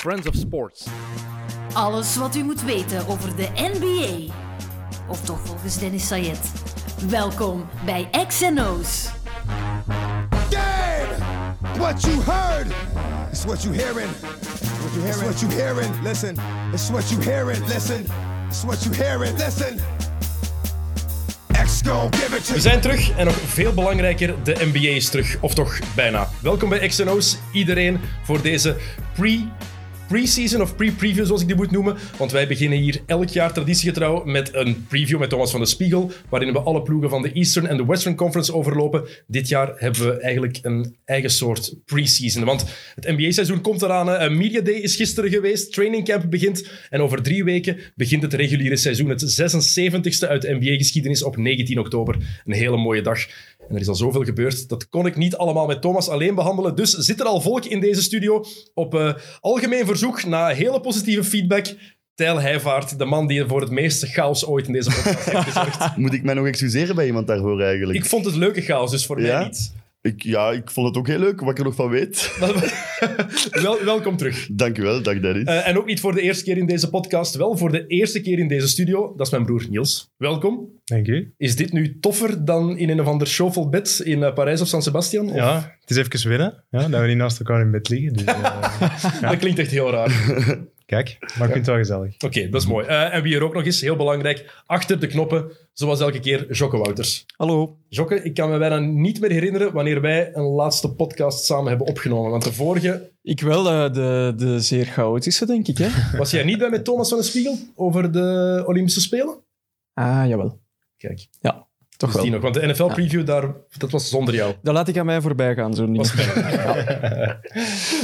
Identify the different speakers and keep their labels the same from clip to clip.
Speaker 1: Friends of Sports.
Speaker 2: Alles wat u moet weten over de NBA. Of toch volgens Dennis Sayed. Welkom bij XNO's.
Speaker 3: Damn! What you heard It's what you hearing. What you hearing. It's what you hearing. Listen. It's what you hearing. Listen. It's what you hearing. Listen. X go give it to
Speaker 4: We zijn terug en nog veel belangrijker, de NBA is terug. Of toch bijna. Welkom bij XNO's, iedereen, voor deze pre- pre-season of pre-preview, zoals ik die moet noemen. Want wij beginnen hier elk jaar traditiegetrouw met een preview met Thomas van de Spiegel, waarin we alle ploegen van de Eastern en de Western Conference overlopen. Dit jaar hebben we eigenlijk een eigen soort pre-season. Want het NBA-seizoen komt eraan. hè. eh, Een Media Day is gisteren geweest, training camp begint. En over drie weken begint het reguliere seizoen, het 76ste uit NBA-geschiedenis op 19 oktober. Een hele mooie dag. En er is al zoveel gebeurd. Dat kon ik niet allemaal met Thomas alleen behandelen. Dus zit er al volk in deze studio op eh, algemeen verzoek na hele positieve feedback. Tijl Heijvaart, de man die er voor het meeste chaos ooit in deze podcast heeft gezorgd.
Speaker 5: Moet ik mij nog excuseren bij iemand daarvoor eigenlijk?
Speaker 4: Ik vond het leuke chaos, dus voor mij
Speaker 5: Ja?
Speaker 4: niet.
Speaker 5: Ik- ja, ik vond het ook heel leuk, wat ik er nog van weet.
Speaker 4: Wel, welkom terug.
Speaker 5: Dankjewel, dag Dennis.
Speaker 4: Eh, en ook niet voor de eerste keer in deze podcast, wel voor de eerste keer in deze studio. Dat is mijn broer Niels. Welkom.
Speaker 6: Dank u.
Speaker 4: Is dit nu toffer dan in een of ander showful-bed in eh, Parijs of San Sebastian? Of-
Speaker 6: Ja, het is even winnen. Ja, dat we niet naast elkaar in bed liggen. Dus, eh,
Speaker 4: Dat klinkt echt heel raar.
Speaker 6: kijk, maar ik vind het wel gezellig.
Speaker 4: Oké, dat is mooi. Eh, en wie er ook nog is, heel belangrijk, achter de knoppen, zoals elke keer, Jocke Wouters.
Speaker 7: Hallo.
Speaker 4: Jocke, ik kan me bijna niet meer herinneren wanneer wij een laatste podcast samen hebben opgenomen. Want de vorige
Speaker 7: Ik wel eh, de, de zeer chaotische, denk ik. Hè?
Speaker 4: was jij niet bij met Thomas van den Spiegel over de Olympische Spelen?
Speaker 7: Ah, jawel.
Speaker 4: Kijk,
Speaker 7: Ja, toch
Speaker 4: dus die
Speaker 7: wel.
Speaker 4: nog. Want de NFL-preview, daar, dat was zonder jou.
Speaker 7: Dat laat ik aan mij voorbij gaan, zo'n ding.
Speaker 4: Was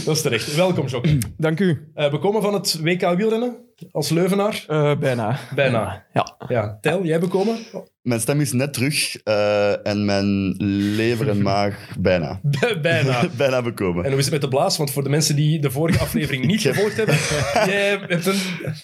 Speaker 4: dat is terecht. Welkom, Jocke.
Speaker 7: Dank u.
Speaker 4: Eh, we komen van het WK wielrennen als Leuvenaar.
Speaker 7: Eh, bijna.
Speaker 4: Bijna.
Speaker 7: Ja.
Speaker 4: Ja, Tel, jij bekomen?
Speaker 5: Mijn stem is net terug eh, en mijn lever en maag bijna.
Speaker 4: Bijna.
Speaker 5: bijna bekomen.
Speaker 4: Ah. En hoe is het met de blaas? Want voor de mensen die de vorige aflevering niet
Speaker 5: heb-
Speaker 4: gevolgd hebben, jij hebt een,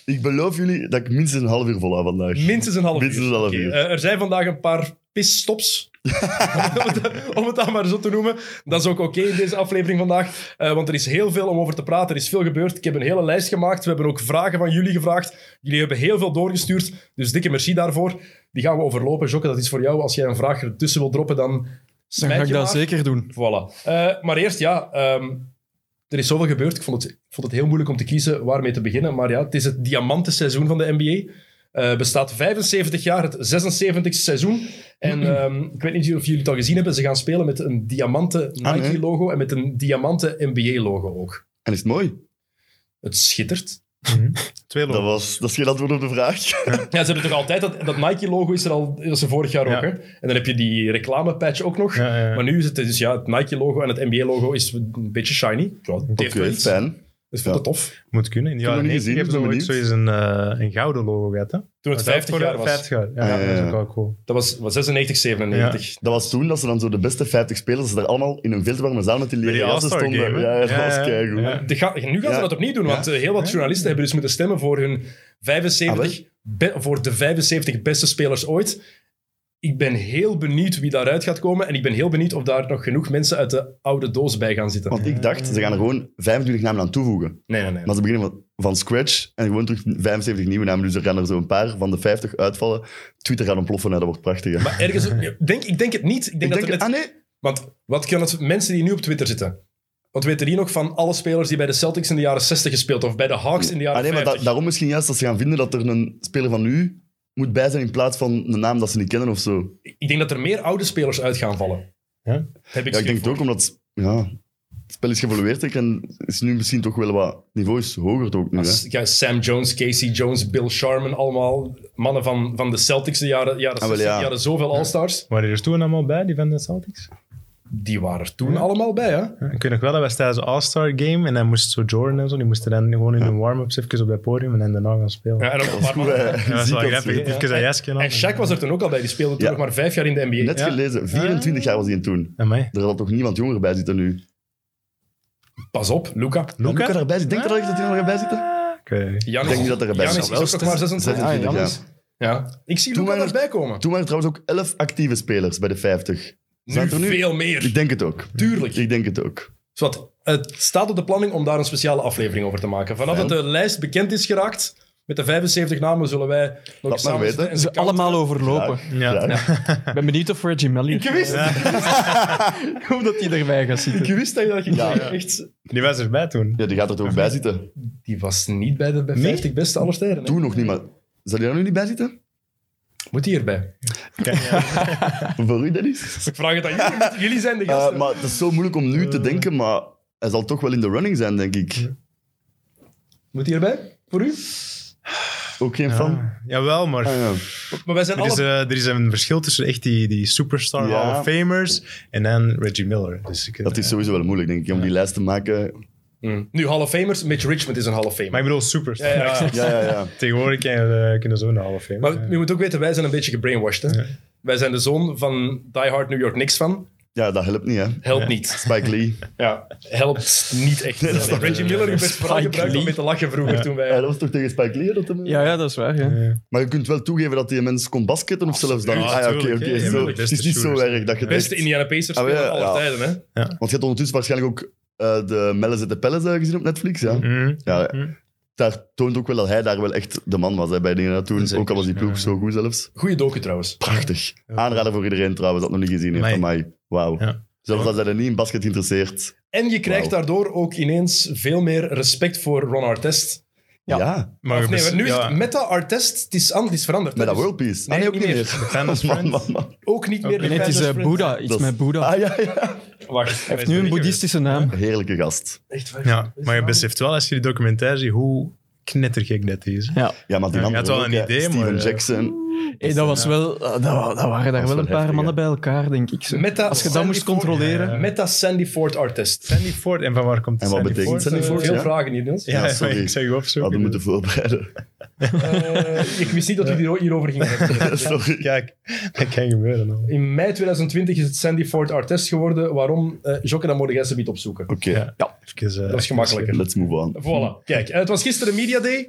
Speaker 5: Ik beloof jullie dat ik minstens een half uur volhoud vandaag.
Speaker 4: minstens een half
Speaker 5: Minstens
Speaker 4: uur.
Speaker 5: een half
Speaker 4: Oké,
Speaker 5: uur.
Speaker 4: eh, er zijn vandaag een paar pisstops. om, het, om het dan maar zo te noemen. Dat is ook oké in deze aflevering vandaag. eh, want er is heel veel om over te praten. Er is veel gebeurd. Ik heb een hele lijst gemaakt. We hebben ook vragen van jullie gevraagd. Jullie hebben heel veel doorgestuurd. Dus dikke merci daarvoor. Die gaan we overlopen. Jokke, dat is voor jou. Als jij een vraag ertussen wil droppen, dan
Speaker 7: Dan
Speaker 4: smijt
Speaker 7: ga ik
Speaker 4: je
Speaker 7: dat
Speaker 4: maar.
Speaker 7: zeker doen.
Speaker 4: Voilà. Eh, maar eerst, ja, ehm, er is zoveel gebeurd. Ik vond het, ik vond het heel moeilijk om te kiezen waarmee te beginnen. Maar ja, het is het diamantenseizoen van de NBA. Eh, bestaat 75 jaar, het 76 seizoen. En ehm, ik weet niet of jullie het al gezien hebben. Ze gaan spelen met een diamanten
Speaker 5: Ah, nee.
Speaker 4: Nike-logo en met een diamanten NBA-logo ook.
Speaker 5: En is het mooi?
Speaker 4: Het schittert.
Speaker 6: Twee
Speaker 5: Dat,
Speaker 6: lopen.
Speaker 5: was, dat is geen antwoord op de vraag.
Speaker 4: Ja, ze hebben toch altijd dat, dat Nike-logo is er al, dat is er vorig jaar
Speaker 6: Ja.
Speaker 4: ook. Hè? En dan heb je die reclame-patch ook nog.
Speaker 6: Ja, ja, ja.
Speaker 4: Maar nu is het dus ja, het Nike-logo en het NBA-logo is een beetje shiny. Ja, het heeft
Speaker 5: Oké,
Speaker 4: wel iets.
Speaker 5: fijn.
Speaker 4: Dus ik vind dat tof.
Speaker 6: Moet kunnen. In de
Speaker 5: heb
Speaker 6: jaren
Speaker 5: hem nog
Speaker 6: 90
Speaker 5: niet
Speaker 6: hebben ze
Speaker 5: gezien,
Speaker 6: ook
Speaker 5: dus ik ben
Speaker 6: zoiets een, eh, een gouden logo gehad. Hè?
Speaker 4: Toen het
Speaker 6: Maar
Speaker 4: 50 jaar was.
Speaker 6: 50 jaar. Ja,
Speaker 5: Ja, ja,
Speaker 6: dat is
Speaker 5: ja.
Speaker 6: ook wel cool.
Speaker 4: Dat was, was 96, 97.
Speaker 5: Dat was toen dat ze dan zo de beste 50 spelers, dat ze daar allemaal in een veel te warme zaal met die
Speaker 6: Bij
Speaker 5: leren
Speaker 6: die
Speaker 5: jassen
Speaker 6: All-Star
Speaker 5: stonden.
Speaker 6: Game, hè?
Speaker 5: ja, dat
Speaker 6: Ja,
Speaker 5: was
Speaker 6: ja.
Speaker 5: keigoed.
Speaker 6: Ja.
Speaker 4: De ga- nu gaan ze
Speaker 5: Ja. Ah,
Speaker 4: dat opniet doen, want eh, heel wat journalisten hebben dus moeten stemmen voor hun 75, be- voor de 75 beste spelers ooit. Ik ben heel benieuwd wie daaruit gaat komen en ik ben heel benieuwd of daar nog genoeg mensen uit de oude doos bij gaan zitten.
Speaker 5: Want ik dacht, ze gaan er gewoon 25 namen aan toevoegen.
Speaker 4: Nee, nee, nee.
Speaker 5: Maar ze beginnen van, van scratch en gewoon terug 75 nieuwe namen. Dus er gaan er zo een paar van de 50 uitvallen. Twitter gaat ontploffen, hè, dat wordt prachtig. hè.
Speaker 4: Maar ergens, ik denk, ik denk het niet. Ik denk
Speaker 5: ik
Speaker 4: dat
Speaker 5: denk,
Speaker 4: er net-
Speaker 5: ah nee,
Speaker 4: Want wat kunnen het, mensen die nu op Twitter zitten? Wat weten die nog van alle spelers die bij de Celtics in de jaren 60 gespeeld of bij de Hawks in de jaren
Speaker 5: ah, nee maar
Speaker 4: 50?
Speaker 5: da- daarom misschien juist dat ze gaan vinden dat er een speler van nu moet bij zijn in plaats van een naam dat ze niet kennen of zo.
Speaker 4: Ik denk dat er meer oude spelers uit gaan vallen.
Speaker 6: Ja?
Speaker 4: Heb ik
Speaker 5: Ja, ik
Speaker 4: schrik
Speaker 5: denk
Speaker 4: voor.
Speaker 5: het ook omdat ja, het spel is geëvolueerd denk ik, en is nu misschien toch wel wat... Het niveau is hoger ook nu. Hè.
Speaker 4: Als- ja, Sam Jones, Casey Jones, Bill Sharman, allemaal mannen van, van de Celtics de jaren, jaren
Speaker 5: Ah, wel,
Speaker 4: 60,
Speaker 5: ja.
Speaker 4: die hadden zoveel All-Stars.
Speaker 6: Waren er toen allemaal bij, die van de Celtics?
Speaker 4: Die waren er toen allemaal bij, hè?
Speaker 6: Ja, Ik weet nog wel, dat was tijdens de All-Star Game en dan moest zo Jordan en zo, die moesten dan gewoon in hun warm-ups even op dat podium en dan daarna gaan spelen.
Speaker 4: Ja, en, ook een paar
Speaker 5: Hoe
Speaker 4: mannen-
Speaker 5: wij
Speaker 6: Ja, dat is
Speaker 5: ziek
Speaker 6: wel
Speaker 5: als
Speaker 6: grappig.
Speaker 5: we-
Speaker 6: Even een jasje aan.
Speaker 4: en Shaq was er toen ook al bij. Die speelde toen
Speaker 5: Ja.
Speaker 4: nog maar vijf jaar in de NBA.
Speaker 5: Net
Speaker 6: Ja.
Speaker 5: gelezen, 24 jaar was hij toen.
Speaker 6: Amai.
Speaker 5: Er had toch niemand jonger bij zitten nu.
Speaker 4: Pas op, Luca.
Speaker 5: Luca daarbij zit. Denk je dat ik dat hij er nog bij zit?
Speaker 6: Ik weet het niet.
Speaker 4: Janis,
Speaker 5: Ik denk niet dat er erbij
Speaker 4: Janis
Speaker 5: zit.
Speaker 4: is ook nog maar 26.
Speaker 7: Ah,
Speaker 5: 26
Speaker 7: Janis.
Speaker 5: jaar.
Speaker 4: Ja. Ik zie
Speaker 5: Toen
Speaker 4: Luca
Speaker 5: waren er-
Speaker 4: erbij komen.
Speaker 5: Toen waren er trouwens ook 11 actieve spelers bij de 50. Zijn
Speaker 4: Nu
Speaker 5: er nu-
Speaker 4: veel meer.
Speaker 5: Ik denk het ook.
Speaker 4: Tuurlijk.
Speaker 5: Ik denk het ook.
Speaker 4: Zwat, het staat op de planning om daar een speciale aflevering over te maken. Vanaf dat de lijst bekend is geraakt, met de 75 namen, zullen wij nog
Speaker 5: maar
Speaker 4: eens samen
Speaker 5: weten.
Speaker 4: zitten en
Speaker 7: Ze
Speaker 4: counteren.
Speaker 7: allemaal overlopen.
Speaker 6: Ja.
Speaker 5: Ja.
Speaker 7: Ik ben benieuwd of Reggie Melliot...
Speaker 4: Ik wist,
Speaker 7: Omdat hij erbij gaat zitten.
Speaker 4: ik wist dat je dat ging
Speaker 5: Ja.
Speaker 4: zeggen. Echt.
Speaker 6: Die was erbij toen.
Speaker 5: Ja, die gaat er toch bij zitten.
Speaker 4: Die was niet bij de bij 50 beste aller tijden. hè?
Speaker 5: Toen nog niet, maar... Zal die er nu niet bij zitten?
Speaker 4: Moet die erbij?
Speaker 5: Voor u, Dennis?
Speaker 4: Ik vraag het aan jullie. want Jullie zijn de
Speaker 5: Eh,
Speaker 4: gasten.
Speaker 5: maar het is zo moeilijk om nu te denken, maar hij zal toch wel in de running zijn, denk ik.
Speaker 4: Moet die erbij? Voor u?
Speaker 5: Ook geen fan?
Speaker 6: Jawel, maar
Speaker 5: Ah, ja.
Speaker 4: Maar wij zijn
Speaker 6: er, is,
Speaker 4: alle...
Speaker 6: eh, er is een verschil tussen echt die, die superstar
Speaker 5: Ja.
Speaker 6: Hall of Famers en dan Reggie Miller. Dus ik,
Speaker 5: Dat is sowieso wel moeilijk, denk ik, om die lijst te maken.
Speaker 4: Hm. Nu, Hall of Famers. Mitch Richmond is een Hall of Famer.
Speaker 6: Maar ik bedoel, superstar.
Speaker 4: Ja, ja.
Speaker 5: Ja, ja, ja.
Speaker 6: Tegenwoordig kan je, eh, kunnen zo'n Hall of Famer.
Speaker 4: Maar
Speaker 6: ja.
Speaker 4: je moet ook weten, wij zijn een beetje gebrainwashed. Hè? Wij zijn de zoon van Die Hard New York Knicks fan.
Speaker 5: Ja, dat helpt niet, hè.
Speaker 4: Helpt niet.
Speaker 5: Spike Lee.
Speaker 4: Ja, helpt niet echt.
Speaker 5: Nee, dat is toch-
Speaker 4: Reggie Miller heeft best vooral
Speaker 7: Spike
Speaker 4: gebruikt om
Speaker 7: Lee.
Speaker 4: mee te lachen vroeger toen wij...
Speaker 5: Ja, dat was toch tegen Spike Lee? Dat hem-
Speaker 7: Ja, ja, dat is waar. Ja.
Speaker 5: Maar je kunt wel toegeven dat die mens kon basketten of zelfs dan.
Speaker 6: Ja,
Speaker 5: Ah ja, oké,
Speaker 6: tuurlijk, hè.
Speaker 5: oké.
Speaker 6: Ja,
Speaker 5: zo.
Speaker 6: maar de
Speaker 5: Het
Speaker 6: beste
Speaker 5: is niet zo
Speaker 6: shooters.
Speaker 5: erg dat je het
Speaker 4: Beste
Speaker 5: echt-
Speaker 4: Indiana Pacers
Speaker 5: Ah,
Speaker 4: speler
Speaker 5: ja,
Speaker 4: aller
Speaker 5: ja.
Speaker 4: tijden. Hè?
Speaker 5: Want je hebt ondertussen waarschijnlijk ook eh, de Melles et de Pelles eh, gezien op Netflix, ja.
Speaker 6: Mhm.
Speaker 5: ja Daar toont ook wel dat hij daar wel echt de man was hè, bij dingen toen.
Speaker 4: Zeker.
Speaker 5: Ook al was die ploeg zo goed zelfs.
Speaker 4: Goeie docu trouwens.
Speaker 5: Prachtig. Aanrader voor iedereen trouwens, dat nog niet gezien heeft
Speaker 6: Amai.
Speaker 5: van mij. Wauw.
Speaker 6: Ja.
Speaker 5: Zelfs als hij er niet in basket geïnteresseerd.
Speaker 4: En je krijgt
Speaker 5: Wauw.
Speaker 4: daardoor ook ineens veel meer respect voor Ron Artest.
Speaker 5: Ja.
Speaker 7: Ja.
Speaker 6: Maar
Speaker 7: Ah,
Speaker 4: Of
Speaker 6: we
Speaker 4: nee,
Speaker 6: bes-
Speaker 4: nu is
Speaker 6: ja.
Speaker 4: het meta Artest, het is, an- het is veranderd.
Speaker 5: Met dat
Speaker 4: Dus
Speaker 5: World Peace. Ah,
Speaker 4: Nee,
Speaker 5: ook
Speaker 4: niet
Speaker 5: niet
Speaker 4: meer.
Speaker 5: meer.
Speaker 6: Fans
Speaker 5: Man,
Speaker 6: Friends.
Speaker 5: man, man.
Speaker 4: Ook niet meer de
Speaker 7: Nee, het is eh,
Speaker 4: Fenders
Speaker 7: Boeddha. Iets
Speaker 5: Dat is-
Speaker 7: met Boeddha.
Speaker 5: Ah ja, ja.
Speaker 4: Friends. Wacht, hij is
Speaker 7: nu een
Speaker 4: terug
Speaker 7: boeddhistische naam.
Speaker 5: Heerlijke gast.
Speaker 4: geweest. Echt waar.
Speaker 6: Ja, maar je beseft wel als je die documentaire ziet hoe knettergek dat is.
Speaker 7: Ja.
Speaker 5: Ja, maar die
Speaker 6: Ja, je
Speaker 5: man
Speaker 6: had wel
Speaker 5: ook,
Speaker 6: een
Speaker 5: hè.
Speaker 6: idee,
Speaker 5: Steven
Speaker 6: maar, eh,
Speaker 5: Jackson.
Speaker 7: Hey, dat, was wel, eh, dat, wa- dat waren daar
Speaker 5: was
Speaker 7: wel een
Speaker 5: wel
Speaker 7: paar
Speaker 5: heftig,
Speaker 7: mannen
Speaker 5: hè.
Speaker 7: bij elkaar, denk ik. zo.
Speaker 4: Meta
Speaker 7: Als je dat
Speaker 4: Sandy
Speaker 7: moest
Speaker 4: Ford-
Speaker 7: controleren.
Speaker 4: Ja. Meta Sandy Ford Artest.
Speaker 6: Sandy Ford, en van waar komt
Speaker 5: En wat
Speaker 6: Sandy
Speaker 5: betekent
Speaker 6: Ford?
Speaker 5: Sandy
Speaker 6: Eh,
Speaker 5: Ford?
Speaker 4: Veel
Speaker 5: ja.
Speaker 4: vragen hier, Niels.
Speaker 6: Ja,
Speaker 5: Ja, sorry.
Speaker 6: ik zou je opzoeken.
Speaker 5: Hadden moeten voorbereiden.
Speaker 4: Eh, ik wist niet dat we hier- hierover gingen hebben.
Speaker 5: Sorry.
Speaker 6: Kijk, dat kan gebeuren. al.
Speaker 4: In mei 2020 is het Sandy Ford Artest geworden. Waarom? Eh Jokke, dan moet jij ze niet opzoeken.
Speaker 5: Oké,
Speaker 6: Ja. Even, eh,
Speaker 4: Dat is gemakkelijker.
Speaker 5: let's move on.
Speaker 4: Voilà. Kijk, eh, het was gisteren Media Day.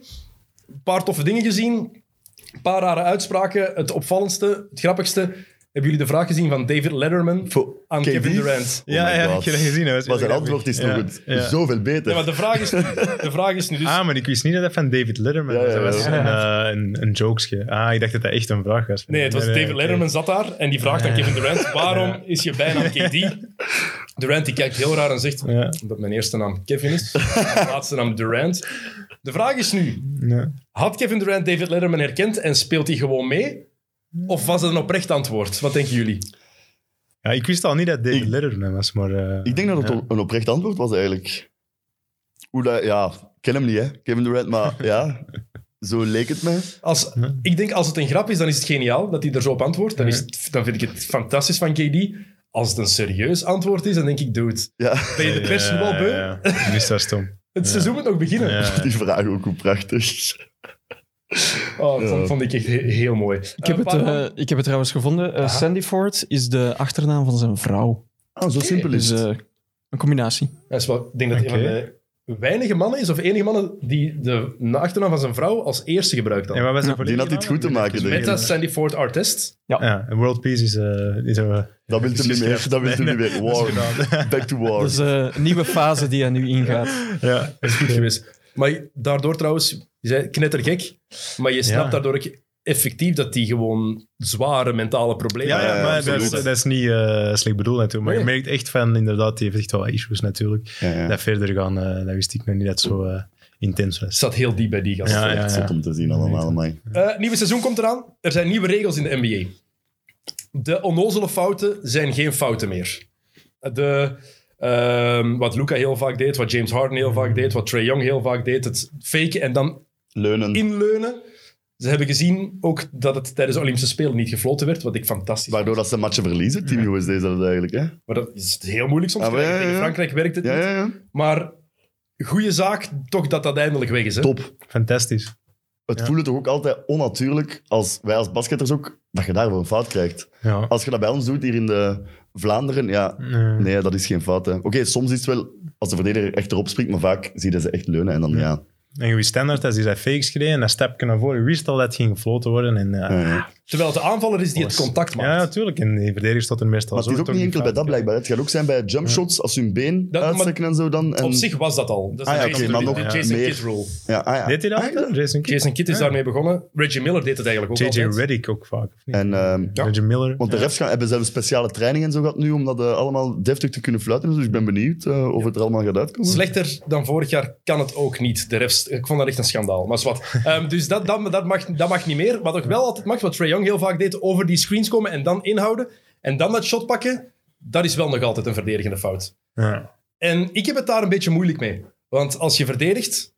Speaker 4: Een paar toffe dingen gezien. Een paar rare uitspraken. Het opvallendste, het grappigste. Hebben jullie de vraag gezien van David Letterman
Speaker 5: Voor
Speaker 4: aan
Speaker 5: KD?
Speaker 4: Kevin Durant?
Speaker 5: Oh
Speaker 6: Ja,
Speaker 5: my
Speaker 6: ja,
Speaker 5: God.
Speaker 6: ik heb dat gezien, hè. Dat is
Speaker 5: Maar zijn
Speaker 6: heel
Speaker 5: antwoord is nog
Speaker 6: grappig.
Speaker 5: het
Speaker 6: Ja, ja.
Speaker 5: zoveel
Speaker 4: Ja,
Speaker 5: beter.
Speaker 4: maar de vraag is, de vraag is nu dus...
Speaker 6: Ah, maar ik wist niet dat dat van David Letterman
Speaker 5: Ja,
Speaker 6: was.
Speaker 5: ja,
Speaker 6: Dat was
Speaker 5: ja.
Speaker 6: een, eh, een, een jokesje. Ah, ik dacht dat dat echt een vraag was.
Speaker 4: Nee, het was David
Speaker 6: oké.
Speaker 4: Letterman zat daar en die vraagt aan Kevin Durant: waarom is je bijnaam KD? Durant die kijkt heel raar en zegt:
Speaker 6: Ja.
Speaker 4: dat mijn eerste naam Kevin is, mijn laatste naam Durant. De vraag is nu:
Speaker 6: Ja.
Speaker 4: had Kevin Durant David Letterman herkend en speelt hij gewoon mee? Of was het een oprecht antwoord? Wat denken jullie?
Speaker 6: Ja, ik wist al niet dat David
Speaker 5: Ik-
Speaker 6: Letterman was, maar... eh,
Speaker 5: Ik denk dat het een oprecht antwoord was eigenlijk. Hoe dat, ja, ik ken hem niet, hè, Kevin Durant, maar ja, zo leek het mij.
Speaker 4: Als, ik denk als het een grap is, dan is het geniaal dat hij er zo op antwoordt. Dan, is het- dan vind ik het fantastisch van KD. Als het een serieus antwoord is, dan denk ik: dude,
Speaker 5: Ja,
Speaker 4: ben je de pers nu al beu?
Speaker 6: eh, Ja, ja, ja. Dus dat is stom.
Speaker 4: Het seizoen moet nog beginnen.
Speaker 6: Ja.
Speaker 5: die vraag ook hoe prachtig.
Speaker 4: Oh, dat vond ik echt he- heel mooi.
Speaker 7: Ik heb, het, eh, ik heb het trouwens gevonden. Eh, Sandy Ford is de achternaam van zijn vrouw.
Speaker 5: Ah, zo simpel is
Speaker 7: Dus
Speaker 5: het.
Speaker 7: eh, een combinatie.
Speaker 4: Dat is wel, ik denk dat het een
Speaker 6: Oké.
Speaker 4: van de weinige mannen is, of enige mannen, die de achternaam van zijn vrouw als eerste gebruikt
Speaker 6: En
Speaker 4: had.
Speaker 6: wat was
Speaker 7: Die
Speaker 6: de volledige
Speaker 5: had iets
Speaker 6: naam?
Speaker 5: goed te maken, denk ik.
Speaker 4: Meta Sandy Ford Artist.
Speaker 6: Ja, en World Peace is... eh, is eh,
Speaker 5: Dat wil
Speaker 6: is
Speaker 5: hem niet meer,
Speaker 6: geschrapt.
Speaker 5: dat wil hem
Speaker 6: Nee,
Speaker 5: niet meer.
Speaker 6: nee, dat
Speaker 5: War,
Speaker 6: is gedaan. Dus,
Speaker 5: back to war.
Speaker 7: Dat is eh, een nieuwe fase die hij nu ingaat.
Speaker 6: Ja,
Speaker 4: Dat is goed geweest. Maar daardoor trouwens, je zei knettergek, maar je snapt
Speaker 6: Ja.
Speaker 4: daardoor ook effectief dat die gewoon zware mentale problemen
Speaker 6: ja, ja,
Speaker 5: ja,
Speaker 6: maar dat
Speaker 5: absoluut.
Speaker 6: is, dat is niet eh, slecht bedoeld natuurlijk. Maar je
Speaker 4: Nee.
Speaker 6: merkt echt van, inderdaad, die heeft echt wel issues natuurlijk.
Speaker 5: Ja, ja.
Speaker 6: Dat verder gaan, eh, dat wist ik nog niet dat het zo eh, intens was.
Speaker 4: zat heel diep bij die gasten.
Speaker 6: Ja, ja.
Speaker 5: Echt zot om te zien allemaal, man.
Speaker 4: Eh, nieuwe seizoen komt eraan. Er zijn nieuwe regels in de NBA. De onnozele fouten zijn geen fouten meer. De, ehm, wat Luca heel vaak deed, wat James Harden heel vaak deed, wat Trae Young heel vaak deed, het faken en dan
Speaker 5: Leunen.
Speaker 4: inleunen. Ze hebben gezien ook dat het tijdens de Olympische Spelen niet gefloten werd, wat ik fantastisch vond.
Speaker 5: Waardoor dat ze matchen verliezen, Team USA is dat eigenlijk, hè?
Speaker 4: Maar dat is heel moeilijk soms.
Speaker 5: Ah, maar ja,
Speaker 4: Tegen
Speaker 5: ja, ja.
Speaker 4: Frankrijk werkt het
Speaker 5: Ja,
Speaker 4: niet.
Speaker 5: ja, ja.
Speaker 4: Maar goede zaak toch dat dat eindelijk weg is. Hè?
Speaker 5: Top.
Speaker 6: Fantastisch.
Speaker 5: Het voelde toch ook altijd onnatuurlijk, als wij als basketters ook, dat je daarvoor een fout krijgt.
Speaker 6: Ja.
Speaker 5: Als je dat bij ons doet hier in de Vlaanderen, ja,
Speaker 6: Nee.
Speaker 5: nee, dat is geen fout. hè. Oké, soms is het wel als de verdediger echt erop springt, maar vaak zie je ze echt leunen en dan ja.
Speaker 6: En je wist standaard, als hij zijn fakes gereden en dat stapje naar voren, je wist al dat het ging gefloten worden. En, eh,
Speaker 5: ja, ja.
Speaker 4: Terwijl het de aanvaller is die het contact
Speaker 6: Ja,
Speaker 4: maakt.
Speaker 6: natuurlijk. En die verdedigers staat er meestal
Speaker 5: Maar
Speaker 6: zo.
Speaker 5: het is ook
Speaker 6: toch
Speaker 5: niet enkel bij
Speaker 6: fout.
Speaker 5: dat blijkbaar. Het gaat ook zijn bij jumpshots, als ze hun been
Speaker 4: Dat- maar-
Speaker 5: uitstrekken en zo dan. En,
Speaker 4: Op zich was dat al. Dat is
Speaker 5: Ah ja,
Speaker 4: de
Speaker 5: oké,
Speaker 4: Jason-
Speaker 5: maar nog
Speaker 4: de Jason
Speaker 5: meer.
Speaker 4: Kidd rule.
Speaker 5: ja, ah ja.
Speaker 6: Deed hij dat?
Speaker 5: Ah, ja.
Speaker 6: Jason Kidd.
Speaker 4: Jason Kidd is daarmee begonnen. Reggie Miller deed het eigenlijk ook
Speaker 6: JJ
Speaker 4: altijd.
Speaker 6: Reddick ook vaak. of niet?
Speaker 5: En, ehm,
Speaker 4: Ja.
Speaker 6: Reggie Miller.
Speaker 5: Want de refs gaan, hebben zelfs speciale trainingen en zo gehad nu, om dat eh, allemaal deftig te kunnen fluiten. Dus ik ben benieuwd eh, of het er allemaal gaat uitkomen.
Speaker 4: Slechter dan vorig jaar kan het ook niet. De refs, ik vond dat echt een schandaal. Maar zwart. Ehm, dus dat, dat, dat, mag, dat mag niet meer. Wat ook wel altijd mag, wat Trae Young heel vaak deed, over die screens komen en dan inhouden en dan dat shot pakken, dat is wel nog altijd een verdedigende fout.
Speaker 6: Ja.
Speaker 4: En ik heb het daar een beetje moeilijk mee. Want als je verdedigt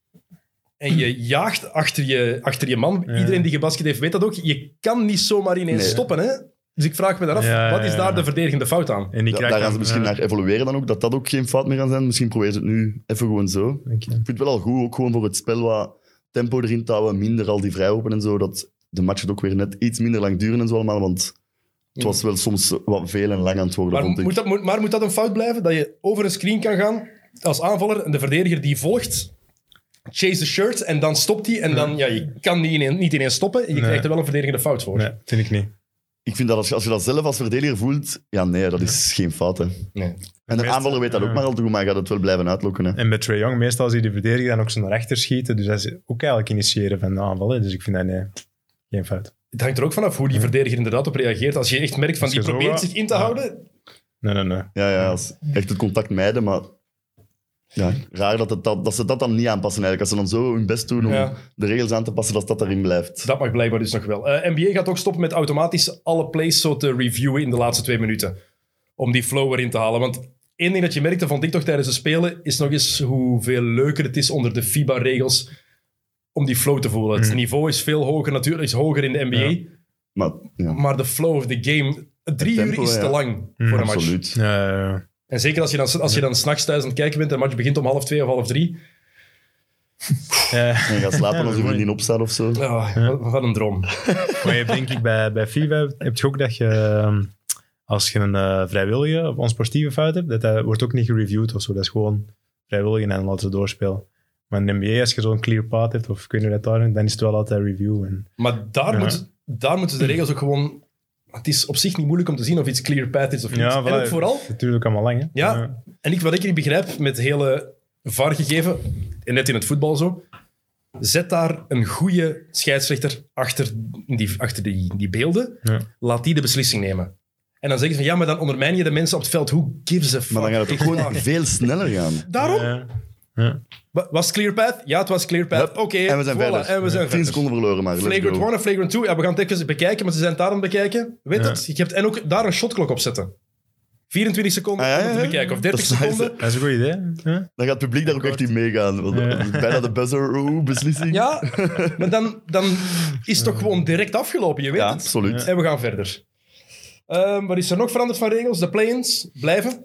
Speaker 4: en je jaagt achter je, achter je man,
Speaker 6: Ja.
Speaker 4: iedereen die gebasket heeft weet dat ook, je kan niet zomaar ineens
Speaker 5: Nee.
Speaker 4: stoppen. Hè? Dus ik vraag me daar af,
Speaker 6: Ja,
Speaker 4: wat is
Speaker 6: ja, ja.
Speaker 4: daar de verdedigende fout aan?
Speaker 6: En die
Speaker 5: Da-
Speaker 6: krijgt
Speaker 5: daar gaan
Speaker 6: dan,
Speaker 5: ze misschien
Speaker 6: eh,
Speaker 5: naar evolueren dan ook, dat dat ook geen fout meer kan zijn. Misschien proberen ze het nu even gewoon zo. Ik
Speaker 6: denk je.
Speaker 5: vind het wel al goed, ook gewoon voor het spel wat tempo erin te houden, minder al die vrijopen en zo, dat de match het ook weer net iets minder lang duren en zo allemaal, want het was wel soms wat veel en lang aan het worden,
Speaker 4: Maar
Speaker 5: vond ik.
Speaker 4: moet, dat, moet, maar moet dat een fout blijven? Dat je over een screen kan gaan als aanvaller en de verdediger die volgt, chase the shirt en dan stopt hij. En dan, ja, je kan die ine- niet ineens stoppen. Je krijgt er wel een verdedigende fout voor.
Speaker 6: Nee, vind ik niet.
Speaker 5: Ik vind dat als je, als je dat zelf als verdediger voelt, ja nee, dat is geen fout. Hè.
Speaker 4: Nee.
Speaker 5: En de
Speaker 6: meeste-
Speaker 5: aanvaller weet dat ook
Speaker 6: ja.
Speaker 5: maar al te goed, maar hij gaat het wel blijven uitlokken. Hè.
Speaker 6: En bij Trae Young, meestal zie je de verdediger dan ook zo naar rechter schieten. Dus dat is ook eigenlijk initiëren van de aanval. hè. Dus ik vind dat nee, geen fout.
Speaker 4: Het hangt er ook vanaf hoe die verdediger inderdaad op reageert. Als je echt merkt van
Speaker 6: Als
Speaker 4: die
Speaker 6: je zo
Speaker 4: probeert
Speaker 6: gaat-
Speaker 4: zich in te
Speaker 6: Ja.
Speaker 4: houden.
Speaker 6: Nee, nee, nee.
Speaker 5: Ja, ja, als echt het contact mijden, maar... Ja, raar dat, het, dat, dat ze dat dan niet aanpassen eigenlijk. Als ze dan zo hun best doen om
Speaker 4: Ja.
Speaker 5: de regels aan te passen, dat dat daarin blijft.
Speaker 4: Dat mag blijkbaar dus nog wel. Eh, NBA gaat ook stoppen met automatisch alle plays zo te reviewen in de laatste twee minuten. Om die flow erin te halen. Want één ding dat je merkte, vond ik toch tijdens het spelen, is nog eens hoeveel leuker het is onder de FIBA-regels om die flow te voelen. Het niveau is veel hoger, natuurlijk is hoger in de NBA.
Speaker 5: Maar ja,
Speaker 4: Maar de flow of the game, drie
Speaker 5: tempo,
Speaker 4: uur is
Speaker 5: ja.
Speaker 4: te lang voor een match.
Speaker 5: absoluut.
Speaker 6: Eh,
Speaker 4: En zeker als je dan, als je dan s'nachts thuis aan het kijken bent en de match begint om half twee of half drie.
Speaker 6: eh,
Speaker 5: En gaat slapen
Speaker 6: Ja,
Speaker 5: als je
Speaker 6: mooi.
Speaker 5: vriendin opstaat of zo.
Speaker 4: Ah, wat- Wat een droom.
Speaker 6: Maar je hebt denk ik bij, bij FIFA heb je ook dat je, ehm, als je een eh, vrijwillige of onsportieve fout hebt, dat, dat wordt ook niet gereviewd of zo. Dat is gewoon vrijwillig en laten ze doorspelen. Maar in de NBA, als je zo'n clear path hebt, of kun je dat daar, dan is het wel altijd review. En,
Speaker 4: Maar daar,
Speaker 6: Ja. Hmm.
Speaker 4: moet, daar moeten de regels ook gewoon. Het is op zich niet moeilijk om te zien of iets clear path is of niet. en ook
Speaker 6: voilà,
Speaker 4: vooral,
Speaker 6: Natuurlijk allemaal lang, hè.
Speaker 4: Ja. en ik, wat ik niet begrijp met hele VAR-gegeven, en net in het voetbal zo, zet daar een goede scheidsrechter achter die, achter die, die beelden,
Speaker 6: Ja.
Speaker 4: laat die de beslissing nemen. En dan zeggen ze van, ja, maar dan ondermijn je de mensen op het veld. Who gives a fuck?
Speaker 5: Maar dan gaat het ook
Speaker 4: Echt
Speaker 5: gewoon
Speaker 4: waar.
Speaker 5: veel sneller gaan.
Speaker 4: Daarom?
Speaker 6: Ja. Ja.
Speaker 4: Wa- Was het clear path? Ja, het was clear path.
Speaker 5: Hup,
Speaker 4: Oké,
Speaker 5: en we zijn
Speaker 4: voilà,
Speaker 5: verder.
Speaker 4: En we zijn
Speaker 5: 10
Speaker 4: verder.
Speaker 5: seconden verloren maar. let's
Speaker 4: Flagrant
Speaker 5: go.
Speaker 4: 1 en Flagrant 2. Ja, we gaan het even bekijken, maar ze zijn het daarom bekijken. Weet
Speaker 6: Ja.
Speaker 4: het? Je hebt, en ook daar een shotklok op zetten. 24 seconden
Speaker 5: Ah, ja,
Speaker 4: om het te
Speaker 5: ja, ja.
Speaker 4: bekijken. Of
Speaker 5: Dat
Speaker 4: 30
Speaker 5: is nice,
Speaker 4: seconden.
Speaker 6: Dat is een goed idee. Ja.
Speaker 5: Dan gaat het publiek
Speaker 4: Oh
Speaker 5: daar ook echt in meegaan. Want
Speaker 6: Ja.
Speaker 5: dat is Bijna de buzzer oeh, beslissing.
Speaker 4: Ja, maar dan, dan is het toch gewoon direct afgelopen, je weet
Speaker 5: Ja,
Speaker 4: het.
Speaker 5: absoluut.
Speaker 4: En we gaan verder. Ehm, wat is er nog veranderd van regels? De play-ins blijven.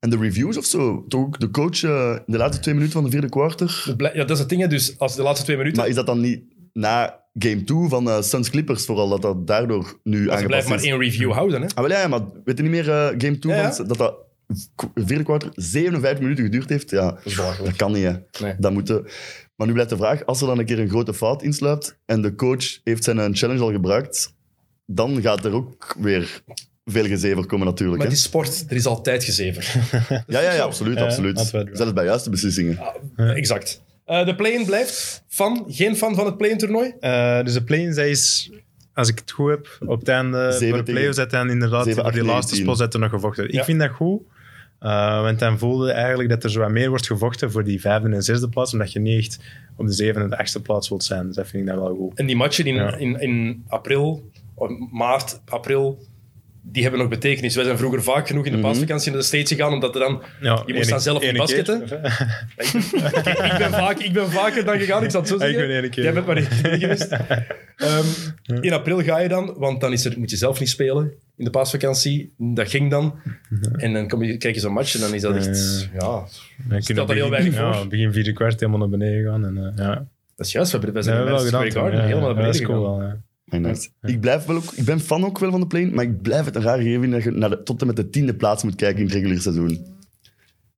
Speaker 5: En de reviews of zo. Toch ook de coach eh, in de laatste twee minuten van de vierde kwartier.
Speaker 4: De blij- ja, dat is het ding. hè. Dus als de laatste twee minuten...
Speaker 5: Maar is dat dan niet na game 2 van eh, Suns Clippers vooral, dat dat daardoor nu
Speaker 4: ze
Speaker 5: aangepast
Speaker 4: blijven maar
Speaker 5: is?
Speaker 4: één review houden. Hè?
Speaker 5: Ah, wel, ja, ja, maar weet je niet meer eh, game 2
Speaker 4: Ja, ja.
Speaker 5: van dat dat k- vierde kwart 57 minuten geduurd heeft? Ja, dat,
Speaker 4: is belachelijk.
Speaker 5: kan niet. hè.
Speaker 4: Nee.
Speaker 5: Dat moet, eh, maar nu blijft de vraag, als er dan een keer een grote fout insluipt en de coach heeft zijn eh, challenge al gebruikt, dan gaat er ook weer veel gezever komen natuurlijk.
Speaker 4: Maar
Speaker 5: Hè?
Speaker 4: het is sport. Er is altijd gezever.
Speaker 5: ja, ja, ja, absoluut,
Speaker 6: Ja,
Speaker 5: absoluut.
Speaker 6: laten we het doen.
Speaker 5: Zelfs bij juiste beslissingen.
Speaker 4: Exact. Eh, de play-in blijft. Fan. Geen fan van het play-in toernooi.
Speaker 6: Eh, dus de play-in zij is, als ik het goed heb, op het einde
Speaker 5: Zeven
Speaker 6: voor de
Speaker 5: tegen-
Speaker 6: play-offs dat dan inderdaad
Speaker 5: Zeven,
Speaker 6: voor die
Speaker 5: acht,
Speaker 6: laatste
Speaker 5: negentien.
Speaker 6: spots dat er nog gevochten wordt.
Speaker 4: Ja.
Speaker 6: Ik vind dat goed, eh, want dan voelde je eigenlijk dat er zo wat meer wordt gevochten voor die vijfde en zesde plaats, omdat je niet echt op de zevende en de achtste plaats wilt zijn. Dus dat vind ik dan wel goed.
Speaker 4: En die matchen in,
Speaker 6: Ja.
Speaker 4: in, in april, of maart, april, die hebben nog betekenis. Wij zijn vroeger vaak genoeg in de paasvakantie naar de States gegaan, omdat er dan...
Speaker 6: Mhm. Ja,
Speaker 4: Je moest dan zelf niet basketten. ik, ben vaak, ik ben vaker dan gegaan, ik zal het zo
Speaker 6: Ja, ik
Speaker 4: zeggen.
Speaker 6: ben één keer.
Speaker 4: Jij bent maar één keer geweest. Ehm, in april ga je dan, want dan is er, moet je zelf niet spelen in de paasvakantie. Dat ging dan. En dan kom je, krijg je zo'n match en dan is dat echt... Ja, Stelt er heel weinig
Speaker 6: Ja,
Speaker 4: voor.
Speaker 6: begin vierde kwart helemaal naar beneden gaan. En, eh, ja.
Speaker 4: dat is juist. We hebben- wij
Speaker 6: Dat
Speaker 4: zijn
Speaker 6: hebben
Speaker 4: bij
Speaker 6: we
Speaker 4: Madison
Speaker 6: wel gedaan.
Speaker 4: Square Garden
Speaker 6: toen, ja.
Speaker 4: helemaal naar
Speaker 6: Ja, dat
Speaker 4: beneden
Speaker 6: is cool
Speaker 4: gegaan.
Speaker 6: wel, ja.
Speaker 5: Mijn hart. Ik, blijf wel ook, ik ben fan ook wel van de plane, maar ik blijf het een raar gegeven dat je naar de, tot en met de tiende plaats moet kijken in het reguliere seizoen.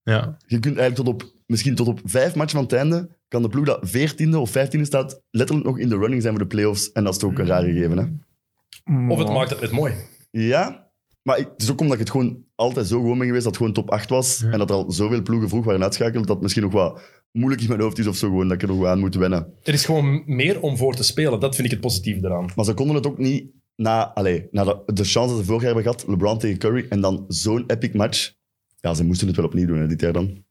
Speaker 6: Ja.
Speaker 5: Je kunt eigenlijk tot op, misschien tot op vijf matchen van het einde, kan de ploeg dat veertiende of vijftiende staat, letterlijk nog in de running zijn voor de playoffs. En dat is toch ook een raar gegeven, hè?
Speaker 4: Of het maakt het net mooi.
Speaker 5: Ja, maar ik- het is ook omdat ik het gewoon altijd zo gewoon ben geweest dat het gewoon top 8 was. En dat er al zoveel ploegen vroeg waren uitschakeld dat het misschien nog wat moeilijk in mijn hoofd is of zo gewoon dat ik er nog wat aan moet wennen.
Speaker 4: Er is gewoon meer om voor te spelen. Dat vind ik het positieve eraan.
Speaker 5: Maar ze konden het ook niet na, allez, na de, de chance dat ze vorig jaar hebben gehad, LeBron tegen Curry en dan zo'n epic match. Ja, ze moesten het wel opnieuw doen hè, dit jaar dan.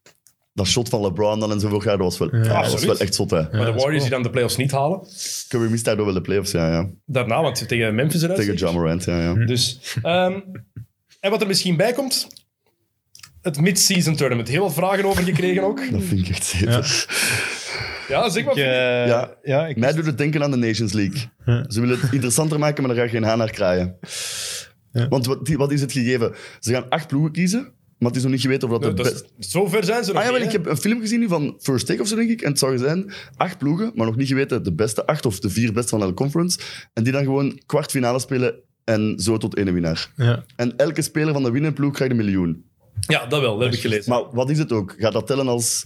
Speaker 5: Dat shot van LeBron dan en zo vorig jaar, dat was wel, ja, dat was
Speaker 4: absoluut.
Speaker 5: wel echt zot. Hè.
Speaker 4: Maar de
Speaker 6: dat is
Speaker 4: Warriors die dan de playoffs niet halen.
Speaker 5: Curry mist daardoor wel de playoffs, ja,
Speaker 4: Ah,
Speaker 5: ja.
Speaker 4: Daarna, want tegen Memphis eruit.
Speaker 5: Tegen
Speaker 4: zeker?
Speaker 5: John Morant, ja, ja.
Speaker 4: Dus, ehm, en wat er misschien bij komt, het mid-season tournament. Heel wat vragen over gekregen ook.
Speaker 5: Dat vind ik echt zeker.
Speaker 4: Ja, zeg maar.
Speaker 6: Ik, eh,
Speaker 5: Ja.
Speaker 6: ja. ik,
Speaker 5: Mij doet het denken aan de Nations League. Ze willen het interessanter maken, maar daar ga je geen haan naar kraaien. Want wat, die- wat is het gegeven? Ze gaan acht ploegen kiezen, maar het is nog niet geweten of dat
Speaker 4: Nee,
Speaker 5: de
Speaker 4: Nou, dat
Speaker 5: best...
Speaker 4: is- Zover zijn ze nog
Speaker 5: Ah ja,
Speaker 4: niet,
Speaker 5: wel, ik
Speaker 4: hè?
Speaker 5: heb een film gezien nu van First Take of zo, denk ik. En het zou zijn acht ploegen, maar nog niet geweten de beste acht of de vier beste van elke conference. En die dan gewoon kwartfinale spelen en zo tot ene winnaar.
Speaker 6: ja.
Speaker 5: En elke speler van de winnende ploeg krijgt een miljoen.
Speaker 4: Ja, dat wel. Dat heb ik gelezen.
Speaker 5: Maar wat is het ook? Gaat dat tellen als...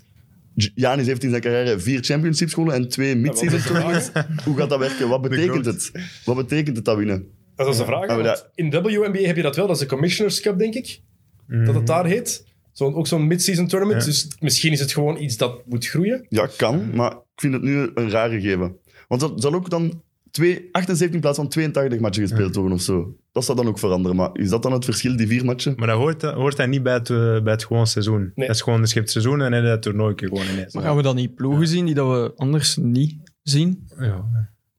Speaker 5: J- Janis heeft in zijn carrière vier championships gewonnen en twee mid-season
Speaker 4: dat is de
Speaker 5: toernooien. Hoe gaat dat werken? Wat betekent het? Wat betekent het dat winnen?
Speaker 4: Dat is de vraag.
Speaker 5: Ah, maar
Speaker 4: want
Speaker 5: dat-
Speaker 4: In WNBA heb je dat wel. Dat is de Commissioners Cup, denk ik. Dat
Speaker 5: Mhm.
Speaker 4: het daar heet. Zo, ook zo'n mid-season tournament. Dus misschien is het gewoon iets dat moet groeien.
Speaker 5: Ja, kan, maar ik vind het nu een raar gegeven. Want dat zal ook dan twee, 78 in plaats van 82 matchen gespeeld worden of zo. Dat zal dan ook veranderen. Maar is dat dan het verschil, die vier matchen?
Speaker 6: Maar dat hoort, dat hoort hij niet bij het, eh, bij het gewoon seizoen.
Speaker 4: Nee.
Speaker 6: Dat is gewoon, dus je hebt het seizoen en dan heb je dat toernooi gewoon ineens.
Speaker 7: Maar gaan we dan niet ploegen zien die dat we anders niet zien?
Speaker 6: Ja.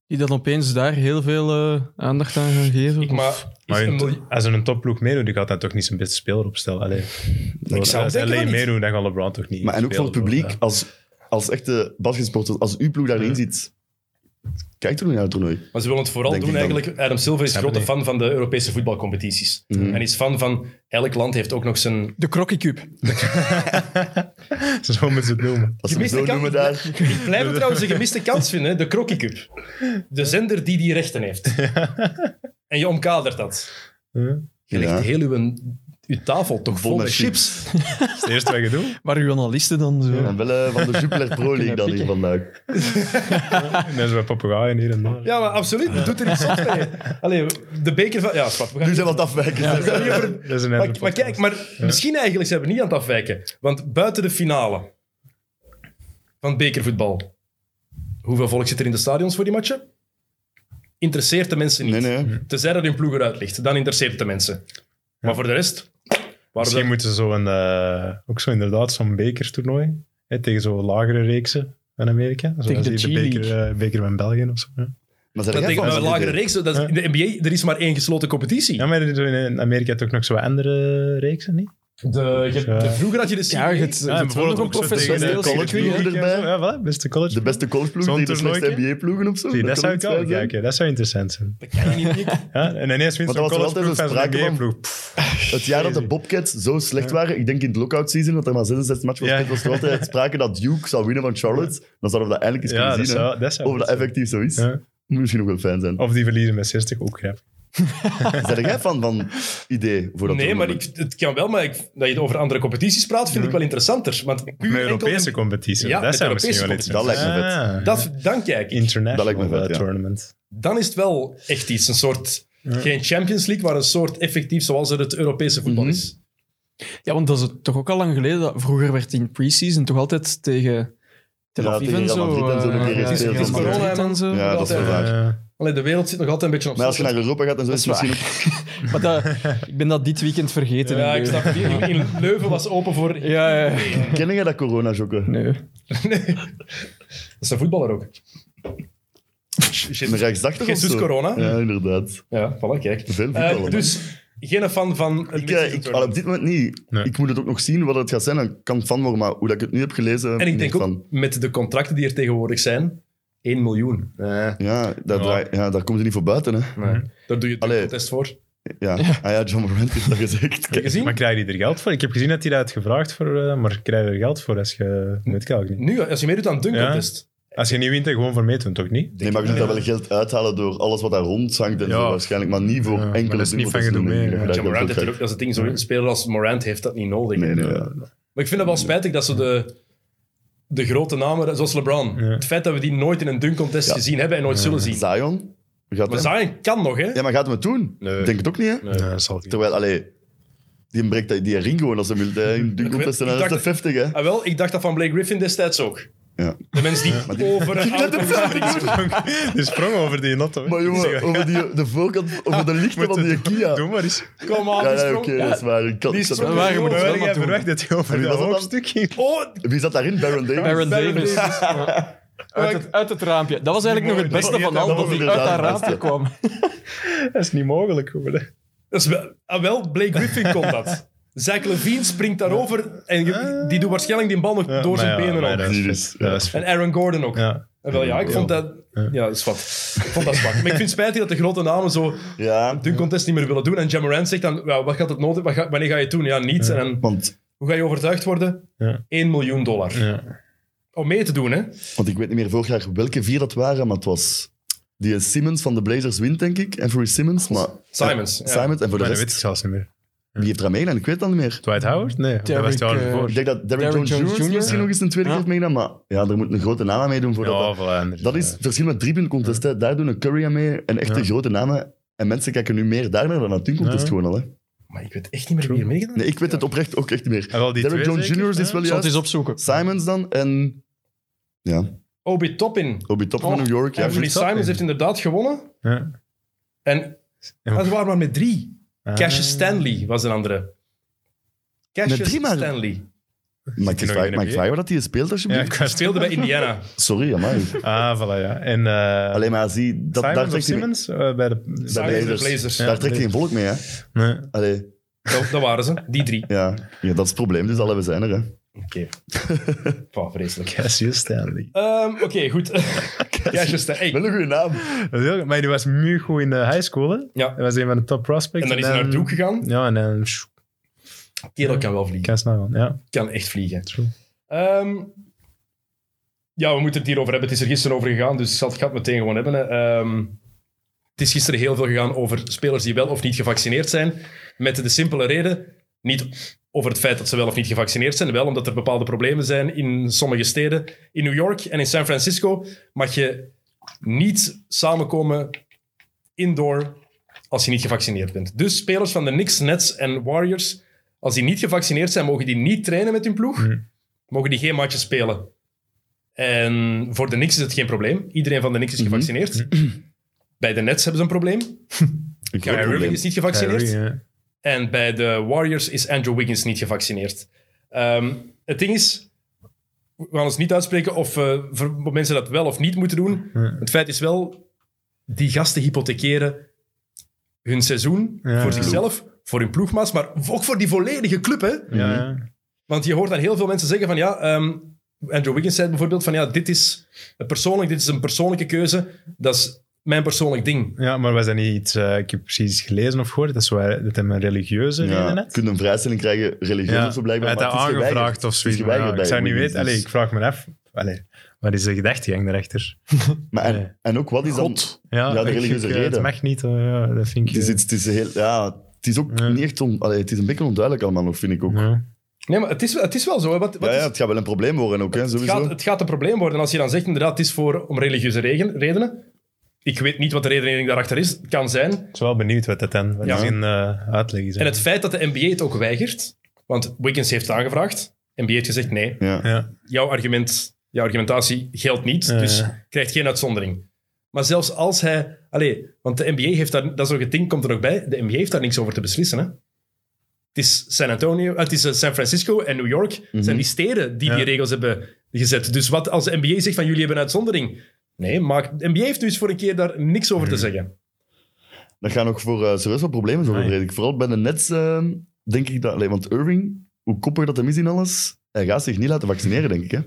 Speaker 7: Die dat opeens daar heel veel eh, aandacht aan gaan geven?
Speaker 4: Ik, maar,
Speaker 6: Maar
Speaker 4: is
Speaker 6: een
Speaker 4: een
Speaker 6: to-
Speaker 4: miljoen-
Speaker 6: als er een topploeg meedoet, die gaat dan toch niet zijn beste speler opstellen. Allee.
Speaker 4: het
Speaker 6: als
Speaker 4: denken
Speaker 6: LA
Speaker 4: van niet.
Speaker 6: meedoet, dan gaat LeBron toch niet.
Speaker 5: Maar en ook voor
Speaker 6: spelen,
Speaker 5: het publiek,
Speaker 6: zo,
Speaker 5: als, als echte basketsporters, als uw ploeg daarin zit, kijk er nu naar het toernooi.
Speaker 4: maar ze willen het vooral
Speaker 5: Denk
Speaker 4: doen
Speaker 5: ik dan.
Speaker 4: eigenlijk. Adam Silver is
Speaker 6: Snap
Speaker 4: grote
Speaker 6: ik.
Speaker 4: fan van de Europese voetbalcompetities. En is fan van elk land heeft ook nog zijn...
Speaker 7: De Crocky Cube.
Speaker 6: ja. Zo moeten ze het noemen.
Speaker 5: Als ze het
Speaker 4: Gemiste
Speaker 5: zo
Speaker 4: kans.
Speaker 5: noemen daar.
Speaker 4: Ik blijf het trouwens een gemiste kans vinden, hè, de Crocky Cup. De zender die die rechten heeft. En je omkadert dat. Je legt
Speaker 5: Ja.
Speaker 4: heel uw, uw tafel toch vol,
Speaker 5: Vol
Speaker 4: met
Speaker 5: met
Speaker 4: chips.
Speaker 6: Dat is het eerste wat je doet.
Speaker 7: Waar journalisten dan zo...
Speaker 5: En wel eh, van de Jupiler Pro League dan hier vandaag.
Speaker 6: En dan zijn we papegaaien hier en daar.
Speaker 4: Ja, maar absoluut. Dat doet er iets op mee. Allee, de beker van... Ja, zwart. We gaan
Speaker 5: Nu zijn we aan het afwijken.
Speaker 4: we gaan niet over-
Speaker 6: Dat is een
Speaker 4: Maar,
Speaker 6: andere
Speaker 4: maar
Speaker 6: podcast.
Speaker 4: kijk, maar misschien eigenlijk zijn we niet aan het afwijken. Want buiten de finale van het bekervoetbal, hoeveel volk zit er in de stadions voor die matchen? Interesseert de mensen niet.
Speaker 5: Nee, nee.
Speaker 4: Tenzij dat hun ploeg eruit ligt, dan interesseert het de mensen. Maar voor de rest... Waarom
Speaker 6: Misschien
Speaker 4: dat-
Speaker 6: moeten ze zo een, eh, ook zo inderdaad zo'n bekertoernooi hè, tegen zo'n lagere reeksen van Amerika. Zoals
Speaker 7: Tegen de
Speaker 6: hier de
Speaker 7: G-League.
Speaker 6: beker, eh, beker van België of zo. hè.
Speaker 5: Maar
Speaker 4: dat
Speaker 5: zijn jij
Speaker 4: tegen
Speaker 5: van
Speaker 4: een
Speaker 5: dat
Speaker 4: lagere
Speaker 5: idee?
Speaker 4: reeks. Dat is- in de NBA er is maar één gesloten competitie.
Speaker 6: Ja, maar er is zo in Amerika toch nog zo'n andere reeksen, niet?
Speaker 4: De, je hebt- de- vroeger had je de
Speaker 7: Ja,
Speaker 4: CBA.
Speaker 7: het, het wordt ook
Speaker 5: tegen
Speaker 7: professioneel.
Speaker 5: de college
Speaker 7: circuit, hè.
Speaker 5: ploegen. erbij.
Speaker 6: Ja, voilà, beste college.
Speaker 5: De beste collegeploegen
Speaker 6: Zo'n
Speaker 5: tegen de slechtste
Speaker 6: toernooitje?
Speaker 5: NBA-ploegen of zo?
Speaker 6: Zie, dat
Speaker 5: kan
Speaker 6: zou ik
Speaker 5: iets
Speaker 6: wel
Speaker 5: zijn.
Speaker 6: kijken. Dat zou interessant zijn.
Speaker 4: Dat kan je niet.
Speaker 6: Ja, en ineens wint
Speaker 5: Maar
Speaker 6: zo'n
Speaker 5: dat was
Speaker 6: college
Speaker 5: er
Speaker 6: ploeg van
Speaker 5: altijd
Speaker 6: zo'n
Speaker 5: sprake van.
Speaker 6: NBA-ploeg.
Speaker 5: Het jaar dat de Bobcats zo slecht waren, ik denk in het lockout season, dat er maar 66 matchen was,
Speaker 6: Ja.
Speaker 5: gespeeld, was er altijd sprake dat Duke zou winnen van Charlotte. Dan zouden we dat eindelijk eens
Speaker 6: Ja,
Speaker 5: kunnen
Speaker 6: dat
Speaker 5: zien. hè.
Speaker 6: zou- dat zou
Speaker 5: of dat
Speaker 6: goed zijn.
Speaker 5: effectief zo is.
Speaker 6: Ja. Oh.
Speaker 5: Moet misschien ook wel fijn zijn.
Speaker 6: Of die verliezen met 60, ook grap.
Speaker 5: Zijn jij fan van idee voor dat
Speaker 4: Nee, maar
Speaker 5: toernooi?
Speaker 4: ik, het kan wel, maar ik, dat je over andere competities praat, vind ik wel interessanter. Want puur
Speaker 6: Met
Speaker 4: enkel-
Speaker 6: Europese competitie.
Speaker 4: Ja, met
Speaker 6: dat zou misschien wel
Speaker 4: Europese
Speaker 6: iets
Speaker 5: competitie. Dat lijkt me
Speaker 6: zijn.
Speaker 4: Dat,
Speaker 6: Ah,
Speaker 4: dan kijk ik.
Speaker 5: Dat
Speaker 6: International
Speaker 5: lijkt me vet,
Speaker 6: eh,
Speaker 5: ja.
Speaker 6: tournament.
Speaker 4: Dan is het wel echt iets. Een soort, geen Champions League, maar een soort effectief zoals er het Europese voetbal
Speaker 5: Mhm.
Speaker 4: is.
Speaker 7: Ja, want dat is het toch ook al lang geleden. Dat, vroeger werd in pre-season toch altijd tegen Tel
Speaker 5: Ja,
Speaker 7: Aviv
Speaker 5: tegen
Speaker 7: en
Speaker 5: Real
Speaker 7: zo.
Speaker 5: Madrid en zo
Speaker 7: eh,
Speaker 5: een keer
Speaker 7: ja,
Speaker 5: gespeeld,
Speaker 7: tegen
Speaker 5: maar-
Speaker 7: Real Madrid en zo.
Speaker 5: Ja, dat is wel waar.
Speaker 6: Eh,
Speaker 4: Allee, de wereld zit nog altijd een beetje op
Speaker 5: Maar als je
Speaker 4: slot.
Speaker 5: naar Europa gaat en zo, is het
Speaker 7: Dat is
Speaker 5: misschien ook...
Speaker 7: Maar dat, ik ben dat dit weekend vergeten.
Speaker 4: Ja,
Speaker 7: in
Speaker 4: ik
Speaker 7: Leuven.
Speaker 4: snap het. In, in Leuven was open voor...
Speaker 7: Ja, ja, ja.
Speaker 5: Kennen jij dat corona-jokken?
Speaker 7: Nee.
Speaker 4: Dat is een voetballer ook.
Speaker 5: Een rechtsdachtig of
Speaker 4: Geen
Speaker 5: zo?
Speaker 4: zus corona.
Speaker 5: Ja, inderdaad.
Speaker 4: Ja, voilà, kijk.
Speaker 5: Veel
Speaker 4: Eh,
Speaker 5: voetballen.
Speaker 4: dus geen fan van... het
Speaker 5: ik, eh, ik, al
Speaker 4: toernooi.
Speaker 5: op dit moment niet.
Speaker 6: Nee.
Speaker 5: Ik moet het ook nog zien wat het gaat zijn. Ik kan fan worden, maar hoe dat ik het nu heb gelezen...
Speaker 4: en ik
Speaker 5: niet
Speaker 4: denk
Speaker 5: fan.
Speaker 4: ook, met de contracten die er tegenwoordig zijn, 1 miljoen.
Speaker 5: Ja, dat draai- ja, daar komt ze niet voor buiten, hè.
Speaker 4: Daar doe je
Speaker 5: Allee.
Speaker 4: het test voor.
Speaker 5: Ja, Ah, ja John Morant heeft dat gezegd.
Speaker 4: Heb je gezien?
Speaker 6: Eh, Maar krijg je er geld voor? Ik heb gezien dat hij dat had gevraagd voor, eh, maar krijg je er geld voor als je... Weet ik eigenlijk niet.
Speaker 4: Nu, als je meedoet aan het
Speaker 6: Ja.
Speaker 4: test
Speaker 6: Als je niet wint, dan gewoon voor meedoen, toch niet?
Speaker 5: Nee, maar je moet daar wel geld uithalen door alles wat daar rondhangt en
Speaker 6: Ja.
Speaker 5: zo waarschijnlijk, maar niet voor
Speaker 6: Ja, maar
Speaker 5: enkele
Speaker 6: dat is niet van
Speaker 5: dubbeltjes
Speaker 6: gedoe
Speaker 5: doen.
Speaker 6: mee,
Speaker 5: Ik
Speaker 6: ja.
Speaker 5: denk dat
Speaker 4: Ja,
Speaker 5: je
Speaker 4: Morant
Speaker 5: dat
Speaker 4: heeft
Speaker 5: ook
Speaker 4: er ook, dat is het ding, zo'n speler als Morant heeft dat niet nodig.
Speaker 5: Nee, nee, ja.
Speaker 4: Maar ik vind het wel spijtig dat ze de, de grote namen, zoals LeBron, het feit dat we die nooit in een dunk contest gezien hebben en nooit zullen zien.
Speaker 5: Zion? Gaat
Speaker 4: Maar
Speaker 5: hem-
Speaker 4: Zion kan nog, hè?
Speaker 5: Ja, maar gaat hem het doen?
Speaker 1: Nee.
Speaker 5: Ik Denk het ook niet, hè?
Speaker 1: Nee.
Speaker 6: Nee, dat zal niet.
Speaker 5: Terwijl, allee, die breekt die- die ring gewoon als hij wil. hè. Die komt
Speaker 4: weet-
Speaker 5: best
Speaker 4: ik
Speaker 5: naar de
Speaker 4: dacht-
Speaker 5: 50, hè?
Speaker 4: Ah, wel, ik dacht dat van Blake Griffin destijds ook.
Speaker 5: Ja.
Speaker 4: De mens die, over een auto
Speaker 6: Die sprong over die notte. hè.
Speaker 5: Maar jongen,
Speaker 6: Zeg,
Speaker 5: over die, de voorkant, over de lichten
Speaker 6: moet
Speaker 5: van die
Speaker 6: het doen.
Speaker 5: Kia.
Speaker 6: Doe maar eens.
Speaker 4: Kom aan,
Speaker 5: Ja,
Speaker 4: die
Speaker 5: ja oké,
Speaker 4: sprong.
Speaker 5: dat is waar. Ik kan,
Speaker 4: Die
Speaker 5: ik zat-
Speaker 4: sprong.
Speaker 7: Maar je moet
Speaker 4: Ja,
Speaker 7: het
Speaker 6: Wij
Speaker 7: wel
Speaker 6: gaan
Speaker 7: maar doen.
Speaker 6: verwacht dat hij over
Speaker 5: En wie
Speaker 6: dat
Speaker 5: was dat dan?
Speaker 6: hoofdstuk ging.
Speaker 4: Oh,
Speaker 5: Wie zat daarin? Baron Davis?
Speaker 7: Baron
Speaker 4: Baron
Speaker 7: Davis.
Speaker 4: Davis.
Speaker 7: Ja. Uit, het, uit het raampje. Dat was eigenlijk nog het beste van al, dat hij uit dat raampje kwam.
Speaker 6: Dat is niet mogelijk geworden.
Speaker 4: dat is wel, ah, wel, Blake Griffin kon dat. Zach Levine springt daarover en je- die doet waarschijnlijk die bal nog door zijn benen
Speaker 6: op.
Speaker 4: op.
Speaker 5: Die is-
Speaker 6: Dat is
Speaker 4: En Aaron Gordon ook.
Speaker 6: ja.
Speaker 4: En wel, ja, ik vond dat... Ja, dat is wat. Ik vond dat zwak. Maar ik vind het spijtig dat de grote namen zo
Speaker 5: Ja,
Speaker 4: hun contest niet meer willen doen. En Jamarant zegt dan, "Wel, wat gaat het nodig? Wat ga- wanneer ga je het doen? Ja, niets. En dan,
Speaker 5: want,
Speaker 4: hoe ga je overtuigd worden?
Speaker 6: Ja.
Speaker 4: 1 miljoen dollar.
Speaker 6: Ja.
Speaker 4: Om mee te doen, hè.
Speaker 5: want ik weet niet meer vorig jaar welke vier dat waren, maar het was... Die Simmons van de Blazers wint, denk ik. Anthony Simmons, maar...
Speaker 4: Simons, ja.
Speaker 5: Simmons, en voor de
Speaker 6: Maar dat weet ik
Speaker 5: rest,
Speaker 6: zelfs niet meer.
Speaker 5: wie heeft er aan meegedaan? Ik weet het dan niet meer.
Speaker 6: Dwight Howard? Nee, dat was
Speaker 7: Derrick,
Speaker 6: het jaar
Speaker 7: eh,
Speaker 6: ervoor.
Speaker 5: Ik denk dat Derrick
Speaker 7: Derrick
Speaker 5: Jones,
Speaker 7: Jones
Speaker 5: Jr.
Speaker 7: Jr.
Speaker 5: misschien
Speaker 7: Ja.
Speaker 5: nog eens een tweede
Speaker 7: Ja.
Speaker 5: keer meegedaan, maar ja, er moet een grote naam aan meedoen voor dat...
Speaker 6: Ja, voilà, Anders.
Speaker 5: Dat is het verschil met drie puntencontesten. Daar doen een Curry aan mee en echte
Speaker 6: Ja.
Speaker 5: grote namen. En mensen kijken nu meer daarnaar dan naar het contest
Speaker 6: Ja.
Speaker 5: gewoon al. Hè.
Speaker 4: Maar ik weet echt niet meer wie er meegedaan
Speaker 5: Nee, ik weet het oprecht ook echt niet meer.
Speaker 6: En wel die
Speaker 5: Derrick
Speaker 6: twee
Speaker 5: Jones
Speaker 6: zeker,
Speaker 5: Jr.
Speaker 6: hè?
Speaker 5: is dus wel
Speaker 7: Ik zal het
Speaker 5: juist.
Speaker 7: eens opzoeken.
Speaker 5: Simons dan en... Ja,
Speaker 4: Obi Toppin.
Speaker 5: Obi Toppin
Speaker 4: Oh,
Speaker 5: van New York. Ja,
Speaker 4: Anthony
Speaker 6: Obi Toppin.
Speaker 4: Simons heeft inderdaad gewonnen.
Speaker 6: Ja.
Speaker 4: En
Speaker 6: Ja.
Speaker 4: dat waren maar met drie.
Speaker 6: Ah.
Speaker 4: Cassius Stanley was een andere. Cassius
Speaker 5: Met drie maar?
Speaker 4: Stanley.
Speaker 5: Maar ik
Speaker 6: Zit hij nog in
Speaker 5: vraag
Speaker 6: de
Speaker 5: maar ik
Speaker 6: NBA?
Speaker 5: vraag me dat hij speelt,
Speaker 6: Ja,
Speaker 5: alsjeblieft.
Speaker 6: ik was
Speaker 4: Speelde bij Indiana.
Speaker 5: Sorry, jammer.
Speaker 6: Ah, voilà, ja. En eh,
Speaker 5: Alleen maar zie, dat, daar
Speaker 6: Simons of
Speaker 5: trekt hij
Speaker 6: Simmons? Eh, bij de...
Speaker 5: Bij
Speaker 4: Simons en
Speaker 5: Blazers.
Speaker 4: Blazers.
Speaker 5: daar trekt hij geen volk mee, hè.
Speaker 6: Nee.
Speaker 5: Allee,
Speaker 4: Dat, dat waren ze, die drie.
Speaker 5: ja. ja, dat is het probleem. Dus alle we zijn er, hè.
Speaker 4: Oké. Pah, vreselijk.
Speaker 6: Cassius Stanley.
Speaker 4: Ehm, Oké, goed. Cassius Stanley.
Speaker 5: Wel een goede naam.
Speaker 6: Dat is heel goed, Maar die was nu goed in de high school, hè?
Speaker 4: Ja.
Speaker 6: Hij was een van de top prospects.
Speaker 4: En dan is hij naar Duke gegaan.
Speaker 6: Ja, en dan... sjoe,
Speaker 4: Kerel kan wel vliegen.
Speaker 6: Kan snel gaan, ja.
Speaker 4: Kan echt vliegen.
Speaker 6: True.
Speaker 4: Ehm, ja, we moeten het hierover hebben. Het is er gisteren over gegaan, dus ik zal het gat meteen gewoon hebben. hè. Ehm, het is gisteren heel veel gegaan over spelers die wel of niet gevaccineerd zijn. Met de simpele reden, niet over het feit dat ze wel of niet gevaccineerd zijn. Wel omdat er bepaalde problemen zijn in sommige steden. In New York en in San Francisco mag je niet samenkomen indoor als je niet gevaccineerd bent. Dus spelers van de Knicks, Nets en Warriors, als die niet gevaccineerd zijn, mogen die niet trainen met hun ploeg mogen die geen matchen spelen. En voor de Knicks is het geen probleem. Iedereen van de Knicks is gevaccineerd. Bij de Nets hebben ze een probleem.
Speaker 5: Een groot
Speaker 4: Kyrie Irving
Speaker 5: probleem.
Speaker 4: is niet gevaccineerd.
Speaker 6: Kyrie, ja.
Speaker 4: En bij de Warriors is Andrew Wiggins niet gevaccineerd. Ehm, het ding is, we gaan ons niet uitspreken of eh, voor mensen dat wel of niet moeten doen. Het feit is wel, die gasten hypothekeren hun seizoen
Speaker 6: Ja,
Speaker 4: voor
Speaker 6: ja.
Speaker 4: zichzelf, voor hun ploegmaats, maar ook voor die volledige club. Hè?
Speaker 6: Ja,
Speaker 5: Mhm.
Speaker 6: ja.
Speaker 4: Want je hoort dan heel veel mensen zeggen van ja, ehm, Andrew Wiggins zei bijvoorbeeld van ja, dit is een persoonlijk, dit is een persoonlijke keuze, dat is mijn persoonlijk ding.
Speaker 6: Ja, maar was dat niet iets... eh, ik heb precies gelezen of gehoord. Dat, is waar, dat hij een religieuze
Speaker 5: Ja,
Speaker 6: reden
Speaker 5: je
Speaker 6: had.
Speaker 5: kunt een vrijstelling krijgen, religieus
Speaker 6: Ja,
Speaker 5: of zo
Speaker 6: hij
Speaker 5: blijkbaar.
Speaker 6: had
Speaker 5: maar
Speaker 6: dat
Speaker 5: het is geweigerd.
Speaker 6: aangevraagd of
Speaker 5: Het is
Speaker 6: zoiets. maar
Speaker 5: geweigerd
Speaker 6: ja, ik
Speaker 5: bij
Speaker 6: zou niet
Speaker 5: Wiggins,
Speaker 6: weten. Allee,
Speaker 5: dus-
Speaker 6: ik vraag me af. Allee, wat is de gedachtegang daarachter?
Speaker 5: Maar en,
Speaker 6: Nee.
Speaker 5: en ook, wat is dan... Ja, de
Speaker 6: ik-
Speaker 5: religieuze
Speaker 6: ik, eh,
Speaker 5: reden.
Speaker 6: Het mag niet, eh, ja, dat vind ik...
Speaker 5: Het is,
Speaker 6: eh,
Speaker 5: iets- het is, heel, ja, het is ook
Speaker 6: Ja.
Speaker 5: niet echt... On, allee, het is een beetje onduidelijk allemaal, nog, vind ik ook. Ja,
Speaker 6: ja.
Speaker 4: Nee, maar het is, het is wel zo. hè. Wat, wat
Speaker 5: ja,
Speaker 4: is-
Speaker 5: het gaat wel een probleem worden ook, hè,
Speaker 4: het,
Speaker 5: sowieso.
Speaker 4: gaat, het gaat een probleem worden als je dan zegt inderdaad, het is voor, om religieuze regen- redenen. Ik weet niet wat de redenering daarachter is. Het kan zijn.
Speaker 6: Ik ben wel benieuwd wat dat dan wat
Speaker 4: Ja.
Speaker 6: ja. in eh, uitleg is.
Speaker 4: En het feit dat de NBA het ook weigert, want Wiggins heeft het aangevraagd. NBA heeft gezegd nee,
Speaker 5: ja.
Speaker 6: ja.
Speaker 4: jouw argument, jouw argumentatie geldt niet,
Speaker 6: Ja,
Speaker 4: dus
Speaker 6: ja.
Speaker 4: krijgt geen uitzondering. Maar zelfs als hij... Allee, want de NBA heeft daar... Dat soort ding komt er nog bij. De NBA heeft daar niks over te beslissen, hè. Het is San Antonio... eh, Het is eh, San Francisco en New York. zijn die steden die
Speaker 6: Mhm. Ja.
Speaker 4: die regels hebben gezet. Dus wat als de NBA zegt van jullie hebben een uitzondering... Nee, maar de NBA heeft dus voor een keer daar niks over
Speaker 6: Mhm.
Speaker 4: te zeggen.
Speaker 5: Dat gaan nog voor eh serieus wat problemen zijn,
Speaker 6: Nee.
Speaker 5: vrees ik. Vooral bij de Nets eh, denk ik dat... allee, want Irving, hoe koppig dat hem is in alles, hij gaat zich niet laten vaccineren, denk ik. Hè.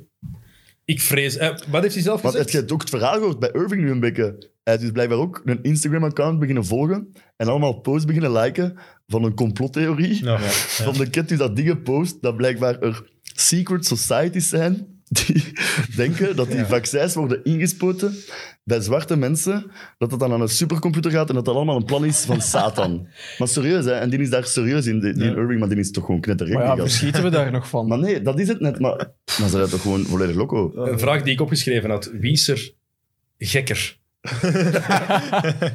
Speaker 4: Ik vrees... eh, wat heeft hij zelf
Speaker 5: Want
Speaker 4: gezegd?
Speaker 5: het, het ook het verhaal gehoord bij Irving nu een beetje. Hij is dus blijkbaar ook een Instagram-account beginnen volgen en allemaal posts beginnen liken van een complottheorie.
Speaker 6: Ja, ja.
Speaker 5: Van de cat die dat dingen post, dat blijkbaar er secret societies zijn die denken dat die vaccins worden ingespoten bij zwarte mensen, dat dat dan aan een supercomputer gaat en dat dat allemaal een plan is van Satan. maar serieus, hè? En die is daar serieus in, die, die Irving, maar die is toch gewoon knettergek.
Speaker 7: Maar ja,
Speaker 5: die gast.
Speaker 7: verschieten we daar nog van?
Speaker 5: maar nee, dat is het net. Maar dan zijn dat toch gewoon volledig loco.
Speaker 4: Een vraag die ik opgeschreven had. Wie is er gekker?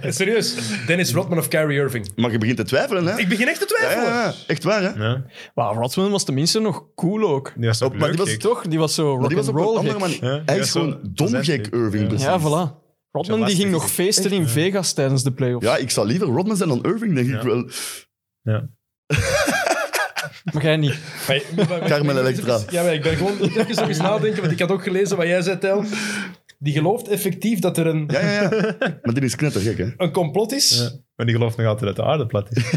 Speaker 4: Serieus, Dennis Rodman of Kyrie Irving.
Speaker 5: Maar je begint te twijfelen, hè?
Speaker 4: Ik begin echt te
Speaker 5: Ja, ja,
Speaker 4: twijfelen.
Speaker 5: ja. echt waar, hè?
Speaker 6: Ja,
Speaker 7: Maar Rodman was tenminste nog cool ook.
Speaker 6: die was ook
Speaker 5: Op- maar die
Speaker 6: leuk,
Speaker 5: was
Speaker 6: ik-
Speaker 7: Toch? Die was zo
Speaker 5: Maar die was op een
Speaker 7: rock'n'roll
Speaker 5: andere
Speaker 7: gek.
Speaker 5: manier.
Speaker 6: Ja,
Speaker 5: Hij
Speaker 6: ja,
Speaker 5: is
Speaker 6: zo-
Speaker 5: gewoon
Speaker 6: dat is
Speaker 5: domgek,
Speaker 6: echt-
Speaker 5: Irving.
Speaker 6: ja.
Speaker 5: precies.
Speaker 7: Ja, voilà.
Speaker 6: Zo
Speaker 7: Rodman die
Speaker 6: lastig
Speaker 7: ging
Speaker 6: is
Speaker 7: nog
Speaker 6: het
Speaker 7: feesten in Vegas tijdens de playoffs.
Speaker 5: Ja, ik zou liever Rodman zijn dan Irving, denk ik
Speaker 6: Ja.
Speaker 5: wel.
Speaker 7: Maar jij niet.
Speaker 4: Hey, maar- maar-
Speaker 5: Carmen Electra.
Speaker 4: Ja, maar ik ben gewoon ik moet even nog eens nadenken, want ik had ook gelezen wat jij zei, Tel. Die gelooft effectief dat er een,
Speaker 5: Ja, ja, ja. Maar die is knettergek, hè?
Speaker 4: een complot is.
Speaker 6: Ja. Maar die gelooft nog altijd dat de aarde plat is.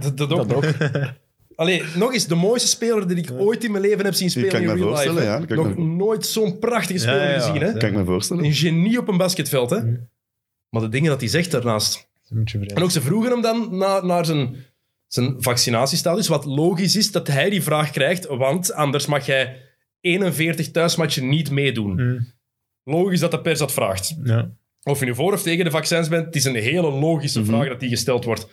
Speaker 4: Dat, dat ook.
Speaker 7: Dat ook.
Speaker 4: Allee, nog eens, de mooiste speler die ik ooit in mijn leven heb zien spelen
Speaker 5: kan ik
Speaker 4: in
Speaker 5: me
Speaker 4: real life.
Speaker 5: voorstellen,
Speaker 4: hè.
Speaker 5: ja, dat kan ik
Speaker 4: nog
Speaker 5: me-
Speaker 4: nooit zo'n prachtige speler
Speaker 6: Ja, ja, ja.
Speaker 4: gezien. Hè?
Speaker 5: Kan ik me voorstellen.
Speaker 4: Een genie op een basketveld. Hè?
Speaker 6: Mhm.
Speaker 4: Maar de dingen dat hij zegt daarnaast.
Speaker 6: Dat is een beetje vreemd.
Speaker 4: En ook ze vroegen hem dan na, naar zijn, zijn vaccinatiestatus. Wat logisch is dat hij die vraag krijgt, want anders mag hij 41 thuismatchen niet meedoen.
Speaker 6: Mm,
Speaker 4: Logisch dat de pers dat vraagt.
Speaker 6: ja.
Speaker 4: Of je nu voor of tegen de vaccins bent, het is een hele logische vraag dat die gesteld wordt.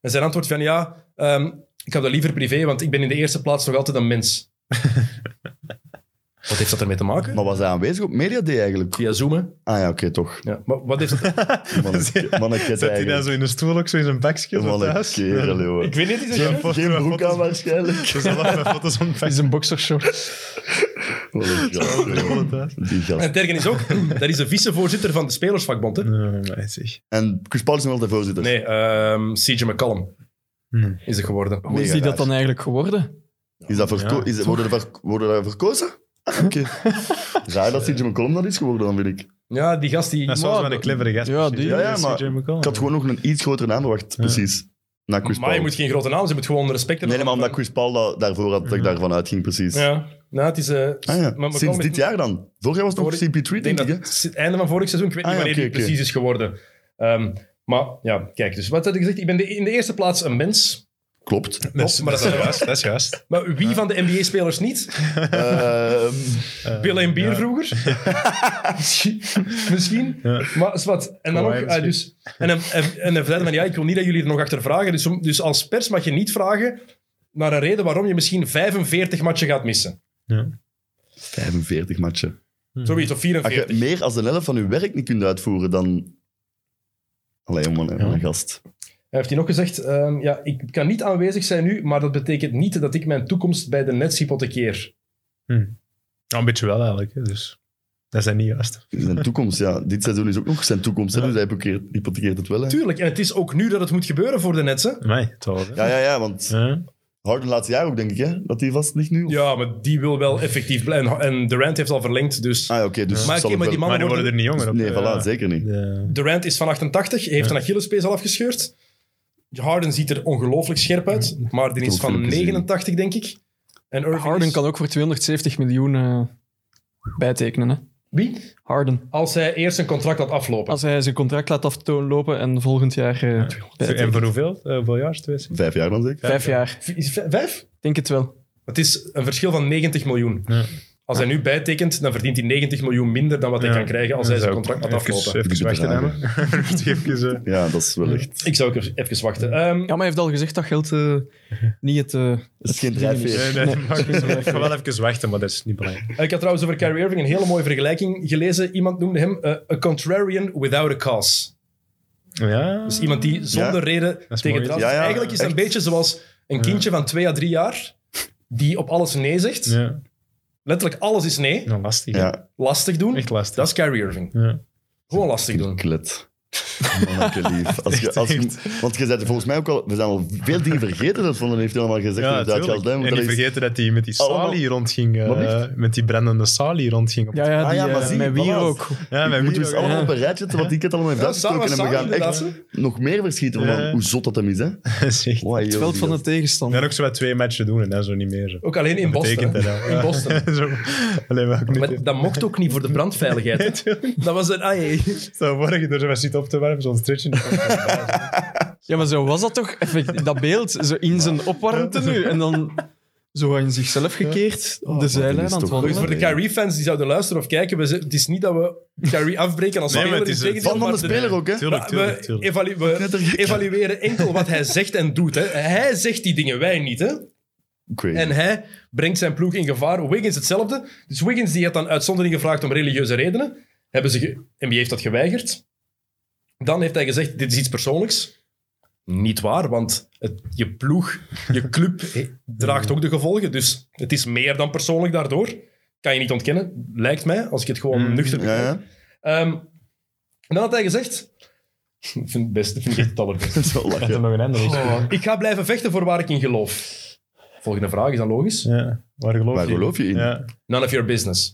Speaker 4: En zijn antwoord van ja, ehm, ik heb dat liever privé, want ik ben in de eerste plaats nog altijd een mens. wat heeft dat ermee te maken?
Speaker 5: Maar was hij aanwezig op Media Day eigenlijk?
Speaker 4: Via zoomen.
Speaker 5: Ah ja, oké, toch.
Speaker 4: Ja. Maar wat heeft dat...
Speaker 5: Manneke, manneke
Speaker 6: Zet hij dan
Speaker 5: eigenlijk.
Speaker 6: zo in een stoel ook zo in zijn bakje zo
Speaker 5: Manneke,
Speaker 6: thuis?
Speaker 5: kerel, joh.
Speaker 4: Ik weet niet, is dat
Speaker 5: Geen,
Speaker 4: juist?
Speaker 5: geen broek aan waarschijnlijk.
Speaker 6: Ze zal met foto's van
Speaker 7: Is
Speaker 6: pakjes
Speaker 7: een boxershort.
Speaker 5: Wat een gast, joh.
Speaker 6: thuis.
Speaker 5: Die gast.
Speaker 4: En Tergen is ook, dat is de vicevoorzitter van de spelersvakbond. Hè?
Speaker 6: Nee, maar zeg.
Speaker 5: En Chris Paul is nog altijd voorzitter.
Speaker 4: Nee, ehm, CJ McCallum
Speaker 6: Hmm.
Speaker 4: is het geworden.
Speaker 7: Hoe is
Speaker 5: Mega
Speaker 7: die dat
Speaker 5: raar.
Speaker 7: dan eigenlijk geworden?
Speaker 5: Is dat verko-
Speaker 6: Ja,
Speaker 5: is, worden, er ver- worden er verkozen? Ah, Oké. Raar dat CJ McCollum dat is geworden, dan vind ik.
Speaker 4: Ja, die gast die...
Speaker 6: Dat is wel een clevere gast.
Speaker 7: Ja, die-
Speaker 5: Ja, ja, maar
Speaker 6: ik
Speaker 5: Ik had gewoon nog een iets grotere naam verwacht, precies. Na Chris
Speaker 4: Maar je
Speaker 5: Paul.
Speaker 4: moet geen grote naam, ze moet gewoon respect hebben.
Speaker 5: Nee, nee, maar omdat Chris Paul dat daarvoor had, dat ik daarvan uitging, precies.
Speaker 4: Ja, nou, het is... eh,
Speaker 5: Ah, ja.
Speaker 4: maar McCallum
Speaker 5: Sinds
Speaker 4: heeft-
Speaker 5: dit jaar dan? Vorig jaar was het nog
Speaker 4: Vorig-
Speaker 5: CP3,
Speaker 4: Ik denk
Speaker 5: denk ik,
Speaker 4: dat
Speaker 5: hè?
Speaker 4: het si- einde van vorig seizoen, ik weet
Speaker 5: Ah,
Speaker 4: niet
Speaker 5: ja,
Speaker 4: wanneer
Speaker 5: oké,
Speaker 4: die
Speaker 5: oké.
Speaker 4: precies is geworden. Ehm, maar ja, kijk, dus wat had ik gezegd? Ik ben de- in de eerste plaats een mens.
Speaker 5: Klopt.
Speaker 4: Klopt, maar, dat is juist.
Speaker 6: Dat is juist.
Speaker 4: maar wie van de NBA-spelers niet?
Speaker 5: Ehm,
Speaker 4: Bill en Bier vroeger? misschien. misschien.
Speaker 6: Ja.
Speaker 4: Maar is wat. En dan ook,
Speaker 6: Kawhi
Speaker 4: eh, dus, en, hem- en, en hij zei van, ja, ik wil niet dat jullie er nog achter vragen. Dus, om- dus als pers mag je niet vragen naar een reden waarom je misschien 45 matchen gaat missen.
Speaker 5: 45 matchen.
Speaker 4: Zoiets, of
Speaker 5: Als
Speaker 4: 44.
Speaker 5: je meer als de helft van je werk niet kunt uitvoeren, dan... Allee, man, hè, een gast.
Speaker 4: Hij heeft hij nog gezegd, ehm, ja, ik kan niet aanwezig zijn nu, maar dat betekent niet dat ik mijn toekomst bij de Nets hypothekeer.
Speaker 6: Ja, een beetje wel eigenlijk. hè, Dus dat zijn niet juist.
Speaker 5: Zijn toekomst, ja. Dit seizoen is ook nog zijn toekomst, hè, dus hij hypothekeert, hypothekeert het wel. Hè.
Speaker 4: Tuurlijk, en het is ook nu dat het moet gebeuren voor de Nets. Hè?
Speaker 6: Mij, het wel. hè.
Speaker 5: Ja, ja, ja, want
Speaker 6: Ja.
Speaker 5: Harden laatste jaar ook, denk ik, hè? Dat hij vast ligt nu? of-
Speaker 4: Ja, maar die wil wel effectief blijven. En Durant heeft al verlengd, dus...
Speaker 5: Ah, ja, oké, dus...
Speaker 4: Maar
Speaker 5: zal
Speaker 4: oké, maar
Speaker 5: het
Speaker 4: die
Speaker 5: wel-
Speaker 6: Maar
Speaker 4: worden-
Speaker 6: die worden er niet jonger op.
Speaker 5: Nee,
Speaker 6: hè,
Speaker 4: eh,
Speaker 5: voilà,
Speaker 6: ja.
Speaker 5: zeker niet.
Speaker 6: De-
Speaker 4: Durant is van 88, heeft een Achillespees al afgescheurd. Harden ziet er ongelooflijk scherp uit, maar die
Speaker 5: heb
Speaker 4: is
Speaker 5: ook
Speaker 4: van
Speaker 5: filmpjes gezien.
Speaker 4: 89, denk ik. En Irving
Speaker 7: Harden
Speaker 4: is-
Speaker 7: kan ook voor 270 miljoen eh, bijtekenen. Hè?
Speaker 4: Wie?
Speaker 7: Harden.
Speaker 4: Als hij eerst een contract had aflopen.
Speaker 7: Als hij zijn contract laat aflopen en volgend jaar eh,
Speaker 6: En
Speaker 7: bijtekent.
Speaker 6: voor hoeveel? Eh, Hoeveel jaar? Twee? zeker?
Speaker 5: Vijf jaar dan zeker.
Speaker 7: Vijf jaar.
Speaker 4: V- is het v- vijf?
Speaker 7: Ik denk het wel.
Speaker 4: Het is een verschil van 90 miljoen.
Speaker 6: Ja.
Speaker 4: Als hij nu bijtekent, dan verdient hij 90 miljoen minder dan wat hij
Speaker 6: Ja.
Speaker 4: kan krijgen als
Speaker 6: Ja,
Speaker 4: hij zijn
Speaker 6: zou ik
Speaker 4: contract had
Speaker 6: even-
Speaker 4: aflopen.
Speaker 5: Die
Speaker 6: Even wachten, hè.
Speaker 5: bedragen.
Speaker 6: Even, eh,
Speaker 5: Ja, dat is wel echt...
Speaker 4: Ik zou ook even wachten. Ehm,
Speaker 7: Ja, maar hij heeft al gezegd dat geld eh, niet het... eh,
Speaker 5: Dat is geen drijfveer.
Speaker 6: Nee, nee, maar ik ga wel even wachten, maar dat is niet belangrijk.
Speaker 4: Ik had trouwens over Kyrie Irving een hele mooie vergelijking gelezen. Iemand noemde hem eh, a contrarian without a cause.
Speaker 6: Ja.
Speaker 4: Dus iemand die zonder
Speaker 5: Ja.
Speaker 4: reden
Speaker 6: is
Speaker 4: tegen
Speaker 6: mooi.
Speaker 4: draad.
Speaker 5: Ja, ja,
Speaker 4: Eigenlijk is het een
Speaker 5: echt.
Speaker 4: beetje zoals een kindje van twee à drie jaar die op alles nee zegt.
Speaker 6: Ja,
Speaker 4: Letterlijk alles is nee.
Speaker 6: nou, lastig. hè.
Speaker 5: Ja,
Speaker 4: Lastig doen.
Speaker 6: Echt lastig.
Speaker 4: Dat is Kyrie Irving.
Speaker 6: Ja.
Speaker 4: Gewoon lastig doen.
Speaker 5: klet. Manneke lief. Als je, als je, want je zei volgens mij ook al... We zijn al veel dingen vergeten dat Van den heeft helemaal gezegd.
Speaker 6: Ja,
Speaker 5: inderdaad,
Speaker 6: natuurlijk.
Speaker 5: Geld, hè, want
Speaker 6: En niet
Speaker 5: dat is-
Speaker 6: vergeten dat hij met die
Speaker 5: Allemaal-
Speaker 6: salie rondging. eh,
Speaker 5: Wat lief.
Speaker 6: met die brandende salie rondging. Op
Speaker 7: ja, ja,
Speaker 5: Ah,
Speaker 7: die,
Speaker 5: ja, maar
Speaker 7: eh,
Speaker 5: zie,
Speaker 7: met wie
Speaker 5: voilà.
Speaker 7: ook.
Speaker 6: ja
Speaker 5: We
Speaker 6: met
Speaker 5: moeten
Speaker 6: wie
Speaker 5: dus
Speaker 6: ook,
Speaker 5: allemaal
Speaker 6: ja.
Speaker 5: op een rijtje zetten, wat ik het allemaal heeft
Speaker 4: Ja,
Speaker 5: uitgesproken.
Speaker 4: samen,
Speaker 5: En we gaan
Speaker 4: samen,
Speaker 5: echt nog meer verschieten van
Speaker 6: Ja.
Speaker 5: hoe zot dat hem is. Hè? Wow,
Speaker 6: Dat is echt-
Speaker 5: joh,
Speaker 7: Het veld
Speaker 5: die
Speaker 7: van de
Speaker 5: gast.
Speaker 7: tegenstander.
Speaker 6: En ook zo wat twee matchen doen en dan zo niet meer. Zo.
Speaker 4: Ook alleen in Boston.
Speaker 6: Betekent dat
Speaker 4: hè.
Speaker 6: dan?
Speaker 4: In Boston.
Speaker 6: Ja. zo, alleen maar ook niet.
Speaker 4: Maar dat mocht ook niet voor de brandveiligheid. hè. dat was een... Ah, jee.
Speaker 6: Zo vorige keer er zo wat zit op te werpen, zo'n stretch.
Speaker 7: Ja, maar zo was dat toch? Effect, dat beeld, zo in zijn opwarmte nu. En dan zo in zichzelf gekeerd, op de zijlijn
Speaker 5: Oh, is
Speaker 7: aan het
Speaker 5: toch
Speaker 4: Dus voor
Speaker 7: wandelen.
Speaker 4: de Kyrie-fans die zouden luisteren of kijken, we, z- het is niet dat we Kyrie afbreken als
Speaker 6: Nee, maar
Speaker 4: speler.
Speaker 6: het is
Speaker 4: integendeel,
Speaker 5: Van van de
Speaker 4: maar de-
Speaker 5: speler ook, hè?
Speaker 6: Tuurlijk, tuurlijk,
Speaker 4: we,
Speaker 6: tuurlijk.
Speaker 4: evalu- we
Speaker 5: Knettergek.
Speaker 4: evalueren enkel wat hij zegt en doet. Hè. Hij zegt die dingen, wij niet. Hè.
Speaker 5: Crazy.
Speaker 4: En hij brengt zijn ploeg in gevaar. Wiggins hetzelfde. Dus Wiggins die had dan uitzondering gevraagd om religieuze redenen. Hebben ze ge- NBA heeft dat geweigerd. Dan heeft hij gezegd, dit is iets persoonlijks. Niet waar, want het, je ploeg, je club he- draagt ook de gevolgen. Dus het is meer dan persoonlijk daardoor. Kan je niet ontkennen, lijkt mij, als ik het gewoon nuchter
Speaker 5: Mm, Ja,
Speaker 4: bekijk.
Speaker 5: ja.
Speaker 4: Ehm, en dan had hij gezegd... Ik vind het beste, vind ik echt het allerbeste.
Speaker 5: Dat is wel
Speaker 6: Dat er
Speaker 5: lachen.
Speaker 6: nog een ander is.
Speaker 4: Ik ga blijven vechten voor waar ik in geloof. Volgende vraag, is dan logisch?
Speaker 6: Ja. Waar geloof
Speaker 5: Waar
Speaker 6: je in?
Speaker 5: geloof je in?
Speaker 6: Ja.
Speaker 4: None of your business.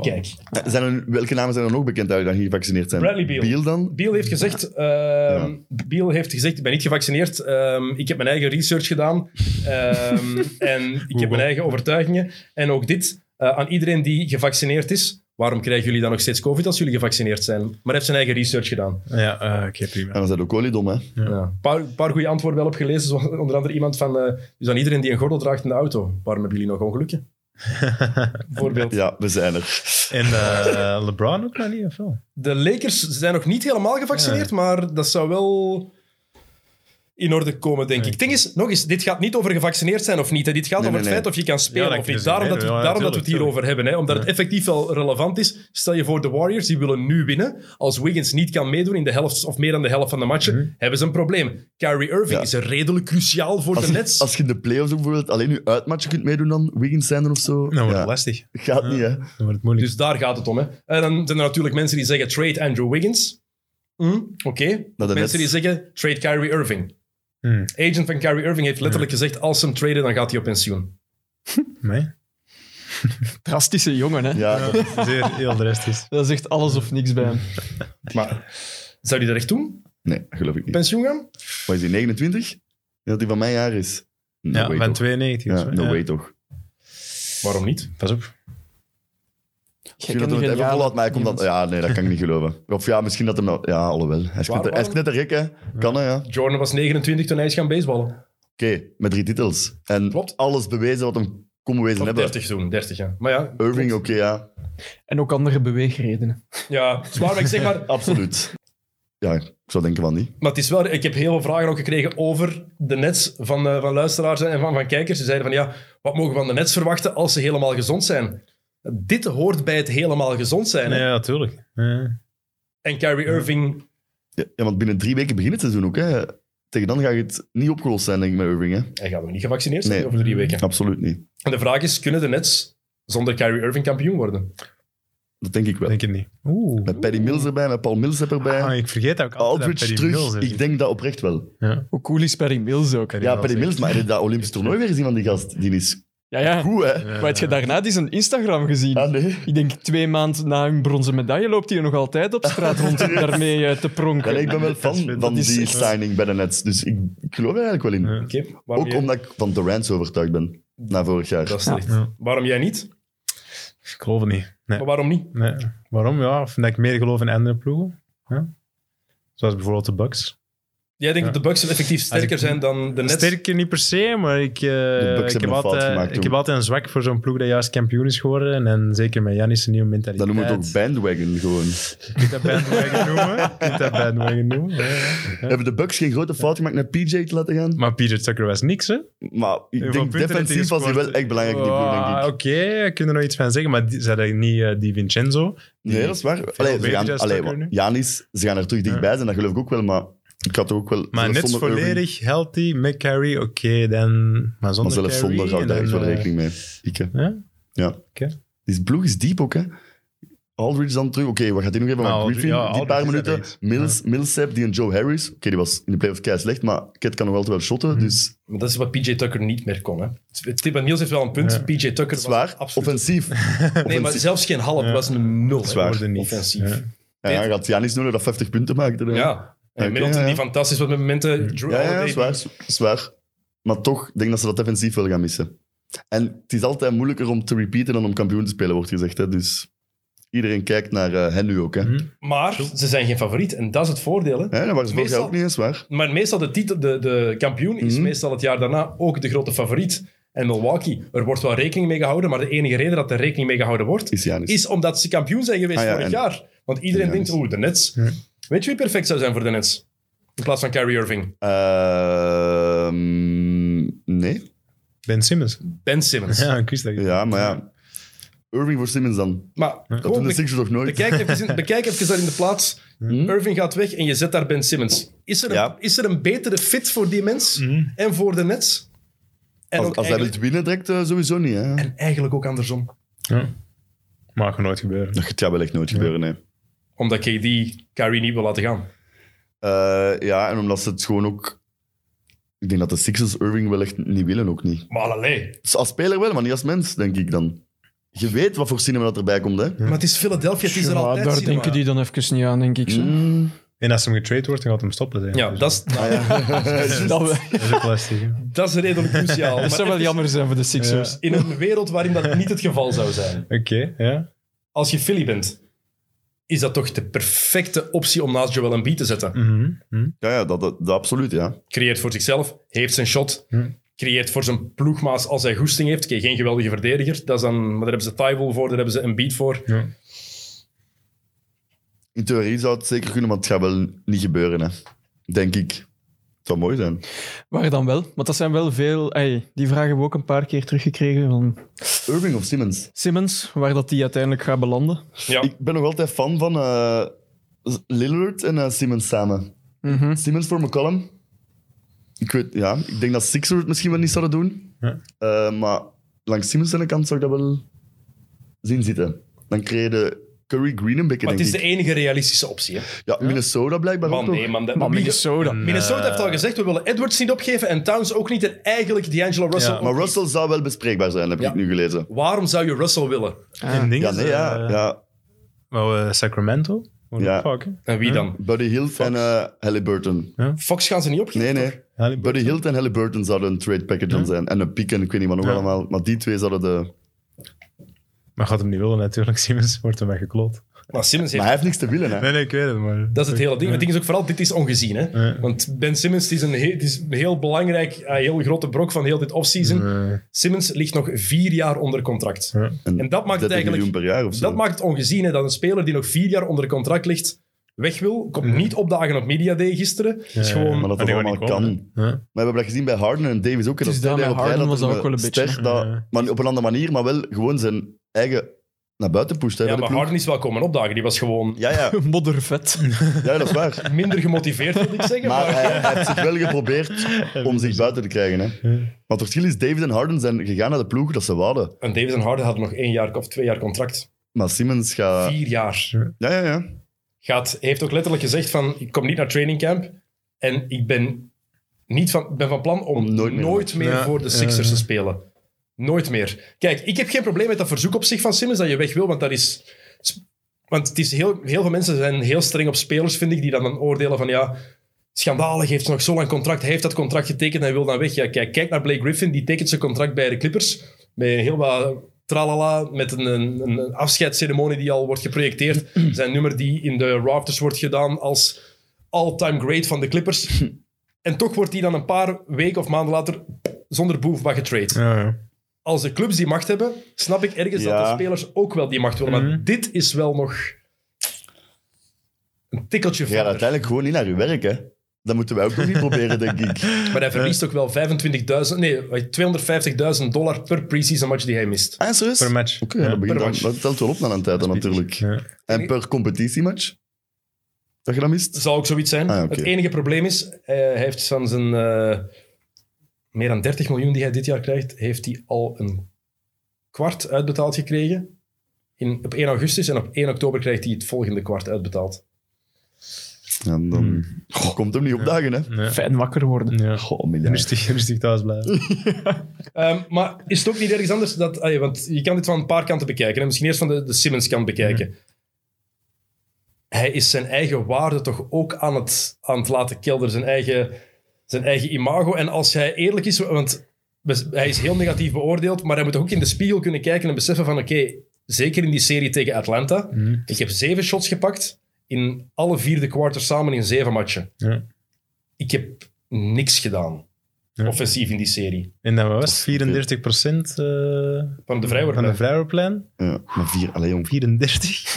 Speaker 4: Kijk,
Speaker 5: Eh, Zijn er, welke namen zijn er nog bekend eigenlijk dat niet gevaccineerd zijn?
Speaker 4: Bradley Beal.
Speaker 5: dan?
Speaker 4: Biel heeft gezegd, ehm Biel heeft gezegd, ik ben niet gevaccineerd. Ehm, ik heb mijn eigen research gedaan. Ehm, en ik heb mijn eigen overtuigingen. En ook dit, eh, aan iedereen die gevaccineerd is, waarom krijgen jullie dan nog steeds COVID als jullie gevaccineerd zijn? Maar hij heeft zijn eigen research gedaan.
Speaker 6: Ja, eh, oké, prima.
Speaker 5: En dan zijn ook oliedom, hè?
Speaker 4: Ja. Een paar, paar goede antwoorden wel opgelezen. Zoals onder andere iemand van, eh, dus aan iedereen die een gordel draagt in de auto, waarom hebben jullie nog ongelukken? Bijvoorbeeld.
Speaker 5: Ja, we zijn er.
Speaker 6: En eh, LeBron ook nog niet, of wel?
Speaker 4: De Lakers zijn nog niet helemaal gevaccineerd, maar dat zou wel in orde komen, denk ik. Het ding is, nog eens, dit gaat niet over gevaccineerd zijn of niet. Hè. Dit gaat
Speaker 5: Nee,
Speaker 4: over
Speaker 5: nee,
Speaker 4: het feit of je kan spelen
Speaker 6: Ja, dat
Speaker 4: of
Speaker 6: kun je
Speaker 4: niet. Daarom,
Speaker 6: zeggen,
Speaker 4: dat we,
Speaker 6: hè. Ja,
Speaker 4: daarom dat we het
Speaker 6: tuurlijk,
Speaker 4: hierover hebben. Hè. Omdat het effectief wel relevant is. Stel je voor, de Warriors, die willen nu winnen. Als Wiggins niet kan meedoen in de helft of meer dan de helft van de matchen, hebben ze een probleem. Kyrie Irving
Speaker 5: Ja.
Speaker 4: is redelijk cruciaal voor de Nets.
Speaker 5: Als, als je in de playoffs ook bijvoorbeeld alleen je uitmatchen kunt meedoen, dan Wiggins zijn er of zo.
Speaker 6: Dan wordt
Speaker 5: ja.
Speaker 6: het lastig.
Speaker 5: Gaat niet, hè?
Speaker 6: Dan wordt het moeilijk.
Speaker 4: Dus daar gaat het om. Hè. En dan zijn er natuurlijk mensen die zeggen trade Andrew Wiggins. Hm, Oké.
Speaker 5: Dat is
Speaker 4: Mensen die
Speaker 5: net.
Speaker 4: zeggen trade Kyrie Irving.
Speaker 6: Hmm.
Speaker 4: Agent van Kyrie Irving heeft letterlijk
Speaker 5: Hmm.
Speaker 4: gezegd als ze hem traden, dan gaat hij op pensioen.
Speaker 6: Nee.
Speaker 7: Drastische jongen, hè?
Speaker 5: Ja, dat-
Speaker 6: Zeer heel drastisch.
Speaker 7: Dat is echt alles of niks bij hem.
Speaker 4: Maar zou hij dat echt doen?
Speaker 5: nee, geloof ik niet.
Speaker 4: Pensioen gaan?
Speaker 5: Wat is hij, 29? Ik denk Dat hij van mijn jaar is. No
Speaker 6: Ja,
Speaker 5: way
Speaker 6: van
Speaker 5: toch. Ja,
Speaker 6: 92. of zo.
Speaker 5: no
Speaker 6: Ja.
Speaker 5: way toch.
Speaker 4: Waarom niet?
Speaker 6: Pas op.
Speaker 5: Misschien dat hij het even volhoudt, maar hij komt dan... Ja, nee, dat kan ik niet geloven. Of ja, misschien dat hem... nou- Ja, alhoewel. Hij is
Speaker 4: Waarom-
Speaker 5: knetter- hij is knettergek, hè? Kan, hè, ja.
Speaker 4: Jordan was 29 toen hij is gaan baseballen.
Speaker 5: Oké, met drie titels. En
Speaker 4: Klopt.
Speaker 5: alles bewezen wat hem kon bewezen
Speaker 4: Of
Speaker 5: hebben.
Speaker 4: 30 toen, 30 ja. Maar ja,
Speaker 5: Irving, oké, ja.
Speaker 7: En ook andere beweegredenen.
Speaker 4: ja het is waar, maar ik zeg maar,
Speaker 5: Absoluut. Ja, ik zou denken van niet.
Speaker 4: Maar het is wel, ik heb heel veel vragen ook gekregen over de Nets van, eh, van luisteraars en van, van kijkers. Ze zeiden van ja, wat mogen we van de Nets verwachten als ze helemaal gezond zijn? Dit hoort bij het helemaal gezond zijn. hè.
Speaker 6: Ja, natuurlijk. Ja.
Speaker 4: En Kyrie Irving,
Speaker 5: Ja, ja, want binnen drie weken begint het seizoen ook, hè. Tegen dan ga je het niet opgelost zijn, denk ik, met Irving, hè.
Speaker 4: hij gaat nog niet gevaccineerd zijn
Speaker 5: Nee.
Speaker 4: over drie weken.
Speaker 5: Absoluut niet.
Speaker 4: En de vraag is, kunnen de Nets zonder Kyrie Irving kampioen worden?
Speaker 5: Dat denk ik wel.
Speaker 6: Denk ik niet. Oeh.
Speaker 5: Met Paddy Mills erbij, met Paul Mills erbij.
Speaker 6: Ah, ik vergeet ook altijd dat
Speaker 5: Aldridge
Speaker 6: Perry
Speaker 5: Oh, terug.
Speaker 6: Mills er
Speaker 5: ik
Speaker 6: is.
Speaker 5: denk dat oprecht wel.
Speaker 6: Ja,
Speaker 7: Hoe cool is Perry Mills ook?
Speaker 6: Perry
Speaker 5: Ja,
Speaker 6: Mills,
Speaker 5: Paddy
Speaker 6: echt.
Speaker 5: Mills, maar heb je dat Olympisch toernooi weer gezien van die gast? Die is
Speaker 7: Ja, ja.
Speaker 5: goed, hè?
Speaker 6: Ja,
Speaker 7: Maar heb je
Speaker 6: ja.
Speaker 7: daarna die zijn Instagram gezien?
Speaker 5: Ah, nee.
Speaker 7: Ik denk twee maanden na hun bronzen medaille loopt hij nog altijd op straat rond daarmee eh, te
Speaker 5: Ja,
Speaker 7: pronken.
Speaker 5: nee, ik ben wel
Speaker 6: Dat is
Speaker 5: fan
Speaker 6: vet.
Speaker 5: van
Speaker 6: Dat is
Speaker 5: die
Speaker 6: echt-
Speaker 5: signing bij de Nets. Dus ik, ik geloof er eigenlijk wel in.
Speaker 6: Ja.
Speaker 4: Oké, waarom,
Speaker 5: Ook
Speaker 4: jij-
Speaker 5: omdat ik van Durant zo overtuigd ben. Na vorig jaar.
Speaker 4: dat is terecht.
Speaker 6: Ja.
Speaker 4: waarom jij niet?
Speaker 6: Ik geloof het niet. Nee.
Speaker 4: Maar waarom niet?
Speaker 6: nee. Waarom? Ja, of dat ik meer geloof in andere ploegen. Ja. Zoals bijvoorbeeld de Bucks.
Speaker 4: Jij denkt
Speaker 6: Ja.
Speaker 4: dat de Bucks effectief sterker
Speaker 6: ik-
Speaker 4: zijn dan de Nets?
Speaker 6: Sterker niet per se, maar ik, eh,
Speaker 5: Bucks hebben
Speaker 6: ik, heb,
Speaker 5: een fout
Speaker 6: altijd,
Speaker 5: gemaakt
Speaker 6: ik
Speaker 5: toen.
Speaker 6: heb altijd een zwak voor zo'n ploeg dat juist kampioen is geworden. En, en zeker met Janis' nieuwe
Speaker 5: Dan
Speaker 6: mentaliteit.
Speaker 5: noemen we het ook bandwagon gewoon.
Speaker 6: Je kunt dat bandwagon noemen. Je kunt dat bandwagon noemen. ja, ja.
Speaker 5: Hebben de Bucks geen grote fout gemaakt naar PJ te laten gaan?
Speaker 6: Maar Peter Tucker was niks, hè?
Speaker 5: Maar ik
Speaker 6: Hoeveel
Speaker 5: denk
Speaker 6: punten heeft
Speaker 5: defensief
Speaker 6: hij
Speaker 5: was hij wel
Speaker 6: gescoord?
Speaker 5: echt belangrijk in die ploeg, denk ik.
Speaker 6: Ah, Oké, daar kunnen we nog iets van zeggen, maar die, zijn dat niet eh, die Vincenzo?
Speaker 5: Nee, dat is waar. Allee, ze
Speaker 6: beter
Speaker 5: gaan,
Speaker 6: juist
Speaker 5: allee,
Speaker 6: Tucker nu.
Speaker 5: Janis, ze gaan er terug dichtbij zijn, dat geloof ik ook wel, maar ik had toch ook wel...
Speaker 6: Maar
Speaker 5: zelfs
Speaker 6: net
Speaker 5: zonder Irving-
Speaker 6: volledig healthy, met Carrie, oké, dan... Maar
Speaker 5: Maar
Speaker 6: zonder
Speaker 5: zelfs
Speaker 6: Curry
Speaker 5: zonder hou ik
Speaker 6: en
Speaker 5: daar echt
Speaker 6: dan,
Speaker 5: wel
Speaker 6: eh,
Speaker 5: rekening mee. Ikke.
Speaker 6: Ja?
Speaker 5: Ja.
Speaker 6: Oké.
Speaker 5: Die ploeg is diep ook, hè. Aldridge dan terug. Oké, wat gaat hij nog even?
Speaker 6: Maar
Speaker 5: Want
Speaker 6: Aldridge-
Speaker 5: Griffin,
Speaker 6: ja,
Speaker 5: die
Speaker 6: Ah, Aldridge
Speaker 5: paar
Speaker 6: is
Speaker 5: minuten.
Speaker 6: er niet.
Speaker 5: Mills, Millsap, die en Joe Harris. Oké, die was in de playoffs kei slecht, maar Ket kan nog altijd wel shotten.
Speaker 6: Mhm.
Speaker 5: Dus
Speaker 4: Maar dat is wat PJ Tucker niet meer kon. Hè. Stefan Niels heeft wel een punt. PJ Tucker was
Speaker 5: zwaar,
Speaker 4: absoluut
Speaker 5: offensief.
Speaker 4: Nee, maar zelfs geen half was een nul. hè.
Speaker 5: Zwaar.
Speaker 6: worden niet.
Speaker 4: Offensief.
Speaker 6: Ja.
Speaker 5: Ja, ja, gaat Janis nodig dat 50 punten maakte. hè.
Speaker 4: Ja. En
Speaker 5: Oké,
Speaker 4: Middleton
Speaker 5: ja, ja.
Speaker 4: die fantastisch was met momenten. Drew
Speaker 5: Ja, ja,
Speaker 6: Oh,
Speaker 4: Holiday,
Speaker 5: zwaar, zwaar. Maar toch, ik denk dat ze dat defensief wel gaan missen. En het is altijd moeilijker om te repeaten dan om kampioen te spelen, wordt gezegd. Hè. Dus iedereen kijkt naar eh, hen nu ook. Hè.
Speaker 6: Mhm.
Speaker 4: Maar ze zijn geen favoriet en dat is het voordeel. Hè.
Speaker 5: Hè, dat waren ze vorig jaar
Speaker 4: Meestal-
Speaker 5: ook niet eens, waar?
Speaker 4: Maar meestal de, titel, de, de kampioen is
Speaker 5: Mhm.
Speaker 4: meestal het jaar daarna ook de grote favoriet. En Milwaukee, er wordt wel rekening mee gehouden, maar de enige reden dat er rekening mee gehouden wordt,
Speaker 5: Is Janis.
Speaker 4: is omdat ze kampioen zijn geweest
Speaker 5: Ah, ja,
Speaker 4: vorig
Speaker 5: en-
Speaker 4: jaar. Want iedereen
Speaker 5: Ja,
Speaker 4: denkt,
Speaker 5: dus-
Speaker 4: oeh, de Nets.
Speaker 6: Ja.
Speaker 4: Weet je wie perfect zou zijn voor de Nets? In plaats van Kyrie Irving.
Speaker 5: Ehm, nee.
Speaker 6: Ben Simmons.
Speaker 4: Ben Simmons.
Speaker 6: Ja, ik wist dat.
Speaker 5: Ja, maar ja. eh, Irving voor Simmons dan.
Speaker 4: Maar
Speaker 5: Dat
Speaker 4: gewoon
Speaker 5: doen de
Speaker 4: be-
Speaker 5: Sixers toch nooit? Mhm.
Speaker 4: bekijk, even, in- bekijk even daar in de plaats. Irving gaat weg en je zet daar Ben Simmons. Is er een,
Speaker 5: Ja.
Speaker 4: is er een betere fit voor die mens
Speaker 6: Mhm.
Speaker 4: en voor de Nets? En
Speaker 5: Als,
Speaker 4: ook
Speaker 5: als hij
Speaker 4: eigenlijk,
Speaker 5: wilt winnen direct, eh, sowieso niet. Hè?
Speaker 4: eigenlijk ook andersom.
Speaker 6: Maar kan nooit gebeuren.
Speaker 5: Dat gaat wel echt nooit gebeuren, nee.
Speaker 4: Omdat KD Kyrie niet wil laten gaan.
Speaker 5: Eh, ja, en omdat ze het gewoon ook... Ik denk dat de Sixers Irving wel echt niet willen, ook niet.
Speaker 4: Maar allee.
Speaker 5: Dus als speler wel, maar niet als mens, denk ik dan. Je weet wat voor cinema dat erbij komt, hè.
Speaker 4: Maar het is Philadelphia, het is er
Speaker 7: Ja,
Speaker 4: altijd.
Speaker 7: daar
Speaker 4: cinema.
Speaker 7: denken die dan even niet aan, denk ik. zo.
Speaker 5: Mm.
Speaker 6: En als hem getrade wordt, dan gaat hem stoppen. Zijn.
Speaker 4: Ja,
Speaker 6: Dus
Speaker 4: dat is, nou,
Speaker 7: Dat, we-
Speaker 6: dat is ook lastig. hè.
Speaker 4: dat is redelijk cruciaal.
Speaker 7: dat zou
Speaker 4: Maar
Speaker 7: wel jammer zijn voor de Sixers.
Speaker 4: In een wereld waarin dat niet het geval zou zijn.
Speaker 6: Oké, ja.
Speaker 4: Als je Philly bent, is dat toch de perfecte optie om naast Joel Embiid te zetten.
Speaker 6: Mhm. Mhm.
Speaker 5: Ja, ja dat, dat, dat absoluut, ja.
Speaker 4: creëert voor zichzelf, heeft zijn shot,
Speaker 6: Hm.
Speaker 4: creëert voor zijn ploegmaas als hij goesting heeft. Oké, geen geweldige verdediger, dat is dan, maar daar hebben ze Tywell voor, daar hebben ze een beat voor.
Speaker 6: Ja.
Speaker 5: In theorie zou het zeker kunnen, maar het gaat wel niet gebeuren, hè. Denk ik. Het zou mooi zijn.
Speaker 7: Waar dan wel? Want dat zijn wel veel... ey, die vragen hebben we ook een paar keer teruggekregen van
Speaker 5: Irving of Simmons?
Speaker 7: Simmons, waar dat die uiteindelijk gaat belanden.
Speaker 4: Ja.
Speaker 5: Ik ben nog altijd fan van eh, Lillard en eh, Simmons samen.
Speaker 7: Mhm.
Speaker 5: Simmons voor McCollum. Ik weet, ja, ik denk dat Sixers het misschien wel niet zouden doen.
Speaker 6: Ja.
Speaker 5: Eh, maar langs Simmons zijn kant zou ik dat wel zien zitten. Dan krijg je de Curry Green een beetje,
Speaker 4: Maar het
Speaker 5: denk
Speaker 4: is
Speaker 5: ik.
Speaker 4: de enige realistische optie. Hè.
Speaker 5: Ja, Minnesota blijkbaar
Speaker 4: Man,
Speaker 5: ook nog.
Speaker 4: nee, man, dat-
Speaker 7: Maar
Speaker 4: Mine-
Speaker 7: Minnesota.
Speaker 4: Minnesota heeft al gezegd, we willen Edwards niet opgeven en Towns ook niet en eigenlijk D'Angelo Russell
Speaker 6: Ja,
Speaker 4: ook
Speaker 5: Maar
Speaker 4: niet.
Speaker 5: Russell zou wel bespreekbaar zijn, heb
Speaker 4: Ja.
Speaker 5: ik nu gelezen.
Speaker 4: Waarom zou je Russell willen?
Speaker 6: En ding
Speaker 5: Ah. Ja,
Speaker 6: is,
Speaker 5: nee, ja.
Speaker 6: eh,
Speaker 5: ja.
Speaker 6: wou, eh, Sacramento? Wordt
Speaker 5: Ja.
Speaker 6: ook vaak, hè?
Speaker 4: En wie dan?
Speaker 5: Buddy Hield en eh, Halliburton.
Speaker 4: Fox gaan ze niet opgeven.
Speaker 5: Nee, nee.
Speaker 6: Halliburton.
Speaker 5: Buddy Hield en Halliburton zouden een trade package dan zijn. En een piek en ik weet niet wat nog
Speaker 6: Ja.
Speaker 5: allemaal. Maar die twee zouden de...
Speaker 6: Maar gaat hem niet willen, natuurlijk. Simmons wordt hem weggekloot.
Speaker 4: Maar Simmons heeft...
Speaker 5: Maar hij heeft niks te willen, hè.
Speaker 6: Nee, nee, ik weet het, maar...
Speaker 4: Dat is het hele ding. Het ding is ook vooral, dit is ongezien. Hè?
Speaker 6: Ja.
Speaker 4: Want Ben Simmons het is een, heel, het is een heel belangrijk, eh, heel grote brok van heel dit offseason.
Speaker 6: Eh,
Speaker 4: Simmons ligt nog vier jaar onder contract.
Speaker 6: Ja.
Speaker 5: En
Speaker 4: En dat maakt het
Speaker 5: 30
Speaker 4: eigenlijk
Speaker 5: miljoen per jaar of zo.
Speaker 4: dat maakt het ongezien hè, dat een speler die nog vier jaar onder contract ligt weg wil, komt niet opdagen op Media Day gisteren. is gewoon, Ah,
Speaker 5: maar dat dat
Speaker 6: Maar die
Speaker 5: allemaal
Speaker 6: gaan
Speaker 5: kan.
Speaker 6: niet ja.
Speaker 5: Maar we hebben dat gezien bij Harden en Davis ook. En
Speaker 7: Het is
Speaker 5: dat
Speaker 7: daar
Speaker 5: stelde
Speaker 7: met
Speaker 5: hij op
Speaker 7: Harden
Speaker 5: rij
Speaker 7: was dat
Speaker 5: hem
Speaker 7: ook wel een beetje,
Speaker 5: ster dat,
Speaker 6: Ja.
Speaker 5: maar op een andere manier, maar wel gewoon zijn eigen naar buiten pusht. Hè,
Speaker 4: ja,
Speaker 5: bij de
Speaker 4: maar
Speaker 5: ploeg.
Speaker 4: Harden is wel komen opdagen. Die was gewoon
Speaker 5: Ja, ja,
Speaker 7: Moddervet.
Speaker 6: Ah,
Speaker 5: ja, dat is waar.
Speaker 4: minder gemotiveerd, wil ik zeggen.
Speaker 5: Maar
Speaker 4: Maar,
Speaker 5: hij, hij heeft zich wel geprobeerd om zich buiten te krijgen. Hè. Maar het verschil is, Davis en Harden zijn gegaan naar de ploeg dat ze wouden.
Speaker 4: en Davis en Harden hadden nog één jaar of twee jaar contract.
Speaker 5: Maar Simmons gaat...
Speaker 4: Vier jaar.
Speaker 5: Ja, ja, ja.
Speaker 4: Gaat, heeft ook letterlijk gezegd van, ik kom niet naar training camp en ik ben, niet van, ben van plan om,
Speaker 5: Om
Speaker 4: nooit
Speaker 5: nooit
Speaker 4: meer,
Speaker 5: meer-
Speaker 6: Ja,
Speaker 4: voor de Sixers te spelen. Nooit meer. Kijk, ik heb geen probleem met dat verzoek op zich van Simmons dat je weg wil, want dat is... Want het is heel, heel veel mensen zijn heel streng op spelers, vind ik, die dan, dan oordelen van ja, schandalig, heeft nog zo lang contract, hij heeft dat contract getekend en hij wil dan weg. Ja, kijk, kijk naar Blake Griffin, die tekent zijn contract bij de Clippers, met heel wat tralala, met een, een, een afscheidsceremonie die al wordt geprojecteerd. Zijn nummer die in de rafters wordt gedaan als all-time great van de Clippers. En toch wordt die dan een paar weken of maanden later zonder boef wat getrade
Speaker 6: Ja, ja.
Speaker 4: als de clubs die macht hebben, snap ik ergens
Speaker 5: Ja.
Speaker 4: dat de spelers ook wel die macht willen. Maar dit is wel nog een tikkeltje
Speaker 5: Je gaat
Speaker 4: verder.
Speaker 5: uiteindelijk gewoon niet naar je werk, hè. Dat moeten wij ook nog niet proberen, denk ik.
Speaker 4: maar hij verliest ook wel 25.000, nee, 250.000 dollar per preseason match die hij mist.
Speaker 5: Ah, serieus?
Speaker 6: Per
Speaker 5: Oké,
Speaker 6: match.
Speaker 5: ja,
Speaker 6: Ja.
Speaker 5: dat, begint
Speaker 4: per match.
Speaker 5: dan- dat telt wel op na een tijd dan, natuurlijk.
Speaker 6: Ja.
Speaker 5: En per competitiematch? Dat je dat mist?
Speaker 4: Dat zal ook zoiets zijn.
Speaker 5: Ah, oké.
Speaker 4: Het enige probleem is, eh, hij heeft van zijn eh, meer dan 30 miljoen die hij dit jaar krijgt, heeft hij al een kwart uitbetaald gekregen. In, op 1 augustus en op 1 oktober krijgt hij het volgende kwart uitbetaald.
Speaker 5: Ja, dan Goh, Hmm. komt hem niet opdagen, hè.
Speaker 6: Ja.
Speaker 7: Fijn wakker worden.
Speaker 6: Ja.
Speaker 5: Goh, miljard.
Speaker 6: Rustig, rustig thuis blijven.
Speaker 4: Ehm, maar is het ook niet ergens anders dat... ah ja, want je kan dit van een paar kanten bekijken. En misschien eerst van de, de Simmons-kant bekijken.
Speaker 6: Mhm.
Speaker 4: Hij is zijn eigen waarde toch ook aan het, aan het laten kelderen. Zijn eigen, zijn eigen imago. En als hij eerlijk is... Want we- hij is heel negatief beoordeeld. Maar hij moet toch ook in de spiegel kunnen kijken en beseffen van... Oké, zeker in die serie tegen Atlanta.
Speaker 6: Mhm.
Speaker 4: Ik heb zeven shots gepakt. In alle vierde quarters samen in zeven matchen.
Speaker 6: Ja.
Speaker 4: Ik heb niks gedaan.
Speaker 6: Ja.
Speaker 4: Offensief in die serie.
Speaker 6: En dat was 34% eh,
Speaker 4: Van de
Speaker 6: van de
Speaker 4: vrijwoordplein.
Speaker 6: vrijwoordplein.
Speaker 5: Ja, maar vier, allee, jong.
Speaker 6: 34.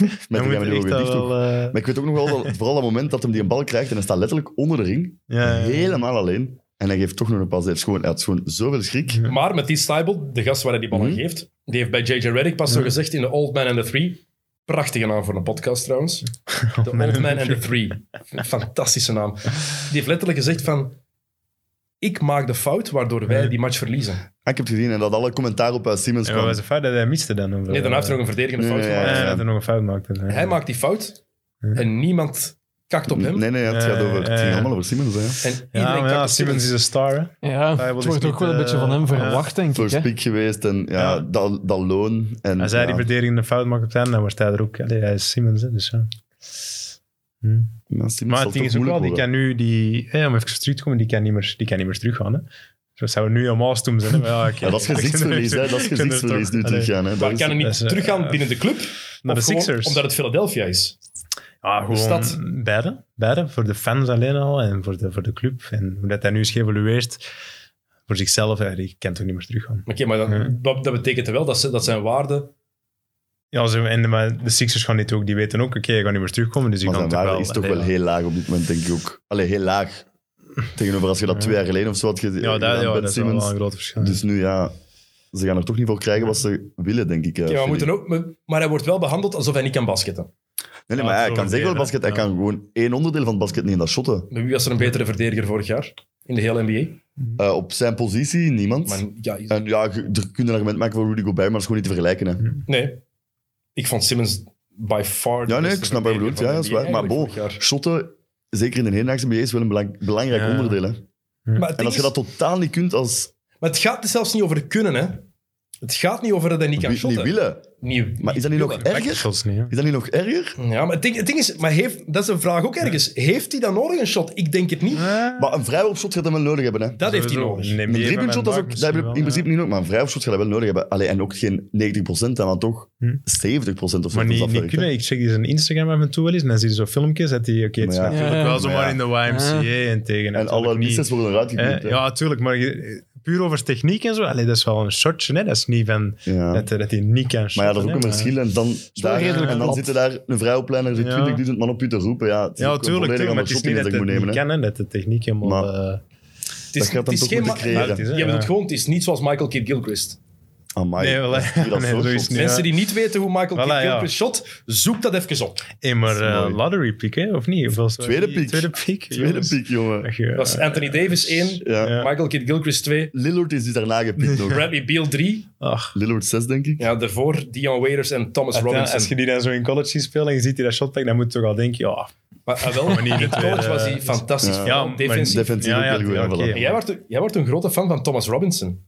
Speaker 5: Met
Speaker 6: Dan
Speaker 5: die
Speaker 6: moet
Speaker 5: gaan we
Speaker 6: je
Speaker 5: die
Speaker 6: echt
Speaker 5: ogen
Speaker 6: dat
Speaker 5: dicht doen.
Speaker 6: wel... eh,
Speaker 5: Maar ik weet ook nog wel, dat, vooral dat moment dat hem die een bal krijgt en hij staat letterlijk onder de ring,
Speaker 6: ja, ja.
Speaker 5: helemaal alleen. En hij geeft toch nog een pas. Hij heeft gewoon, hij had gewoon zoveel schrik.
Speaker 4: Maar met die Steibel, de gast waar hij die
Speaker 6: Mhm.
Speaker 4: ballen geeft, die heeft bij JJ Reddick pas zo gezegd in The Old Man and the Three. Prachtige naam voor een podcast trouwens. The Old Man and the Three. Fantastische naam. Die heeft letterlijk gezegd van... Ik maak de fout waardoor wij die match verliezen.
Speaker 5: Ah, ik heb het gezien en dat alle commentaar op eh, Siemens
Speaker 6: En wat
Speaker 5: kwam.
Speaker 6: was de fout dat hij miste dan? Of,
Speaker 4: Nee, daarna heeft hij nog een verdedigende fout
Speaker 5: Nee,
Speaker 4: gemaakt.
Speaker 5: ja, ja.
Speaker 6: Eh, dat hij nog een fout maakte. Ja.
Speaker 4: Hij maakt die fout en niemand kakt op hem.
Speaker 5: Nee, nee, het, gaat over, het
Speaker 6: Eh,
Speaker 5: ging
Speaker 6: eh.
Speaker 5: allemaal over Siemens. Hè.
Speaker 4: En iedereen
Speaker 6: Ja, maar
Speaker 4: kakt
Speaker 6: ja,
Speaker 4: op
Speaker 6: Simmons is een star. hè.
Speaker 7: Ja,
Speaker 6: Hij
Speaker 7: het
Speaker 6: was
Speaker 7: wordt
Speaker 6: niet,
Speaker 7: ook wel een
Speaker 6: eh,
Speaker 7: beetje van hem
Speaker 6: ja.
Speaker 7: verwacht, denk
Speaker 5: Voor
Speaker 7: ik. hè.
Speaker 5: Spiek geweest en ja,
Speaker 6: Ja.
Speaker 5: Dat, dat loon. En,
Speaker 6: Als hij die
Speaker 5: ja,
Speaker 6: verdedigende fout maakt op het einde, dan wordt hij er ook. Allee, hij is Simmons, hè, dus ja.
Speaker 5: ja, Siemens
Speaker 6: Maar
Speaker 5: zal
Speaker 6: het ding
Speaker 5: toch
Speaker 6: is ook wel,
Speaker 5: moeilijk worden.
Speaker 6: die kan nu, die, hè, om even terug te komen, die kan niet meer, die kan niet meer teruggaan. Hè. Dus dat zou nu helemaal stoem zijn. hè. Maar ja, oké.
Speaker 5: Ja, dat is gezichtsverlies, hè. Dat is
Speaker 6: Ik vind het
Speaker 5: gezichtsverlies
Speaker 6: toch-
Speaker 5: nu
Speaker 6: Allee,
Speaker 5: teruggaan, hè.
Speaker 4: Maar
Speaker 5: Dat is-
Speaker 4: kan hij niet
Speaker 6: dat is, eh,
Speaker 4: teruggaan binnen de club?
Speaker 6: Naar de
Speaker 4: Of gewoon
Speaker 6: Sixers.
Speaker 4: Omdat het Philadelphia is.
Speaker 6: Ja, gewoon
Speaker 4: stad.
Speaker 6: beide. Beide. Voor de fans alleen al en voor de, voor de club. En hoe dat hij nu is geëvolueerd voor zichzelf, ja, die kan toch niet meer teruggaan.
Speaker 4: Oké, maar dan- dat, dat betekent wel dat, ze, dat zijn waarden...
Speaker 6: Ja, ze, en, maar de Sixers gaan dit ook, die weten ook, oké, hij gaat niet meer terugkomen. Dus die
Speaker 5: Maar
Speaker 6: gaan
Speaker 5: zijn
Speaker 6: toch
Speaker 5: waarde
Speaker 6: wel...
Speaker 5: is toch
Speaker 6: allee,
Speaker 5: wel heel laag op dit moment, denk ik ook. Allee, heel laag. Tegenover als je dat twee jaar geleden of zo had gezien.
Speaker 6: Ja, dat, ja,
Speaker 5: Ben
Speaker 6: dat is
Speaker 5: Simmons.
Speaker 6: wel een groot verschil.
Speaker 5: Dus nu, ja... Ze gaan er toch niet voor krijgen wat ze willen, denk ik. eh,
Speaker 4: Ja, we
Speaker 5: Philly.
Speaker 4: moeten ook, maar- maar hij wordt wel behandeld alsof hij niet kan basketten.
Speaker 5: Nee, nee, maar
Speaker 6: Ja,
Speaker 5: hij
Speaker 6: zo
Speaker 5: kan zeker wel
Speaker 6: verdelen,
Speaker 5: basket. Hij
Speaker 6: ja.
Speaker 5: kan gewoon één onderdeel van het basket niet in dat shotten.
Speaker 4: Maar Wie was er een betere verdediger vorig jaar in de hele NBA?
Speaker 6: Mhm.
Speaker 5: Eh, op zijn positie, niemand.
Speaker 4: Maar, ja,
Speaker 5: En ja, je- er kun je een argument maken voor Rudy Gobert, maar dat is gewoon niet te vergelijken.
Speaker 6: Mhm.
Speaker 5: Hè.
Speaker 4: nee. Ik vond Simmons by far... de
Speaker 5: Ja, nee,
Speaker 4: beste
Speaker 5: ik snap wat
Speaker 4: verdediger
Speaker 5: je bedoelt.
Speaker 4: van
Speaker 5: Ja,
Speaker 4: de
Speaker 5: dat is
Speaker 4: NBA
Speaker 5: waar. Maar bo,
Speaker 4: eigenlijk vorig jaar.
Speaker 5: shotten, zeker in de hedendaagse NBA, is wel een belang- belangrijk
Speaker 6: Ja.
Speaker 5: onderdeel. Hè.
Speaker 4: Maar het,
Speaker 5: En
Speaker 4: ding
Speaker 5: als je
Speaker 4: is-
Speaker 5: dat totaal niet kunt als...
Speaker 4: maar het gaat er zelfs niet over kunnen, hè. Het gaat niet over dat hij niet kan
Speaker 5: Niet
Speaker 4: shotten.
Speaker 5: willen.
Speaker 4: Niet-
Speaker 5: Maar is dat niet nog
Speaker 4: willen.
Speaker 5: erger?
Speaker 6: Shots niet, hè.
Speaker 5: Is dat niet nog erger?
Speaker 4: Ja, maar het ding, het ding is... Maar heeft, dat is een vraag ook ergens. Heeft hij dan nodig een shot? Ik denk het niet.
Speaker 5: Maar een vrijworpshot gaat hij wel nodig hebben. Hè.
Speaker 4: Dat heeft hij nodig.
Speaker 6: Een
Speaker 5: Een driepuntshot, dat, is ook- dat heb je in principe niet nodig. Maar een vrijworpshot gaat hij wel nodig hebben. Allee, en ook geen 90%, dan, maar toch 70% of zo.
Speaker 6: eh, Maar
Speaker 5: dat is
Speaker 6: niet, niet
Speaker 5: afwerkt, hè.
Speaker 6: kunnen. Ik check die zijn Instagram af en toe wel eens. En dan zie je zo filmpjes dat hij... Oké, het is
Speaker 5: Maar ja.
Speaker 6: natuurlijk
Speaker 7: Ja.
Speaker 6: wel zomaar
Speaker 5: Maar ja.
Speaker 6: in de YMCA en tegen.
Speaker 5: En alle
Speaker 6: natuurlijk niet.
Speaker 5: misses worden eruit
Speaker 6: Eh,
Speaker 5: geknipt. hè.
Speaker 6: Ja, tuurlijk. Maar je- puur over techniek en zo. Allee, dat is wel een shotje, hè. Dat is niet van...
Speaker 5: Ja.
Speaker 6: Dat, eh, dat hij niet kan shotten,
Speaker 5: Maar ja, dat is ook
Speaker 6: hè,
Speaker 5: een
Speaker 6: maar-
Speaker 5: verschil. En dan,
Speaker 7: wel
Speaker 5: daar,
Speaker 7: redelijk
Speaker 5: en dan
Speaker 7: plat.
Speaker 5: zitten daar een vrijopleider, zit
Speaker 6: Ja.
Speaker 5: 20.000 man op u te roepen. Ja, het is
Speaker 6: Ja,
Speaker 5: ook een
Speaker 6: tuurlijk.
Speaker 5: volledig
Speaker 6: tuurlijk, Maar
Speaker 5: ander
Speaker 6: het is
Speaker 5: shot die
Speaker 6: niet
Speaker 5: dat
Speaker 6: dat
Speaker 5: ik
Speaker 6: het
Speaker 5: moet
Speaker 6: niet
Speaker 5: nemen. hè.
Speaker 6: kan, hè. Dat de techniek helemaal...
Speaker 5: Maar-
Speaker 6: eh,
Speaker 4: Het is,
Speaker 5: Dat
Speaker 4: het
Speaker 5: gaat hem
Speaker 4: is
Speaker 5: toch
Speaker 4: geen...
Speaker 5: moeten
Speaker 4: ma-
Speaker 5: creëren.
Speaker 6: maar het is, hè,
Speaker 4: Je
Speaker 6: ja.
Speaker 4: bedoelt gewoon, het is niet zoals Michael Kidd-Gilchrist.
Speaker 5: Amai,
Speaker 6: Nee, wel,
Speaker 5: dat is niet dat
Speaker 6: nee,
Speaker 5: soort
Speaker 6: zo is
Speaker 5: shots.
Speaker 6: het niet. Ja.
Speaker 4: Mensen die niet weten hoe Michael
Speaker 6: Voilà, ja.
Speaker 4: Kidd-Gilchrist shot, zoek dat even op.
Speaker 6: Hey, maar
Speaker 5: is
Speaker 6: eh,
Speaker 5: mooi.
Speaker 6: lottery pick, hè? Of niet? Of was-
Speaker 5: Tweede pick.
Speaker 6: Tweede pick.
Speaker 5: Tweede piek, jongen.
Speaker 6: eh,
Speaker 4: Dat is Anthony Davis 1,
Speaker 5: Ja.
Speaker 6: Ja.
Speaker 4: Michael Kidd-Gilchrist 2,
Speaker 5: Lillard is dus daarna gepikt nog.
Speaker 4: Bradley Beal 3.
Speaker 6: Ach.
Speaker 5: Lillard 6, denk ik.
Speaker 4: Ja, daarvoor Dion Waiters en Thomas
Speaker 6: Uiteindelijk, Als je
Speaker 4: Robinson.
Speaker 6: die dan zo in college ziet spelen en je ziet die dat shotpack, dan moet je toch al denken, ja,
Speaker 4: Maar, ah, wel,
Speaker 6: niet in de
Speaker 4: in college
Speaker 6: tweede-
Speaker 4: was hij fantastisch.
Speaker 5: Ja.
Speaker 4: vooral
Speaker 6: Ja, maar-
Speaker 4: defensief.
Speaker 5: Defensief
Speaker 6: Ja,
Speaker 5: ook
Speaker 6: ja,
Speaker 5: heel goed.
Speaker 6: ja,
Speaker 5: hè,
Speaker 6: oké.
Speaker 5: voilà.
Speaker 4: En jij, wordt, jij wordt een grote fan van Thomas Robinson,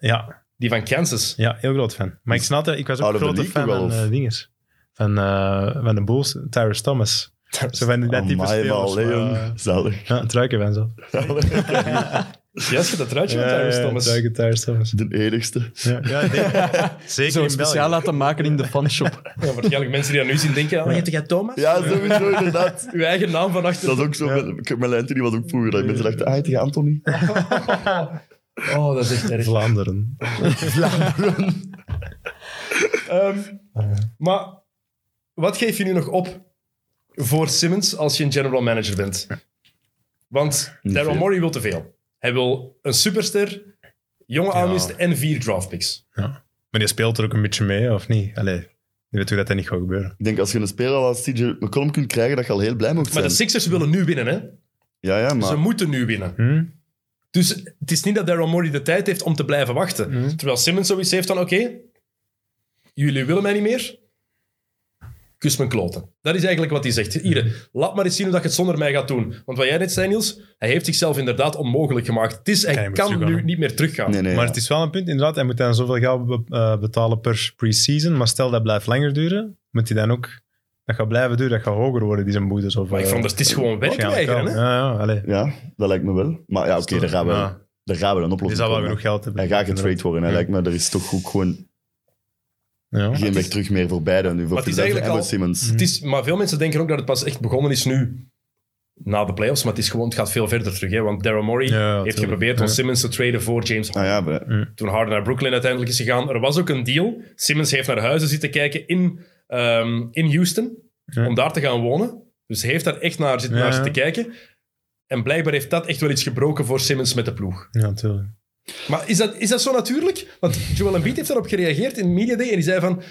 Speaker 6: ja,
Speaker 4: die van Kansas.
Speaker 6: ja, heel groot fan. Maar ik snap dat, ik was
Speaker 5: Out
Speaker 6: ook
Speaker 5: of the
Speaker 6: grote
Speaker 5: league
Speaker 6: fan
Speaker 5: wel,
Speaker 6: van
Speaker 5: of?
Speaker 6: eh, dinges. Van, eh, van de Bulls, Tyrus Thomas. Zo van die- dat type
Speaker 5: Amai, maar
Speaker 6: spelers.
Speaker 5: allee,
Speaker 6: maar, eh,
Speaker 5: jong. Zalig.
Speaker 6: Ja, het ruiken van zo.
Speaker 4: Juist, dat ruitje met
Speaker 6: Ja, ja,
Speaker 4: Tyrese
Speaker 6: het
Speaker 4: Thomas.
Speaker 6: ruiken Tyrus Thomas.
Speaker 5: De enigste.
Speaker 6: Ja, ja, ik denk- zeker
Speaker 7: Zo'n
Speaker 6: in België.
Speaker 7: speciaal laten maken in de fanshop.
Speaker 4: Ja, waarschijnlijk mensen die dat nu zien denken, oh, heet jij Thomas?
Speaker 5: Ja, sowieso, inderdaad.
Speaker 4: Uw eigen naam van achter.
Speaker 5: Dat is ook zo. met- ik- Mijn Anthony was ook vroeger. Dat mensen dachten, ah, heet hij Anthony?
Speaker 4: Oh, dat is echt erg.
Speaker 6: Vlaanderen.
Speaker 4: Ehm, maar wat geef je nu nog op voor Simmons als je een general manager bent? Want
Speaker 5: Niet
Speaker 4: Daryl
Speaker 5: veel.
Speaker 4: Morey wil te veel. Hij wil een superster, jonge aanwist en vier draftpicks.
Speaker 6: Maar die speelt er ook een beetje mee, of niet? Allee, je weet hoe dat, dat niet gaat gebeuren.
Speaker 5: Ik denk, als je een speler als CJ McCollum kunt krijgen, dat je al heel blij mag
Speaker 4: Maar
Speaker 5: zijn.
Speaker 4: de Sixers willen nu winnen, hè?
Speaker 5: Ja, ja,
Speaker 4: Ze
Speaker 5: maar...
Speaker 4: moeten nu winnen.
Speaker 6: Hm?
Speaker 4: Dus het is niet dat Daryl Morey de tijd heeft om te blijven wachten. Terwijl Simmons zoiets heeft van, oké, jullie willen mij niet meer, kus mijn kloten. Dat is eigenlijk wat hij zegt. Hier, laat maar eens zien hoe dat je het zonder mij gaat doen. Want wat jij net zei, Niels, hij heeft zichzelf inderdaad onmogelijk gemaakt. Het is, hij
Speaker 6: Kan je maar
Speaker 4: kan
Speaker 6: teruggaan,
Speaker 4: nu
Speaker 6: hè?
Speaker 4: niet meer teruggaan.
Speaker 5: Nee, nee,
Speaker 6: Maar
Speaker 5: ja.
Speaker 6: het is wel een punt, inderdaad. Hij moet dan zoveel geld be- eh, betalen per pre-season. Maar stel dat blijft langer duren, moet hij dan ook... Dat gaat blijven duren, dat gaat hoger worden, die zijn boetes. Of,
Speaker 4: Maar ik
Speaker 6: eh,
Speaker 4: vond het is gewoon
Speaker 6: waarschijnlijk
Speaker 4: werkweigeren.
Speaker 6: wel.
Speaker 4: hè?
Speaker 6: Ja, Hmm. ja, allee.
Speaker 5: Ja, dat lijkt me wel. Maar ja, oké, daar gaan we...
Speaker 6: Ja.
Speaker 5: Daar gaan we een
Speaker 6: Die
Speaker 5: oplossing
Speaker 6: zal wel
Speaker 5: komen.
Speaker 6: genoeg geld hebben.
Speaker 5: Hij gaat getrade worden. Hij lijkt me, er is toch ook gewoon
Speaker 6: Ja.
Speaker 5: geen weg terug meer voor beiden. Nu voor
Speaker 4: Maar het is
Speaker 5: Philadelphia en voor
Speaker 4: eigenlijk
Speaker 6: Mm.
Speaker 5: Simmons.
Speaker 4: Het is, maar veel mensen denken ook dat het pas echt begonnen is nu, na de playoffs. Maar het, is gewoon, het gaat veel verder terug. Hè? Want Daryl Morey
Speaker 6: Ja, ja,
Speaker 4: heeft
Speaker 6: tuurlijk.
Speaker 4: geprobeerd om Simmons te traden voor James
Speaker 5: Ah ja, maar,
Speaker 6: Mm.
Speaker 4: Toen Harden naar Brooklyn uiteindelijk is gegaan. Er was ook een deal. Simmons heeft naar huizen zitten kijken in, ehm, in Houston. Om daar te gaan wonen. Dus hij heeft daar echt naar, zit-
Speaker 6: Ja,
Speaker 4: naar
Speaker 6: ja.
Speaker 4: zitten kijken. En blijkbaar heeft dat echt wel iets gebroken voor Simmons met de ploeg.
Speaker 6: Ja, natuurlijk.
Speaker 4: Maar is dat, is dat zo natuurlijk? Want Joel Embiid heeft daarop gereageerd in Media Day en die zei van...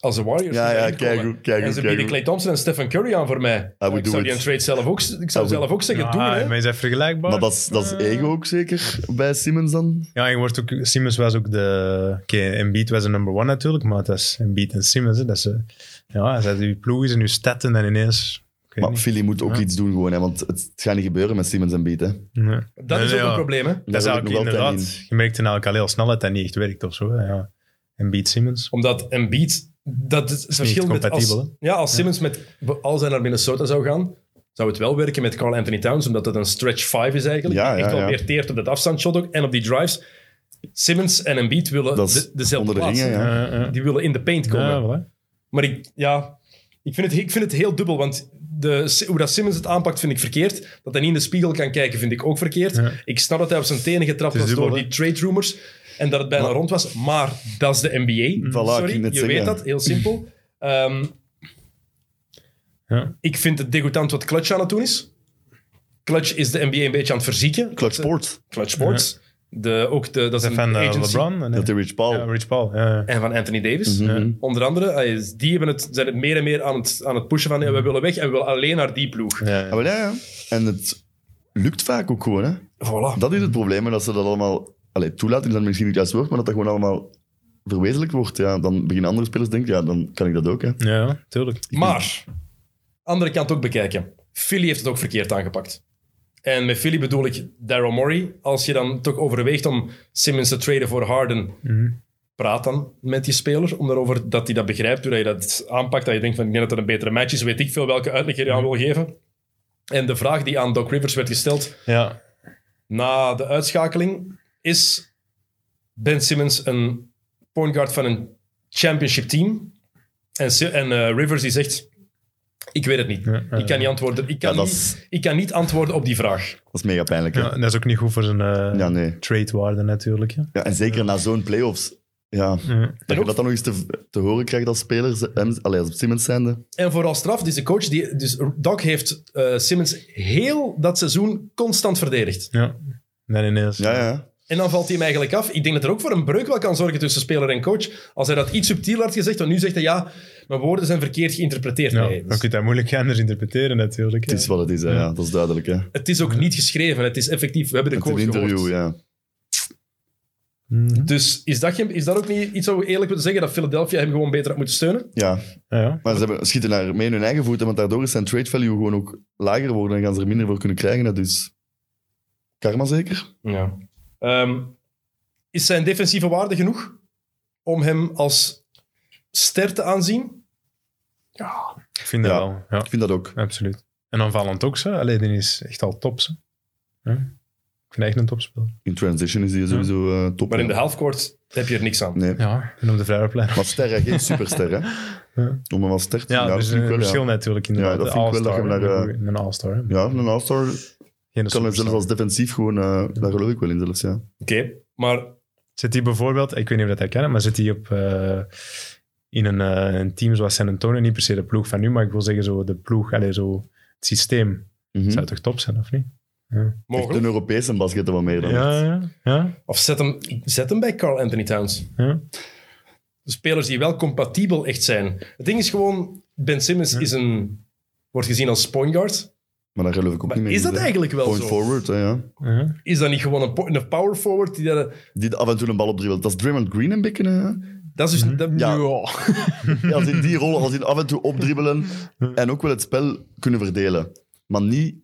Speaker 4: Als de Warriors
Speaker 5: Ja, ja,
Speaker 4: erin komen
Speaker 5: keigoed, keigoed,
Speaker 4: en ze bieden
Speaker 5: keigoed.
Speaker 4: Clay Thompson en Stephen Curry aan voor mij.
Speaker 5: would
Speaker 4: ik
Speaker 5: do
Speaker 4: zou die
Speaker 5: it.
Speaker 4: een trade zelf ook, ik zou
Speaker 5: would-
Speaker 4: zelf ook zeggen, doen.
Speaker 6: Ah,
Speaker 4: hè.
Speaker 6: maar is dat vergelijkbaar?
Speaker 5: Maar dat is, dat is
Speaker 6: Mm.
Speaker 5: ego ook zeker bij Simmons dan?
Speaker 6: Ja, je wordt ook, Simmons was ook de... Oké, Embiid was de number one natuurlijk, maar dat is Embiid en Simmons. hè. Dat is, eh, ja, dat is je ploeg is en je stad en dan ineens... ik weet
Speaker 5: Maar
Speaker 6: niet.
Speaker 5: Philly moet ook
Speaker 6: Ja.
Speaker 5: iets doen gewoon, hè, want het, het gaat niet gebeuren met Simmons en Beat. Hè.
Speaker 6: Nee.
Speaker 4: Dat
Speaker 6: Nee,
Speaker 4: is
Speaker 6: nee,
Speaker 4: ook een
Speaker 6: ja.
Speaker 4: probleem, hè?
Speaker 5: Daar
Speaker 6: Dat is
Speaker 5: wil ik
Speaker 6: eigenlijk
Speaker 5: nog wel
Speaker 6: inderdaad...
Speaker 5: tijd
Speaker 6: Je merkte eigenlijk al heel snel dat dat niet echt werkt of zo. hè, Ja. Embiid, Simmons.
Speaker 4: Omdat Embiid, dat is het verschil met... Als,
Speaker 6: compatibel,
Speaker 4: ja, als Simmons met, als hij naar Minnesota zou gaan, zou het wel werken met Carl Anthony Towns, omdat dat een stretch five is eigenlijk.
Speaker 5: Ja,
Speaker 4: die echt
Speaker 5: ja,
Speaker 4: wel
Speaker 5: ja.
Speaker 4: meer teert op dat afstandsshot ook en op die drives. Simmons en Embiid willen
Speaker 5: Dat is
Speaker 4: de- dezelfde
Speaker 5: onder de
Speaker 4: plaats.
Speaker 5: ringen, ja.
Speaker 6: Eh, eh.
Speaker 4: Die willen in de paint komen.
Speaker 6: Ja, voilà.
Speaker 4: Maar ik, ja, ik, vind het, ik vind het heel dubbel, want de, hoe dat Simmons het aanpakt vind ik verkeerd. Dat hij niet in de spiegel kan kijken vind ik ook verkeerd.
Speaker 6: Ja.
Speaker 4: Ik snap dat hij op zijn tenen getrapt
Speaker 6: Het
Speaker 4: was
Speaker 6: is dubbel,
Speaker 4: door
Speaker 6: hè?
Speaker 4: die trade rumors en dat het bijna rond was. Maar dat is de NBA.
Speaker 5: Voilà, ik
Speaker 4: Sorry,
Speaker 5: ging
Speaker 4: je
Speaker 5: het zeggen.
Speaker 4: weet dat, heel simpel. Ehm,
Speaker 6: Ja.
Speaker 4: Ik vind het degoutant wat Clutch aan het doen is. Clutch is de NBA een beetje aan het verzieken.
Speaker 5: Clutch Sports,
Speaker 4: Clutch Sports. De, ook de, dat is
Speaker 6: Dat
Speaker 4: een
Speaker 6: van eh,
Speaker 4: agency.
Speaker 6: LeBron. en-
Speaker 5: dat is Rich Paul.
Speaker 6: Ja, Rich Paul. ja, ja.
Speaker 4: En van Anthony Davis. Onder andere, eh, die hebben het, zijn het meer en meer aan het, aan het pushen van ja, we willen weg en we willen alleen naar die ploeg.
Speaker 6: Ja,
Speaker 5: Ah,
Speaker 6: ja.
Speaker 5: wel, ja, ja. En het lukt vaak ook gewoon. Hè.
Speaker 4: Voilà.
Speaker 5: Dat is het probleem, hè, dat ze dat allemaal... Allee, toelaten is dan misschien niet juist woord, maar dat dat gewoon allemaal verwezenlijk wordt. Ja. Dan beginnen andere spelers denken, ja, dan kan ik dat ook. Hè.
Speaker 6: Ja, tuurlijk.
Speaker 4: Maar, andere kant ook bekijken. Philly heeft het ook verkeerd aangepakt. En met Philly bedoel ik Daryl Morey. Als je dan toch overweegt om Simmons te traden voor Harden, praat dan met die speler om daarover dat hij dat begrijpt, hoe dat je dat aanpakt, dat je denkt van ik denk dat het een betere match is, weet ik veel welke uitleg je aan wil geven. En de vraag die aan Doc Rivers werd gesteld
Speaker 6: Ja.
Speaker 4: na de uitschakeling is Ben Simmons een point guard van een championship team. En, Si- en eh, Rivers die zegt, ik weet het niet. ik kan niet antwoorden. Ik kan,
Speaker 5: Ja, dat is-
Speaker 4: niet, ik kan niet antwoorden op die vraag.
Speaker 5: Dat is mega pijnlijk. Hè.
Speaker 6: ja,
Speaker 5: Ja.
Speaker 6: en dat is ook niet goed voor zijn eh,
Speaker 5: Ja, nee.
Speaker 6: trade-waarde natuurlijk. hè.
Speaker 5: en zeker na zo'n playoffs. Ja, dat je dat dan nog eens te, te horen krijgt als speler, ze- hem- allee, als Simmons zijnde.
Speaker 4: En vooral straf, dus de coach, die, dus Doc heeft eh, Simmons heel dat seizoen constant verdedigd.
Speaker 6: Ja. En dan ineens.
Speaker 5: Ja, ja.
Speaker 4: En dan valt hij hem eigenlijk af. Ik denk dat er ook voor een breuk wel kan zorgen tussen speler en coach. Als hij dat iets subtieler had gezegd, want nu zegt hij ja, mijn woorden zijn verkeerd geïnterpreteerd. Nee,
Speaker 6: Ja,
Speaker 4: dus- dat
Speaker 6: dan
Speaker 4: is-
Speaker 6: kun je dat moeilijk anders interpreteren natuurlijk.
Speaker 5: Het is wat het is, hè. ja. Dat is duidelijk. Hè.
Speaker 4: Het is ook niet geschreven, het is effectief. We hebben de
Speaker 5: Het is een
Speaker 4: coach gehoord.
Speaker 5: interview, ja.
Speaker 6: Mhm.
Speaker 4: Dus is dat, geen- is dat ook niet iets waar we eerlijk moeten zeggen? Dat Philadelphia hem gewoon beter had moeten steunen?
Speaker 5: Ja,
Speaker 6: Ja, ja.
Speaker 5: maar ze hebben, schieten daar mee in hun eigen voeten, want daardoor is zijn trade value gewoon ook lager worden en gaan ze er minder voor kunnen krijgen. hè. Dus karma zeker?
Speaker 4: Ja. Ehm, is zijn defensieve waarde genoeg om hem als ster te aanzien?
Speaker 6: Ik vind dat
Speaker 5: Ja.
Speaker 6: wel. Ja,
Speaker 5: Ik vind dat ook.
Speaker 6: absoluut. En aanvallend ook zo. Alleen die is echt al top. zo. Ja. Ik vind hem echt een topspeler.
Speaker 5: In transition is hij sowieso eh, top.
Speaker 4: Maar in de
Speaker 5: ja.
Speaker 4: halfcourt heb je er niks aan.
Speaker 5: Nee.
Speaker 6: Ja, en op de vrijwilligplein.
Speaker 5: Maar ster, hè, geen superster, hè? Om hem als ster te
Speaker 6: Ja,
Speaker 5: dat
Speaker 6: dus
Speaker 5: vind
Speaker 6: een
Speaker 5: ik wel,
Speaker 6: verschil
Speaker 5: ja.
Speaker 6: natuurlijk. Inderdaad.
Speaker 5: Ja, dat
Speaker 6: De
Speaker 5: vind ik wel dat je
Speaker 6: All-Star,
Speaker 5: hem daar,
Speaker 6: hè.
Speaker 5: eh,
Speaker 6: Een All-Star. hè.
Speaker 5: Ja, een all-star
Speaker 6: Geen
Speaker 5: kan hij
Speaker 6: superstar.
Speaker 5: zelfs als defensief gewoon... eh, daar geloof ik wel in zelfs, ja.
Speaker 4: Oké, maar
Speaker 6: Zit hij bijvoorbeeld, ik weet niet of dat hij kan, maar zit hij op, eh, in een, eh, een team zoals San Antonio, niet per se de ploeg van nu, maar ik wil zeggen zo de ploeg, allee, zo het systeem.
Speaker 5: Mhm.
Speaker 6: Zou toch top zijn, of niet?
Speaker 5: Echt
Speaker 4: mogelijk.
Speaker 5: een Europese basket wat meer dan
Speaker 6: Ja,
Speaker 5: echt.
Speaker 6: ja, ja.
Speaker 4: Of zet hem, zet hem bij Carl Anthony Towns.
Speaker 6: Ja.
Speaker 4: De spelers die wel compatibel echt zijn. Het ding is gewoon, Ben Simmons is een, wordt gezien als point guard.
Speaker 5: Maar daar geloof ik ook
Speaker 4: Maar
Speaker 5: niet meer
Speaker 4: is
Speaker 5: in,
Speaker 4: dat
Speaker 5: hè.
Speaker 4: eigenlijk wel
Speaker 5: Point
Speaker 4: zo?
Speaker 5: forward, hè, ja.
Speaker 6: ja.
Speaker 4: Is dat niet gewoon een, po- een power forward die dat...
Speaker 5: Die af en toe een bal opdribbelt. Dat is Draymond Green een beetje, hè.
Speaker 4: Dat is dus... dat-
Speaker 5: Mhm. Ja.
Speaker 7: Ja.
Speaker 5: Ja, als in die rol, als in af en toe opdribbelen en ook wel het spel kunnen verdelen. Maar niet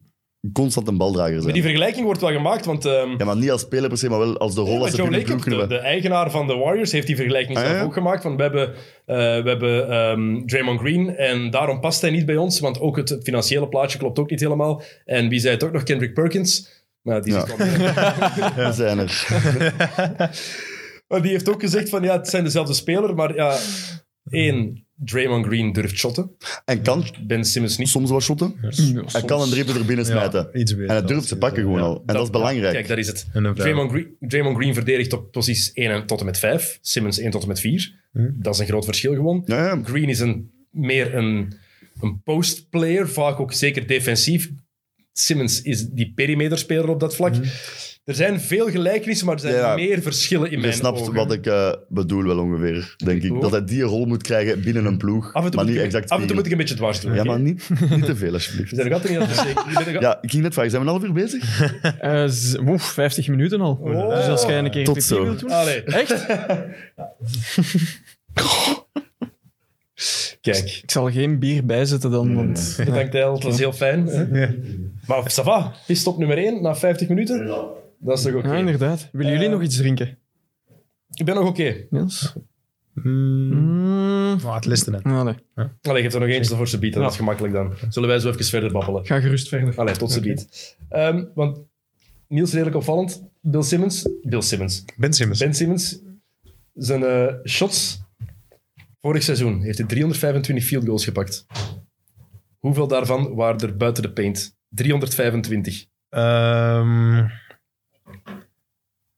Speaker 5: constant een baldrager
Speaker 4: Maar
Speaker 5: zijn.
Speaker 4: die vergelijking wordt wel gemaakt, want... ehm,
Speaker 5: Ja, maar niet als speler per se, maar wel als de rol
Speaker 4: maar
Speaker 5: als ze
Speaker 4: Joe
Speaker 5: binnen de ploeg
Speaker 4: Lacob, de,
Speaker 5: kunnen
Speaker 4: de eigenaar van de Warriors, heeft die vergelijking
Speaker 5: Ah,
Speaker 4: zelf
Speaker 5: ja?
Speaker 4: ook gemaakt. Want we hebben, eh, we hebben ehm, Draymond Green en daarom past hij niet bij ons. Want ook het financiële plaatje klopt ook niet helemaal. En wie zei het ook nog? Kendrick Perkins. Maar die,
Speaker 5: Ja.
Speaker 4: zit wel mee.
Speaker 5: we zijn er.
Speaker 4: Maar die heeft ook gezegd van ja, het zijn dezelfde speler. Maar ja, één, Draymond Green durft shotten.
Speaker 5: En kan
Speaker 4: Ben Simmons niet.
Speaker 5: soms wat shotten. Hij kan een dribbel er binnen smijten.
Speaker 6: iets beter
Speaker 5: en hij
Speaker 6: als-
Speaker 5: durft ze pakken gewoon
Speaker 6: ja.
Speaker 5: al. En dat, is belangrijk.
Speaker 4: Kijk, daar is het.
Speaker 6: En een vrouw.
Speaker 4: Draymond Green, Draymond Green verdedigt op posities 1 en tot en met 5. Simmons 1 tot en met 4. Dat is een groot verschil gewoon.
Speaker 5: Ja, ja.
Speaker 4: Green is een, meer een, een postplayer, vaak ook zeker defensief. Simmons is die perimeterspeler op dat vlak. Er zijn veel gelijkenissen, maar er zijn
Speaker 5: Ja.
Speaker 4: meer verschillen in
Speaker 5: Je
Speaker 4: mijn
Speaker 5: snapt
Speaker 4: ogen.
Speaker 5: wat ik eh, bedoel wel ongeveer, denk ik. Dat hij die rol moet krijgen binnen een ploeg,
Speaker 4: Af en toe,
Speaker 5: maar
Speaker 4: moet,
Speaker 5: niet
Speaker 4: ik,
Speaker 5: exact
Speaker 4: af en toe moet ik
Speaker 5: spiegelen.
Speaker 4: een beetje dwars doen.
Speaker 5: Ja,
Speaker 4: oké?
Speaker 5: maar niet, niet te veel, alsjeblieft.
Speaker 4: We zijn nog altijd niet aan het bespreken. We zijn nog-
Speaker 5: Ja, ik ging net vragen, zijn we een half uur bezig?
Speaker 7: Eh, z- oef, 50 minuten al.
Speaker 4: Oh.
Speaker 7: Dus als jij een keer
Speaker 5: Tot
Speaker 7: pipi
Speaker 5: zo.
Speaker 7: wilt doen...
Speaker 4: Allee,
Speaker 7: Echt?
Speaker 4: kijk.
Speaker 7: Ik zal geen bier bijzetten dan, want...
Speaker 4: Dat hangt heel, dat is heel fijn. Hè? Maar ça va, is top nummer 1 na 50 minuten? Dat is toch oké?
Speaker 7: Ja, inderdaad. Willen jullie nog iets drinken?
Speaker 4: Ik ben nog oké.
Speaker 7: Jens?
Speaker 6: Mm.
Speaker 7: Mm,
Speaker 6: Maar het listen net.
Speaker 7: nou, nee.
Speaker 4: Allee, geef er nog eentje voor ze bieden, dat is gemakkelijk dan. Zullen wij zo even verder babbelen?
Speaker 7: Ga gerust verder.
Speaker 4: Allee, tot ze biedt. Ehm, want Niels, redelijk opvallend. Bill Simmons, Bill Simmons,
Speaker 6: Ben Simmons.
Speaker 4: Ben Simmons, zijn eh, shots vorig seizoen heeft hij 325 field goals gepakt. Hoeveel daarvan waren er buiten de paint? 325.
Speaker 6: Ehm,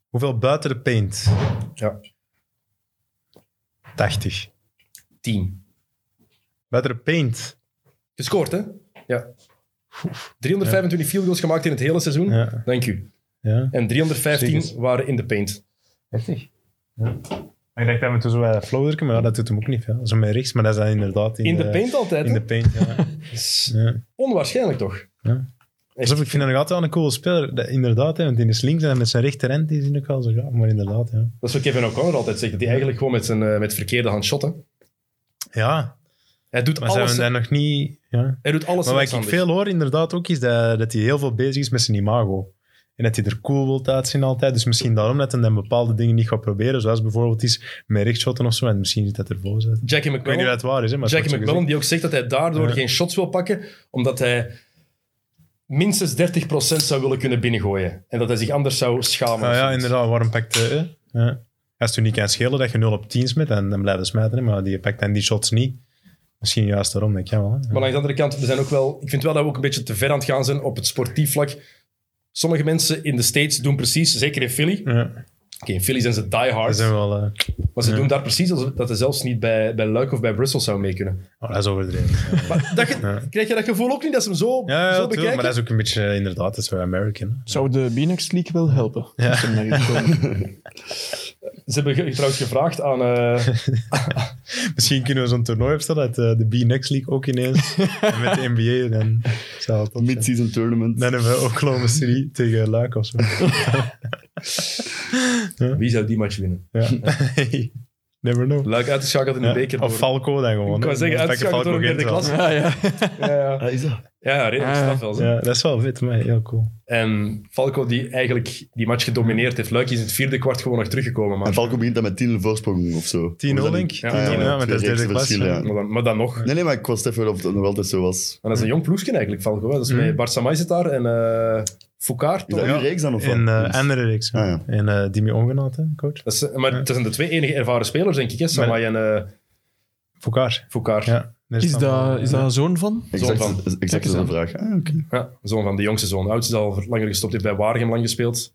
Speaker 6: hoeveel buiten de paint?
Speaker 4: Ja.
Speaker 6: 80.
Speaker 4: 10.
Speaker 6: Buiten de paint?
Speaker 4: Gescoord, hè? Ja. 325 field goals gemaakt in het hele seizoen.
Speaker 6: Ja.
Speaker 4: Dank u.
Speaker 6: Ja.
Speaker 4: En 315
Speaker 6: Zeker.
Speaker 4: waren in de paint. Heftig.
Speaker 6: Ik dacht dat we toen zo bij flow drukken, maar ja, dat doet hem ook niet veel. Zo met rechts, maar dat is dan inderdaad in,
Speaker 4: In de paint altijd,
Speaker 6: In
Speaker 4: hè?
Speaker 6: de paint, ja. ja.
Speaker 4: Onwaarschijnlijk toch?
Speaker 6: Alsof ik vind hem nog altijd wel een coole speler. Dat- inderdaad, hè, want in is links en met zijn rechterhand die is hij ook wel zo gaaf. Maar inderdaad, ja.
Speaker 4: Dat is wat Kevin O'Connor altijd zegt, dat hij eigenlijk gewoon met zijn eh, met verkeerde hand shot, hè.
Speaker 6: Ja,
Speaker 4: Hij doet
Speaker 6: maar zijn
Speaker 4: alles...
Speaker 6: we daar nog niet... Ja.
Speaker 4: Hij doet alles
Speaker 6: Maar wat ik
Speaker 4: rechtshandig.
Speaker 6: veel hoor inderdaad ook, is dat, dat hij heel veel bezig is met zijn imago. En dat hij er cool wil uitzien altijd. Dus misschien daarom dat hij dan bepaalde dingen niet gaat proberen. Zoals bijvoorbeeld iets met rechtshotten of zo. En misschien zit dat ervoor. zit. Ik
Speaker 4: Jackie
Speaker 6: weet niet
Speaker 4: McMillan,
Speaker 6: of het waar is, hè, maar het
Speaker 4: Jackie
Speaker 6: wordt zo
Speaker 4: McMillan die ook zegt dat hij daardoor
Speaker 6: Ja.
Speaker 4: geen shots wil pakken, omdat hij minstens 30% zou willen kunnen binnengooien. En dat hij zich anders zou schamen.
Speaker 6: gezegd. Ah,
Speaker 4: of
Speaker 6: ja,
Speaker 4: zoiets.
Speaker 6: inderdaad. Waarom pakt hij... hè? Ja. Als het u niet kan schelen dat je 0 op 10 smijt, dan, dan blijft hij smijten. hè, Maar die pakt dan die shots niet. Misschien juist daarom, denk ik. Ja, wel, hè.
Speaker 4: Maar aan de andere kant, we zijn ook wel, ik vind wel dat we ook een beetje te ver aan het gaan zijn op het sportief vlak. Sommige mensen in de States doen precies, zeker in Philly. Oké,
Speaker 6: Ja,
Speaker 4: in Philly zijn ze die
Speaker 6: dat
Speaker 4: hard.
Speaker 6: zijn wel... eh,
Speaker 4: Maar ze doen daar precies alsof dat ze zelfs niet bij, bij Luik of bij Brussel zou mee kunnen.
Speaker 6: oh, dat is overdreven.
Speaker 4: Maar dat ge- krijg je dat gevoel ook niet dat ze hem zo,
Speaker 6: Ja, ja
Speaker 4: zo
Speaker 6: tuurlijk,
Speaker 4: bekijken?
Speaker 6: maar dat is ook een beetje... eh, Inderdaad, dat is wel American. hè. Dus
Speaker 7: Zou de Benex League wel helpen? Als ze hem naar hier komen?
Speaker 4: Ze hebben ge- trouwens gevraagd aan... eh,
Speaker 6: Misschien kunnen we zo'n toernooi opstellen uit eh, de B-Next League ook ineens. en met de NBA, dan zou het top zijn.
Speaker 5: Mid-season tournament.
Speaker 6: Dan hebben we Oklahoma City tegen Luik of zo.
Speaker 4: wie zou die match winnen?
Speaker 6: Ja. Never know.
Speaker 4: Luik uitgeschakeld in de
Speaker 6: Ja.
Speaker 4: beker.
Speaker 6: Of
Speaker 4: door-
Speaker 6: Falco dan gewoon.
Speaker 4: Ik
Speaker 6: hè.
Speaker 4: wou zeggen,
Speaker 6: Dan pak je
Speaker 4: uitgeschakeld door een
Speaker 6: Falco
Speaker 4: derde
Speaker 6: Gent wel.
Speaker 4: klasse.
Speaker 7: ja, ja.
Speaker 4: Ja, ja.
Speaker 5: Ah, is dat?
Speaker 4: ja redelijk
Speaker 7: Ah, ja.
Speaker 4: straf wel. zeg.
Speaker 6: Ja, dat is wel vet, maar heel cool.
Speaker 4: En Falco, die eigenlijk die match gedomineerd heeft. Luik is in het vierde kwart gewoon nog teruggekomen. Maar,
Speaker 5: En Falco begint dan met 10 voorsprong of zo.
Speaker 6: 10-0 denk ik.
Speaker 5: Ja,
Speaker 6: 10-0,
Speaker 5: ja,
Speaker 6: ja, maar
Speaker 5: twee
Speaker 6: dat is derde
Speaker 5: reeksen
Speaker 6: klas,
Speaker 5: verschil,
Speaker 6: ja.
Speaker 5: ja.
Speaker 4: maar, dan, maar dan nog.
Speaker 5: Nee, nee, maar ik was even of het nog altijd zo was.
Speaker 4: Maar dat is een jong ploegje eigenlijk, Falco. hè. Dat is
Speaker 6: Mm.
Speaker 4: met Bart Samay zit daar en eh Foucaert.
Speaker 5: Is dat
Speaker 4: toch?
Speaker 5: uw reeks dan of
Speaker 6: En
Speaker 5: wat?
Speaker 6: eh andere reeks.
Speaker 5: Ah, ja.
Speaker 6: En eh Dimi Ongenaat, hè, coach.
Speaker 4: Dat is- eh, maar dat zijn de twee enige ervaren spelers, denk ik. Hè? Samay en eh
Speaker 6: Voor elkaar.
Speaker 4: Foucaert. Ja.
Speaker 6: Ja. Er
Speaker 7: Is
Speaker 6: dan-
Speaker 7: dat, is dat een zoon van?
Speaker 5: Exact,
Speaker 4: Zo'n van-
Speaker 5: exact dezelfde vraag. Ah, oké.
Speaker 4: zoon van de jongste zoon. Oud is al langer gestopt, heeft bij Waregem lang gespeeld.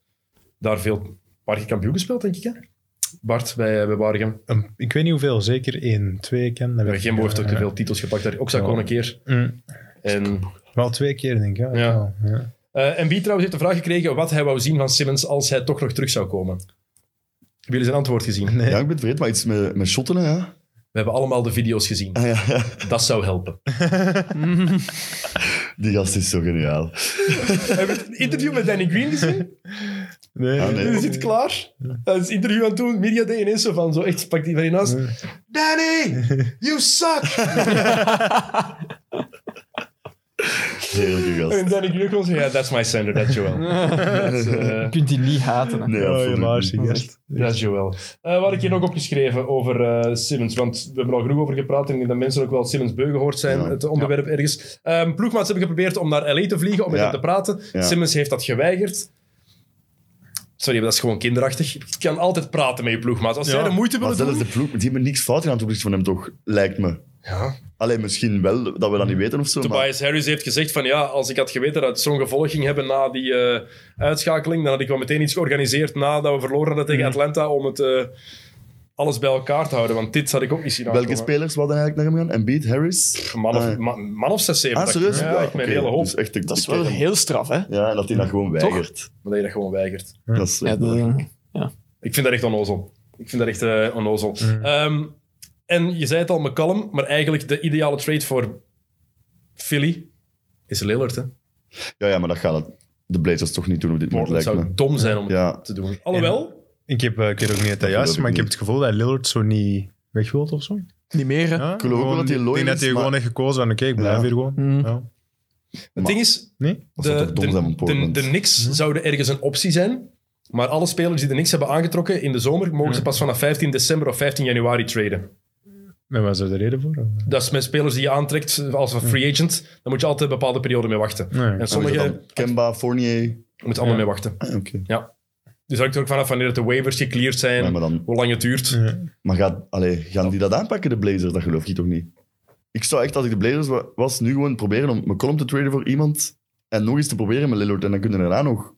Speaker 4: Daar veel paar keer kampioen gespeeld, denk ik. Hè? Bart bij, bij Waregem.
Speaker 6: Een- ik weet niet hoeveel, zeker 1, 2 ken. dat weet ik
Speaker 4: Gembo
Speaker 6: niet.
Speaker 4: heeft ook te
Speaker 6: Ja.
Speaker 4: veel titels gepakt. Daar ook gewoon een keer.
Speaker 6: Mm.
Speaker 4: En
Speaker 6: Wel twee keer, denk ik. Ja.
Speaker 4: Ja.
Speaker 6: Wel, ja.
Speaker 4: Eh, en wie trouwens heeft de vraag gekregen wat hij wou zien van Simmons als hij toch nog terug zou komen. Hebben jullie zijn antwoord gezien?
Speaker 5: Ja, ik ben het vergeten, maar iets met, met shotten, hè? Ja.
Speaker 4: We hebben allemaal de video's gezien.
Speaker 5: Ah, ja, ja.
Speaker 4: Dat zou helpen.
Speaker 5: Die gast is zo geniaal.
Speaker 4: Hebben we het interview met Danny Green gezien?
Speaker 6: Nee.
Speaker 5: Ah,
Speaker 4: Die
Speaker 5: nee.
Speaker 4: zit klaar. Dat is het interview aan het doen. Media Day ineens zo van, zo echt, pakt die van je naast. Danny, you suck!
Speaker 5: Heerlijke gast.
Speaker 4: En Danny Green komt zo, ja, that's my sender, that's Joel. That's, eh,
Speaker 7: Je kunt die niet haten. hè.
Speaker 5: Nee,
Speaker 6: Ja,
Speaker 5: absoluut
Speaker 6: helaas,
Speaker 5: niet.
Speaker 6: die gast.
Speaker 4: Dat is Joel. Eh, wat had ik hier nog opgeschreven over eh, Simmons, want we hebben er al genoeg over gepraat en ik denk dat mensen ook wel Simmons beu gehoord zijn,
Speaker 5: Ja.
Speaker 4: het onderwerp ergens. Ehm ploegmaats hebben geprobeerd om naar LA te vliegen, om met
Speaker 5: Ja.
Speaker 4: hem te praten.
Speaker 5: Ja.
Speaker 4: Simmons heeft dat geweigerd. Sorry, maar dat is gewoon kinderachtig. Je kan altijd praten met je ploegmaat. Als jij de moeite
Speaker 5: Maar
Speaker 4: willen doen...
Speaker 5: zelfs de ploeg, die hebben niks fout gedaan ten opzichte van hem, toch? Lijkt me.
Speaker 4: Ja.
Speaker 5: Alleen misschien wel, dat we dat niet weten of zo. Maar,
Speaker 4: Tobias Harris heeft gezegd van ja, als ik had geweten dat het zo'n gevolg ging hebben na die eh,
Speaker 5: Mhm.
Speaker 4: uitschakeling, dan had ik wel meteen iets georganiseerd nadat we verloren hadden tegen Atlanta om het eh, alles bij elkaar te houden, want dit had ik ook niet zien
Speaker 5: Welke
Speaker 4: aankomen.
Speaker 5: spelers wilden eigenlijk naar hem gaan? Embiid, Harris?
Speaker 4: Een Man of,
Speaker 5: Ah.
Speaker 4: ma- man of 6, 7.
Speaker 5: Ah, serieus?
Speaker 4: Ja, ik ben
Speaker 5: oké.
Speaker 4: een hele hoop.
Speaker 5: Dus echt een-
Speaker 7: Dat is wel
Speaker 5: oké.
Speaker 7: heel straf, hè?
Speaker 5: Ja, en dat hij dat gewoon weigert.
Speaker 4: Maar dat je dat gewoon weigert.
Speaker 5: Dat is
Speaker 7: Ja, dat-
Speaker 4: Ik vind dat echt onnozel. Ik vind dat echt eh, onnozel.
Speaker 5: Mhm.
Speaker 4: Ehm, en je zei het al, McCallum, maar eigenlijk de ideale trade voor Philly is Lillard. Hè?
Speaker 5: ja, ja, maar dat gaat het- de Blazers toch niet doen op dit moment,
Speaker 4: Het
Speaker 5: lijkt
Speaker 4: zou
Speaker 5: me.
Speaker 4: dom zijn om
Speaker 5: Ja.
Speaker 4: het te doen. Alhoewel,
Speaker 6: Ik, heb, eh, ik weet ook niet dat dat
Speaker 5: geloof
Speaker 6: juist
Speaker 5: ik
Speaker 6: is, maar ik
Speaker 5: niet.
Speaker 6: heb het gevoel dat Lillard zo niet weg wilt of zo.
Speaker 7: Niet meer, hè?
Speaker 6: Ja?
Speaker 5: geloof ook wel dat hij
Speaker 6: ik
Speaker 5: loyal
Speaker 6: denk dat
Speaker 5: is,
Speaker 6: hij
Speaker 5: maar-
Speaker 6: gewoon heeft gekozen van oké, ik blijf
Speaker 5: Ja.
Speaker 6: hier gewoon.
Speaker 7: Mm.
Speaker 6: Ja.
Speaker 4: het ding is,
Speaker 6: Nee?
Speaker 5: Dat zou
Speaker 4: de,
Speaker 5: toch dom zijn
Speaker 4: de,
Speaker 5: van
Speaker 4: de,
Speaker 5: Portland.
Speaker 4: de Knicks
Speaker 6: Mhm.
Speaker 4: zouden ergens een optie zijn, maar alle spelers die de Knicks hebben aangetrokken in de zomer, mogen
Speaker 6: Mhm.
Speaker 4: ze pas vanaf 15 december of 15 januari traden.
Speaker 6: En wat is er de reden voor?
Speaker 4: Dat is met spelers die je aantrekt als een free agent, daar moet je altijd een bepaalde periode mee wachten.
Speaker 6: Mhm. Nee.
Speaker 4: En
Speaker 5: Dan is
Speaker 4: sommige
Speaker 5: dat dan Kemba, Fournier.
Speaker 4: moet allemaal
Speaker 6: Ja.
Speaker 4: mee wachten.
Speaker 5: Ah, oké.
Speaker 4: Dus hangt er ook vanaf wanneer de waivers gecleared zijn,
Speaker 5: Ja, maar dan-
Speaker 4: hoe lang het duurt.
Speaker 6: Ja.
Speaker 5: Maar gaat, allee, gaan die dat aanpakken, de Blazers? Dat geloof ik toch niet. Ik zou echt, als ik de Blazers wa- was, nu gewoon proberen om McCollum te traden voor iemand. En nog eens te proberen met Lillard. En dan kunnen we daarna nog.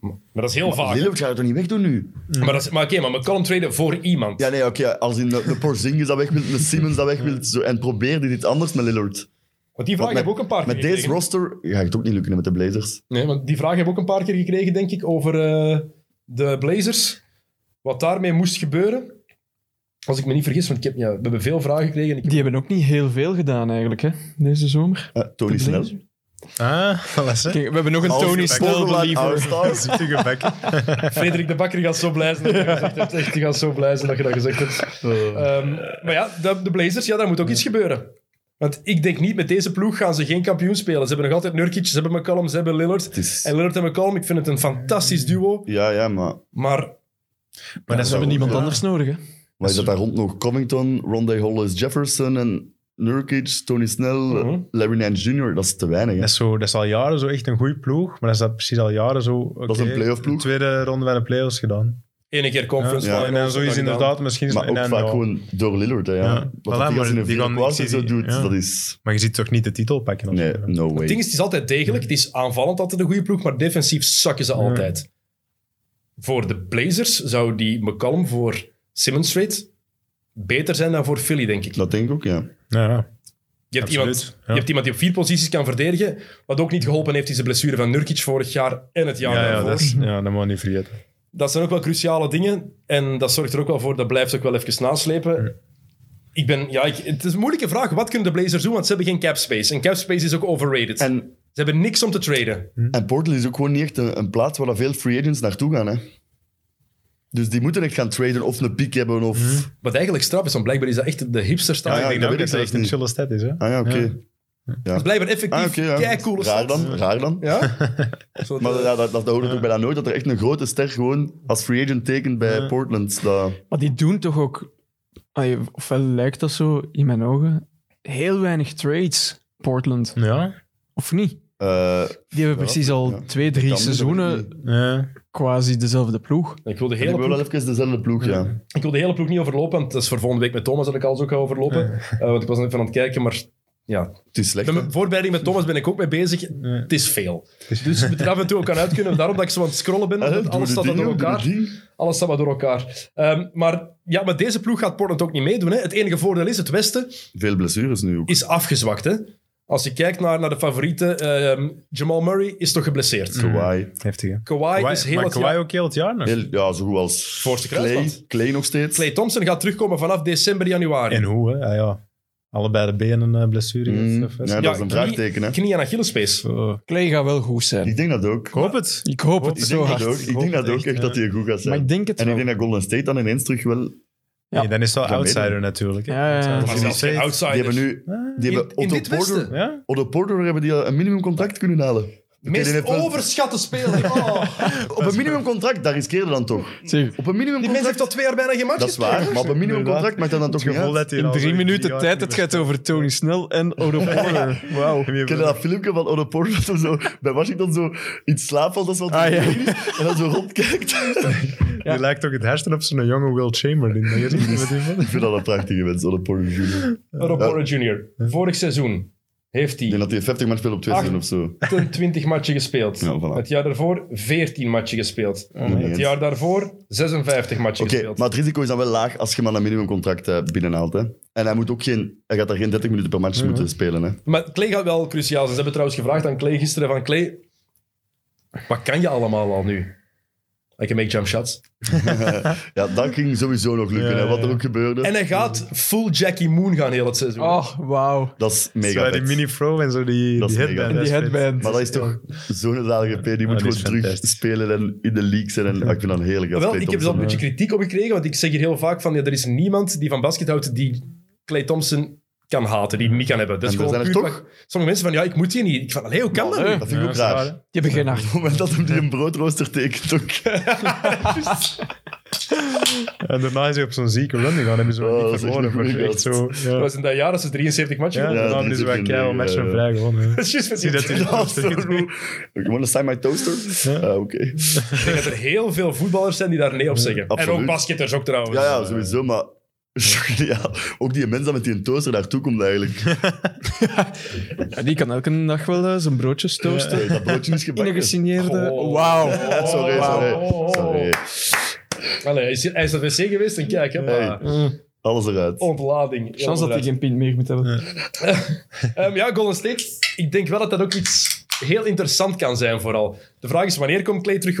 Speaker 4: Maar dat is heel vaak.
Speaker 5: Lillard gaat het toch niet wegdoen nu?
Speaker 4: Maar, dat is- maar oké, maar McCollum traden voor iemand.
Speaker 5: Ja, nee, oké. als in de, de Porzingis dat weg wil, de Simmons dat weg wil. Zo, en probeer dit anders met Lillard.
Speaker 4: want die vraag
Speaker 5: met-
Speaker 4: heb ik ook een paar keer
Speaker 5: Met deze
Speaker 4: gekregen.
Speaker 5: roster gaat het ook niet lukken hè, met de Blazers.
Speaker 4: Nee, want die vraag heb ik ook een paar keer gekregen, denk ik, over eh, de Blazers. Wat daarmee moest gebeuren. Als ik me niet vergis, want ik heb, ja, we hebben veel vragen gekregen. en Ik heb-
Speaker 7: Die hebben ook niet heel veel gedaan, eigenlijk, hè? Deze zomer.
Speaker 5: Eh, Tony
Speaker 7: De
Speaker 5: Snell.
Speaker 7: Blazers.
Speaker 6: Ah, alles hè.
Speaker 7: Kijk, we hebben nog een
Speaker 5: Als
Speaker 7: Tony Snell
Speaker 5: borderline
Speaker 7: believer.
Speaker 5: all-stars.
Speaker 6: Ziet je gebakken.
Speaker 4: Frederik de Bakker gaat zo blij zijn dat je dat gezegd hebt. Echt, die gaat zo blij zijn dat je dat gezegd hebt.
Speaker 6: Oh.
Speaker 4: Ehm, maar ja, de, de Blazers, ja, daar moet ook iets gebeuren. Want ik denk niet, met deze ploeg gaan ze geen kampioen spelen. Ze hebben nog altijd Nurkic, ze hebben McCallum, ze hebben Lillard.
Speaker 5: Het is-
Speaker 4: En Lillard en McCallum, ik vind het een fantastisch duo.
Speaker 5: Ja, ja, maar...
Speaker 4: Maar
Speaker 6: Maar dat
Speaker 5: ze
Speaker 6: is
Speaker 5: hebben
Speaker 6: hebben
Speaker 7: Niemand
Speaker 5: Ja.
Speaker 7: anders nodig, hè?
Speaker 5: Wat
Speaker 6: Dus-
Speaker 5: is dat daar rond nog? Covington, Rondé Hollis Jefferson en Nurkic, Tony Snell,
Speaker 4: Mhm.
Speaker 5: Larry Nance Jr. Dat is te weinig. hè.
Speaker 6: Dat is, zo, dat is al jaren zo echt een goede ploeg, maar dat is dat precies al jaren zo.
Speaker 5: is een playoff ploeg.
Speaker 6: De tweede ronde bij de playoffs gedaan.
Speaker 4: Ene keer conference
Speaker 5: Ja, ja.
Speaker 6: En dan zoiets inderdaad, misschien is
Speaker 5: Maar
Speaker 6: en
Speaker 5: ook
Speaker 6: dan,
Speaker 5: vaak
Speaker 6: ja.
Speaker 5: gewoon door Lillard. Hè, ja.
Speaker 6: Ja.
Speaker 5: Wat
Speaker 6: Voilà,
Speaker 5: dat die
Speaker 6: maar
Speaker 5: gast in een
Speaker 6: die
Speaker 5: vierde
Speaker 6: gaan- ik
Speaker 5: kwart
Speaker 6: zie
Speaker 5: zo
Speaker 6: die-
Speaker 5: doet,
Speaker 6: ja.
Speaker 5: dat is...
Speaker 6: Maar je ziet toch niet de titel pakken? of
Speaker 5: Nee,
Speaker 6: zo, hè?
Speaker 5: no way.
Speaker 4: Het ding is, het is altijd degelijk. Het is aanvallend altijd een goede ploeg, maar defensief zakken ze altijd. Voor de Blazers zou die McCallum voor Simmons trade beter zijn dan voor Philly, denk ik.
Speaker 5: Dat denk ik ook, ja.
Speaker 6: Ja, ja.
Speaker 4: Je hebt,
Speaker 6: absoluut,
Speaker 4: iemand,
Speaker 6: ja.
Speaker 4: je hebt iemand die op vier posities kan verdedigen, wat ook niet geholpen heeft is de blessure van Nurkic vorig jaar en het jaar
Speaker 6: ja, ja,
Speaker 4: daarvoor.
Speaker 6: dat,
Speaker 4: Dat,
Speaker 6: is, ja, dat moet je niet vergeten.
Speaker 4: zijn ook wel cruciale dingen en dat zorgt er ook wel voor, dat blijft ook wel even naslepen. Ik ben, ja, ik- het is een moeilijke vraag. Wat kunnen de Blazers doen? Want ze hebben geen cap space. En cap space is ook overrated.
Speaker 5: En,
Speaker 6: Mhm.
Speaker 4: ze hebben niks om te traden.
Speaker 5: en Portland is ook gewoon niet echt een, een plaats waar dat veel free agents naartoe gaan. Hè. Dus die moeten echt gaan traden of een pick hebben of...
Speaker 6: Mhm.
Speaker 4: Wat eigenlijk straf is, want blijkbaar is dat echt de hipsterstad.
Speaker 5: Ja, ja,
Speaker 6: ik denk
Speaker 5: dat
Speaker 6: dat
Speaker 5: weet
Speaker 6: ook
Speaker 5: ik
Speaker 6: dat
Speaker 5: zelfs
Speaker 6: dat echt een
Speaker 5: niet.
Speaker 6: chille stad is. Hè?
Speaker 5: Ah ja, oké.
Speaker 4: Dat is blijkbaar effectief
Speaker 5: Ah, oké, ja.
Speaker 4: keicoole
Speaker 5: Raar
Speaker 4: stad.
Speaker 5: dan, raar dan.
Speaker 4: Ja? Zo
Speaker 5: Maar
Speaker 4: de-
Speaker 5: ja, dat, dat hoort ook bijna nooit, dat er echt een grote ster gewoon als free agent tekent bij Portland. Dat...
Speaker 7: Maar die doen toch ook, ay, ofwel lijkt dat zo in mijn ogen, heel weinig trades, Portland.
Speaker 6: Ja.
Speaker 7: Of niet?
Speaker 5: Eh,
Speaker 7: Die hebben
Speaker 5: Ja,
Speaker 7: precies al
Speaker 5: ja.
Speaker 7: twee, drie
Speaker 5: kan, dat weet
Speaker 7: seizoenen
Speaker 5: ik
Speaker 6: ja.
Speaker 7: quasi dezelfde ploeg.
Speaker 4: Ik wil, de
Speaker 5: Ik
Speaker 4: hele
Speaker 5: wil
Speaker 4: ploeg,
Speaker 5: wel even dezelfde ploeg, ja.
Speaker 4: ik wil de hele ploeg niet overlopen, want dat is voor volgende week met Thomas dat ik alles ook ga overlopen. Eh, want ik was net van aan het kijken, maar ja.
Speaker 5: Het is slecht.
Speaker 4: Bij
Speaker 5: hè.
Speaker 4: mijn voorbereiding met Thomas ben ik ook mee bezig. Het is veel. Dus we moeten af en toe ook aan uit kunnen. Daarom dat ik zo aan het scrollen ben.
Speaker 5: Ah,
Speaker 4: want
Speaker 5: doe
Speaker 4: alles
Speaker 5: de
Speaker 4: staat dan
Speaker 5: ding
Speaker 4: door
Speaker 5: ook, doe
Speaker 4: elkaar.
Speaker 5: de ding.
Speaker 4: Alles staat maar door elkaar. Ehm, maar ja, met deze ploeg gaat Portland ook niet meedoen. Hè. Het enige voordeel is, het Westen
Speaker 5: Veel blessures nu ook.
Speaker 4: is afgezwakt. Hè. Als je kijkt naar, naar de favorieten, ehm, Jamal Murray is toch geblesseerd.
Speaker 5: Mm.
Speaker 4: Mm.
Speaker 5: Kawhi.
Speaker 6: Heftig. hè.
Speaker 4: Kawhi,
Speaker 6: Kawhi-
Speaker 4: is heel
Speaker 6: maar
Speaker 4: het
Speaker 6: Kawhi
Speaker 4: jaar...
Speaker 6: ook heel het jaar nog.
Speaker 5: Heel, ja, zo goed als
Speaker 4: Voorste
Speaker 5: Clay.
Speaker 4: kruisband.
Speaker 5: Clay nog steeds.
Speaker 4: Clay Thompson gaat terugkomen vanaf december, januari.
Speaker 6: En hoe, hè? Ja, ja. Allebei de benen eh, blessure.
Speaker 5: Mm,
Speaker 6: gehad,
Speaker 5: ja,
Speaker 6: hè.
Speaker 5: dat is een
Speaker 4: knie-
Speaker 5: vraagteken, hè.
Speaker 4: Knie- en Achillespees.
Speaker 6: Zo.
Speaker 7: Clay gaat wel goed zijn.
Speaker 5: Ik denk dat ook.
Speaker 6: Oh, Ik hoop het.
Speaker 7: Ik hoop
Speaker 6: hoop
Speaker 7: het
Speaker 5: Ik
Speaker 7: zo
Speaker 5: denk dat ook.
Speaker 7: hard.
Speaker 5: Ik denk dat ook echt dat hij goed gaat
Speaker 7: Maar ik
Speaker 5: zijn.
Speaker 7: denk het
Speaker 5: En ik
Speaker 7: wel.
Speaker 5: denk dat Golden State dan ineens terug wel... Die
Speaker 6: Ja. dan is het wel
Speaker 5: Ja,
Speaker 6: outsider
Speaker 5: midden.
Speaker 6: natuurlijk. hè.
Speaker 7: Ja, ja, ja.
Speaker 6: Outsider.
Speaker 7: Maar
Speaker 4: Maar zelfs geen outsider.
Speaker 5: hebben nu... Die
Speaker 4: Ah, In-
Speaker 5: hebben
Speaker 4: in
Speaker 5: Otto
Speaker 4: dit
Speaker 5: Porter,
Speaker 4: Westen.
Speaker 6: Ja?
Speaker 5: Otto Porter hebben die al een minimumcontract kunnen halen. Oké, die
Speaker 4: Meest
Speaker 5: heeft wel-
Speaker 4: overschatte speler. Oh.
Speaker 5: Op een minimumcontract, daar riskeerde dan toch.
Speaker 7: Zeg,
Speaker 5: Op
Speaker 4: Die
Speaker 5: een
Speaker 4: mens heeft
Speaker 5: minimumcontract...
Speaker 4: al twee jaar bijna geen match
Speaker 5: Dat is
Speaker 4: gespeeld.
Speaker 5: waar, maar op een minimumcontract maakt dat dan toch
Speaker 6: Het
Speaker 5: niet
Speaker 6: gevoel
Speaker 5: uit.
Speaker 6: dat hij
Speaker 7: in
Speaker 6: al
Speaker 7: drie
Speaker 6: zo'n
Speaker 7: minuten
Speaker 6: jaar
Speaker 7: tijd,
Speaker 6: niet
Speaker 7: het gaat over Tony Snell en Odo Porter. Wauw.
Speaker 6: meer-
Speaker 5: Ken je dat filmpje van Odo Porter dat hem zo bij Washington zo in slaap valt als wat
Speaker 7: Ah, ja.
Speaker 5: en dan zo rondkijkt?
Speaker 6: Die lijkt ook het hersen op zo'n jonge Will Chamberlain. Dat is niet wat hij van-
Speaker 5: Ik vind dat een prachtige mens, Odo Porter Jr.
Speaker 4: Rob Porter Jr. Vorig seizoen heeft
Speaker 5: Ik denk
Speaker 4: hij
Speaker 5: dat hij 50 maar speelt op twee
Speaker 4: Acht.
Speaker 5: seizoenen of zo.
Speaker 4: 28 matchen gespeeld.
Speaker 5: Ja, voilà.
Speaker 4: Het jaar daarvoor 14 matchen gespeeld.
Speaker 5: nee.
Speaker 4: het jaar daarvoor 56 matchen
Speaker 5: Oké,
Speaker 4: gespeeld.
Speaker 5: maar het risico is dan wel laag als je maar een minimumcontract eh, binnenhaalt. Hè. En hij, moet ook geen, hij gaat daar geen 30 minuten per match moeten spelen. Hè.
Speaker 4: Maar Clay gaat wel cruciaal zijn. Ze hebben trouwens gevraagd aan Clay gisteren van Clay, wat kan je allemaal al nu? I can make jump shots.
Speaker 5: Ja, dat ging sowieso nog lukken,
Speaker 6: Ja,
Speaker 5: hè, wat er
Speaker 6: ja.
Speaker 5: ook gebeurde.
Speaker 4: En hij gaat full Jackie Moon gaan heel het seizoen.
Speaker 7: Oh, wauw.
Speaker 5: dat is
Speaker 6: Zo,
Speaker 5: mega
Speaker 6: die
Speaker 5: vet.
Speaker 6: mini-fro en zo, die,
Speaker 5: Dat
Speaker 6: die
Speaker 5: is mega vet.
Speaker 6: headband.
Speaker 7: Die
Speaker 6: dat is vet.
Speaker 7: headband.
Speaker 5: Maar dat is toch zo'n zalige P. Die moet
Speaker 6: dat is
Speaker 5: gewoon terug
Speaker 6: fantastisch.
Speaker 5: spelen en in de leaks en... en ah, ik vind dat een hele gast.
Speaker 4: Wel,
Speaker 5: Klay
Speaker 4: ik heb er al
Speaker 5: Thompson.
Speaker 4: een beetje kritiek op gekregen, want ik zeg hier heel vaak van, ja, er is niemand die van basket houdt die Clay Thompson kan haten, die hem niet kan hebben. Dat is
Speaker 5: En er
Speaker 4: gewoon
Speaker 5: zijn er
Speaker 4: puur
Speaker 5: toch?
Speaker 4: wat- Sommige mensen van, ja, ik moet die niet. Ik van, allee, hoe kan dat
Speaker 7: Nee.
Speaker 4: nu?
Speaker 5: Dat vind ik
Speaker 6: Ja,
Speaker 5: ook
Speaker 6: dat is
Speaker 5: raar.
Speaker 6: waar,
Speaker 5: Op
Speaker 6: hè.
Speaker 7: Die hebben geen hart.
Speaker 5: het moment dat hem die een broodrooster tekent ook.
Speaker 6: En daarna is hij op zo'n zieke run gegaan. Hebben ze
Speaker 5: Oh,
Speaker 6: wel
Speaker 5: dat
Speaker 6: niet
Speaker 5: is
Speaker 6: verloren.
Speaker 5: echt
Speaker 6: maar
Speaker 5: mega
Speaker 6: echt zo...
Speaker 4: Dat
Speaker 6: Ja,
Speaker 4: was in dat jaar als ze 73 matchen
Speaker 6: ja,
Speaker 4: gewonnen.
Speaker 5: dat
Speaker 6: daarna
Speaker 5: is
Speaker 6: hebben ze wel
Speaker 5: een
Speaker 6: keihard
Speaker 5: goeie,
Speaker 6: matchen
Speaker 5: eh,
Speaker 6: vrij gewonnen. hè.
Speaker 4: Dat is juist wat
Speaker 6: Zie dat
Speaker 4: je-
Speaker 6: hij
Speaker 5: Dat is zo goed. You wanna sign my toaster?
Speaker 6: Ja.
Speaker 5: Ah, Oké.
Speaker 4: Ik denk dat er heel veel voetballers zijn die daar nee op zeggen. En
Speaker 5: Absoluut.
Speaker 4: ook basketters ook trouwens.
Speaker 5: Ja, ja, sowieso, maar... Ja, ook die mens dat met die toaster daartoe komt eigenlijk.
Speaker 7: Ja, die kan elke dag wel eh, zijn broodjes toasten.
Speaker 5: Hey, dat broodje is
Speaker 7: In
Speaker 5: gebakken.
Speaker 7: een gesigneerde...
Speaker 4: Goh.
Speaker 7: Wauw.
Speaker 5: Oh. Sorry,
Speaker 7: Wauw.
Speaker 5: sorry.
Speaker 4: Oh.
Speaker 5: sorry.
Speaker 4: Allee, hij is hier- hij is naar de wc geweest en kijk, hè,
Speaker 5: Hey.
Speaker 4: maar-
Speaker 5: Alles eruit.
Speaker 4: Oh. ontlading.
Speaker 7: Mm. Chance dat hij geen pint meer moet hebben.
Speaker 4: Ehm, ja, Golden State. Ik denk wel dat dat ook iets heel interessant kan zijn, vooral. De vraag is, wanneer komt Clay terug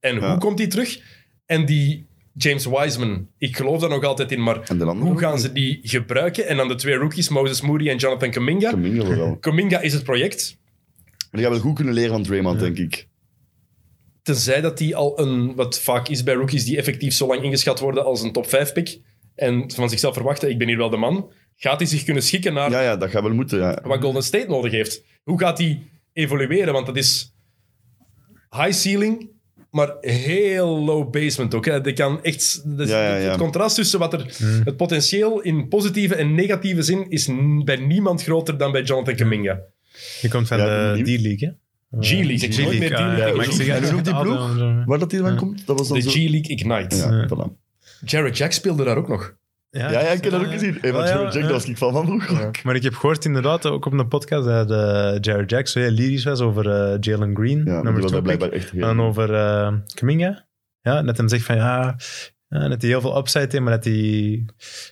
Speaker 4: en hoe
Speaker 5: Ja.
Speaker 4: komt hij terug? En die James Wiseman, ik geloof daar nog altijd in, maar
Speaker 5: En de andere
Speaker 4: hoe
Speaker 5: ook?
Speaker 4: gaan ze die gebruiken? En dan de twee rookies, Moses Moody en Jonathan Kuminga.
Speaker 5: Kaminga vooral.
Speaker 4: Kuminga is het project,
Speaker 5: Die gaan wel goed kunnen leren van Draymond, denk ik.
Speaker 4: tenzij dat die al een, wat vaak is bij rookies, die effectief zo lang ingeschat worden als een top 5 pick. En van zichzelf verwachten, ik ben hier wel de man. Gaat hij zich kunnen schikken naar
Speaker 5: Ja, ja, dat gaat wel moeten. Ja.
Speaker 4: wat Golden State nodig heeft. Hoe gaat die evolueren? Want dat is high ceiling, maar heel low basement ook. Hè. Die kan echt, dat is-
Speaker 5: Ja, ja, ja.
Speaker 4: Het contrast tussen wat er...
Speaker 6: Mhm.
Speaker 4: Het potentieel in positieve en negatieve zin is n- bij niemand groter dan bij Jonathan Kaminga.
Speaker 6: Je komt van
Speaker 5: Ja,
Speaker 6: de
Speaker 5: die-
Speaker 6: D-League, hè?
Speaker 4: G-League. Ik zeg nooit meer
Speaker 6: ah, ja,
Speaker 4: D-League.
Speaker 6: maar ik zeg
Speaker 5: En hoe noemt die
Speaker 6: altijd
Speaker 5: ploeg?
Speaker 6: al zo.
Speaker 5: Waar dat die dan komt? Dat was dan
Speaker 4: de
Speaker 5: zo...
Speaker 4: G-League Ignite.
Speaker 5: Ja, voilà.
Speaker 4: Jared Jack speelde daar ook nog.
Speaker 5: Ja, ja, ik heb dat ook gezien. Hey, van
Speaker 6: Ah, ja,
Speaker 5: Jared Jack,
Speaker 6: ja.
Speaker 5: dat was ik van van vroeger ook.
Speaker 6: Maar ik heb gehoord inderdaad, ook op een podcast, dat eh, Jared Jack zo heel lyrisch was over eh, Jalen Green,
Speaker 5: Ja, maar die
Speaker 6: nummer
Speaker 5: was
Speaker 6: 2
Speaker 5: daar
Speaker 6: pick.
Speaker 5: blijkbaar echt
Speaker 6: En dan
Speaker 5: heel...
Speaker 6: over eh Kaminga. Ja, net hem zegt van ja, ja, dat hij heel veel upside heeft, maar dat hij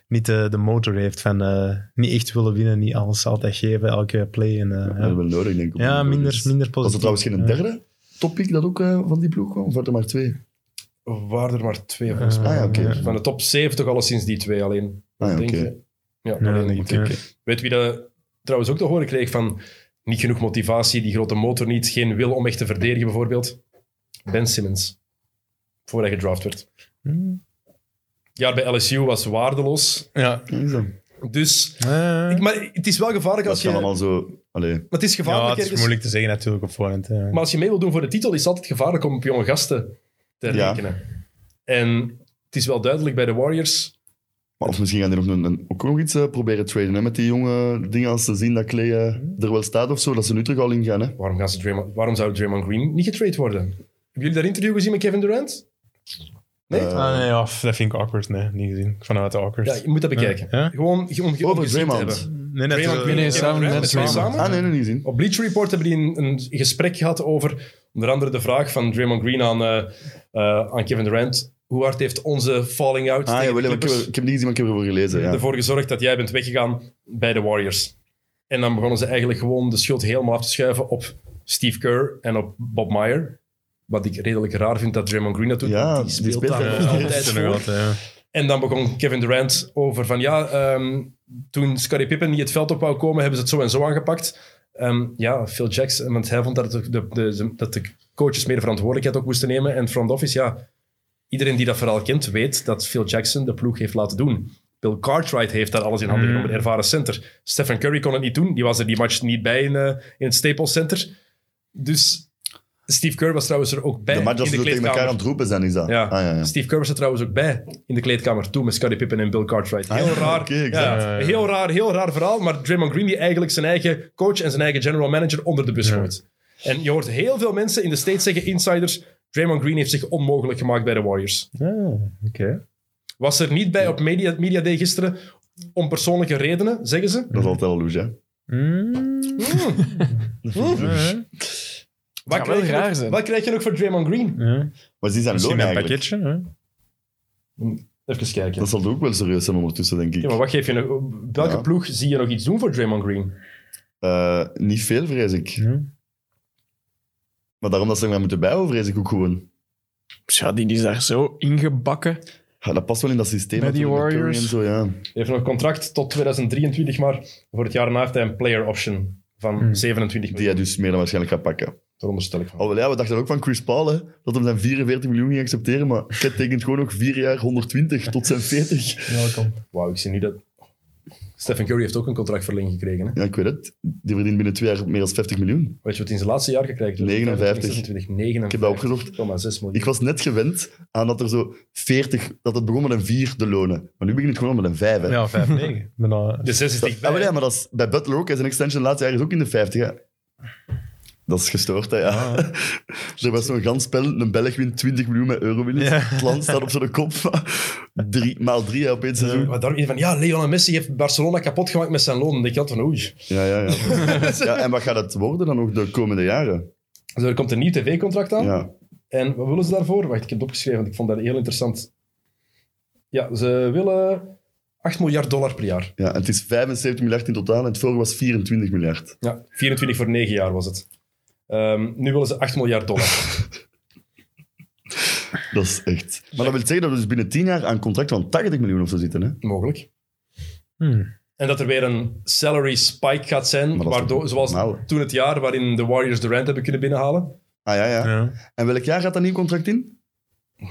Speaker 6: niet de, de motor heeft van eh, niet echt willen winnen, niet alles altijd geven, elke play. En, eh,
Speaker 5: Ja,
Speaker 6: ja.
Speaker 5: dat wel nodig, denk ik. op
Speaker 6: Ja,
Speaker 5: die
Speaker 6: minder,
Speaker 5: ploeg.
Speaker 6: minder
Speaker 5: Was
Speaker 6: positief.
Speaker 5: er trouwens geen
Speaker 6: Ja.
Speaker 5: derde topic dat ook eh, van die ploeg kwam? Of waren er maar twee?
Speaker 4: Waar er maar twee
Speaker 6: Eh.
Speaker 4: volgens mij.
Speaker 5: Ah ja, oké.
Speaker 6: Ja.
Speaker 4: Van de top 7 toch alleszins die twee alleen.
Speaker 5: Ah, ja,
Speaker 4: Denk
Speaker 5: oké.
Speaker 4: je? Ja,
Speaker 6: Ja,
Speaker 4: alleen
Speaker 6: denk
Speaker 4: die
Speaker 6: ik,
Speaker 4: twee.
Speaker 6: ja.
Speaker 4: Weet wie dat trouwens ook te horen kreeg van niet genoeg motivatie, die grote motor niet, geen wil om echt te verdedigen bijvoorbeeld? Ben Simmons. Voor hij gedraft werd.
Speaker 6: Hm.
Speaker 4: Ja, bij LSU was waardeloos.
Speaker 6: Ja.
Speaker 5: Ja, is dat.
Speaker 4: Dus,
Speaker 6: Eh,
Speaker 4: ik, maar het is wel gevaarlijk
Speaker 5: Dat
Speaker 4: als je...
Speaker 5: zijn
Speaker 4: Maar
Speaker 5: allemaal zo... Allee,
Speaker 4: het is
Speaker 6: ja,
Speaker 4: gevaarlijk
Speaker 6: het is
Speaker 5: dus-
Speaker 4: ergens.
Speaker 6: moeilijk te zeggen natuurlijk op voorhand. hè.
Speaker 4: Maar als je mee wil doen voor de titel, is het altijd gevaarlijk om op jonge gasten te
Speaker 5: Ja.
Speaker 4: rekenen. En het is wel duidelijk bij de Warriors.
Speaker 5: maar of misschien gaan die nog een, een- ook nog iets eh, proberen traden hè, met die jonge dingen als ze zien dat Clay eh,
Speaker 4: Mhm.
Speaker 5: er wel staat of zo, dat ze nu terug al ingaan. Hè.
Speaker 4: Waarom, gaan ze Draymond, waarom zou Draymond Green niet getrade worden? Hebben jullie dat interview gezien met Kevin Durant? Nee?
Speaker 5: Eh,
Speaker 6: Ah, nee, ja, f- dat vind ik awkward. Nee, niet gezien. Ik vond dat awkward.
Speaker 4: Ja, je moet dat bekijken.
Speaker 6: Ja?
Speaker 4: Gewoon ge- om, ge- om
Speaker 5: Over
Speaker 4: gezien te
Speaker 5: Draymond.
Speaker 4: hebben.
Speaker 6: Nee, net,
Speaker 4: Draymond
Speaker 6: eh,
Speaker 4: Green
Speaker 7: nee,
Speaker 4: en Kevin
Speaker 7: samen,
Speaker 4: Durant,
Speaker 7: net
Speaker 4: de twee
Speaker 7: samen.
Speaker 5: Ah, nee, nee, niet zien.
Speaker 4: Op Bleach Report hebben die een, een gesprek gehad over onder andere de vraag van Draymond Green aan, eh, eh, aan Kevin Durant. Hoe hard heeft onze falling out
Speaker 5: Ah,
Speaker 4: tegen
Speaker 5: ja,
Speaker 4: de
Speaker 5: wel, ik, heb,
Speaker 4: Clippers
Speaker 5: ik heb niet gezien, maar ik heb ervoor gelezen. Ja.
Speaker 4: ervoor gezorgd dat jij bent weggegaan bij de Warriors? En dan begonnen ze eigenlijk gewoon de schuld helemaal af te schuiven op Steve Kerr en op Bob Meyer. Wat ik redelijk raar vind dat Draymond Green dat doet.
Speaker 5: Ja,
Speaker 4: want
Speaker 5: die
Speaker 4: die speelt,
Speaker 5: speelt
Speaker 4: daar
Speaker 5: daar
Speaker 4: nog
Speaker 5: nog
Speaker 4: altijd
Speaker 6: nog
Speaker 4: voor.
Speaker 6: altijd, ja.
Speaker 4: En dan begon Kevin Durant over van ja, ehm, toen Scottie Pippen niet het veld op wou komen, hebben ze het zo en zo aangepakt. Ehm, ja, Phil Jackson, want hij vond dat de, de, de- dat de coaches meer verantwoordelijkheid ook moesten nemen. En front office, ja, iedereen die dat verhaal kent, weet dat Phil Jackson de ploeg heeft laten doen. Bill Cartwright heeft daar alles in handen genomen, een ervaren center. Stephen Curry kon het niet doen, die was er die match niet bij in, eh, in het Staples Center. Dus Steve Kerr was trouwens er ook bij
Speaker 5: De match
Speaker 4: in
Speaker 5: als
Speaker 4: de
Speaker 5: ze tegen elkaar
Speaker 4: kleedkamer.
Speaker 5: aan het roepen zijn, is dat?
Speaker 4: Ja.
Speaker 5: Ah, ja, ja.
Speaker 4: Steve Kerr was er trouwens ook bij in de kleedkamer toen met Scottie Pippen en Bill Cartwright. Heel
Speaker 5: Ah,
Speaker 4: raar.
Speaker 5: oké, exact.
Speaker 4: ja, heel raar, heel raar verhaal. Maar Draymond Green die eigenlijk zijn eigen coach en zijn eigen general manager onder de bus gooit. En je hoort heel veel mensen in de States zeggen, insiders, Draymond Green heeft zich onmogelijk gemaakt bij de Warriors.
Speaker 6: Ah, oké.
Speaker 4: Was er niet bij op Media, media Day gisteren om persoonlijke redenen, zeggen ze.
Speaker 5: Dat is altijd al louche, hè.
Speaker 6: Hm.
Speaker 5: Mm.
Speaker 4: Wat,
Speaker 7: kan wel
Speaker 4: krijg je
Speaker 7: raar
Speaker 4: nog-
Speaker 7: zijn.
Speaker 4: wat krijg je nog voor Draymond Green?
Speaker 6: Ja.
Speaker 5: Maar is die zijn
Speaker 6: Misschien
Speaker 5: loon
Speaker 6: met een
Speaker 5: eigenlijk?
Speaker 6: pakketje. Hè?
Speaker 4: Even kijken.
Speaker 5: Dat zal ook wel serieus zijn ondertussen, denk ik.
Speaker 4: Ja, maar wat geef je nog, welke
Speaker 5: Ja.
Speaker 4: ploeg zie je nog iets doen voor Draymond Green?
Speaker 5: Eh, niet veel, vrees ik.
Speaker 6: Ja.
Speaker 5: Maar daarom dat ze hem gaan moeten bijhouden, vrees ik ook gewoon.
Speaker 7: Ja, die is daar zo ingebakken.
Speaker 5: Ja, dat past wel in dat systeem.
Speaker 7: Bij die
Speaker 5: natuurlijk, met Curry
Speaker 7: Warriors.
Speaker 5: En zo, ja.
Speaker 4: Hij heeft nog een contract tot 2023, maar voor het jaar na heeft hij een player option van 27
Speaker 5: Die
Speaker 4: miljoen.
Speaker 5: hij dus meer dan waarschijnlijk gaat pakken.
Speaker 4: Daar onderstel ik van.
Speaker 5: Oh, wel, ja, we dachten ook van Chris Paul, hè, dat hem zijn 44 miljoen ging accepteren, maar Cat tekent gewoon nog 4 jaar 120 tot zijn 40.
Speaker 4: Wauw, ik zie nu dat... Stephen Curry heeft ook een contractverlenging gekregen. Hè?
Speaker 5: Ja, ik weet het. Die verdient binnen twee jaar meer dan 50 miljoen.
Speaker 4: Weet je wat hij in zijn laatste jaar gekregen heeft?
Speaker 5: 59.
Speaker 4: 26,
Speaker 5: Ik heb dat opgezocht.
Speaker 4: 59,6 miljoen.
Speaker 5: Ik was net gewend aan dat er zo 40, dat het begon met een 4 de lonen. Maar nu begint het gewoon al met een 5. Hè.
Speaker 6: Ja, 5-9. Bijna-
Speaker 4: De 6 is
Speaker 5: Dat-
Speaker 4: dichtbij.
Speaker 5: Ah, wel, ja, maar dat is bij Butler ook. hè. Zijn extension laatste jaar is ook in de 50. Hè. Dat is gestoord, hè,
Speaker 4: Ah.
Speaker 5: ja. er was zo'n gans spel. Een Belg wint 20 miljoen met euro winst. Het land staat op zijn kop. drie, maal drie hè, op één seizoen.
Speaker 4: Maar daarom van, ja, Leon en Messi heeft Barcelona kapot gemaakt met zijn loon. En ik had van, oei. Dus
Speaker 5: Ja, ja, ja. ja. En wat gaat het worden dan ook de komende jaren?
Speaker 4: Dus er komt een nieuw tv-contract aan.
Speaker 5: Ja.
Speaker 4: En wat willen ze daarvoor? Wacht, ik heb het opgeschreven, want ik vond dat heel interessant. Ja, ze willen 8 miljard dollar per jaar.
Speaker 5: ja, en het is 75 miljard in totaal. En het vorige was 24 miljard.
Speaker 4: Ja, 24 voor 9 jaar was het. Ehm, nu willen ze 8 miljard dollar.
Speaker 5: Dat is echt. Maar dat wil zeggen dat we dus binnen 10 jaar aan een contract van 80 miljoen of zo zitten. Hè?
Speaker 4: Mogelijk.
Speaker 6: Hmm.
Speaker 4: En dat er weer een salary spike gaat zijn,
Speaker 5: Maar dat is
Speaker 4: waardoor,
Speaker 5: toch
Speaker 4: zoals
Speaker 5: normaal?
Speaker 4: toen het jaar waarin de Warriors Durant hebben kunnen binnenhalen.
Speaker 5: Ah ja, ja.
Speaker 6: Ja.
Speaker 5: En welk jaar gaat dat nieuw contract in?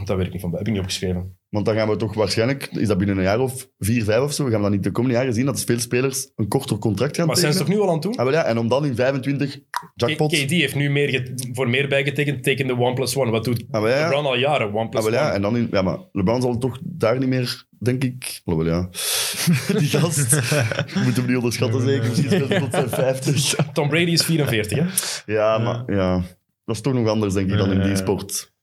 Speaker 4: Dat weet ik niet van, dat heb ik niet opgeschreven.
Speaker 5: Want dan gaan we toch waarschijnlijk, is dat binnen een jaar of vier, vijf of zo, gaan we dan niet de komende jaren zien dat veel spelers een korter contract gaan
Speaker 4: Maar zijn ze toch
Speaker 5: tekenen?
Speaker 4: nu al aan toe?
Speaker 5: Ah, wel ja, en om dan in 25 jackpot.
Speaker 4: KD heeft nu meer get- voor meer bijgetekend, tekende 1 plus 1. Wat doet
Speaker 5: Ah, wel ja.
Speaker 4: LeBron al jaren? 1
Speaker 5: Ah,
Speaker 4: plus
Speaker 5: wel
Speaker 4: 1.
Speaker 5: ja, en dan in, ja, maar LeBron zal toch daar niet meer, denk ik. Alhoewel ja. Die gast. We moeten hem niet onderschatten, zeker. Misschien speelt hij tot zijn 50.
Speaker 4: Tom Brady is 44, hè?
Speaker 5: Ja, maar ja. Dat is toch nog anders, denk ik, dan in
Speaker 6: Ja,
Speaker 5: die
Speaker 6: ja.
Speaker 5: sport.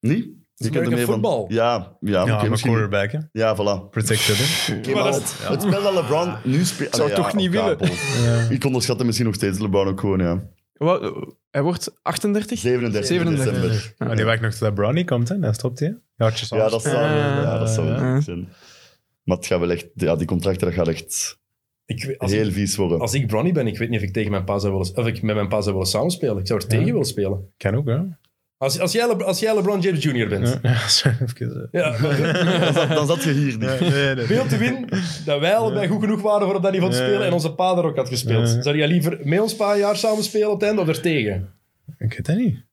Speaker 5: Niet? Je
Speaker 4: American
Speaker 5: meer
Speaker 4: football.
Speaker 5: Ja, ja,
Speaker 6: Ja,
Speaker 5: oké,
Speaker 6: maar
Speaker 5: misschien-
Speaker 6: quarterback, hè.
Speaker 5: Ja, voilà.
Speaker 6: Protected, hè.
Speaker 5: Oké,
Speaker 4: Maar
Speaker 5: maar
Speaker 4: dat
Speaker 5: het, het spel dat LeBron nu speelt...
Speaker 7: Zou
Speaker 5: Allee,
Speaker 7: toch niet
Speaker 5: elkaar,
Speaker 7: willen.
Speaker 5: Paul. Ik onderschatte misschien nog steeds LeBron ook gewoon, ja.
Speaker 7: Wat, hij wordt 38?
Speaker 5: 37,
Speaker 7: 37.
Speaker 5: december.
Speaker 6: Maar die werkt nog tot dat Brownie komt, hè. Dan stopt hij. Jaartje
Speaker 5: Ja, dat
Speaker 6: is
Speaker 5: zou,
Speaker 7: Ah.
Speaker 5: ja, dat zou wel
Speaker 7: Ah.
Speaker 5: leuk zijn. Maar het gaat wel echt... Ja, die contracten, dat gaat echt
Speaker 4: Ik, weet- als,
Speaker 5: heel
Speaker 4: ik,
Speaker 5: vies worden.
Speaker 4: als ik Bronny ben, ik weet niet of ik tegen mijn pa zou willen... Of ik met mijn pa zou willen samenspelen. Ik zou er tegen willen spelen.
Speaker 6: Kan ook, hè.
Speaker 4: Als, als, jij, Le- als jij LeBron James Jr. bent...
Speaker 6: Ja, sorry, even,
Speaker 4: Ja.
Speaker 5: Dan, zat, dan zat je hier niet.
Speaker 6: eh. Nee, nee.
Speaker 4: Veel te win dat wij allebei goed genoeg waren voor op dat niveau te
Speaker 6: Ja.
Speaker 4: spelen en onze pa er ook had gespeeld.
Speaker 6: Ja.
Speaker 4: Zou jij liever met ons pa een jaar samen spelen op het einde of er tegen?
Speaker 6: Ik weet dat niet.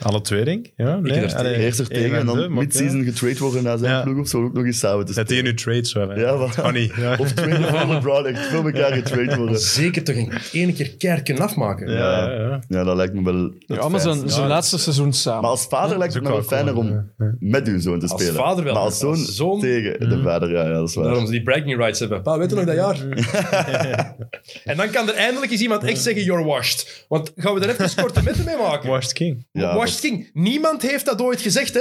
Speaker 6: Alle twee, denk ik. Ja, nee.
Speaker 4: er
Speaker 6: allee,
Speaker 5: Eerst er
Speaker 6: één
Speaker 5: tegen en
Speaker 6: de,
Speaker 5: dan
Speaker 6: maar
Speaker 5: mid-season getrade worden naar zijn
Speaker 6: Ja.
Speaker 5: ploeg of zo ook nog eens samen te
Speaker 6: ja. Dat die nu trades zo hebben.
Speaker 5: Ja, wat?
Speaker 6: Kan niet. Ja.
Speaker 5: Of traden van LeBron, echt voor elkaar getrade worden.
Speaker 4: Zeker toch een ene keer kerken afmaken.
Speaker 6: Ja, ja, ja.
Speaker 5: Ja, dat lijkt me wel...
Speaker 7: Ja, maar zijn, zijn laatste seizoen samen.
Speaker 5: Maar als vader lijkt het me wel fijner om met uw zoon te
Speaker 4: Als
Speaker 5: spelen.
Speaker 4: vader wel,
Speaker 5: maar als zoon,
Speaker 4: als zoon-
Speaker 5: tegen eh, de vader, ja, ja dat is waar.
Speaker 4: Daarom ze die bragging rights hebben. Pa, weet je nog dat jaar? en dan kan er eindelijk eens iemand echt zeggen, you're washed. Want gaan we er even korte metten mee maken?
Speaker 6: Washed King.
Speaker 5: Ja,
Speaker 4: washed King. Niemand heeft dat ooit gezegd, hè?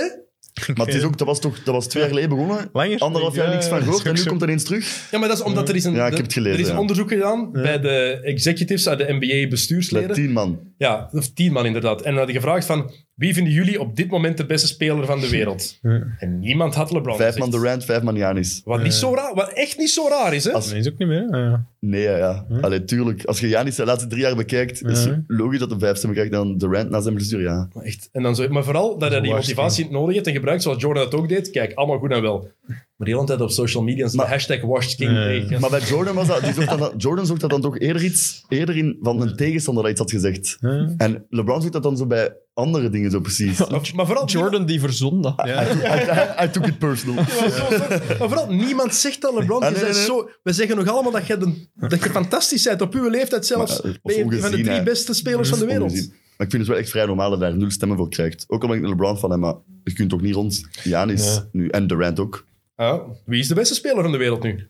Speaker 5: Maar het is ook, dat, was toch, dat was twee jaar geleden begonnen.
Speaker 6: Langer?
Speaker 5: Anderhalf jaar
Speaker 6: Ja,
Speaker 5: niks van
Speaker 6: ja,
Speaker 5: gehoord.
Speaker 6: dat is
Speaker 5: En nu
Speaker 6: ook zo.
Speaker 5: komt er eens terug.
Speaker 4: Ja, maar dat is omdat er is een,
Speaker 5: Ja, ik
Speaker 4: de-
Speaker 5: heb het gelezen,
Speaker 4: er is
Speaker 5: ja.
Speaker 4: onderzoek gedaan bij de executives uit de
Speaker 5: Met
Speaker 4: NBA-bestuursleden.
Speaker 5: tien man.
Speaker 4: Ja, of tien man inderdaad. En dan hadden gevraagd van, wie vinden jullie op dit moment de beste speler van de wereld? En niemand had LeBron
Speaker 5: Vijf
Speaker 4: gezegd.
Speaker 5: man Durant, vijf man Janis.
Speaker 4: Wat, niet zo raar, wat echt niet zo raar is, hè?
Speaker 5: Als-
Speaker 6: Nee, is ook niet meer. hè. Ja.
Speaker 5: Nee, ja. ja. Allee, tuurlijk. Als je Janis de laatste drie jaar bekijkt, is
Speaker 6: Ja.
Speaker 5: het logisch dat de vijf stemmen krijgt dan Durant na zijn blessure. Ja.
Speaker 4: Maar, echt. En dan zo, maar vooral dat hij die
Speaker 6: Washed
Speaker 4: motivatie nodig heeft en gebruikt zoals Jordan dat ook deed. Kijk, allemaal goed en wel. Maar de hele tijd op social media is de
Speaker 5: Maar-
Speaker 4: hashtag washed king.
Speaker 6: Nee.
Speaker 4: tegen.
Speaker 5: Maar bij Jordan was dat, die zocht dat dan- Jordan zocht dat dan toch eerder iets, eerder in van een tegenstander dat iets had gezegd.
Speaker 6: Ja.
Speaker 5: En LeBron zoekt dat dan zo bij andere dingen zo precies.
Speaker 4: Maar, maar vooral
Speaker 7: Jordan die verzon dat.
Speaker 5: I, I took it personal.
Speaker 4: Maar, zo- maar vooral, niemand zegt dat, LeBron.
Speaker 5: Ah,
Speaker 4: Je
Speaker 5: nee,
Speaker 4: bent
Speaker 5: nee.
Speaker 4: Zo, we zeggen nog allemaal dat je, de- dat je fantastisch bent. Op uw leeftijd zelfs
Speaker 5: Maar, eh,
Speaker 4: ben je een van de
Speaker 5: ongezien,
Speaker 4: drie
Speaker 5: hè.
Speaker 4: beste spelers van de wereld.
Speaker 5: Ongezien. Maar ik vind het wel echt vrij normaal dat hij daar nul stemmen voor krijgt. Ook al ben ik een LeBron van hem, maar je kunt toch niet rond Janis nu en Durant ook.
Speaker 4: Ja, Ah, wie is de beste speler van de wereld nu?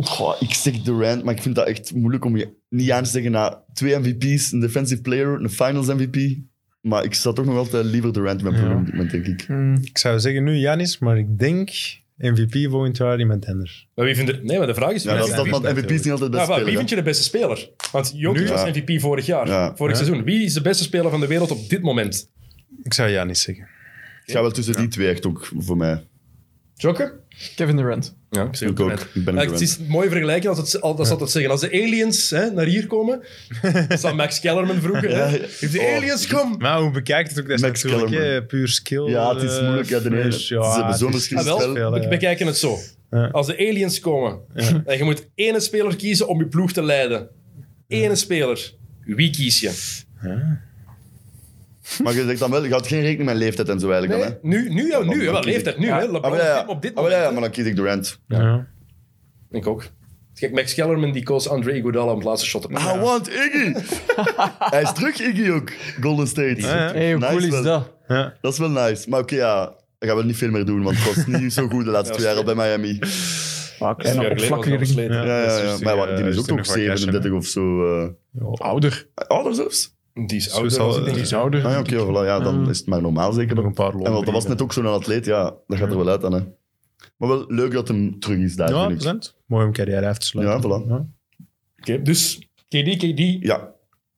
Speaker 5: Goh, ik zeg Durant, maar ik vind dat echt moeilijk om je niet aan te zeggen na twee MVP's, een defensive player, een finals MVP. Maar ik zou toch nog altijd liever Durant in mijn ploeg op dit moment, denk ik.
Speaker 6: Ik zou zeggen nu Janis, maar ik denk MVP volgend jaar iemand anders.
Speaker 4: Maar wie vindt er... Nee, maar de vraag is...
Speaker 5: Ja,
Speaker 4: wie
Speaker 5: dat is
Speaker 4: vindt-
Speaker 5: dat, want MVP is niet altijd
Speaker 4: Ja,
Speaker 5: best
Speaker 4: maar Ah, wie
Speaker 5: spelen.
Speaker 4: vind je de beste speler? Want Jokic
Speaker 5: Nu?
Speaker 4: was
Speaker 5: Ja.
Speaker 4: MVP vorig jaar,
Speaker 5: Ja.
Speaker 4: vorig seizoen. Wie is de beste speler van de wereld op dit moment?
Speaker 6: Ik zou ja niet zeggen.
Speaker 5: Ik ga wel tussen die twee echt ook voor mij.
Speaker 4: Joker?
Speaker 7: Kevin Durant.
Speaker 4: Ja, ik, zeg
Speaker 5: Ik ook.
Speaker 4: net.
Speaker 5: Ik ben
Speaker 4: Ja,
Speaker 5: hem
Speaker 4: het
Speaker 5: gewend.
Speaker 4: is mooi vergelijken als het, als dat het zeggen. Als de aliens hè, naar hier komen, dat zou Max Kellerman vroeger. hè.
Speaker 5: Ja, ja.
Speaker 4: If the
Speaker 5: Oh.
Speaker 4: aliens come!
Speaker 6: Maar hoe bekijkt het ook? Dat is
Speaker 5: Max
Speaker 6: natuurlijk
Speaker 5: Kellerman.
Speaker 6: hè, puur skill.
Speaker 5: Ja, het is
Speaker 6: eh,
Speaker 5: moeilijk. Ja, de ene-
Speaker 6: finish. Ja,
Speaker 5: ze hebben
Speaker 6: het
Speaker 5: zo'n
Speaker 6: is-
Speaker 5: verschil.
Speaker 4: Ah, wel,
Speaker 5: spel,
Speaker 6: ja.
Speaker 4: we bekijken het zo.
Speaker 6: Ja.
Speaker 4: Als de aliens komen en je moet één speler kiezen om je ploeg te leiden. Ene speler. Wie kies je?
Speaker 5: Maar je zegt dan wel, je houdt geen rekening met leeftijd en zo eigenlijk dan, hè?
Speaker 4: Nu, nu, ja, nu, hè, wel
Speaker 5: dan kies
Speaker 4: leeftijd. Nu, hè,
Speaker 5: Ah,
Speaker 4: LeBron
Speaker 5: maar ja, ja.
Speaker 4: op dit
Speaker 5: Ah, maar
Speaker 4: moment.
Speaker 5: ja, ja, maar dan kies ik Durant.
Speaker 6: Ja.
Speaker 4: Ik ook. Kijk, Max Kellerman die koos André Iguodala om het laatste shot te maken.
Speaker 5: I Ah, want Iggy! Hij is terug, Iggy ook. Golden State.
Speaker 6: Ja.
Speaker 7: Hey, hoe
Speaker 5: Nice
Speaker 7: cool is
Speaker 5: wel.
Speaker 7: dat?
Speaker 6: Ja.
Speaker 5: Dat is wel nice. Maar oké, ja, ik ga wel niet veel meer doen, want het was niet zo goed de laatste twee jaar bij Miami.
Speaker 4: Een jaar
Speaker 7: En
Speaker 4: geleden was dat
Speaker 7: opflakkering.
Speaker 4: versleten.
Speaker 5: Ja, ja,
Speaker 6: dat is
Speaker 4: dus
Speaker 5: ja.
Speaker 6: rustig,
Speaker 5: Maar ja, die
Speaker 6: eh,
Speaker 5: is ook
Speaker 6: rustig
Speaker 5: nog
Speaker 6: nog wat
Speaker 5: 37 of zo. eh.
Speaker 7: Ouder.
Speaker 5: Ouder zelfs?
Speaker 4: Die is
Speaker 6: Zo
Speaker 4: ouder
Speaker 6: zal-
Speaker 4: dan ik denk
Speaker 6: die
Speaker 4: ik.
Speaker 6: is ouder.
Speaker 5: Ah, ja, oké, voilà, ja, dan is het maar normaal zeker.
Speaker 6: Nog
Speaker 5: En
Speaker 6: een paar lopen.
Speaker 5: want dat was net ook zo'n atleet, ja, dat gaat er wel uit aan, hè. Maar wel leuk dat hem terug is daar,
Speaker 6: Ja,
Speaker 5: vind ik.
Speaker 6: present. Mooi om carrière af te
Speaker 5: Ja,
Speaker 6: sluiten.
Speaker 5: voilà.
Speaker 4: Oké, Dus KD, KD,
Speaker 5: Ja,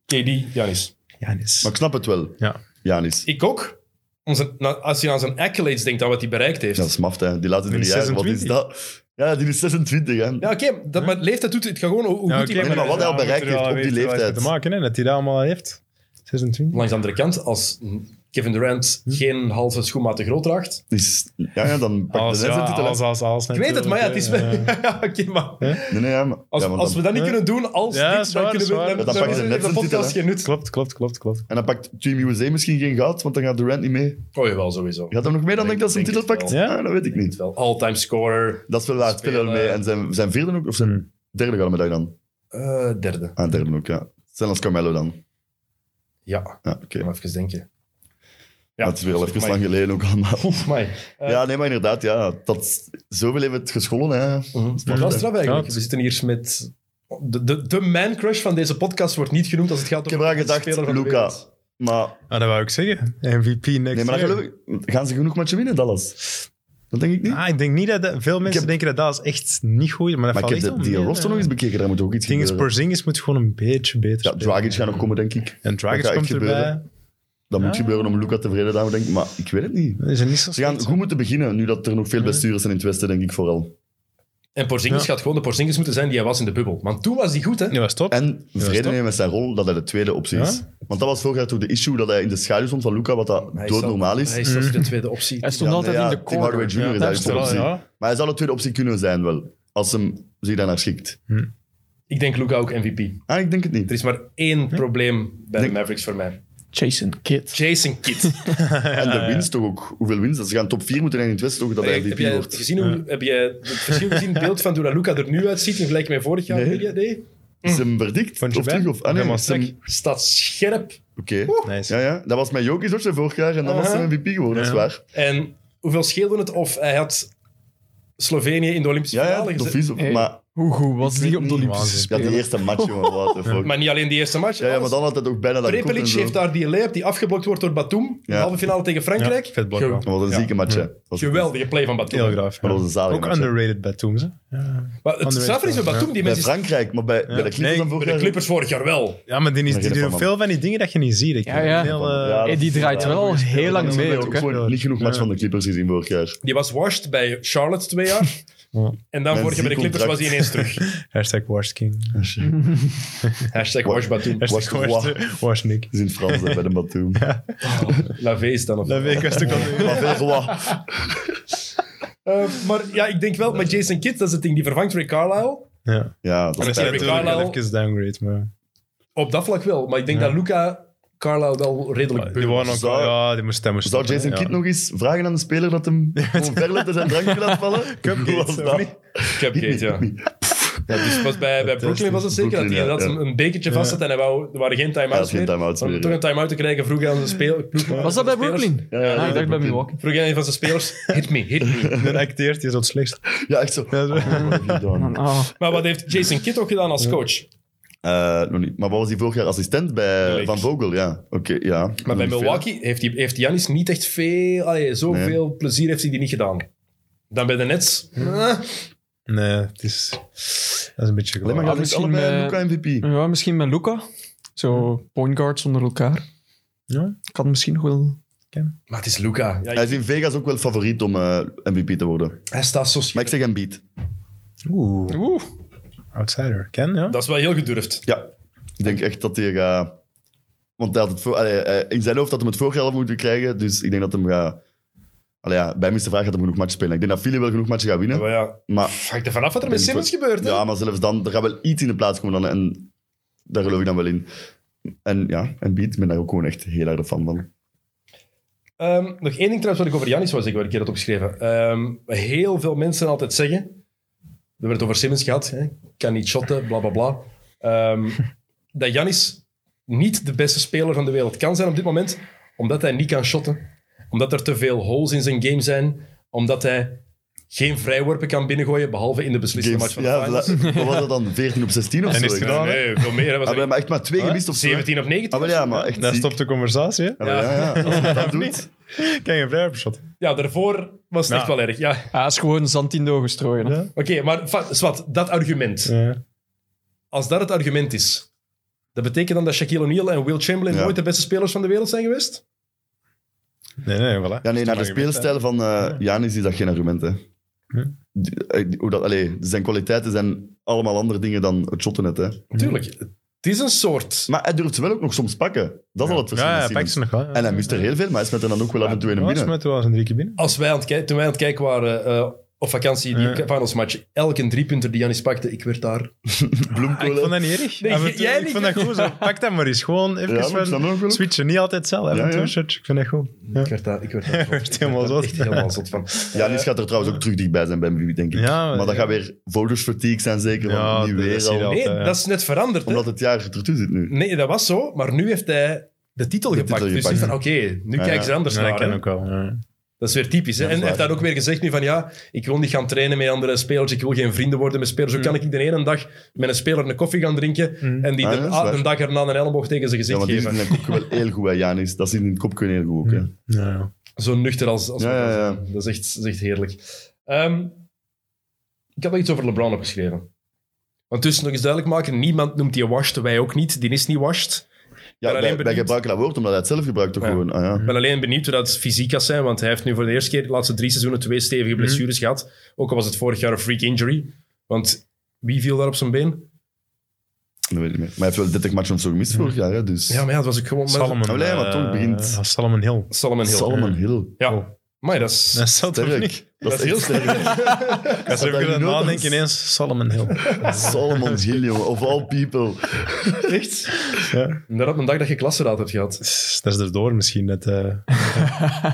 Speaker 4: KD, Janis.
Speaker 6: Ja, nice.
Speaker 5: maar ik snap het wel,
Speaker 6: Ja.
Speaker 5: Janis.
Speaker 4: Ik ook. Onze, nou, als je aan zijn accolades denkt, aan wat hij bereikt heeft.
Speaker 5: Dat is maft, hè. Die laatste
Speaker 6: Die
Speaker 5: drie
Speaker 6: is
Speaker 5: jaar, wat is
Speaker 6: 26.
Speaker 5: dat? Ja, die is 26, hè.
Speaker 4: Ja, oké, dat maar leeftijd doet het gaat gewoon hoe hoe
Speaker 6: Ja,
Speaker 4: goed
Speaker 6: oké,
Speaker 4: hij
Speaker 5: maar wat hij al
Speaker 6: ja,
Speaker 5: bereikt
Speaker 6: moet er wel
Speaker 5: heeft op die
Speaker 6: weten wat hij
Speaker 5: leeftijd.
Speaker 6: te maken, hè, dat hij dat allemaal heeft. 26.
Speaker 4: Langs de andere kant, als Kevin Durant geen halve schoenmaat te groot draagt.
Speaker 5: Dus, ja, ja, dan pak
Speaker 6: Alles,
Speaker 5: je de
Speaker 6: ja,
Speaker 5: titel. hè.
Speaker 6: alles, alles, alles.
Speaker 4: Ik weet het, maar ja, het is wel.
Speaker 6: natuurlijk, hè.
Speaker 4: Ja, oké, maar
Speaker 5: Nee, nee, ja, maar,
Speaker 4: als,
Speaker 5: ja, want
Speaker 4: als we
Speaker 5: dan,
Speaker 4: dat niet
Speaker 6: Ja.
Speaker 4: kunnen doen, als
Speaker 6: Ja,
Speaker 4: dit,
Speaker 6: is
Speaker 4: dan
Speaker 6: waar,
Speaker 4: kunnen
Speaker 6: is
Speaker 4: we
Speaker 6: waar.
Speaker 4: dan,
Speaker 5: Dan pakken ze
Speaker 4: is
Speaker 5: net
Speaker 4: de
Speaker 5: zijn titel,
Speaker 4: podcast
Speaker 5: hè.
Speaker 4: geen nut.
Speaker 6: Klopt, klopt, klopt, klopt.
Speaker 5: en dan pakt Team USA misschien geen goud, want dan gaat Durant niet mee.
Speaker 4: Oh jawel, sowieso.
Speaker 5: Gaat hem nog mee dan denk ik dat ze een
Speaker 4: Denk
Speaker 5: titel
Speaker 4: het
Speaker 5: pakt?
Speaker 6: wel.
Speaker 5: Ja, dat weet ik niet.
Speaker 4: Wel, eh, all-time scorer,
Speaker 5: Dat is wel waar, het spelen wel mee. En zijn, zijn vierde ook, of
Speaker 4: Hmm.
Speaker 5: zijn derde gouden medaille dan?
Speaker 4: eh, derde.
Speaker 5: Ah, derde ook, ja. Zijn als Carmelo dan.
Speaker 4: Ja,
Speaker 5: Ja, oké.
Speaker 4: maar even denken.
Speaker 5: Ja, het is weer al even
Speaker 4: Amai.
Speaker 5: lang geleden ook allemaal.
Speaker 4: Amai. Eh,
Speaker 5: Ja, nee, maar inderdaad, ja. Dat, zoveel heeft het geschollen, hè.
Speaker 4: Dat is wel straf eigenlijk.
Speaker 6: Ja.
Speaker 4: We zitten hier met... De, de, de man-crush van deze podcast wordt niet genoemd als het gaat
Speaker 5: Ik
Speaker 4: om...
Speaker 5: heb eraan
Speaker 4: de
Speaker 5: gedacht,
Speaker 4: speler van de
Speaker 5: Luca.
Speaker 4: wereld.
Speaker 5: Maar,
Speaker 6: Ah, dat wou ik zeggen. MVP next
Speaker 5: nee, maar dan
Speaker 6: year.
Speaker 5: geloof ik- gaan ze genoeg matchen winnen, Dallas? Dat denk ik niet.
Speaker 6: Ah, ik denk niet dat... dat- veel mensen
Speaker 5: heb-
Speaker 6: denken dat dat is echt niet goed is, maar
Speaker 5: maar
Speaker 6: dat
Speaker 5: ik
Speaker 6: valt
Speaker 5: heb
Speaker 6: echt
Speaker 5: de,
Speaker 6: wel
Speaker 5: die
Speaker 6: mee,
Speaker 5: roster
Speaker 6: hè.
Speaker 5: nog eens bekeken, daar moet ook iets
Speaker 6: Het ding is,
Speaker 5: gebeuren.
Speaker 6: Porzingis moet gewoon een beetje beter
Speaker 5: Ja,
Speaker 6: spelen.
Speaker 5: Dragic gaat nog komen, denk ik.
Speaker 6: En Dragic
Speaker 5: Dat gaat
Speaker 6: komt
Speaker 5: echt gebeuren.
Speaker 6: erbij.
Speaker 5: Dat moet gebeuren om Luca tevreden te houden, denk ik. Maar ik weet het niet.
Speaker 6: Dat is er niet zo
Speaker 5: Ze gaan
Speaker 6: slecht.
Speaker 5: goed moeten beginnen, nu dat er nog veel bestuurders zijn in het Westen, denk ik vooral.
Speaker 4: En Porzingis gaat gewoon de Porzingis moeten zijn die hij was in de bubbel. Want toen was hij goed, hè?
Speaker 6: Ja, was top.
Speaker 5: En vrede
Speaker 6: toch?
Speaker 5: nemen met zijn rol, dat hij de tweede optie is.
Speaker 6: Ja?
Speaker 5: Want dat was vorig jaar toch de issue, dat hij in de schaduw stond van Luca, wat dat
Speaker 4: Hij
Speaker 5: doodnormaal is. Mhm.
Speaker 4: Hij is zelfs de tweede optie.
Speaker 7: Hij stond
Speaker 5: Ja,
Speaker 7: altijd
Speaker 5: ja,
Speaker 7: in de
Speaker 5: Tim Hardaway
Speaker 7: corner.
Speaker 5: Jr. is
Speaker 6: dat
Speaker 5: eigenlijk
Speaker 6: is
Speaker 5: de
Speaker 6: wel,
Speaker 5: optie.
Speaker 6: ja.
Speaker 5: Maar hij zou de tweede optie kunnen zijn wel, als hem zich daarnaar schikt.
Speaker 4: Ik denk Luca ook MVP.
Speaker 5: Ah, ik denk het
Speaker 4: Er
Speaker 5: niet.
Speaker 4: is maar één probleem bij
Speaker 5: Denk-
Speaker 4: de Mavericks voor mij.
Speaker 7: Jason Kidd.
Speaker 4: Jason Kidd.
Speaker 5: En de winst toch ook. Hoeveel winst? Als ze gaan top 4 moeten en in het Westen toch dat hij
Speaker 4: heb,
Speaker 5: MVP
Speaker 4: jij het
Speaker 5: wordt.
Speaker 4: gezien hoe, heb jij het verschil gezien in het beeld van hoe dat Luca er nu uitziet in vergelijking met vorig jaar?
Speaker 5: Nee.
Speaker 4: Wil je- Nee.
Speaker 5: Is hem verdikt?
Speaker 6: Vond je
Speaker 5: Of
Speaker 6: bij?
Speaker 5: terug? Of, ah, nee,
Speaker 6: Helemaal
Speaker 5: is hem-
Speaker 6: sec.
Speaker 4: Staat scherp.
Speaker 5: Oké.
Speaker 6: Nice.
Speaker 5: Ja, ja. Dat was met Jokic ook zijn vorig jaar en dan was
Speaker 4: Aha.
Speaker 5: hij MVP geworden, dat is waar.
Speaker 4: En hoeveel scheelde het of hij had Slovenië in de Olympische
Speaker 5: Ja, ja,
Speaker 4: finale
Speaker 5: dat
Speaker 4: gezet?
Speaker 5: is
Speaker 7: Hey.
Speaker 5: Maar
Speaker 7: Hoe goed was die op de Olympische
Speaker 5: ja, die
Speaker 7: Spelen?
Speaker 5: eerste match, jongen, what the fuck.
Speaker 4: Maar niet alleen die eerste match.
Speaker 5: Ja, ja, maar
Speaker 4: alles.
Speaker 5: dan had het ook bijna dat kop en
Speaker 4: Prepelic
Speaker 5: zo.
Speaker 4: heeft daar die layup die afgeblokt wordt door Batum. in De
Speaker 5: Ja.
Speaker 4: halve finale tegen Frankrijk.
Speaker 6: Ja, vet blok wel.
Speaker 5: Dat was een
Speaker 4: Ja.
Speaker 5: zieke match, hè. Dat was-
Speaker 4: Geweldige play van Batum.
Speaker 6: Heel graaf.
Speaker 5: Maar dat was
Speaker 6: ja.
Speaker 5: een zalige
Speaker 6: Ook
Speaker 5: match, hè.
Speaker 6: underrated bij Toons. hè. Ja.
Speaker 4: Maar het
Speaker 6: Underrated
Speaker 4: straffer is met
Speaker 6: wel,
Speaker 4: Batum. Die
Speaker 5: Bij
Speaker 4: mensen
Speaker 5: Frankrijk, maar bij, bij de Clippers
Speaker 6: Nee,
Speaker 5: dan
Speaker 4: bij
Speaker 5: vorig
Speaker 4: de
Speaker 5: jaar...
Speaker 4: Clippers vorig jaar wel.
Speaker 6: ja, maar die, is, die
Speaker 5: geen
Speaker 6: doen
Speaker 5: van,
Speaker 6: veel van die dingen dat je niet ziet. Ik
Speaker 7: Ja,
Speaker 6: vind
Speaker 7: ja.
Speaker 6: het Heel, eh,
Speaker 5: Ja, dat
Speaker 7: Hey, die
Speaker 5: is-
Speaker 7: draait
Speaker 5: ja.
Speaker 7: wel al heel
Speaker 5: Ja,
Speaker 7: lang
Speaker 5: dat werd
Speaker 7: mee
Speaker 5: ook
Speaker 7: ook. hè.
Speaker 5: gewoon niet genoeg match
Speaker 6: Ja.
Speaker 5: van de Clippers gezien vorig jaar.
Speaker 4: Die was washed bij Charlotte twee jaar. En dan
Speaker 5: Met
Speaker 4: vorig jaar bij de
Speaker 5: ziek
Speaker 4: Clippers was hij ineens
Speaker 5: contract.
Speaker 4: terug.
Speaker 6: Hashtag Worst King.
Speaker 4: Hashtag wash Batum.
Speaker 6: Hashtag
Speaker 5: Worst-
Speaker 6: Worst- Worst Nick.
Speaker 5: Dat is in het Frans, hè, bij de Batum.
Speaker 4: La is dan. Of...
Speaker 6: Dat weet ik was het ook al.
Speaker 5: Maar Verroy.
Speaker 4: Eh, maar ja, ik denk wel, met Jason Kidd, dat is het ding. Die vervangt Ray Carlisle.
Speaker 6: Ja,
Speaker 5: Ja, dat is
Speaker 4: is hij
Speaker 5: pijnlijk.
Speaker 4: Rick
Speaker 6: natuurlijk wel
Speaker 4: Carlisle.
Speaker 6: even downgrade, maar...
Speaker 4: Op dat vlak wel. Maar ik denk dat Luca Carlisle wel redelijk...
Speaker 6: Die waren ook...
Speaker 5: Zou-
Speaker 6: Ja, die moest... die moest
Speaker 5: Dus Zou Jason
Speaker 6: ja.
Speaker 5: Kidd nog eens vragen aan de speler dat hem gewoon ver laten zijn drankje laat vallen?
Speaker 6: Cupcakes,
Speaker 5: Hoe was
Speaker 6: of
Speaker 5: dat?
Speaker 6: niet?
Speaker 4: Cupgate, ja. ja dus was bij, bij Brooklyn was het zeker dat hij
Speaker 5: Brooklyn, ja,
Speaker 4: inderdaad
Speaker 5: ja.
Speaker 4: een, een bekertje vast had en hij wou, er waren geen
Speaker 5: Ja, er
Speaker 4: time-outs
Speaker 5: was geen
Speaker 4: meer.
Speaker 5: time-outs
Speaker 4: Om
Speaker 5: meer,
Speaker 4: toch
Speaker 5: ja.
Speaker 4: een time-out te krijgen vroeg hij aan de speler...
Speaker 7: Was dat bij Brooklyn?
Speaker 5: ja, ja, ja,
Speaker 7: Ah, ik dacht bij
Speaker 5: Brooklyn.
Speaker 7: Milwaukee.
Speaker 4: Vroeg hij een van zijn spelers, hit me, hit me.
Speaker 6: Dan acteert hij zo het slechtst.
Speaker 5: Ja, echt zo. Oh,
Speaker 6: Ja, zo.
Speaker 5: Dan.
Speaker 7: Ah,
Speaker 4: Maar wat heeft Jason Kidd ook gedaan als coach?
Speaker 5: Eh, nog niet. Maar wat was hij vorig jaar assistent bij
Speaker 4: Lakers.
Speaker 5: Van Vogel? Ja, oké, ja.
Speaker 4: Maar bij
Speaker 5: Niet
Speaker 4: Milwaukee heeft, hij, heeft Janis niet echt veel... Allee, zoveel plezier heeft hij die niet gedaan. Dan bij de Nets. Eh,
Speaker 6: Nee, het is, dat is een beetje
Speaker 5: Alleen maar
Speaker 6: gelijk.
Speaker 5: gaat dus
Speaker 7: misschien
Speaker 5: allebei
Speaker 7: met-
Speaker 5: Luca MVP.
Speaker 7: Ja, misschien met Luca. Zo point guards onder elkaar.
Speaker 6: Ja.
Speaker 7: Kan misschien nog wel.
Speaker 4: Maar het is Luca. Ja,
Speaker 5: Hij is in Vegas ook wel favoriet om eh, MVP te worden.
Speaker 4: hij staat zo scherp.
Speaker 5: Maar ik zeg Embiid.
Speaker 6: Oeh,
Speaker 7: Oeh.
Speaker 6: outsider. Ken, ja?
Speaker 4: Dat is wel heel gedurfd.
Speaker 5: Ja. Ik denk echt dat hij gaat... Want hij had het voor, allee, eh, in zijn hoofd had hij het vorig jaar al moeten krijgen. Dus ik denk dat hem gaat... Allee, ja, bij Mr. Vraag gaat hem genoeg matchen spelen. Ik denk dat Philly wel genoeg matchen gaat winnen.
Speaker 4: Maar ja,
Speaker 5: Maar,
Speaker 4: hangt er vanaf wat er met
Speaker 5: Ik denk
Speaker 4: Simmons gebeurt. hè?
Speaker 5: ja, maar zelfs dan, er gaat wel iets in de plaats komen. Dan, en daar geloof ik dan wel in. En ja, Embiid, ik ben daar ook gewoon echt heel erg een fan van.
Speaker 4: Ehm, nog één ding trouwens wat ik over Janis wou zeggen, waar ik hier had opgeschreven. Ehm, wat heel veel mensen altijd zeggen, we hebben het over Simmons gehad, hè, kan niet shotten, bla bla bla. Ehm, dat Janis niet de beste speler van de wereld kan zijn op dit moment, omdat hij niet kan shotten. Omdat er te veel holes in zijn game zijn. Omdat hij geen vrijworpen kan binnengooien, behalve in de beslissende match van de
Speaker 5: ja,
Speaker 4: finals.
Speaker 5: wat was dat dan? 14 op 16 of
Speaker 6: En
Speaker 5: zo?
Speaker 6: is het
Speaker 5: Ik-
Speaker 6: gedaan?
Speaker 4: Nee, nee, veel meer. Hij was
Speaker 5: Hebben we maar echt maar twee
Speaker 4: echt-
Speaker 5: gemist of zo? hè?
Speaker 4: 17 of 19.
Speaker 5: Ah, wel ja, maar echt
Speaker 6: Daar
Speaker 5: ziek.
Speaker 6: stopt de conversatie, hè?
Speaker 5: Ah, wel ja, ja. Als je dat doet,
Speaker 6: Ken je vrijwerpershot?
Speaker 4: Ja, daarvoor was het
Speaker 6: Ja.
Speaker 4: echt wel erg. Ja.
Speaker 7: Hij is gewoon zand in de ogen strooien. hè.
Speaker 6: Ja.
Speaker 4: Oké, maar fa- zwart, dat argument.
Speaker 6: Ja.
Speaker 4: als dat het argument is, dat betekent dan dat Shaquille O'Neal en Will Chamberlain
Speaker 5: Ja.
Speaker 4: nooit de beste spelers van de wereld zijn geweest?
Speaker 6: Nee, nee, voilà.
Speaker 5: Ja, nee, naar de
Speaker 6: Argument, hè.
Speaker 5: speelstijl van eh Janis is dat geen argument, hè.
Speaker 6: Hm.
Speaker 5: Die- eh, Hoe dat, allee, zijn kwaliteiten zijn allemaal andere dingen dan het shotten net, hè.
Speaker 4: Natuurlijk. Het is een soort.
Speaker 5: Maar hij durft ze wel ook nog soms pakken. Dat is al het verschil.
Speaker 6: Ja,
Speaker 5: met
Speaker 6: ja,
Speaker 5: Simmons.
Speaker 6: pakt ze nog wel. ja.
Speaker 5: En hij mist er heel veel, maar hij smet er dan ook wel af en toe in
Speaker 6: Ja,
Speaker 5: binnen.
Speaker 6: ze met wel eens een drie keer binnen.
Speaker 4: Als wij aan het kijken, toen wij aan het kijken waren eh, op vakantie, die
Speaker 6: Ja.
Speaker 4: finals match, elke driepunter die Janis pakte, ik werd daar.
Speaker 6: Ik
Speaker 5: Bloemkolen.
Speaker 6: vond dat niet erg.
Speaker 4: Nee,
Speaker 6: Af en
Speaker 4: jij-
Speaker 6: toe-
Speaker 4: jij
Speaker 6: ik
Speaker 4: niet.
Speaker 6: vond dat goed. Zo. Pak dat maar eens. Gewoon even
Speaker 5: Ja, maar ik snap
Speaker 6: van-
Speaker 5: dat ook wel.
Speaker 6: switchen. Niet altijd hetzelfde.
Speaker 5: Ja,
Speaker 6: Ja,
Speaker 5: ja.
Speaker 6: Ik vind dat goed. Ja.
Speaker 4: Ik werd daar, ik werd daar
Speaker 6: werd
Speaker 4: zot.
Speaker 6: helemaal
Speaker 4: Ik werd daar
Speaker 6: zot.
Speaker 4: Echt helemaal zot van.
Speaker 5: Janis gaat er trouwens ook terug dichtbij zijn bij MVP, denk ik.
Speaker 6: Ja,
Speaker 5: maar dat
Speaker 6: ja.
Speaker 5: gaat weer voters fatigue zijn, zeker. Want
Speaker 6: Ja,
Speaker 5: nu
Speaker 6: dat
Speaker 5: weer
Speaker 6: zie je
Speaker 5: al.
Speaker 6: wel.
Speaker 4: Nee,
Speaker 6: Ja.
Speaker 4: dat is net veranderd. hè.
Speaker 5: Omdat het jaar ertoe zit nu.
Speaker 4: Nee, dat was zo, maar nu heeft hij de titel gepakt.
Speaker 5: titel
Speaker 4: dus
Speaker 5: gepakt.
Speaker 4: hij van, oké, nu
Speaker 5: Ja,
Speaker 4: kijken
Speaker 5: ja.
Speaker 4: ze anders
Speaker 6: Ja, dat
Speaker 4: naar.
Speaker 6: ken
Speaker 4: hè.
Speaker 6: ik wel. Ja.
Speaker 4: Dat is weer typisch. Hè?
Speaker 5: Ja, dat
Speaker 4: en
Speaker 5: is
Speaker 4: hij heeft
Speaker 5: waar.
Speaker 4: daar ook weer gezegd nu van ja, ik wil niet gaan trainen met andere spelers, ik wil geen vrienden worden met spelers. Zo kan ik de ene dag met een speler een koffie gaan drinken en die
Speaker 5: Ah,
Speaker 4: de,
Speaker 5: ja, dat is
Speaker 4: ah,
Speaker 5: waar.
Speaker 4: de dag erna een elleboog tegen zijn
Speaker 5: Ja,
Speaker 4: gezicht
Speaker 5: maar die zit in
Speaker 4: geven.
Speaker 5: de kopje wel heel goed, hè, Janis. Dat zit in het kopje heel goed ook, hè.
Speaker 6: Ja, ja.
Speaker 4: Zo nuchter als... als
Speaker 5: Ja, ja, ja.
Speaker 4: Dat, is echt, dat is echt heerlijk. Ehm, ik had nog iets over LeBron opgeschreven. Want dus nog eens duidelijk maken, niemand noemt die washed, wij ook niet. Die is niet washed.
Speaker 5: Ja,
Speaker 4: alleen
Speaker 5: wij, wij
Speaker 4: benieuwd.
Speaker 5: gebruiken dat woord omdat hij het zelf gebruikt, toch
Speaker 4: Ja.
Speaker 5: gewoon. Ah, ja.
Speaker 4: Ik ben alleen benieuwd hoe dat fysiek gaat zijn, want hij heeft nu voor de eerste keer de laatste drie seizoenen twee stevige blessures gehad. Ook al was het vorig jaar een freak injury. Want wie viel daar op zijn been?
Speaker 5: Dat weet ik niet meer. Maar hij heeft wel 30 matchen of zo gemist vorig jaar, hè, dus...
Speaker 4: Ja, maar ja, dat was ook gewoon...
Speaker 6: Salomon.
Speaker 5: Oh, nee, maar
Speaker 6: eh,
Speaker 5: toch begint-
Speaker 6: als Salomon Hill.
Speaker 4: Salomon Hill.
Speaker 5: Salomon Hill.
Speaker 4: Ja. Maar dat is...
Speaker 6: Dat is dat toch
Speaker 5: Sterk.
Speaker 6: niet?
Speaker 5: Dat, is
Speaker 4: heel
Speaker 5: heel
Speaker 4: sterk.
Speaker 5: sterk.
Speaker 6: Als je
Speaker 5: dat
Speaker 6: even
Speaker 5: je nooit
Speaker 6: nadenken,
Speaker 5: als-
Speaker 6: ineens Salomon Hill.
Speaker 5: Salomon Hill, jongen. Of all people. Echt?
Speaker 4: En dat op een dag dat je klassenraad hebt gehad.
Speaker 6: Dat is erdoor misschien. Dat, eh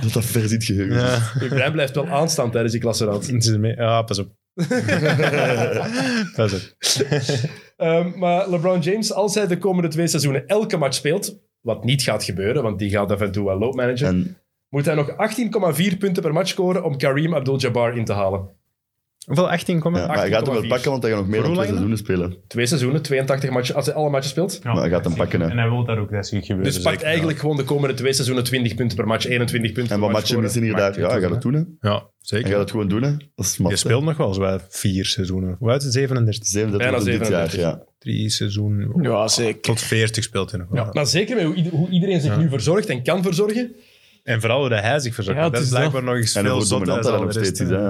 Speaker 5: Dat dat ver zit geheugen. is.
Speaker 6: ja.
Speaker 4: Je brein blijft wel aanstaan tijdens die klassenraad.
Speaker 6: Het is ermee- ja, pas op. pas op.
Speaker 4: Ehm, maar LeBron James, als hij de komende twee seizoenen elke match speelt, wat niet gaat gebeuren, want die gaat af en toe wel loopmanagen,
Speaker 5: En
Speaker 4: moet hij nog 18,4 punten per match scoren om Kareem Abdul-Jabbar in te halen.
Speaker 6: Hoeveel? 18,
Speaker 5: Ja, maar hij gaat hem wel
Speaker 4: 18,4.
Speaker 5: pakken, want hij gaat nog meer
Speaker 6: Voor
Speaker 5: dan
Speaker 6: hoe
Speaker 5: twee
Speaker 6: lang
Speaker 5: seizoenen spelen.
Speaker 4: Twee seizoenen, 82 matchen, als hij alle matchen speelt.
Speaker 5: Maar hij gaat hem pakken, hè.
Speaker 6: En hij wil daar ook, dat zie ik gebeuren.
Speaker 4: Dus pakt eigenlijk gewoon de komende twee seizoenen 20 punten per match, 21 punten
Speaker 5: En
Speaker 4: per
Speaker 5: wat
Speaker 4: match.
Speaker 5: matchen missen
Speaker 4: scoren.
Speaker 5: hier
Speaker 6: Maakt
Speaker 5: daar?
Speaker 6: niet
Speaker 5: Ja, hij
Speaker 6: uit,
Speaker 5: gaat het doen, hè.
Speaker 6: Ja,
Speaker 5: Hij
Speaker 6: zeker.
Speaker 5: gaat het gewoon doen, hè. Dat is
Speaker 6: Je
Speaker 5: maf.
Speaker 6: speelt nog wel eens bij vier seizoenen. Hoe uit het 37?
Speaker 5: 37
Speaker 4: Bijna
Speaker 5: dit jaar,
Speaker 4: 37.
Speaker 5: ja.
Speaker 6: Drie seizoenen.
Speaker 7: Ja, zeker.
Speaker 6: Tot 40 speelt hij nog wel.
Speaker 4: Ja. Maar zeker met hoe, ieder- hoe iedereen zich nu verzorgt en kan verzorgen,
Speaker 6: En vooral hoe dat hij zich verzorgt.
Speaker 7: Ja, het
Speaker 6: dat is
Speaker 7: is dat.
Speaker 6: blijkbaar nog eens
Speaker 5: En
Speaker 6: veel
Speaker 5: hoe
Speaker 6: zotter
Speaker 5: dominant
Speaker 6: als
Speaker 5: dat hij
Speaker 6: al
Speaker 5: nog
Speaker 6: de rest,
Speaker 5: steeds is,
Speaker 6: hè.
Speaker 5: hè.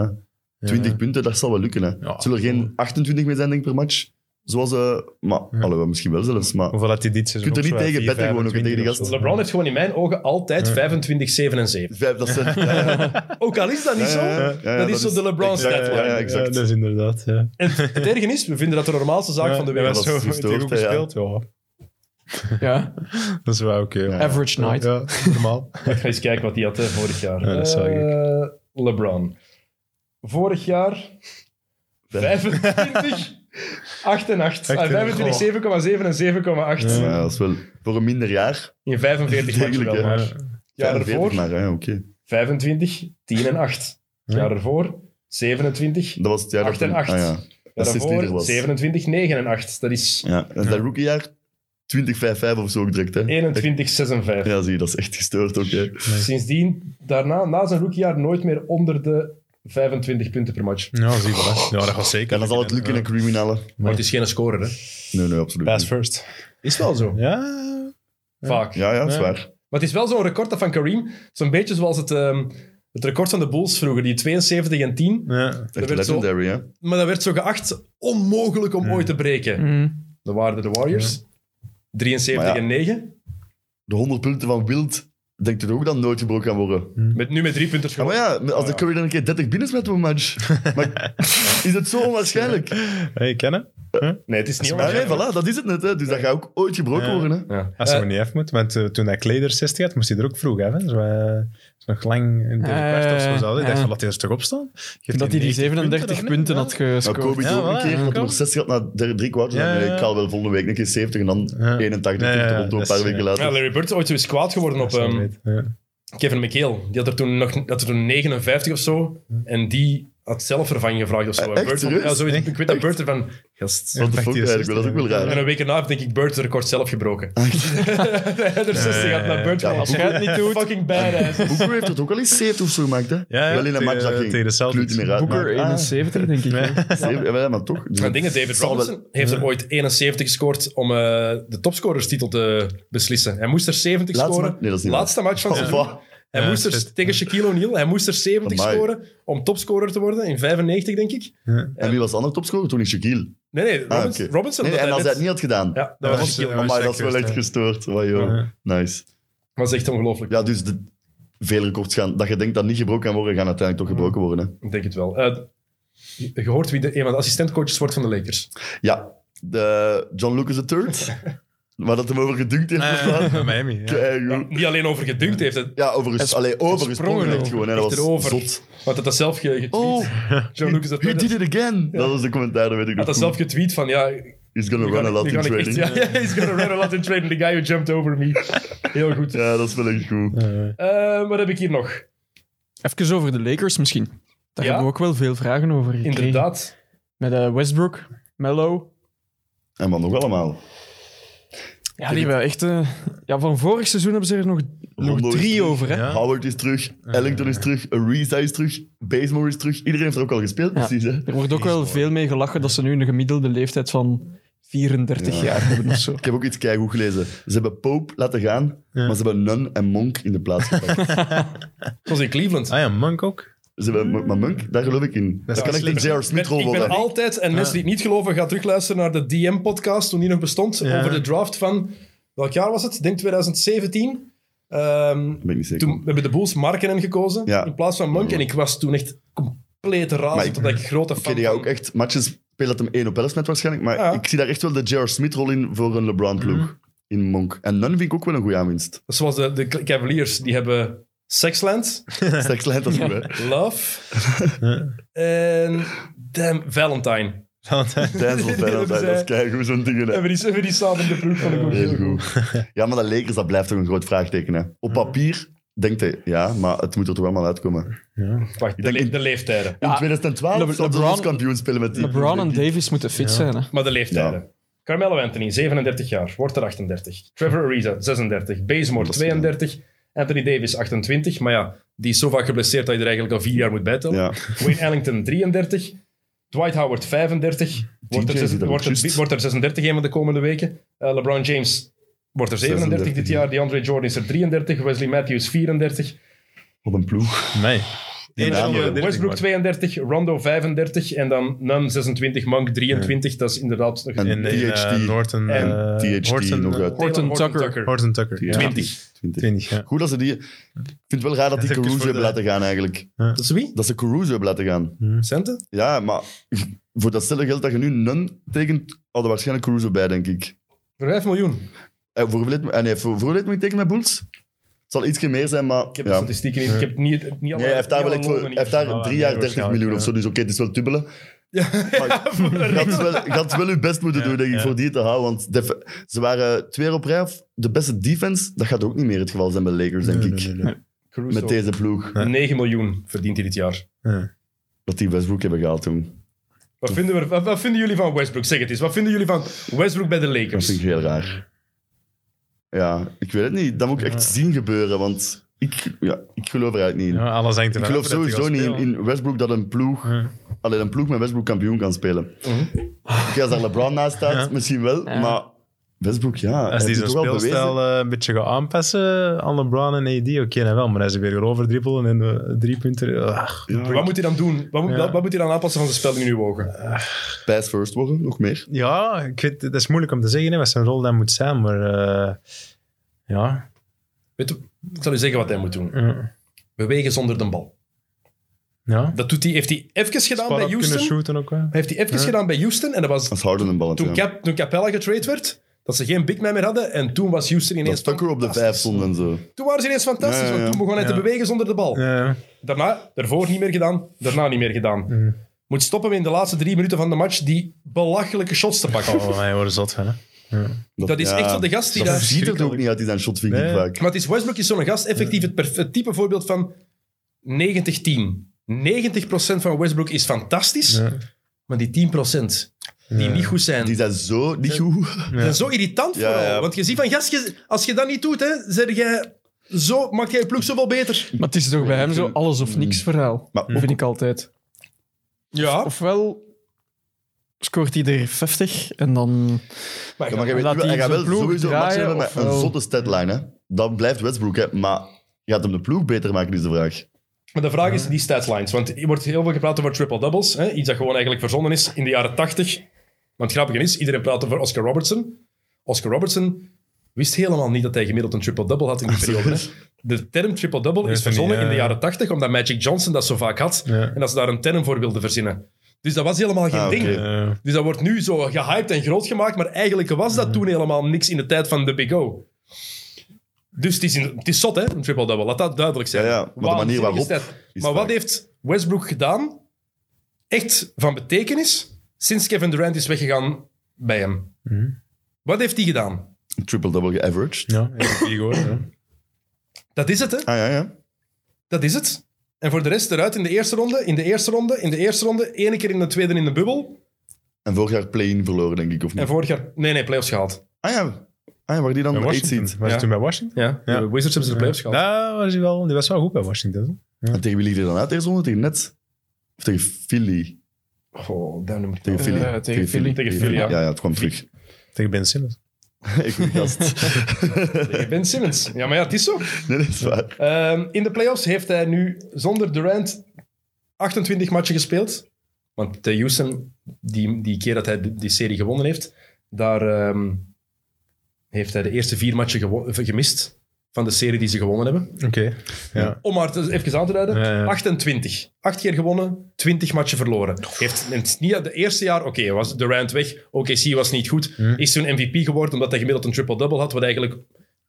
Speaker 5: ja. 20 punten, dat zal wel lukken, hè.
Speaker 6: Ja.
Speaker 5: Het zullen er geen 28 meer zijn, denk ik, per match. Zoals, eh maar, alhoewel, misschien wel zelfs, maar...
Speaker 6: Hoeveel had hij dit seizoen?
Speaker 5: Kunt er
Speaker 6: ook
Speaker 5: niet
Speaker 6: zo uit?
Speaker 5: tegen
Speaker 6: Vier,
Speaker 5: betten, gewoon ook tegen die
Speaker 6: 25 of zo.
Speaker 4: LeBron heeft gewoon in mijn ogen altijd 25, 7 en 7.
Speaker 5: Vijf, dat zijn... ja, ja, ja.
Speaker 4: Ook al is dat niet
Speaker 5: Ja,
Speaker 4: zo,
Speaker 5: ja, ja, ja,
Speaker 4: dat
Speaker 5: dat
Speaker 4: is zo
Speaker 5: is-
Speaker 4: de
Speaker 5: Ja, ja,
Speaker 4: LeBron-stat.
Speaker 5: ja, ja, exact.
Speaker 6: Ja, dat is inderdaad. Ja.
Speaker 4: En het erge is, we vinden dat de normaalste zaak van de wereld.
Speaker 5: was
Speaker 6: Ja,
Speaker 5: zo
Speaker 6: dat is goed
Speaker 5: gestoord, hè, ja.
Speaker 6: gespeeld, ja.
Speaker 7: Ja.
Speaker 6: Dat is wel oké. ja.
Speaker 7: Average night.
Speaker 6: Ja, normaal.
Speaker 4: Ik ga eens kijken wat hij had hè, vorig jaar.
Speaker 6: Ja, dat zag ik.
Speaker 4: Eh, LeBron. Vorig jaar 25, 8 en 8. Ah, 25, 7,7 en 7,8.
Speaker 5: Ja, dat is wel voor een minder jaar.
Speaker 4: In 45 matchen
Speaker 5: Degelijk,
Speaker 4: wel.
Speaker 5: hè.
Speaker 4: Maar. Jaar
Speaker 5: 45
Speaker 4: ervoor
Speaker 5: maar, hè, oké.
Speaker 4: 25, 10 en 8. Jaar ervoor 27.
Speaker 5: Dat was het jaar...
Speaker 4: 8 en
Speaker 5: dat-
Speaker 4: 8.
Speaker 5: Ah, ja.
Speaker 4: Jaar
Speaker 5: Dat is leader
Speaker 4: daarvoor
Speaker 5: was.
Speaker 4: 27, 9 en 8. Dat is
Speaker 5: Ja, en zijn rookiejaar 20-5-5 of zo ook direct, hè.
Speaker 4: 21, 6 en 5.
Speaker 5: Ja, zie je, dat is echt gestoord ook, hè.
Speaker 4: Sindsdien, daarna, na zijn rookiejaar, nooit meer onder de 25 punten per match.
Speaker 6: Ja, zie je wel. hè. Ja, dat gaat zeker.
Speaker 5: Ja, dan zal het lukken in een criminele.
Speaker 4: Maar het is geen scorer, hè?
Speaker 5: Nee, nee, absoluut
Speaker 6: Pass
Speaker 5: niet.
Speaker 6: first.
Speaker 4: Is wel zo.
Speaker 6: Ja,
Speaker 4: Vaak.
Speaker 5: Ja, ja, dat is
Speaker 6: Ja.
Speaker 5: waar.
Speaker 4: Maar het is wel zo'n record dat van Kareem. Zo'n beetje zoals het, ehm, het record van de Bulls vroeger, die 72 en 10.
Speaker 6: ja.
Speaker 5: Echt
Speaker 4: werd zo-
Speaker 5: legendary, hè.
Speaker 4: Maar dat werd zo geacht onmogelijk om ooit te breken. Dat waren de Warriors. 73
Speaker 5: Maar ja.
Speaker 4: en 9.
Speaker 5: De 100 punten van Wild, denkt u ook dat nooit gebroken kan worden?
Speaker 6: Hmm.
Speaker 4: Met, nu met drie punten
Speaker 5: Ja, maar ja, als de Curry dan een keer 30 binnen met een match, maar is het zo onwaarschijnlijk?
Speaker 6: Hey, kennen?
Speaker 4: Nee, het is niet
Speaker 5: Maar nee,
Speaker 4: onwaarschijnlijk.
Speaker 5: voilà, dat is het net. Hè. Dus dat gaat ook ooit gebroken
Speaker 6: Ja.
Speaker 5: worden. Hè.
Speaker 4: Ja.
Speaker 6: Als ze
Speaker 4: Eh,
Speaker 6: maar niet af moet. Want eh, toen hij Kleder 60 had, moest hij er ook vroeg af. hè. Zo, eh, is nog lang in de
Speaker 7: Ja,
Speaker 6: kwart of
Speaker 7: ja,
Speaker 6: zo.
Speaker 7: ja.
Speaker 6: zat hij. Ik dacht van,
Speaker 7: Eh, Ja.
Speaker 6: laat hij er toch op staan? Geeft
Speaker 7: Dat hij die
Speaker 6: 90
Speaker 7: 37 punten,
Speaker 6: dan, hè?
Speaker 7: had
Speaker 5: Nou,
Speaker 7: gescoord.
Speaker 5: Kobe
Speaker 6: Ja,
Speaker 5: doet ook
Speaker 6: voilà,
Speaker 5: een keer,
Speaker 6: ja,
Speaker 5: dat hij
Speaker 6: kan.
Speaker 5: nog 60 had na drie, drie kwart.
Speaker 6: Ja,
Speaker 5: nee,
Speaker 6: ja.
Speaker 5: ik haal wel volgende week een keer 70 en dan
Speaker 6: Ja.
Speaker 5: 81
Speaker 6: Ja, ja,
Speaker 5: tegen
Speaker 6: ja,
Speaker 5: Toronto een
Speaker 6: dat is,
Speaker 5: paar weken
Speaker 6: eh,
Speaker 5: later.
Speaker 4: Ja, Larry Bird is ooit zo eens kwaad geworden op
Speaker 6: Ja,
Speaker 4: ehm,
Speaker 6: weet, ja.
Speaker 4: Kevin McHale. Die had er toen nog had er toen 59 of zo. En die had zelf vervanging gevraagd of zo. En
Speaker 5: Echt,
Speaker 4: Bird vond-
Speaker 5: serieus?
Speaker 4: ja, zoiets. ik weet dat
Speaker 5: Echt?
Speaker 4: Bird ervan... Gast.
Speaker 5: What the
Speaker 6: Ja,
Speaker 5: fuck
Speaker 6: die is
Speaker 5: eigenlijk, dat is ook wel raar.
Speaker 4: En een week erna heeft denk ik Bird het record zelf gebroken. Hij had er 60 had naar Bird
Speaker 5: Ah, Ja,
Speaker 4: gehad.
Speaker 7: Als jij het niet doet,
Speaker 4: Fucking badass.
Speaker 5: Booker heeft het ook al eens 70 of zo gemaakt. Hè.
Speaker 6: ja,
Speaker 5: wel in een
Speaker 6: tegen-
Speaker 5: match dat ging.
Speaker 6: tegen de Celtics.
Speaker 5: Kluut meer uit,
Speaker 7: Booker
Speaker 5: maar- ah,
Speaker 7: 71, denk ik. hè.
Speaker 5: zeven- ja, maar toch. Dus
Speaker 4: Maar dingen, David
Speaker 5: het zal wel-
Speaker 4: Robinson heeft er ooit 71 gescoord om eh, de topscorerstitel te beslissen. Hij moest er 70
Speaker 5: Laatste
Speaker 4: scoren.
Speaker 5: match- nee, dat is niet
Speaker 4: Laatste match van het
Speaker 5: Oh,
Speaker 4: seizoen.
Speaker 5: wow.
Speaker 4: Hij
Speaker 6: Ja,
Speaker 4: moest er
Speaker 6: shit.
Speaker 4: tegen Shaquille O'Neal. Hij moest er 70
Speaker 5: Amai.
Speaker 4: scoren om topscorer te worden in 95, denk ik.
Speaker 5: En wie was de andere topscorer? Toen is Shaquille.
Speaker 4: Nee, nee, Robinson.
Speaker 5: Ah, oké.
Speaker 4: Robinson
Speaker 5: Nee,
Speaker 4: omdat
Speaker 5: en als
Speaker 4: net-
Speaker 5: hij het niet had gedaan.
Speaker 4: Ja, dat
Speaker 6: Ja,
Speaker 4: was,
Speaker 6: dat is-
Speaker 4: Shaquille.
Speaker 6: ja.
Speaker 4: Dat
Speaker 5: Amai, dat is wel echt
Speaker 6: Ja.
Speaker 5: gestoord. Wow, joh.
Speaker 6: Ja.
Speaker 5: Nice.
Speaker 4: was echt ongelooflijk.
Speaker 5: Ja, dus de, veel records gaan. Dat je denkt dat niet gebroken kan worden, gaan uiteindelijk toch gebroken worden. Hè.
Speaker 4: Ik denk het wel. Eh, je je hoort wie de, een van de assistentcoaches wordt van de Lakers.
Speaker 5: Ja, de John Lucas III. waar dat hem over gedunkt heeft.
Speaker 6: Ah,
Speaker 7: Eh.
Speaker 6: ja, ja, Miami. ja.
Speaker 5: Kei goed.
Speaker 4: Niet alleen over gedunkt heeft, het,
Speaker 5: Ja, overigens. Allee, overgesprongen echt gewoon. Hè. Dat
Speaker 4: Echt
Speaker 5: was
Speaker 4: erover.
Speaker 5: zot.
Speaker 4: want het had zelf ge- getweet.
Speaker 5: Oh,
Speaker 4: John Lucas had
Speaker 5: you
Speaker 4: net-
Speaker 5: did it again. Dat was de commentaar, dat weet
Speaker 4: had
Speaker 5: ik nog
Speaker 4: dat
Speaker 5: goed.
Speaker 4: zelf getweet van ja,
Speaker 5: He's gonna run a lot in
Speaker 4: Ironic
Speaker 5: training.
Speaker 4: echt, Ja, he's gonna run a lot in training. The guy who jumped over me. Heel goed.
Speaker 5: Ja, dat is wel echt goed.
Speaker 4: Eh, wat heb ik hier nog?
Speaker 7: Even over de Lakers misschien. Daar
Speaker 4: Ja?
Speaker 7: hebben we ook wel veel vragen over gekregen.
Speaker 4: Inderdaad.
Speaker 7: Met eh, Westbrook, Mello.
Speaker 5: En wat nog allemaal.
Speaker 7: Ja, die hebben echt... eh, ja, van vorig seizoen hebben ze er nog, nog
Speaker 5: Rondo is
Speaker 7: drie
Speaker 5: terug.
Speaker 7: over, hè.
Speaker 6: Ja.
Speaker 5: Howard is terug, Ellington is terug, Ariza is terug, Bazemore is terug. Iedereen heeft er ook al gespeeld, precies. Hè?
Speaker 7: Er wordt ook wel veel mee gelachen dat ze nu een gemiddelde leeftijd van 34 jaar hebben of zo.
Speaker 5: Ik heb ook iets keigoed gelezen. Ze hebben Pope laten gaan, maar ze hebben Nun en Monk in de plaats gepakt.
Speaker 4: Zoals in Cleveland.
Speaker 6: Ah ja, Monk ook.
Speaker 5: ze hebben, maar Monk, daar geloof ik in. Dat,
Speaker 6: is
Speaker 5: kan
Speaker 6: wel
Speaker 5: echt
Speaker 4: Ik
Speaker 5: een J.R.
Speaker 6: slimmer.
Speaker 5: Smith
Speaker 4: ben,
Speaker 5: rol
Speaker 4: ik ben
Speaker 5: worden.
Speaker 4: altijd, en mensen die het niet geloven, gaan terugluisteren naar de DM-podcast toen die nog bestond.
Speaker 6: Ja.
Speaker 4: Over de draft van, welk jaar was het? Ik denk 2017. Ehm,
Speaker 5: Dat ben ik niet zeker.
Speaker 4: toen hebben de Bulls Markenen gekozen
Speaker 5: Ja.
Speaker 4: in plaats van Monk. En ik was toen echt compleet
Speaker 5: Maar
Speaker 4: razend,
Speaker 5: ik-
Speaker 4: omdat ik grote fan
Speaker 5: Oké, die gaat
Speaker 4: van-
Speaker 5: ook echt matches spelen dat hem één op 11 met waarschijnlijk. Maar
Speaker 4: Ja.
Speaker 5: ik zie daar echt wel de J.R. Smith rol in voor een LeBron-ploeg. In Monk. En Nun vind ik ook wel een goede aanwinst.
Speaker 4: Zoals de, de Cavaliers, die hebben Sexland,
Speaker 5: Straks lijnt dat goed, hè.
Speaker 4: Love en damn, Valentine.
Speaker 5: Tijdens van
Speaker 4: Die
Speaker 5: Feyenoord,
Speaker 4: hebben
Speaker 5: dat is
Speaker 4: zij-
Speaker 5: keigoed, zo'n dingen. hè.
Speaker 4: En we die, hebben die samen in de ploeg van de Bulls.
Speaker 5: Heel goed. Ja, maar dat Lakers, dat blijft toch een groot vraagteken. Hè. Op papier denkt hij, ja, maar het moet er toch allemaal uitkomen.
Speaker 4: Wacht, de,
Speaker 5: denk
Speaker 4: le-
Speaker 5: in-
Speaker 4: de leeftijden.
Speaker 5: In 2012
Speaker 7: Le-
Speaker 5: zou zouden
Speaker 7: LeBron-
Speaker 5: ze kampioen spelen met die.
Speaker 7: LeBron en Davis moeten fit zijn, hè.
Speaker 4: Maar de leeftijden.
Speaker 5: Ja.
Speaker 4: Carmelo Anthony, 37 jaar, wordt er 38. Trevor Ariza, 36. Bazemore,
Speaker 5: Dat is gedaan.
Speaker 4: 32. Anthony Davis, 28. Maar ja, die is zo vaak geblesseerd dat je er eigenlijk al vier jaar moet bijtellen.
Speaker 5: Ja.
Speaker 4: Wayne Ellington, 33. Dwight Howard, 35. Wordt er,
Speaker 5: TJ
Speaker 4: zes-
Speaker 5: zit er
Speaker 4: wordt, er,
Speaker 5: juist.
Speaker 4: wordt er 36 een van de komende weken. Eh, LeBron James wordt er 37 dit
Speaker 5: 36,
Speaker 4: jaar. DeAndre Jordan is er 33. Wesley Matthews, 34.
Speaker 5: Op een ploeg.
Speaker 6: Nee.
Speaker 5: Ja,
Speaker 4: Angel,
Speaker 5: maar-
Speaker 4: eh, Westbrook 32, Rondo 35 en dan Nunn 26, Monk 23. Dat is inderdaad nog
Speaker 5: En
Speaker 6: In, in eh,
Speaker 5: THT.
Speaker 6: Norton.
Speaker 4: En
Speaker 6: eh,
Speaker 5: THT
Speaker 6: Horton,
Speaker 5: nog
Speaker 6: eh,
Speaker 5: uit.
Speaker 4: Taylor
Speaker 7: Tucker.
Speaker 6: Horton Tucker.
Speaker 5: Ja.
Speaker 4: 20.
Speaker 5: 20.
Speaker 6: 20, ja.
Speaker 5: Goed dat ze die... Ik vind het wel raar dat die
Speaker 6: Even
Speaker 5: Caruso
Speaker 6: voor
Speaker 5: hebben
Speaker 6: de- Mm.
Speaker 5: laten gaan, eigenlijk.
Speaker 4: Dat is wie?
Speaker 5: Dat ze Caruso hebben laten gaan.
Speaker 4: Centen?
Speaker 5: Ja, maar voor dat stille geld dat je nu Nun tekent, hadden waarschijnlijk Caruso bij, denk ik.
Speaker 4: Voor 5 miljoen.
Speaker 5: En voor hoeveel heeft- en hij heeft voor- voor hoeveel heeft hij tekenen met Bulls? Het zal iets meer zijn, maar...
Speaker 4: Ik heb de
Speaker 5: ja.
Speaker 4: statistieken niet. Ik heb niet, niet alle,
Speaker 5: Nee, hij heeft daar, wel
Speaker 4: niet
Speaker 5: echt
Speaker 4: alle
Speaker 5: voor- hij
Speaker 4: lonen
Speaker 5: heeft daar
Speaker 6: Ja,
Speaker 5: drie
Speaker 6: nee,
Speaker 5: jaar 30
Speaker 6: waarschijnlijk,
Speaker 5: miljoen of
Speaker 6: ja.
Speaker 5: zo, dus oké, het is wel dubbelen. Maar
Speaker 4: niet.
Speaker 5: je had wel, je had wel je best moeten doen, denk ik, voor die te houden. Want def- ze waren twee jaar op rij. of De beste defense, dat gaat ook niet meer het geval zijn bij de Lakers, denk ik.
Speaker 4: Caruso.
Speaker 5: Met deze ploeg.
Speaker 4: 9 miljoen verdient hij dit jaar.
Speaker 5: Dat die Westbrook hebben gehaald toen.
Speaker 4: Wat vinden, we, wat, wat vinden jullie van Westbrook? Zeg het eens. Wat vinden jullie van Westbrook bij de
Speaker 5: Dat
Speaker 4: Lakers?
Speaker 5: vind ik heel raar. Ja, ik weet het niet. Dat moet ik echt zien gebeuren, want Ik, ja, ik geloof er eigenlijk niet in.
Speaker 6: Ja, alles hangt
Speaker 5: ik
Speaker 6: ervan
Speaker 5: geloof
Speaker 6: af dat hij
Speaker 5: sowieso
Speaker 6: gaat
Speaker 5: niet in,
Speaker 6: spelen.
Speaker 5: in Westbrook dat een ploeg,
Speaker 6: Ja.
Speaker 5: alleen een ploeg met Westbrook kampioen kan spelen. Oké, als daar LeBron naast staat, misschien wel, maar Westbrook, ja. hij
Speaker 6: Als die
Speaker 5: heeft
Speaker 6: zijn
Speaker 5: het toch Eh, wel bewezen.
Speaker 6: speelstijl eh, een beetje gaat aanpassen aan LeBron en AD, oké, dan wel. Maar als ze weer gaan overdribbelen en eh, drie punten... eh, ach.
Speaker 4: Wat moet hij dan doen? Wat moet,
Speaker 6: Ja.
Speaker 4: wat, wat moet hij dan aanpassen van zijn spel in uw ogen?
Speaker 5: Pass first worden, nog meer.
Speaker 6: Ja, ik weet, dat is moeilijk om te zeggen hè, wat zijn rol dan moet zijn, maar eh, ja.
Speaker 4: Weet je, ik zal u zeggen wat hij moet doen.
Speaker 6: Ja.
Speaker 4: Bewegen zonder de bal.
Speaker 6: ja.
Speaker 4: Dat doet hij, heeft hij even gedaan
Speaker 6: Spot
Speaker 4: bij
Speaker 6: up kunnen
Speaker 4: Houston.
Speaker 6: shooten ook wel.
Speaker 4: Heeft hij even gedaan bij Houston. En dat was
Speaker 5: Dat is harder een bal.
Speaker 4: toen, Cap, toen Capella getrade werd. Dat ze geen big man meer hadden. En toen was Houston
Speaker 5: Dat
Speaker 4: ineens Ah,
Speaker 5: Tucker op de vijf
Speaker 4: fantastisch.
Speaker 5: stond en zo.
Speaker 4: Toen waren ze ineens fantastisch.
Speaker 5: Ja, ja, ja.
Speaker 4: Want toen begon hij te
Speaker 6: Ja.
Speaker 4: bewegen zonder de bal.
Speaker 6: Ja, ja.
Speaker 4: Daarna, daarvoor niet meer gedaan. Daarna niet meer gedaan. Moet stoppen in de laatste drie minuten van de match die belachelijke shots te pakken.
Speaker 6: Oh, wij worden zot van, hè.
Speaker 4: Dat is
Speaker 5: ja,
Speaker 4: echt zo de gast die
Speaker 5: Dat
Speaker 4: daar...
Speaker 5: ziet er ook niet uit, die zijn shot, vind ik
Speaker 6: Nee.
Speaker 5: vaak.
Speaker 4: Maar het is Westbrook is zo'n gast, effectief het, perf- het type voorbeeld van 90-10. 90% van Westbrook is fantastisch,
Speaker 6: Ja.
Speaker 4: maar die 10% die niet goed zijn,
Speaker 5: Die
Speaker 4: die
Speaker 5: zijn zo niet goed.
Speaker 4: zijn zo irritant
Speaker 5: Ja,
Speaker 4: vooral.
Speaker 5: ja.
Speaker 4: Want je ziet van, gast, je- als je dat niet doet, hè, zeg jij, zo maakt jij je ploeg zoveel beter.
Speaker 7: Maar het is toch bij hem zo alles of niks verhaal.
Speaker 5: Maar ook-
Speaker 7: vind ik altijd.
Speaker 4: Ja,
Speaker 7: Ofwel scoort ieder 50 en dan...
Speaker 5: Ja, maar je weet
Speaker 7: Laat
Speaker 5: niet wel-
Speaker 7: die
Speaker 5: hij gaat wel
Speaker 7: zijn ploeg
Speaker 5: sowieso een match
Speaker 7: draaien,
Speaker 5: hebben met
Speaker 7: of
Speaker 5: een
Speaker 7: wel-
Speaker 5: zotte statline. Hè. Dan blijft Westbrook, hè. maar gaat hem de ploeg beter maken, is de vraag.
Speaker 4: maar de vraag is die statslines. Want er wordt heel veel gepraat over triple-doubles. hè, Iets dat gewoon eigenlijk verzonnen is in de jaren 80. Want het grappige is, iedereen praat over Oscar Robertson. Oscar Robertson wist helemaal niet dat hij gemiddeld een triple-double had in die periode. hè. De term triple-double
Speaker 6: Nee,
Speaker 4: is
Speaker 6: van die,
Speaker 4: verzonnen in de
Speaker 6: eh,
Speaker 4: jaren 80, omdat Magic Johnson dat zo vaak had.
Speaker 6: Ja.
Speaker 4: En dat ze daar een term voor wilden verzinnen. Dus dat was helemaal geen
Speaker 5: Ah,
Speaker 4: ding.
Speaker 5: oké.
Speaker 6: Eh,
Speaker 4: Dus dat wordt nu zo gehyped en groot gemaakt, maar eigenlijk was
Speaker 5: Mhm.
Speaker 4: dat toen helemaal niks in de tijd van de Big O. Dus het is, in, het is zot, hè, een triple-double. Laat dat duidelijk zijn.
Speaker 5: Ja, ja, maar de manier
Speaker 4: Waanzinnige
Speaker 5: waarop
Speaker 4: stat.
Speaker 5: is
Speaker 4: Maar wat
Speaker 5: vaak-
Speaker 4: heeft Westbrook gedaan, echt van betekenis, sinds Kevin Durant is weggegaan bij hem?
Speaker 5: Mhm.
Speaker 4: Wat heeft hij gedaan?
Speaker 5: Een Triple-double geaveraged.
Speaker 6: ja, ik heb die gehoord, ja.
Speaker 4: Dat is het, hè?
Speaker 5: Ah ja, ja.
Speaker 4: Dat is het. En voor de rest eruit in de eerste ronde, in de eerste ronde, in de eerste ronde, ene keer in de tweede in de bubbel.
Speaker 5: En vorig jaar play-in verloren, denk ik, of niet?
Speaker 4: En vorig jaar, nee, nee, playoffs gehaald.
Speaker 5: Ah ja. Ah ja, waar die dan
Speaker 6: Bij
Speaker 5: nummer eight
Speaker 6: Washington.
Speaker 5: ziet.
Speaker 6: Was
Speaker 4: Ja.
Speaker 6: het toen bij Washington?
Speaker 4: Ja,
Speaker 6: Ja.
Speaker 4: de Wizards hebben ze de playoffs gehaald.
Speaker 6: Daar was hij wel, die was wel goed bij Washington. hè.
Speaker 5: En tegen wie liep hij dan uit? Eerst onder tegen Nets? Of tegen Philly?
Speaker 4: Oh, daar noem ik
Speaker 5: Tegen Philly.
Speaker 7: Eh, tegen Philly.
Speaker 4: Tegen Philly, ja.
Speaker 5: Ja, het kwam terug.
Speaker 6: Tegen Ben Simmons.
Speaker 5: ik weet gast.
Speaker 4: Tegen Ben Simmons. Ja, maar ja, het is zo.
Speaker 5: Nee, dat is waar.
Speaker 4: Ehm, in de playoffs heeft hij nu zonder Durant 28 matchen gespeeld. Want de Houston, die, die keer dat hij die die serie gewonnen heeft, daar ehm, heeft hij de eerste vier matchen gewo- gemist van de serie die ze gewonnen hebben.
Speaker 6: Oké. Ja.
Speaker 4: Om maar te- even aan te duiden,
Speaker 6: Ja, ja.
Speaker 4: 28. Acht keer gewonnen, 20 matchen verloren. Heeft, het is niet de eerste jaar, oké, was Durant weg, OKC was niet goed.
Speaker 6: Mm.
Speaker 4: Is toen MVP geworden omdat hij gemiddeld een triple-double had, wat eigenlijk,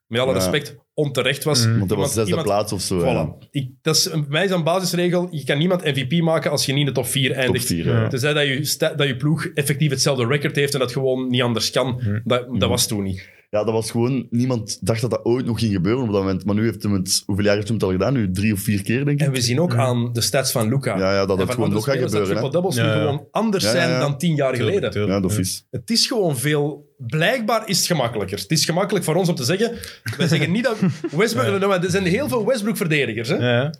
Speaker 4: met alle
Speaker 5: Ja.
Speaker 4: respect, onterecht was.
Speaker 6: Mm.
Speaker 5: Want dat was
Speaker 4: Iemand-
Speaker 5: zesde
Speaker 4: iemand-
Speaker 5: plaats of zo. ja.
Speaker 4: Voilà. Ik, dat is een, mij is een basisregel. Je kan niemand MVP maken als je niet in de top 4 eindigt.
Speaker 5: vier, ja.
Speaker 4: Tenzij dat je, sta- dat je ploeg effectief hetzelfde record heeft en dat gewoon niet anders kan.
Speaker 6: Mm.
Speaker 4: Dat, dat was toen niet.
Speaker 5: Ja, dat was gewoon... Niemand dacht dat dat ooit nog ging gebeuren op dat moment. Maar nu heeft hem het... Hoeveel jaar heeft hem het al gedaan? Nu drie of vier keer, denk ik.
Speaker 4: En we zien ook aan de stats van Luca.
Speaker 5: Ja, ja, dat
Speaker 4: en van
Speaker 5: het gewoon
Speaker 4: andere
Speaker 5: nog gaat
Speaker 4: spelers
Speaker 5: gebeuren, hè.
Speaker 4: Dat triple-doubles
Speaker 6: Ja,
Speaker 4: nu
Speaker 6: ja.
Speaker 4: gewoon anders
Speaker 5: Ja, ja,
Speaker 4: zijn
Speaker 5: ja.
Speaker 4: dan tien jaar
Speaker 6: Tuurlijk,
Speaker 4: geleden.
Speaker 6: tuurlijk.
Speaker 5: Ja, dat is.
Speaker 4: Het is gewoon veel... Blijkbaar is het gemakkelijker. Het is gemakkelijk voor ons om te zeggen... Wij zeggen niet dat... Westbrook, Nou, maar Er zijn heel veel Westbrook-verdedigers. hè.
Speaker 6: Ja, ja.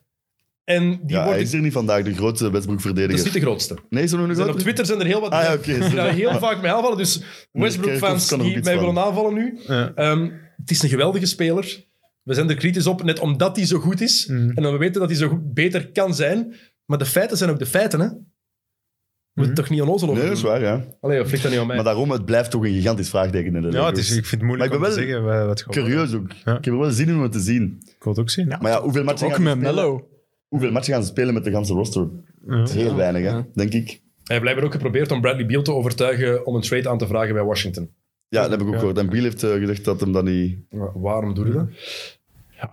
Speaker 4: En die
Speaker 5: Ja, hij
Speaker 4: worden...
Speaker 5: is er niet vandaag, de grootste
Speaker 4: Dat is
Speaker 5: Westbrook-verdediger.
Speaker 4: niet de grootste.
Speaker 5: Nee, is er nog een
Speaker 4: Er zijn op
Speaker 5: grote?
Speaker 4: Twitter zijn er heel wat
Speaker 5: Ah ja, oké.
Speaker 4: die daar heel vaak mee aanvallen. Dus Westbrook-fans
Speaker 5: Kerkhoff kan er ook
Speaker 4: die
Speaker 5: iets
Speaker 4: mij
Speaker 5: van.
Speaker 4: willen aanvallen nu.
Speaker 6: Ja.
Speaker 4: Ehm, het is een geweldige speler. We zijn er kritisch op, net omdat hij zo goed is. En dan we weten dat hij zo goed, beter kan zijn. Maar de feiten zijn ook de feiten, hè. We moeten toch niet onnozel over
Speaker 5: Nee,
Speaker 4: doen?
Speaker 5: dat is waar, ja.
Speaker 4: Allee, of ligt dat niet aan mij?
Speaker 5: Maar daarom, het blijft toch een gigantisch vraagteken in de
Speaker 6: ja het
Speaker 5: Lakers.
Speaker 6: is, ik vind het moeilijk
Speaker 5: dus- Maar ik ben
Speaker 6: om te
Speaker 5: wel
Speaker 6: zeggen wat- wat het geworden is.
Speaker 5: Curieus ook. Ik heb er wel zin in om het te zien.
Speaker 6: Ik wil het ook zien.
Speaker 5: Maar ja, hoeveel matchen,
Speaker 7: Ook
Speaker 5: gaan ze
Speaker 7: met
Speaker 5: spelen?
Speaker 7: Mello.
Speaker 5: hoeveel matchen gaan ze spelen met de ganse roster? Dat is heel weinig, hè, denk ik.
Speaker 4: Hij heeft blijkbaar ook geprobeerd om Bradley Beal te overtuigen om een trade aan te vragen bij Washington.
Speaker 5: Ja, dat heb ik ook gehoord. En Biel heeft eh, gezegd dat hem dat niet...
Speaker 4: Maar waarom doe je dat?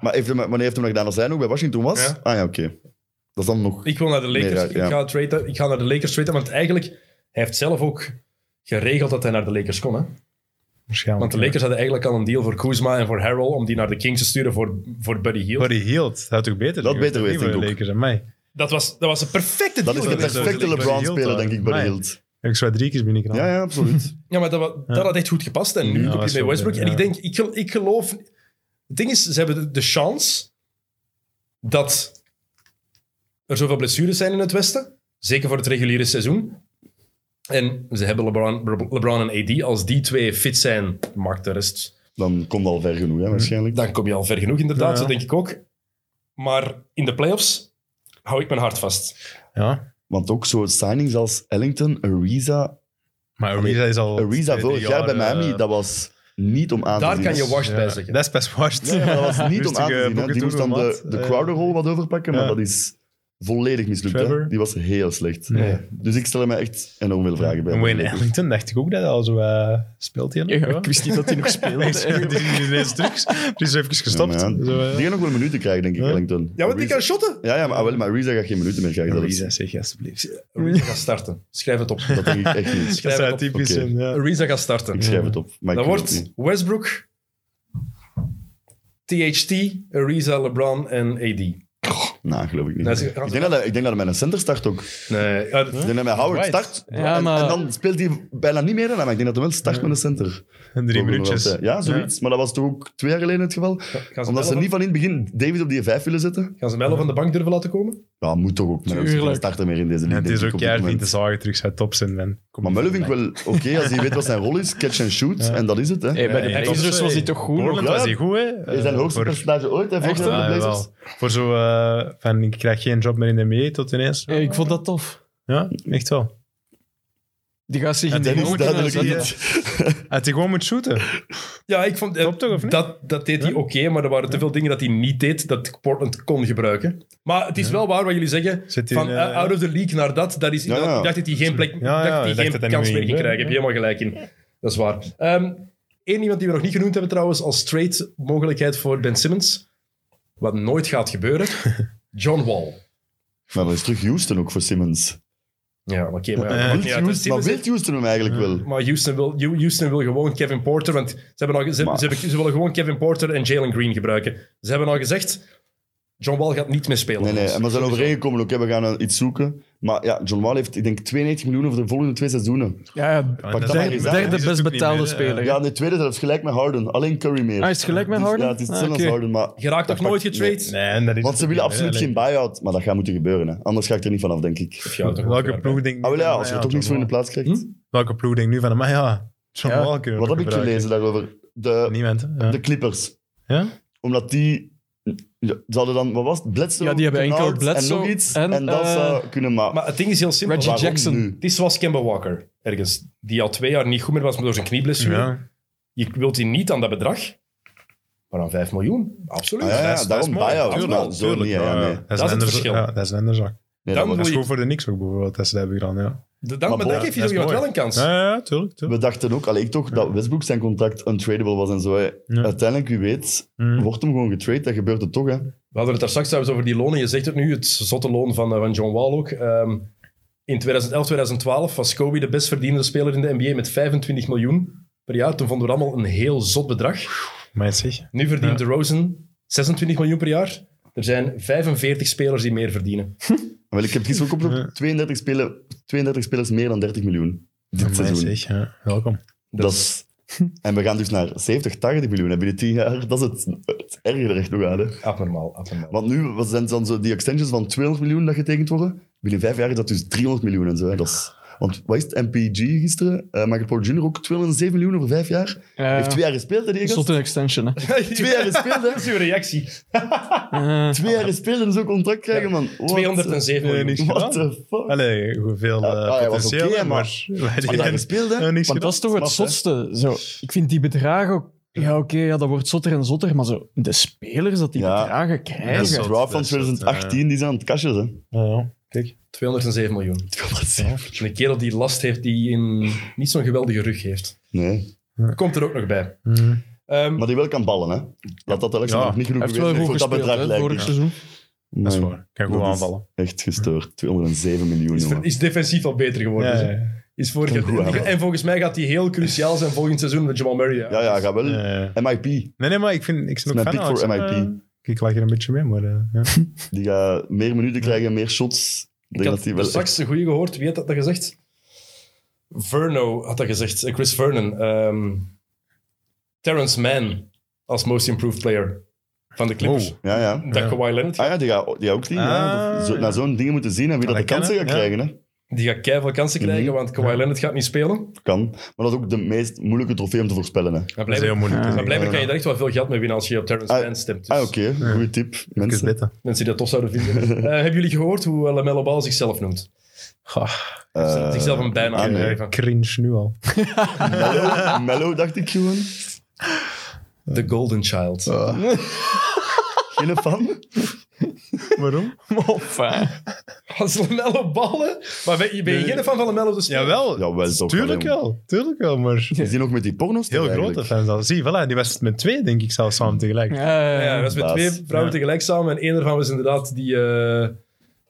Speaker 5: Maar heeft hem, wanneer heeft hem dat gedaan? Als hij nog bij Washington was?
Speaker 4: Ja.
Speaker 5: Ah ja, oké. Dat is dan nog...
Speaker 4: Ik wil naar de Lakers.
Speaker 5: Nee, ja, ja.
Speaker 4: Ik, ga traden, ik ga naar de Lakers traden, want eigenlijk... Hij heeft zelf ook geregeld dat hij naar de Lakers kon, hè.
Speaker 6: Waarschijnlijk.
Speaker 4: Want de Lakers hadden eigenlijk al een deal voor Kuzma en voor Harrell om die naar de Kings te sturen voor, voor Buddy Hield.
Speaker 6: Buddy Hield, dat had ook beter.
Speaker 5: Dat
Speaker 6: geweest,
Speaker 5: beter
Speaker 6: of niet,
Speaker 5: weet ik
Speaker 6: voor de
Speaker 5: ook.
Speaker 6: Lakers en mij.
Speaker 4: Dat was, dat was een perfecte
Speaker 5: Dat
Speaker 4: deal.
Speaker 5: is de
Speaker 4: geweest.
Speaker 5: perfecte
Speaker 6: Buddy
Speaker 5: LeBron-speler,
Speaker 6: Hield,
Speaker 5: denk ik, bij de
Speaker 6: ja.
Speaker 5: Hield.
Speaker 6: Ik zou drie keer binnenknallen.
Speaker 5: Ja, ja, absoluut.
Speaker 4: Ja, maar dat, wa- dat had echt goed gepast. En nu
Speaker 6: Ja,
Speaker 4: doe
Speaker 6: dat
Speaker 4: je
Speaker 6: is
Speaker 4: bij
Speaker 6: wel
Speaker 4: Westbrook.
Speaker 6: goed,
Speaker 4: En
Speaker 6: ja.
Speaker 4: ik denk, ik, gel- ik geloof... Het ding is, ze hebben de, de chance dat er zoveel blessures zijn in het Westen. Zeker voor het reguliere seizoen. En ze hebben LeBron, LeBron en AD. Als die twee fit zijn, maakt de rest
Speaker 5: Dan komt al ver genoeg, hè, waarschijnlijk.
Speaker 4: dan kom je al ver genoeg, inderdaad.
Speaker 6: Ja.
Speaker 4: Zo denk ik ook. Maar in de playoffs hou ik mijn hart vast.
Speaker 6: Ja.
Speaker 5: Want ook zo signings als Ellington, Ariza.
Speaker 6: Maar Ariza is al...
Speaker 5: Ariza
Speaker 6: twee, drie
Speaker 5: vorig jaar bij Miami,
Speaker 6: eh,
Speaker 5: dat was niet om aan te
Speaker 4: Daar
Speaker 5: zien.
Speaker 4: kan je washed bij
Speaker 6: ja,
Speaker 4: zeggen.
Speaker 6: Dat is best washed.
Speaker 5: Ja, maar dat was niet om aan te
Speaker 6: Rustige
Speaker 5: zien. hè.
Speaker 6: eh, boeken
Speaker 5: Die moest dan
Speaker 6: doen,
Speaker 5: de,
Speaker 6: wat?
Speaker 5: de
Speaker 6: Eh,
Speaker 5: Crowder-rol wat overpakken, maar
Speaker 6: ja.
Speaker 5: dat is volledig mislukt. Hè?
Speaker 6: Trevor?
Speaker 5: Die was heel slecht.
Speaker 6: Nee.
Speaker 5: Dus ik stel er mij echt enorm veel vragen bij.
Speaker 6: En Wayne Ellington dacht ik ook dat hij al zo eh, speelt hij nog.
Speaker 7: Ik wist niet dat hij nog speelde.
Speaker 6: Nee, sorry, die is ineens terug. Die is even gestopt.
Speaker 5: Ja, maar ja,
Speaker 6: Zo, eh.
Speaker 5: die gaat nog wel minuten krijgen, denk ik,
Speaker 6: Ja.
Speaker 5: Ellington.
Speaker 4: Ja, want die kan
Speaker 5: Ariza-
Speaker 4: shotten.
Speaker 5: Ja, ja, maar, ah, wel, maar Ariza gaat geen minuten meer krijgen. Dat, is-
Speaker 6: Ariza, zeg alsjeblieft.
Speaker 4: Ariza gaat starten. Schrijf het op.
Speaker 5: dat denk ik echt niet.
Speaker 6: Dat
Speaker 4: Schrijf
Speaker 6: zou
Speaker 4: het op.
Speaker 6: typisch
Speaker 5: Oké.
Speaker 6: zijn, ja.
Speaker 4: Ariza gaat starten.
Speaker 5: Ik schrijf het op. Maar ik
Speaker 4: Dan
Speaker 5: weet het
Speaker 4: wordt
Speaker 5: niet.
Speaker 4: Westbrook, THT, Ariza, LeBron en AD.
Speaker 5: Nou, geloof ik niet.
Speaker 4: Nee, ze-
Speaker 5: ik, denk dat, hij- ik denk dat hij met een center start ook.
Speaker 4: Nee, ja,
Speaker 5: Ik denk dat hij met Howard
Speaker 4: Right.
Speaker 5: start.
Speaker 7: Ja,
Speaker 5: en,
Speaker 7: maar-
Speaker 5: en dan speelt hij bijna niet meer. hè, Maar ik denk dat hij wel start met een center.
Speaker 6: En drie
Speaker 5: Volgende
Speaker 6: minuutjes.
Speaker 5: wedstrijd. Ja, zoiets. Maar dat was toch ook twee jaar geleden het geval?
Speaker 4: gaan ze,
Speaker 5: Omdat ze
Speaker 4: Melo-
Speaker 5: niet van in het begin David op die vijf willen zetten.
Speaker 4: gaan ze Melo van de bank durven laten komen?
Speaker 5: Ja, moet toch ook. Maar
Speaker 7: Tuurlijk.
Speaker 5: ze starten meer in deze
Speaker 6: En
Speaker 5: league.
Speaker 6: het
Speaker 5: denk
Speaker 6: is
Speaker 5: ik,
Speaker 6: ook
Speaker 5: op dit
Speaker 6: jaar niet
Speaker 5: moment.
Speaker 6: te zagen terug zijn top zijn. man. Kom
Speaker 5: Maar
Speaker 6: niet
Speaker 5: Mullen
Speaker 6: van
Speaker 5: vind ik
Speaker 6: mij.
Speaker 5: wel oké als hij weet wat zijn rol is. Catch and shoot. En dat is het. Hè.
Speaker 7: Hey, bij de
Speaker 6: Ja,
Speaker 7: Blazers
Speaker 6: top
Speaker 7: was hij
Speaker 6: twee.
Speaker 7: toch goed? nog?
Speaker 6: Portland
Speaker 5: Ja.
Speaker 6: was hij goed, hè?
Speaker 5: is zijn
Speaker 6: Eh,
Speaker 5: hoogste
Speaker 6: voor- ah,
Speaker 5: percentage ooit. Hè, volgens
Speaker 7: Echt,
Speaker 5: mij
Speaker 7: hè?
Speaker 5: bij de
Speaker 6: Ja,
Speaker 5: Blazers.
Speaker 6: wel. Voor zo eh, van ik krijg geen job meer in de NBA tot ineens.
Speaker 7: Hey, ik vond dat tof.
Speaker 6: Ja, echt wel.
Speaker 7: Die gaat zich
Speaker 6: Ja,
Speaker 7: in de
Speaker 5: Dat is
Speaker 7: goal kunnen
Speaker 5: duidelijk
Speaker 7: zetten.
Speaker 5: niet.
Speaker 6: Had hij gewoon moet shooten.
Speaker 4: Ja, ik vond... eh,
Speaker 6: Top toch, of niet?
Speaker 4: Dat, dat deed hij oké, maar er waren te veel dingen dat hij niet deed dat Portland kon gebruiken. Maar het is wel waar wat jullie zeggen.
Speaker 6: Zit hij
Speaker 4: van
Speaker 6: in,
Speaker 4: eh,
Speaker 6: eh,
Speaker 4: out of the league naar dat. dat is,
Speaker 5: Ja,
Speaker 4: dat-
Speaker 5: ja.
Speaker 4: Ik dacht dat hij geen, plek, ik
Speaker 6: ja,
Speaker 4: dacht dat hij
Speaker 6: ik dacht
Speaker 4: geen
Speaker 6: dat dat
Speaker 4: kans
Speaker 6: niet
Speaker 4: meer
Speaker 6: meer
Speaker 4: ging
Speaker 6: ging
Speaker 4: krijgen. Heb je helemaal gelijk in. Dat is waar. Ehm Eén iemand die we nog niet genoemd hebben trouwens als trade mogelijkheid voor Ben Simmons. Wat nooit gaat gebeuren. John Wall.
Speaker 5: Maar dat is terug Houston ook voor Simmons.
Speaker 4: Ja, maar oké. maar ja,
Speaker 5: Eh, Wilt
Speaker 4: maakt niet uit.
Speaker 5: Houston- maar
Speaker 4: Simmons-
Speaker 5: wil Houston hem eigenlijk wel?
Speaker 4: maar Houston wil, Houston wil gewoon Kevin Porter, want ze, hebben al, ge- ze,
Speaker 5: Maar-
Speaker 4: ze, hebben- ze willen gewoon Kevin Porter en Jalen Green gebruiken. Ze hebben al gezegd, John Wall gaat niet meer spelen.
Speaker 5: Nee, nee,
Speaker 4: Dus
Speaker 5: en we zijn overeengekomen ook. hè. We gaan eh, iets zoeken. Maar ja, John Wall heeft, ik denk, 92 miljoen voor de volgende twee seizoenen.
Speaker 7: Ja, ja,
Speaker 5: dat
Speaker 6: is
Speaker 5: maar
Speaker 6: niet
Speaker 5: eens
Speaker 6: meer.
Speaker 5: aan.
Speaker 7: derde
Speaker 6: Dat is
Speaker 7: best
Speaker 6: ook niet
Speaker 7: betaalde
Speaker 6: meer, eh.
Speaker 7: speler.
Speaker 5: Ja, en de tweede zelfs gelijk met Harden. Alleen Curry meer.
Speaker 7: Hij Ah, is gelijk met
Speaker 5: Dus,
Speaker 7: Harden?
Speaker 5: Ja, het is
Speaker 7: Ah,
Speaker 5: hetzelfde
Speaker 7: oké.
Speaker 5: als Harden. Maar,
Speaker 4: Je raakt toch
Speaker 5: Dat
Speaker 4: nooit
Speaker 5: pakt-
Speaker 4: getraind?
Speaker 6: Nee, en dat is
Speaker 5: want ze
Speaker 6: het
Speaker 5: willen
Speaker 6: niet meer,
Speaker 5: absoluut
Speaker 6: hè.
Speaker 5: geen buy-out. Maar dat gaat moeten gebeuren. Hè. Anders ga ik er niet vanaf, denk ik.
Speaker 4: Of ja, toch wel
Speaker 6: Welke
Speaker 4: verder.
Speaker 6: ploeg denk
Speaker 5: Ah, wel ja, als je
Speaker 6: Ja,
Speaker 5: er toch niks voor in de
Speaker 6: John Wall.
Speaker 5: plaats krijgt.
Speaker 6: Welke ploeg denkt nu van, maar ja, John
Speaker 7: Ja,
Speaker 6: Wall kunnen we
Speaker 5: Wat heb
Speaker 6: nog
Speaker 5: ik
Speaker 6: gebruiken.
Speaker 5: gelezen daarover? De,
Speaker 6: Niemand, hè? Ja.
Speaker 5: de Clippers.
Speaker 6: Ja?
Speaker 5: Omdat die... Ja, ze hadden dan, wat was het? Bledsoe,
Speaker 7: Ja, die hebben enkel
Speaker 5: Kennard
Speaker 7: Bledsoe
Speaker 5: en nog iets. En,
Speaker 7: en,
Speaker 5: dat
Speaker 7: eh,
Speaker 5: zou kunnen, maar,
Speaker 4: Maar het ding is heel simpel.
Speaker 7: Reggie
Speaker 5: waarom
Speaker 7: Jackson.
Speaker 5: nu?
Speaker 4: Het is zoals Kemba Walker, ergens. Die al twee jaar niet goed meer was door zijn knieblessure.
Speaker 6: Ja.
Speaker 4: Je wilt die niet aan dat bedrag, maar aan 5 miljoen. Absoluut.
Speaker 5: Ah, ja,
Speaker 4: Dat is-
Speaker 5: daarom
Speaker 4: dat is mooi.
Speaker 5: buyout.
Speaker 4: Tuurlijk.
Speaker 5: Maar zo niet, ja, nee.
Speaker 6: Dat is
Speaker 4: het
Speaker 6: een ander-
Speaker 4: verschil.
Speaker 6: ja, dat is een ander zaak.
Speaker 5: Nee,
Speaker 4: dan wil
Speaker 5: dat was-
Speaker 6: Dat is
Speaker 4: je-
Speaker 6: goed voor de niks ook bijvoorbeeld, dat ze dat hebben gedaan, ja.
Speaker 4: Dan, dan,
Speaker 5: Maar
Speaker 4: maar
Speaker 5: Bol-
Speaker 4: dan geef je
Speaker 6: dat
Speaker 4: zo
Speaker 6: is
Speaker 4: iemand
Speaker 6: mooi.
Speaker 4: wel een kans.
Speaker 6: Ja, ja, tuurlijk, tuurlijk.
Speaker 5: We dachten ook, allee, ik toch, dat Westbrook zijn contract untradable was en zo. hè.
Speaker 6: Ja.
Speaker 5: Uiteindelijk, wie weet,
Speaker 6: Mm.
Speaker 5: wordt hem gewoon getrade. Dat gebeurt het toch, hè?
Speaker 4: We hadden het daar straks trouwens over die lonen. Je zegt het nu, het zotte loon van, eh, van John Wall ook. Ehm, in 2011, 2012 was Kobe de best verdienende speler in de NBA met 25 miljoen per jaar. Toen vonden we dat allemaal een heel zot bedrag.
Speaker 6: Maar zeg,
Speaker 4: Nu verdient
Speaker 6: Ja.
Speaker 4: DeRozan 26 miljoen per jaar. Er zijn 45 spelers die meer verdienen.
Speaker 5: Wel, ik heb gisteren ook opgezocht, 32, spelen, 32 spelers meer dan 30 miljoen dit
Speaker 6: maar
Speaker 5: seizoen.
Speaker 6: zeg, ja. welkom.
Speaker 5: Dat is... En we gaan dus naar 70, 80 miljoen hè, binnen 10 jaar. Dat is het, het erge er echt nog aan. Hè.
Speaker 4: Abnormaal, abnormaal.
Speaker 5: Want nu wat zijn dan zo die extensions van 200 miljoen dat getekend worden. Binnen vijf jaar is dat dus 300 miljoen en zo. Hè. Dat is, want wat is het? MPG gisteren? eh Michael Porter Jr. ook 207 miljoen over vijf jaar.
Speaker 6: Eh,
Speaker 7: Ja, ja.
Speaker 5: Heeft twee jaar gespeeld, hè, die
Speaker 7: Een
Speaker 5: gast?
Speaker 7: soort een extension, hè.
Speaker 5: Twee jaar gespeeld, hè?
Speaker 4: Dat is uw reactie.
Speaker 7: Eh,
Speaker 5: Twee jaar gespeeld en zo'n contract krijgen, man. What?
Speaker 4: 207
Speaker 6: Nee,
Speaker 4: miljoen.
Speaker 6: niet.
Speaker 5: What the fuck?
Speaker 6: Allee, hoeveel eh,
Speaker 5: Ja, ah, hij was
Speaker 6: potentieel,
Speaker 5: oké,
Speaker 6: maar... maar
Speaker 5: Twee jaar gespeeld, hè?
Speaker 6: Ja, niks
Speaker 5: Want
Speaker 7: Want dat is toch
Speaker 5: Snap,
Speaker 7: het
Speaker 5: hè?
Speaker 7: zotste. Zo, ik vind die bedragen ook... Ja, oké, ja, dat wordt zotter en zotter, maar zo, de spelers dat die
Speaker 5: Ja.
Speaker 7: bedragen
Speaker 5: De
Speaker 6: Dat is
Speaker 7: krijgen...
Speaker 6: zot,
Speaker 5: draft van
Speaker 6: dat is zot,
Speaker 5: 2018, die zijn aan het cashen, hè?
Speaker 6: gedaan. Ja, kijk.
Speaker 4: 207 miljoen.
Speaker 5: 207.
Speaker 4: Een kerel die last heeft, die een, niet zo'n geweldige rug heeft.
Speaker 5: Nee.
Speaker 4: Komt er ook nog bij.
Speaker 6: Mm.
Speaker 4: Ehm,
Speaker 5: Maar die wel kan ballen, hè? Laat dat Alexander
Speaker 6: Ja.
Speaker 5: nog niet genoeg
Speaker 7: Hij heeft wel
Speaker 5: bewezen
Speaker 7: goed
Speaker 5: heeft voor dat
Speaker 7: gespeeld,
Speaker 5: bedrag,
Speaker 7: hè,
Speaker 5: lijkt
Speaker 7: vorig
Speaker 5: me.
Speaker 7: seizoen.
Speaker 6: Dat is
Speaker 5: Nee.
Speaker 6: waar. Kan goed
Speaker 5: Dat is
Speaker 6: aanvallen.
Speaker 5: Echt gestoord. 207 miljoen,
Speaker 4: is, ver-
Speaker 5: jongen.
Speaker 4: is defensief al beter geworden.
Speaker 5: dus-
Speaker 4: dus
Speaker 6: Ja,
Speaker 4: hè?
Speaker 6: ja, ja.
Speaker 4: Is vorig
Speaker 5: Kan goed
Speaker 4: jaar,
Speaker 5: aanvallen.
Speaker 4: en volgens mij gaat die heel cruciaal zijn volgend seizoen met Jamal Murray.
Speaker 5: Ja, ja, ga wel.
Speaker 6: Ja, ja.
Speaker 5: MIP.
Speaker 6: Nee, nee, maar ik, vind, ik ben
Speaker 5: Mijn
Speaker 6: ook fan
Speaker 5: pick voor
Speaker 6: Alex,
Speaker 5: MIP.
Speaker 6: eh, Ik lag er een beetje mee, maar... eh, ja.
Speaker 5: Die gaat meer minuten krijgen, meer shots. Ik
Speaker 4: Ik
Speaker 5: denk
Speaker 4: had
Speaker 5: dat die wel
Speaker 4: straks de goede gehoord. Wie had dat, dat gezegd? Verno had dat gezegd. Eh, Chris Vernon. ehm Terrence Mann als most improved player. van de Clippers.
Speaker 6: Wow.
Speaker 5: Ja, ja.
Speaker 4: Dat Kawhi Leonard,
Speaker 5: Ah ja, die gaat die gaat ook niet. ja.
Speaker 6: Ah,
Speaker 5: Dat- zo- naar zo'n dingen moeten zien en wie dat de
Speaker 6: dat
Speaker 5: kansen gaat
Speaker 6: kan, hè? Ja.
Speaker 5: krijgen. Hè.
Speaker 4: die gaat keihard kansen
Speaker 5: Mhm.
Speaker 4: krijgen, want Kawhi Leonard gaat niet spelen.
Speaker 5: Kan. Maar dat is ook de meest moeilijke trofee om te voorspellen. Hè.
Speaker 4: Maar
Speaker 6: Dat is heel
Speaker 4: blijkbaar,
Speaker 6: moeilijk. dus
Speaker 4: maar blijkbaar kan je daar echt wel veel geld mee winnen als je op Terrence
Speaker 5: Ah,
Speaker 4: Mann stemt. Dus
Speaker 5: Ah, oké. Goeie tip,
Speaker 6: Even
Speaker 5: mensen.
Speaker 6: weten.
Speaker 4: Mensen die dat tof zouden vinden. Eh, hebben jullie gehoord hoe eh, LaMelo Ball zichzelf noemt?
Speaker 5: Eh,
Speaker 4: zichzelf een bijnaam
Speaker 5: ah, nee.
Speaker 4: gegeven.
Speaker 6: Cringe nu al.
Speaker 5: Mellow, mellow, Eh, dacht ik gewoon.
Speaker 4: The Golden Child.
Speaker 5: Geen fan?
Speaker 6: Waarom?
Speaker 7: Enfin.
Speaker 5: eh,
Speaker 4: Als LaMelo ballen? Maar ben je, ben je
Speaker 6: Nee.
Speaker 4: geen fan van LaMelo? Dus
Speaker 6: Jawel.
Speaker 5: Ja, wel toch.
Speaker 6: Tuurlijk
Speaker 5: alleen.
Speaker 6: wel. Tuurlijk wel, maar...
Speaker 5: Is die nog met die porno's?
Speaker 6: Heel grote fans al. Zie, voilà, die was met twee, denk ik, zelfs samen tegelijk.
Speaker 7: Ja,
Speaker 4: Ja, hij was met
Speaker 5: Baas.
Speaker 4: twee vrouwen
Speaker 6: Ja.
Speaker 4: tegelijk samen en één ervan was inderdaad die, eh,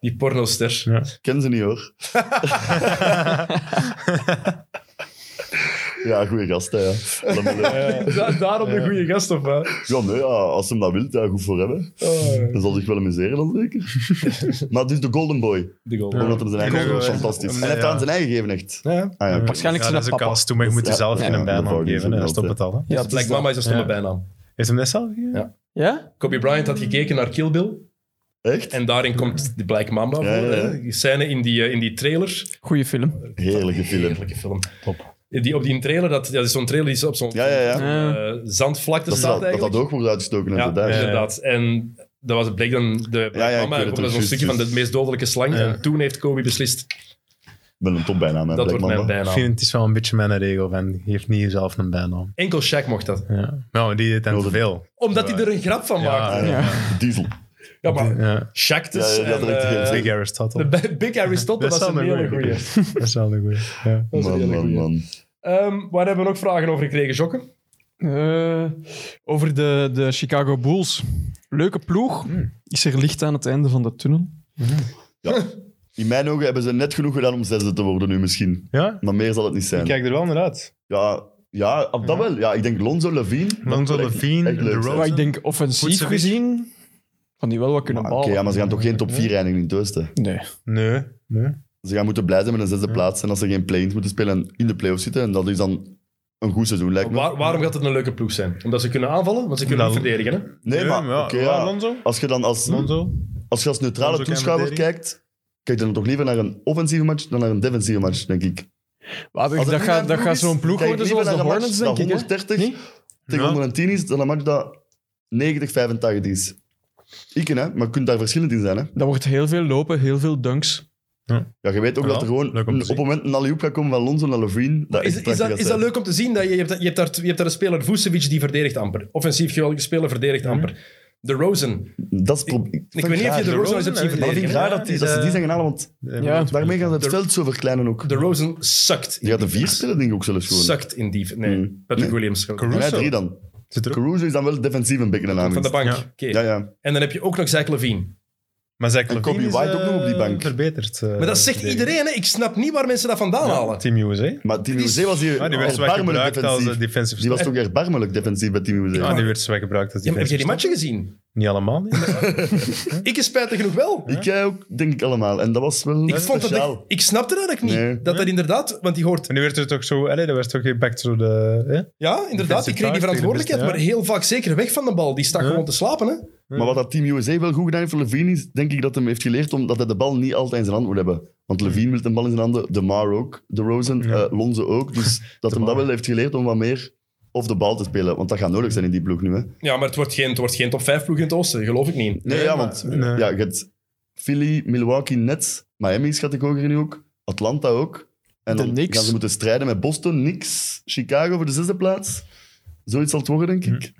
Speaker 4: die pornoster.
Speaker 6: Ja.
Speaker 5: Ken ze niet hoor. ja, goede gast, hè, ja. Allemaal leuk.
Speaker 4: Da- daarom de goede gast, of wat?
Speaker 5: Ja, nee, ja, als ze hem dat wilt, daar goed voor hebben. Dan zal zich wel amuseren, dan zeker. maar dus de Golden Boy.
Speaker 4: De goal.
Speaker 5: Omdat hem zijn eigen
Speaker 6: Golden
Speaker 5: was
Speaker 6: Boy.
Speaker 5: fantastisch. En
Speaker 6: Ja.
Speaker 5: hij heeft aan zijn eigen gegeven, echt.
Speaker 6: Ja.
Speaker 5: Ah, ja, oké.
Speaker 7: Waarschijnlijk
Speaker 6: Ja,
Speaker 7: zijn
Speaker 6: dat
Speaker 7: dat
Speaker 6: is ook
Speaker 7: papa.
Speaker 6: als toen, maar je moet
Speaker 5: Ja,
Speaker 6: er zelf
Speaker 5: ja,
Speaker 6: geen
Speaker 5: ja, dat
Speaker 6: bijnaam
Speaker 5: is
Speaker 6: geven.
Speaker 5: ook
Speaker 6: hè.
Speaker 5: wel
Speaker 6: Stop
Speaker 5: zo.
Speaker 6: het al. hè.
Speaker 7: Ja, het is
Speaker 4: Black
Speaker 7: dat.
Speaker 4: Mama is een stomme
Speaker 6: Ja.
Speaker 4: bijnaam.
Speaker 6: Heeft hem net zelf gegeven?
Speaker 4: Ja.
Speaker 7: Ja?
Speaker 4: Kobe Bryant had gekeken naar Kill Bill
Speaker 5: Echt?
Speaker 4: en daarin komt de Black Mamba
Speaker 5: Ja,
Speaker 4: voor.
Speaker 5: ja, ja.
Speaker 4: hè. Die scène in die, eh, in die trailer.
Speaker 7: Goeie film.
Speaker 5: Heerlijke film.
Speaker 4: Heerlijke film. Top. Die, op die trailer, dat, dat is zo'n trailer die is op zo'n
Speaker 5: Ja, ja, ja.
Speaker 4: eh, zandvlakte
Speaker 5: Dat
Speaker 4: staat
Speaker 5: dat, dat
Speaker 4: eigenlijk.
Speaker 5: dat ook wordt uitgestoken en
Speaker 4: Ja,
Speaker 5: zo, daar.
Speaker 4: inderdaad. En dat was, bleek dan de
Speaker 5: Ja, ja, ik
Speaker 4: mama,
Speaker 5: weet
Speaker 4: dat
Speaker 5: het ook,
Speaker 4: was zo'n
Speaker 5: juist,
Speaker 4: stukje van de
Speaker 5: juist.
Speaker 4: meest dodelijke slang. En toen heeft Kobe beslist,
Speaker 5: Ik ben een topbijnaam, hè,
Speaker 4: dat
Speaker 5: Black
Speaker 4: wordt mijn
Speaker 5: Mamba.
Speaker 6: Ik
Speaker 4: bijnaam.
Speaker 6: vind het is wel een beetje mijn regel, van je heeft niet jezelf een bijnaam.
Speaker 4: Enkel Shaq mocht dat.
Speaker 6: Ja. Nou, die deed dan te veel.
Speaker 4: Omdat hij er een grap van maakte.
Speaker 5: Ah, ja. Diesel.
Speaker 4: Ja, maar
Speaker 6: Ja.
Speaker 4: Shaq
Speaker 5: Ja,
Speaker 4: dus.
Speaker 5: ja, die had
Speaker 4: en,
Speaker 5: er echt geen
Speaker 4: eh,
Speaker 5: zin
Speaker 6: Big Aristotle.
Speaker 4: de Bi- Big Aristotle, dat is een hele goeie.
Speaker 6: goeie. Dat is wel een goeie. Ja.
Speaker 4: Dat is een
Speaker 5: Man,
Speaker 4: hele
Speaker 5: man,
Speaker 4: goeie.
Speaker 5: man.
Speaker 4: Ehm, waar hebben we nog vragen over gekregen, Jokke?
Speaker 7: Eh, over de, de Chicago Bulls. Leuke ploeg. Is er licht aan het einde van de tunnel?
Speaker 5: In mijn ogen hebben ze net genoeg gedaan om zesde te worden nu misschien.
Speaker 6: ja?
Speaker 5: Maar meer zal het niet
Speaker 6: Ik
Speaker 5: zijn.
Speaker 6: kijk er wel naar uit.
Speaker 5: Ja, ja op dat wel. Ja, ik denk Lonzo Levine. dat
Speaker 6: Lonzo
Speaker 5: moet echt-
Speaker 6: Levine,
Speaker 5: echt leuk
Speaker 6: The
Speaker 5: zijn.
Speaker 6: Rosen.
Speaker 7: Maar ik denk offensief
Speaker 6: Poetsevich.
Speaker 7: gezien, van die wel wat kunnen
Speaker 5: Maar
Speaker 7: balen.
Speaker 5: Oké, ja, maar ze gaan toch geen top 4 eindigen in het oosten.
Speaker 7: Nee.
Speaker 6: Nee. nee.
Speaker 5: Ze gaan moeten blij zijn met een zesde plaats en als ze geen play-ins moeten spelen en in de playoffs zitten. En dat is dan een goed seizoen, lijkt me.
Speaker 4: Waar- waarom gaat het een leuke ploeg zijn? Omdat ze kunnen aanvallen, want ze kunnen
Speaker 6: Nou,
Speaker 4: niet verdedigen. Hè?
Speaker 5: Nee, maar
Speaker 6: ja,
Speaker 5: oké,
Speaker 6: ja,
Speaker 5: ja.
Speaker 6: Lonzo?
Speaker 5: als je dan als,
Speaker 6: Lonzo?
Speaker 5: als, je als neutrale
Speaker 6: Lonzo kan
Speaker 5: toeschouwer
Speaker 6: verdedigen.
Speaker 5: kijkt, kijk dan toch liever naar een offensieve match dan naar een defensieve match, denk ik.
Speaker 7: Maar
Speaker 5: Als
Speaker 7: dat
Speaker 5: het
Speaker 7: gaat
Speaker 5: niet
Speaker 7: dat
Speaker 5: een
Speaker 7: gaat
Speaker 5: is,
Speaker 7: zo'n ploeg
Speaker 5: kijk
Speaker 7: worden
Speaker 5: liever
Speaker 7: zoals de
Speaker 5: naar een match
Speaker 7: Hornets,
Speaker 5: dat
Speaker 7: denk ik. hè?
Speaker 5: 130
Speaker 7: Nee?
Speaker 5: tegen
Speaker 6: Ja.
Speaker 5: 110 is dan een match dat 90-85 is. Ik hè, maar je kunt daar verschillend in zijn. Hè.
Speaker 7: Dat wordt heel veel lopen, heel veel dunks.
Speaker 5: Ja, je weet ook
Speaker 6: Ja,
Speaker 5: dat er gewoon
Speaker 6: leuk om te
Speaker 5: een-
Speaker 6: zien.
Speaker 5: op het moment een alley-oop gaat komen van Lonzo naar Levine. Dat
Speaker 4: Is,
Speaker 5: echt
Speaker 4: is,
Speaker 5: prachtig
Speaker 4: dat,
Speaker 5: gaat
Speaker 4: is dat
Speaker 5: zijn.
Speaker 4: leuk om te zien? Dat je, je, hebt, je, hebt daar, je hebt daar een speler, Vucevic, die verdedigt amper. Offensief geweldige speler,
Speaker 5: Mhm.
Speaker 4: verdedigt amper. De Rosen.
Speaker 5: Dat is het probleem.
Speaker 4: Ik weet niet of je de Rosen
Speaker 6: de
Speaker 4: al eens hebt
Speaker 6: Rosen,
Speaker 4: zien
Speaker 6: hè,
Speaker 5: Maar dat
Speaker 6: die
Speaker 5: vind
Speaker 4: verdedigen.
Speaker 5: ik raar dat, die, dat ze die zijn gaan halen, want
Speaker 7: Ja.
Speaker 5: daarmee gaan ze het veld zo verkleinen ook.
Speaker 4: eh, De Rosen sukt.
Speaker 5: Die gaat een vier spelen, denk ik ook zelfs gewoon.
Speaker 4: Sukt in die... Nee,
Speaker 5: Mm.
Speaker 4: Patrick
Speaker 5: Nee.
Speaker 4: Williams.
Speaker 5: En hij
Speaker 6: Caruso.
Speaker 5: drie dan.
Speaker 6: Zit er ook.
Speaker 5: Caruso is dan wel defensief een beetje een naam.
Speaker 4: Van de bank.
Speaker 6: Ja.
Speaker 4: Oké.
Speaker 5: Ja, ja.
Speaker 4: En dan heb je ook nog Zach Levine.
Speaker 6: Maar Zach Levine
Speaker 5: Kobe
Speaker 6: is,
Speaker 5: White ook
Speaker 6: eh,
Speaker 5: nog op die bank.
Speaker 6: Verbeterd. eh,
Speaker 4: Maar dat zegt
Speaker 6: verdedigd.
Speaker 4: iedereen. Hè? Ik snap niet waar mensen dat vandaan halen.
Speaker 6: Team USA.
Speaker 5: Maar Team USA was hier
Speaker 6: Ah, die werd zwaar
Speaker 5: erbarmelijk
Speaker 6: gebruikt als eh,
Speaker 5: defensief.
Speaker 6: defensive
Speaker 5: Die was
Speaker 6: stop.
Speaker 5: toch erbarmelijk defensief bij Team USA.
Speaker 6: Ah, die werd zwaar gebruikt als
Speaker 4: Ja, maar heb je
Speaker 6: defensive
Speaker 4: die matchen gezien?
Speaker 6: stop. Niet allemaal, nee.
Speaker 4: Ik is spijtig genoeg wel.
Speaker 5: Ik jij ook, denk ik allemaal. En dat was wel
Speaker 4: Ik, vond dat
Speaker 5: speciaal.
Speaker 4: ik, ik snapte dat eigenlijk niet.
Speaker 5: Nee.
Speaker 4: Dat dat inderdaad, want die hoort.
Speaker 6: En nu werd het ook zo... Allee, dat werd ook gepakt door de... Hè?
Speaker 4: Ja, inderdaad. Die kreeg die verantwoordelijkheid, maar heel vaak zeker weg van de bal. Die stak gewoon te slapen. Hè?
Speaker 5: Maar wat dat Team USA wel goed gedaan heeft voor Levine is, denk ik dat hem heeft geleerd omdat hij de bal niet altijd in zijn hand moet hebben. Want Levine wil de bal in zijn handen, De Mar ook, De Rosen, eh, Lonzo ook. Dus dat hem dat wel heeft geleerd om wat meer of de bal te spelen. Want dat gaat nodig zijn in die ploeg nu. Hè.
Speaker 4: Ja, maar het wordt geen, het wordt geen top 5 ploeg in het Oosten. Geloof ik niet.
Speaker 5: Nee, ja, want
Speaker 6: nee.
Speaker 5: Ja, je hebt Philly, Milwaukee, Nets, Miami schat ik ook nu ook, Atlanta ook. En
Speaker 7: De
Speaker 5: dan
Speaker 7: Knicks.
Speaker 5: gaan ze moeten strijden met Boston, Knicks, Chicago voor de zesde plaats. Zoiets zal het worden, denk ik.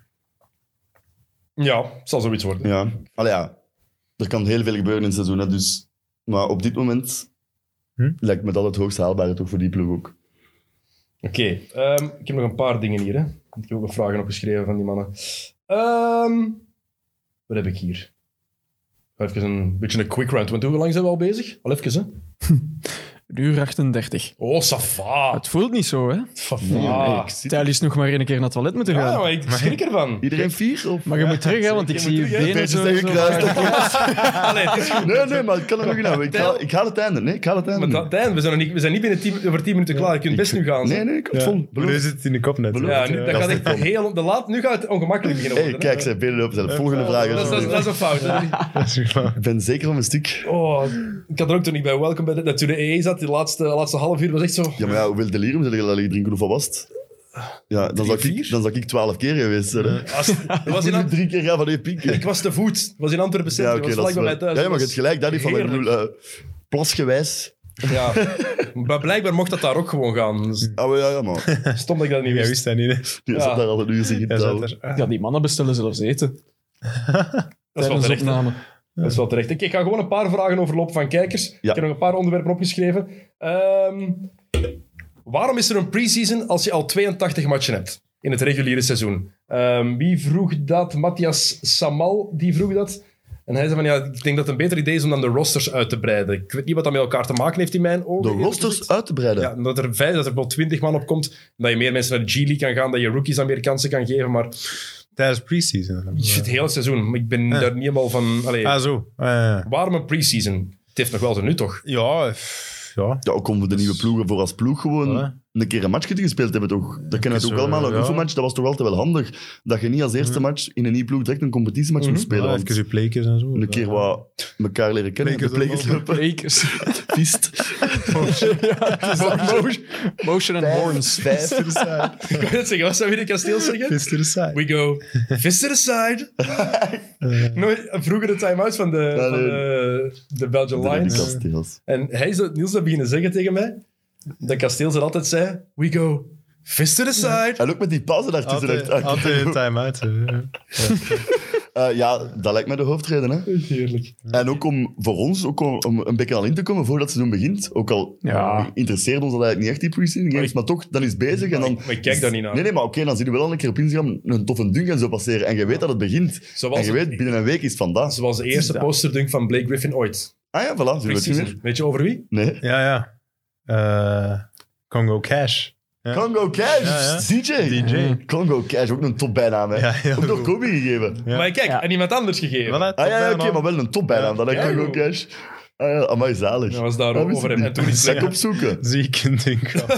Speaker 4: Ja, het zal zoiets worden.
Speaker 5: Ja. Allee, ja, er kan heel veel gebeuren in het seizoen, hè, dus... Maar op dit moment
Speaker 6: Hm?
Speaker 5: lijkt me dat het hoogst haalbare toch voor die ploeg ook.
Speaker 4: Oké, ehm, ik heb nog een paar dingen hier. Hè. Ik heb ook nog vragen opgeschreven van die mannen. Ehm, wat heb ik hier? Even een beetje een quick round. Want hoe lang zijn we al bezig? Al even, hè?
Speaker 7: Een uur 38.
Speaker 4: Oh, Safa.
Speaker 7: Het voelt niet zo, hè?
Speaker 5: Nee,
Speaker 4: Safa.
Speaker 5: ik zit-
Speaker 7: Tijl is nog maar één keer naar het toilet moeten
Speaker 4: Ja,
Speaker 7: gaan.
Speaker 4: Ah, maar ik schrik ervan.
Speaker 5: Iedereen vier? Of...
Speaker 7: Maar je moet terug, hè, want ik
Speaker 4: Je
Speaker 7: zie je
Speaker 4: moet terug, hè?
Speaker 7: benen
Speaker 5: Beetjes
Speaker 7: zo...
Speaker 5: tegen
Speaker 7: zo-
Speaker 5: kruis.
Speaker 4: Allee, het is goed.
Speaker 5: Nee, nee, maar ik kan er nog in hebben. Ik haal, ik haal het einde. Nee, ik haal het einde.
Speaker 4: Met
Speaker 5: nu.
Speaker 4: dat eind, we zijn, nog niet, we zijn niet binnen 10 over 10 minuten klaar. Je kunt best nu gaan.
Speaker 5: Nee,
Speaker 4: zeg.
Speaker 5: nee, ik
Speaker 6: Ja.
Speaker 5: vol.
Speaker 6: Maar nu zit het in de kop net.
Speaker 5: Beloof
Speaker 4: Ja,
Speaker 6: Ja,
Speaker 4: nu,
Speaker 6: eh,
Speaker 4: dat gaat
Speaker 5: is
Speaker 4: echt
Speaker 5: de kom.
Speaker 4: heel... De laat, nu gaat het ongemakkelijk beginnen
Speaker 5: Hey,
Speaker 4: worden.
Speaker 5: kijk,
Speaker 4: hè.
Speaker 5: zijn benen lopen zelf. Volgende vraag.
Speaker 4: dat, is- dat, is- dat is een fout. hè.
Speaker 6: dat is wel-
Speaker 5: Ik ben zeker van mijn stuk.
Speaker 4: Oh, ik had er ook toen ik bij Welcome bij de, dat toen de EE zat, die laatste, laatste half uur was echt zo...
Speaker 5: Ja, maar ja, hoeveel delirium zou je dat liggen drinken? Hoeveel was het? Ja, dan zou ik,
Speaker 4: vier?
Speaker 5: dan zou ik twaalf keer geweest zijn. hè.
Speaker 4: Als- dat was
Speaker 5: Ik
Speaker 4: in
Speaker 5: moet
Speaker 4: Ant-
Speaker 5: nu drie keer gaan van één pieken.
Speaker 4: ik was te voet. Het was in Antwerpen Center.
Speaker 5: Ja,
Speaker 4: Ik
Speaker 5: oké,
Speaker 4: was
Speaker 5: dat is
Speaker 4: vlak bij mij
Speaker 5: wel...
Speaker 4: thuis.
Speaker 5: Ja, je mag
Speaker 4: Dat
Speaker 5: het gelijk daar niet van. Ik bedoel, eh, plasgewijs.
Speaker 4: was- Ja. Maar blijkbaar mocht dat daar ook gewoon gaan. Dus
Speaker 5: Ah, maar ja, ja, maar.
Speaker 4: Stom dat ik dat niet
Speaker 6: Jij
Speaker 4: wist.
Speaker 6: wist dat niet, hè?
Speaker 5: Die
Speaker 4: Ja.
Speaker 5: zat daar al een uur zich in
Speaker 6: Jij
Speaker 5: touw.
Speaker 6: zat er. Ah,
Speaker 7: Ja, die mannen bestellen zelfs eten
Speaker 4: Dat is wel
Speaker 7: tijdens de
Speaker 4: terecht. hè.
Speaker 7: opname.
Speaker 4: Dat is wel terecht. Ik, ik ga gewoon een paar vragen overlopen van kijkers. Ik heb nog een paar onderwerpen opgeschreven. Ehm, waarom is er een pre-season als je al 82 matchen hebt in het reguliere seizoen? Ehm, wie vroeg dat? Matthias Samal, die vroeg dat. En hij zei van, ja, ik denk dat het een beter idee is om dan de rosters uit te breiden. Ik weet niet wat dat met elkaar te maken heeft in mijn ogen.
Speaker 5: De
Speaker 4: eerlijk
Speaker 5: rosters
Speaker 4: gezegd.
Speaker 5: uit te breiden.
Speaker 4: Ja, dat er vijf, dat er wel 20 man op komt. Dat je meer mensen naar de G-League kan gaan, dat je rookies dan meer kansen kan geven. Maar
Speaker 6: Tijdens pre-season.
Speaker 4: het hele seizoen, ik ben daar niet helemaal van... Allee,
Speaker 6: Ah, zo. Ah, ja.
Speaker 4: Waarom een pre-season? Het heeft nog wel zijn nu, toch?
Speaker 6: Ja, f- ja.
Speaker 5: Ja, ook om de
Speaker 4: Dus-
Speaker 5: nieuwe ploegen voor als ploeg gewoon
Speaker 6: Ja.
Speaker 5: een keer een matchje te gespeeld hebben, toch? Dat kennen we
Speaker 6: Is,
Speaker 5: ook allemaal.
Speaker 6: eh,
Speaker 5: Een
Speaker 6: ja. Mhm.
Speaker 5: oefenmatch, dat was toch altijd wel handig. Dat je niet als eerste match in een nieuwe ploeg direct een competitiematch moet spelen.
Speaker 6: Ja,
Speaker 5: want
Speaker 6: even je plekers en zo.
Speaker 5: een keer wat elkaar leren kennen, de
Speaker 6: Plekers
Speaker 5: plegers
Speaker 6: allemaal.
Speaker 5: lopen,
Speaker 7: Rekers.
Speaker 5: pist.
Speaker 7: Motion and horns.
Speaker 5: Vijf.
Speaker 4: Ik wou net zeggen, wat zou Willy Kasteel zeggen?
Speaker 6: Gisteren saai.
Speaker 4: We go, fist to the side. Nooit- vroeger de time-out van de,
Speaker 5: Ja,
Speaker 4: van
Speaker 5: nee.
Speaker 4: de, de Belgian
Speaker 5: De Rudy
Speaker 4: Lions.
Speaker 5: Kasteels.
Speaker 4: En hij is dat, Niels dat beginnen zeggen tegen mij. Dat Kasteel ze altijd zei, we go, fist to the side.
Speaker 5: En ook met die pauze daartussen.
Speaker 6: Altijd,
Speaker 5: echt.
Speaker 6: altijd een time-out. hè.
Speaker 5: Eh, ja, dat lijkt mij de hoofdreden. Hè?
Speaker 4: Heerlijk.
Speaker 5: En ook om voor ons ook om, om een beetje al in te komen voordat ze doen begint. Ook al
Speaker 7: Ja.
Speaker 5: interesseert ons dat eigenlijk niet echt die pre-season games, maar toch, dan is het bezig. En dan,
Speaker 4: Maar ik kijk daar niet naar.
Speaker 5: Nee, nee, maar oké, dan zien we wel een keer op Instagram een toffe dunk en zo passeren. En je weet dat het begint.
Speaker 4: Zoals
Speaker 5: en je
Speaker 4: het-
Speaker 5: weet, binnen een week is het vandaag.
Speaker 4: Zoals de eerste posterdunk van Blake Griffin ooit.
Speaker 5: Ah ja, voilà, zullen we het zien
Speaker 4: Pre-season.
Speaker 5: weer.
Speaker 4: Weet je over wie?
Speaker 5: Nee.
Speaker 6: Ja, ja. Eh, Congo Cash. Ja.
Speaker 5: Congo Cash,
Speaker 6: Ja,
Speaker 5: DJ.
Speaker 6: DJ.
Speaker 5: Congo Cash, ook een topbijnaam. Hè.
Speaker 6: Ja, heel
Speaker 5: ook door
Speaker 6: goed.
Speaker 5: Kobe gegeven.
Speaker 6: Ja.
Speaker 4: Maar kijk,
Speaker 7: Ja.
Speaker 4: en iemand anders gegeven.
Speaker 5: Ah
Speaker 6: Voilà,
Speaker 5: ja, ja,
Speaker 6: top
Speaker 5: oké,
Speaker 6: down,
Speaker 5: maar wel een topbijnaam.
Speaker 6: Ja.
Speaker 5: dan
Speaker 4: Ja,
Speaker 5: Congo
Speaker 4: goed.
Speaker 5: Cash. Ah ja, amai, zalig.
Speaker 4: Dat was daar
Speaker 5: Ah,
Speaker 4: ook
Speaker 5: wist
Speaker 4: over
Speaker 5: ik
Speaker 4: hem.
Speaker 5: niet.
Speaker 4: En toen is-
Speaker 5: Ga ik opzoeken.
Speaker 6: Ziek een ding.
Speaker 5: Dan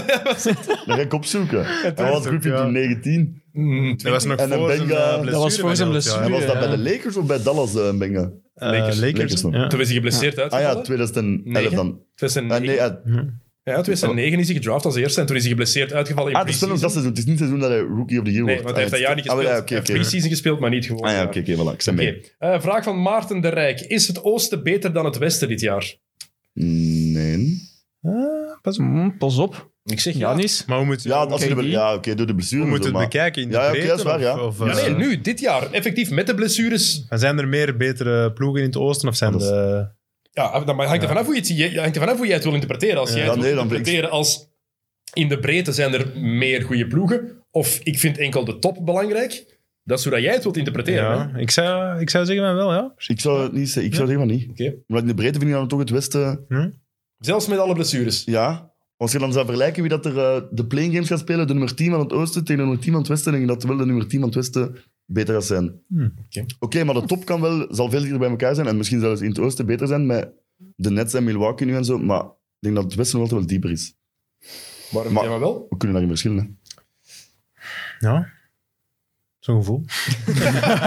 Speaker 5: ga ik opzoeken. Hij was
Speaker 6: ook,
Speaker 5: Griffin
Speaker 6: ja.
Speaker 5: in 19.
Speaker 4: Mm,
Speaker 6: Dat was nog
Speaker 5: En een
Speaker 6: voor zijn
Speaker 5: Benga.
Speaker 6: eh,
Speaker 5: Dat
Speaker 7: was voor zijn
Speaker 6: bedoeld,
Speaker 7: blessure.
Speaker 5: En was dat
Speaker 7: Ja.
Speaker 5: bij de Lakers of bij Dallas, eh Benga?
Speaker 6: Ja. Eh,
Speaker 4: Lakers.
Speaker 6: Lakers.
Speaker 5: Lakers nog.
Speaker 6: ja.
Speaker 4: Toen is hij geblesseerd
Speaker 5: Ah ja,
Speaker 4: uitgevallen.
Speaker 5: 2011 dan. Ah,
Speaker 4: 2009.
Speaker 5: nee, ja. Oh.
Speaker 4: Ja, 2009 is hij gedraft als eerste en toen is hij geblesseerd uitgevallen in
Speaker 5: ah, dat is wel nog
Speaker 4: pre-season.
Speaker 5: dat seizoen. Het is niet het seizoen dat hij Rookie of the Year
Speaker 4: Nee,
Speaker 5: wordt.
Speaker 4: want hij heeft dat jaar niet
Speaker 5: Ah,
Speaker 4: gespeeld.
Speaker 5: ja,
Speaker 4: Hij
Speaker 5: oké,
Speaker 4: heeft
Speaker 5: oké.
Speaker 4: pre-season gespeeld, maar niet gewoon.
Speaker 5: Ah ja, oké, oké, voilà. Ik ben mee.
Speaker 4: Oké. Eh, vraag van Maarten de Rijk. Is het Oosten beter dan het Westen dit jaar?
Speaker 5: Nee.
Speaker 6: Ah, pas op.
Speaker 7: Mm, Pas op,
Speaker 4: Ik zeg ja.
Speaker 7: Janis.
Speaker 6: Maar hoe moet
Speaker 5: Ja, als je
Speaker 7: KD?
Speaker 5: de, ja oké, door de blessure.
Speaker 6: Hoe
Speaker 5: en
Speaker 6: moet
Speaker 5: zo,
Speaker 6: het
Speaker 5: maar-
Speaker 6: bekijken? In de
Speaker 5: Ja, ja, oké,
Speaker 6: breedte?
Speaker 5: dat is waar, ja.
Speaker 6: Of,
Speaker 4: Ja,
Speaker 6: eh,
Speaker 4: nee, nu, dit jaar. Effectief, met de blessures.
Speaker 6: maar Zijn er meer betere ploegen in het oosten? Of zijn
Speaker 5: Dat is-
Speaker 6: de...
Speaker 4: Ja, dan hangt er vanaf hoe je het ziet. Je- hangt er vanaf hoe jij het wil interpreteren. Als jij
Speaker 5: Ja,
Speaker 4: het wil
Speaker 5: nee, dan-
Speaker 4: interpreteren als in de breedte zijn er meer goede ploegen, of ik vind enkel de top belangrijk, dat is hoe dat jij het wilt interpreteren. hè?
Speaker 6: Ja, ik zou, ik zou zeggen van wel, ja.
Speaker 5: Ik zou het niet zeggen, ik zou het helemaal niet.
Speaker 4: Oké.
Speaker 5: Maar in de breedte vind ik dan toch het Westen.
Speaker 4: Zelfs met alle blessures.
Speaker 5: Ja. Als je dan zou vergelijken wie dat er eh, de playing games gaat spelen, de nummer 10 van het Oosten tegen de nummer 10 van het Westen, denk ik dat wel de nummer 10 van het Westen beter gaat zijn.
Speaker 6: Hmm.
Speaker 4: Oké.
Speaker 5: Oké, maar de top kan wel, zal veel dichter bij elkaar zijn en misschien zelfs in het Oosten beter zijn met de Nets en Milwaukee nu en zo, maar ik denk dat het Westen nog altijd wel dieper is.
Speaker 4: Waarom
Speaker 5: Maar-
Speaker 4: ja, maar wel?
Speaker 5: We kunnen daarin verschillen. hè.
Speaker 6: Ja. Zo'n gevoel.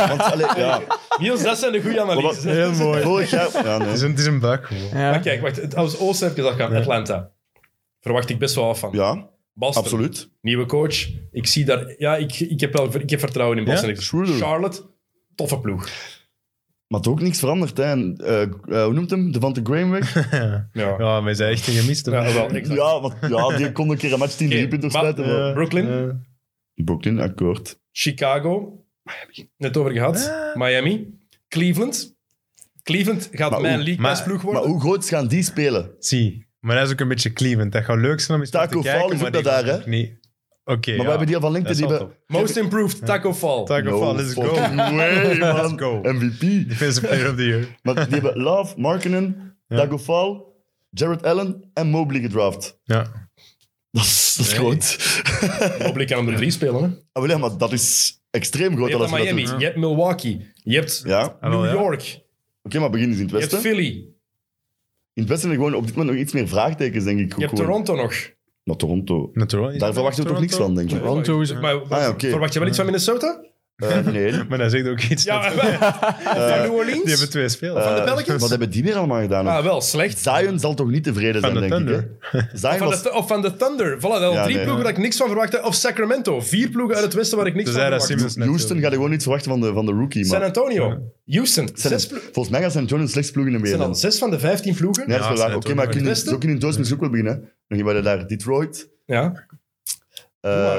Speaker 5: Want, allee, ja,
Speaker 4: Niels, dat zijn de goede analyses. hè.
Speaker 6: Heel mooi.
Speaker 5: vorig jaar... Ja,
Speaker 6: Het
Speaker 5: nee.
Speaker 6: is een, het is een buikgevoel.
Speaker 7: Ja.
Speaker 4: Maar kijk, wacht, het- als Oosten heb ik gezegd, gaan Atlanta. Verwacht ik best wel af van.
Speaker 5: ja
Speaker 4: Boston,
Speaker 5: absoluut.
Speaker 4: nieuwe coach. Ik zie daar... Ja, ik, ik, heb, wel, ik heb vertrouwen in Boston.
Speaker 6: Ja?
Speaker 4: Ik-
Speaker 5: Schroeder.
Speaker 4: Charlotte, toffe ploeg.
Speaker 5: Maar toch ook niets veranderd. Hè. En, eh, eh, hoe noemt hem? Devante Graham weg?
Speaker 4: Ja.
Speaker 6: Ja, maar je zijn echt een gemiste.
Speaker 4: Ja, wel, exact.
Speaker 5: ja, want, ja, die kon een keer een match 10
Speaker 4: Oké,
Speaker 5: okay, punten
Speaker 4: maar-
Speaker 5: sluiten. maar-
Speaker 4: Brooklyn,
Speaker 6: Eh,
Speaker 5: Brooklyn, akkoord.
Speaker 4: Chicago, net over gehad.
Speaker 5: Eh.
Speaker 4: Miami, Cleveland. Cleveland gaat
Speaker 5: Maar
Speaker 4: mijn
Speaker 5: hoe-
Speaker 4: league
Speaker 6: maar-
Speaker 4: best ploeg
Speaker 5: Maar
Speaker 4: worden.
Speaker 5: hoe groot gaan die spelen?
Speaker 6: Zie. Maar dat is ook een beetje Cleveland. Dat gaat leuk zijn om eens naar
Speaker 5: Taco
Speaker 6: te
Speaker 5: Fall
Speaker 6: kijken.
Speaker 5: is
Speaker 6: maar
Speaker 5: ook dat
Speaker 6: ik
Speaker 5: daar,
Speaker 6: denk
Speaker 5: hè?
Speaker 6: ook Niet. Oké,
Speaker 5: Maar
Speaker 6: ja.
Speaker 5: we hebben die al van
Speaker 6: Dat
Speaker 5: lengte.
Speaker 6: is
Speaker 5: Die
Speaker 6: wel
Speaker 5: we...
Speaker 4: Most improved, Taco Fall.
Speaker 6: Taco Fall, let's
Speaker 5: fucking
Speaker 6: go.
Speaker 5: way, man.
Speaker 6: Let's go.
Speaker 5: MVP.
Speaker 6: Defensive Player of the Year.
Speaker 5: Maar die hebben Love, Markenen, Dagofal. Jared Allen en Mobley gedraft.
Speaker 6: Ja.
Speaker 5: Dat is, dat is
Speaker 4: Nee.
Speaker 5: groot.
Speaker 4: Mobley kan onder drie spelen. Hè?
Speaker 5: Ah, wel ja, maar dat is extreem groot.
Speaker 4: Je hebt
Speaker 5: als je dat
Speaker 4: Miami,
Speaker 5: doet.
Speaker 4: je hebt Milwaukee, je hebt
Speaker 5: Ja, oké,
Speaker 6: Ah, wel,
Speaker 4: New
Speaker 6: ja.
Speaker 4: York, je
Speaker 5: maar begin eens in het
Speaker 4: hebt
Speaker 5: westen.
Speaker 4: Philly,
Speaker 5: In het westen zijn er gewoon op dit moment nog iets meer vraagtekens, denk ik.
Speaker 4: je hebt
Speaker 5: gewoon.
Speaker 4: Toronto nog.
Speaker 5: Maar Toronto.
Speaker 6: Natuurlijk.
Speaker 5: Daar verwachten we toch niks van, denk ik.
Speaker 7: Toronto is...
Speaker 4: Maar
Speaker 5: Ah, ja, oké.
Speaker 4: verwacht je wel iets van Minnesota?
Speaker 5: Eh, nee.
Speaker 6: Maar dat zegt ook iets.
Speaker 4: Ja,
Speaker 6: dat-
Speaker 4: van New Orleans?
Speaker 6: die hebben twee spelers.
Speaker 5: Eh,
Speaker 4: Pelicans?
Speaker 5: Wat hebben die weer allemaal gedaan?
Speaker 4: Ah, wel slecht.
Speaker 5: Zion zal toch niet tevreden
Speaker 6: Van
Speaker 5: zijn,
Speaker 6: de
Speaker 5: denk
Speaker 6: Thunder.
Speaker 5: ik. Hè? Zion
Speaker 4: Van
Speaker 5: was...
Speaker 4: de, of van de Thunder. Voilà, wel
Speaker 5: Ja,
Speaker 4: drie
Speaker 5: nee.
Speaker 4: ploegen waar ik niks van verwachtte. Of Sacramento. Vier ploegen uit het westen waar ik niks
Speaker 6: Ze
Speaker 4: van
Speaker 6: zeiden dat
Speaker 4: verwachtte.
Speaker 6: Simmons Dus net
Speaker 5: Houston
Speaker 6: wilde.
Speaker 5: gaat gewoon niets verwachten van de, van de rookie.
Speaker 4: San
Speaker 5: Maar
Speaker 4: Antonio. Houston. Zes ploegen.
Speaker 5: volgens mij gaat San Antonio een slechts ploeg in de
Speaker 4: zijn
Speaker 5: wereld.
Speaker 4: al zes van de vijftien ploegen. Ja.
Speaker 5: Nee, dat
Speaker 6: Ja,
Speaker 5: is wel
Speaker 6: San
Speaker 5: waar. Oké,
Speaker 6: Antonio.
Speaker 5: maar kun je,
Speaker 4: Westen?
Speaker 5: zo kunnen in Doos misschien ook wel beginnen. hè. Dan hebben we daar Detroit. eh,
Speaker 4: maar.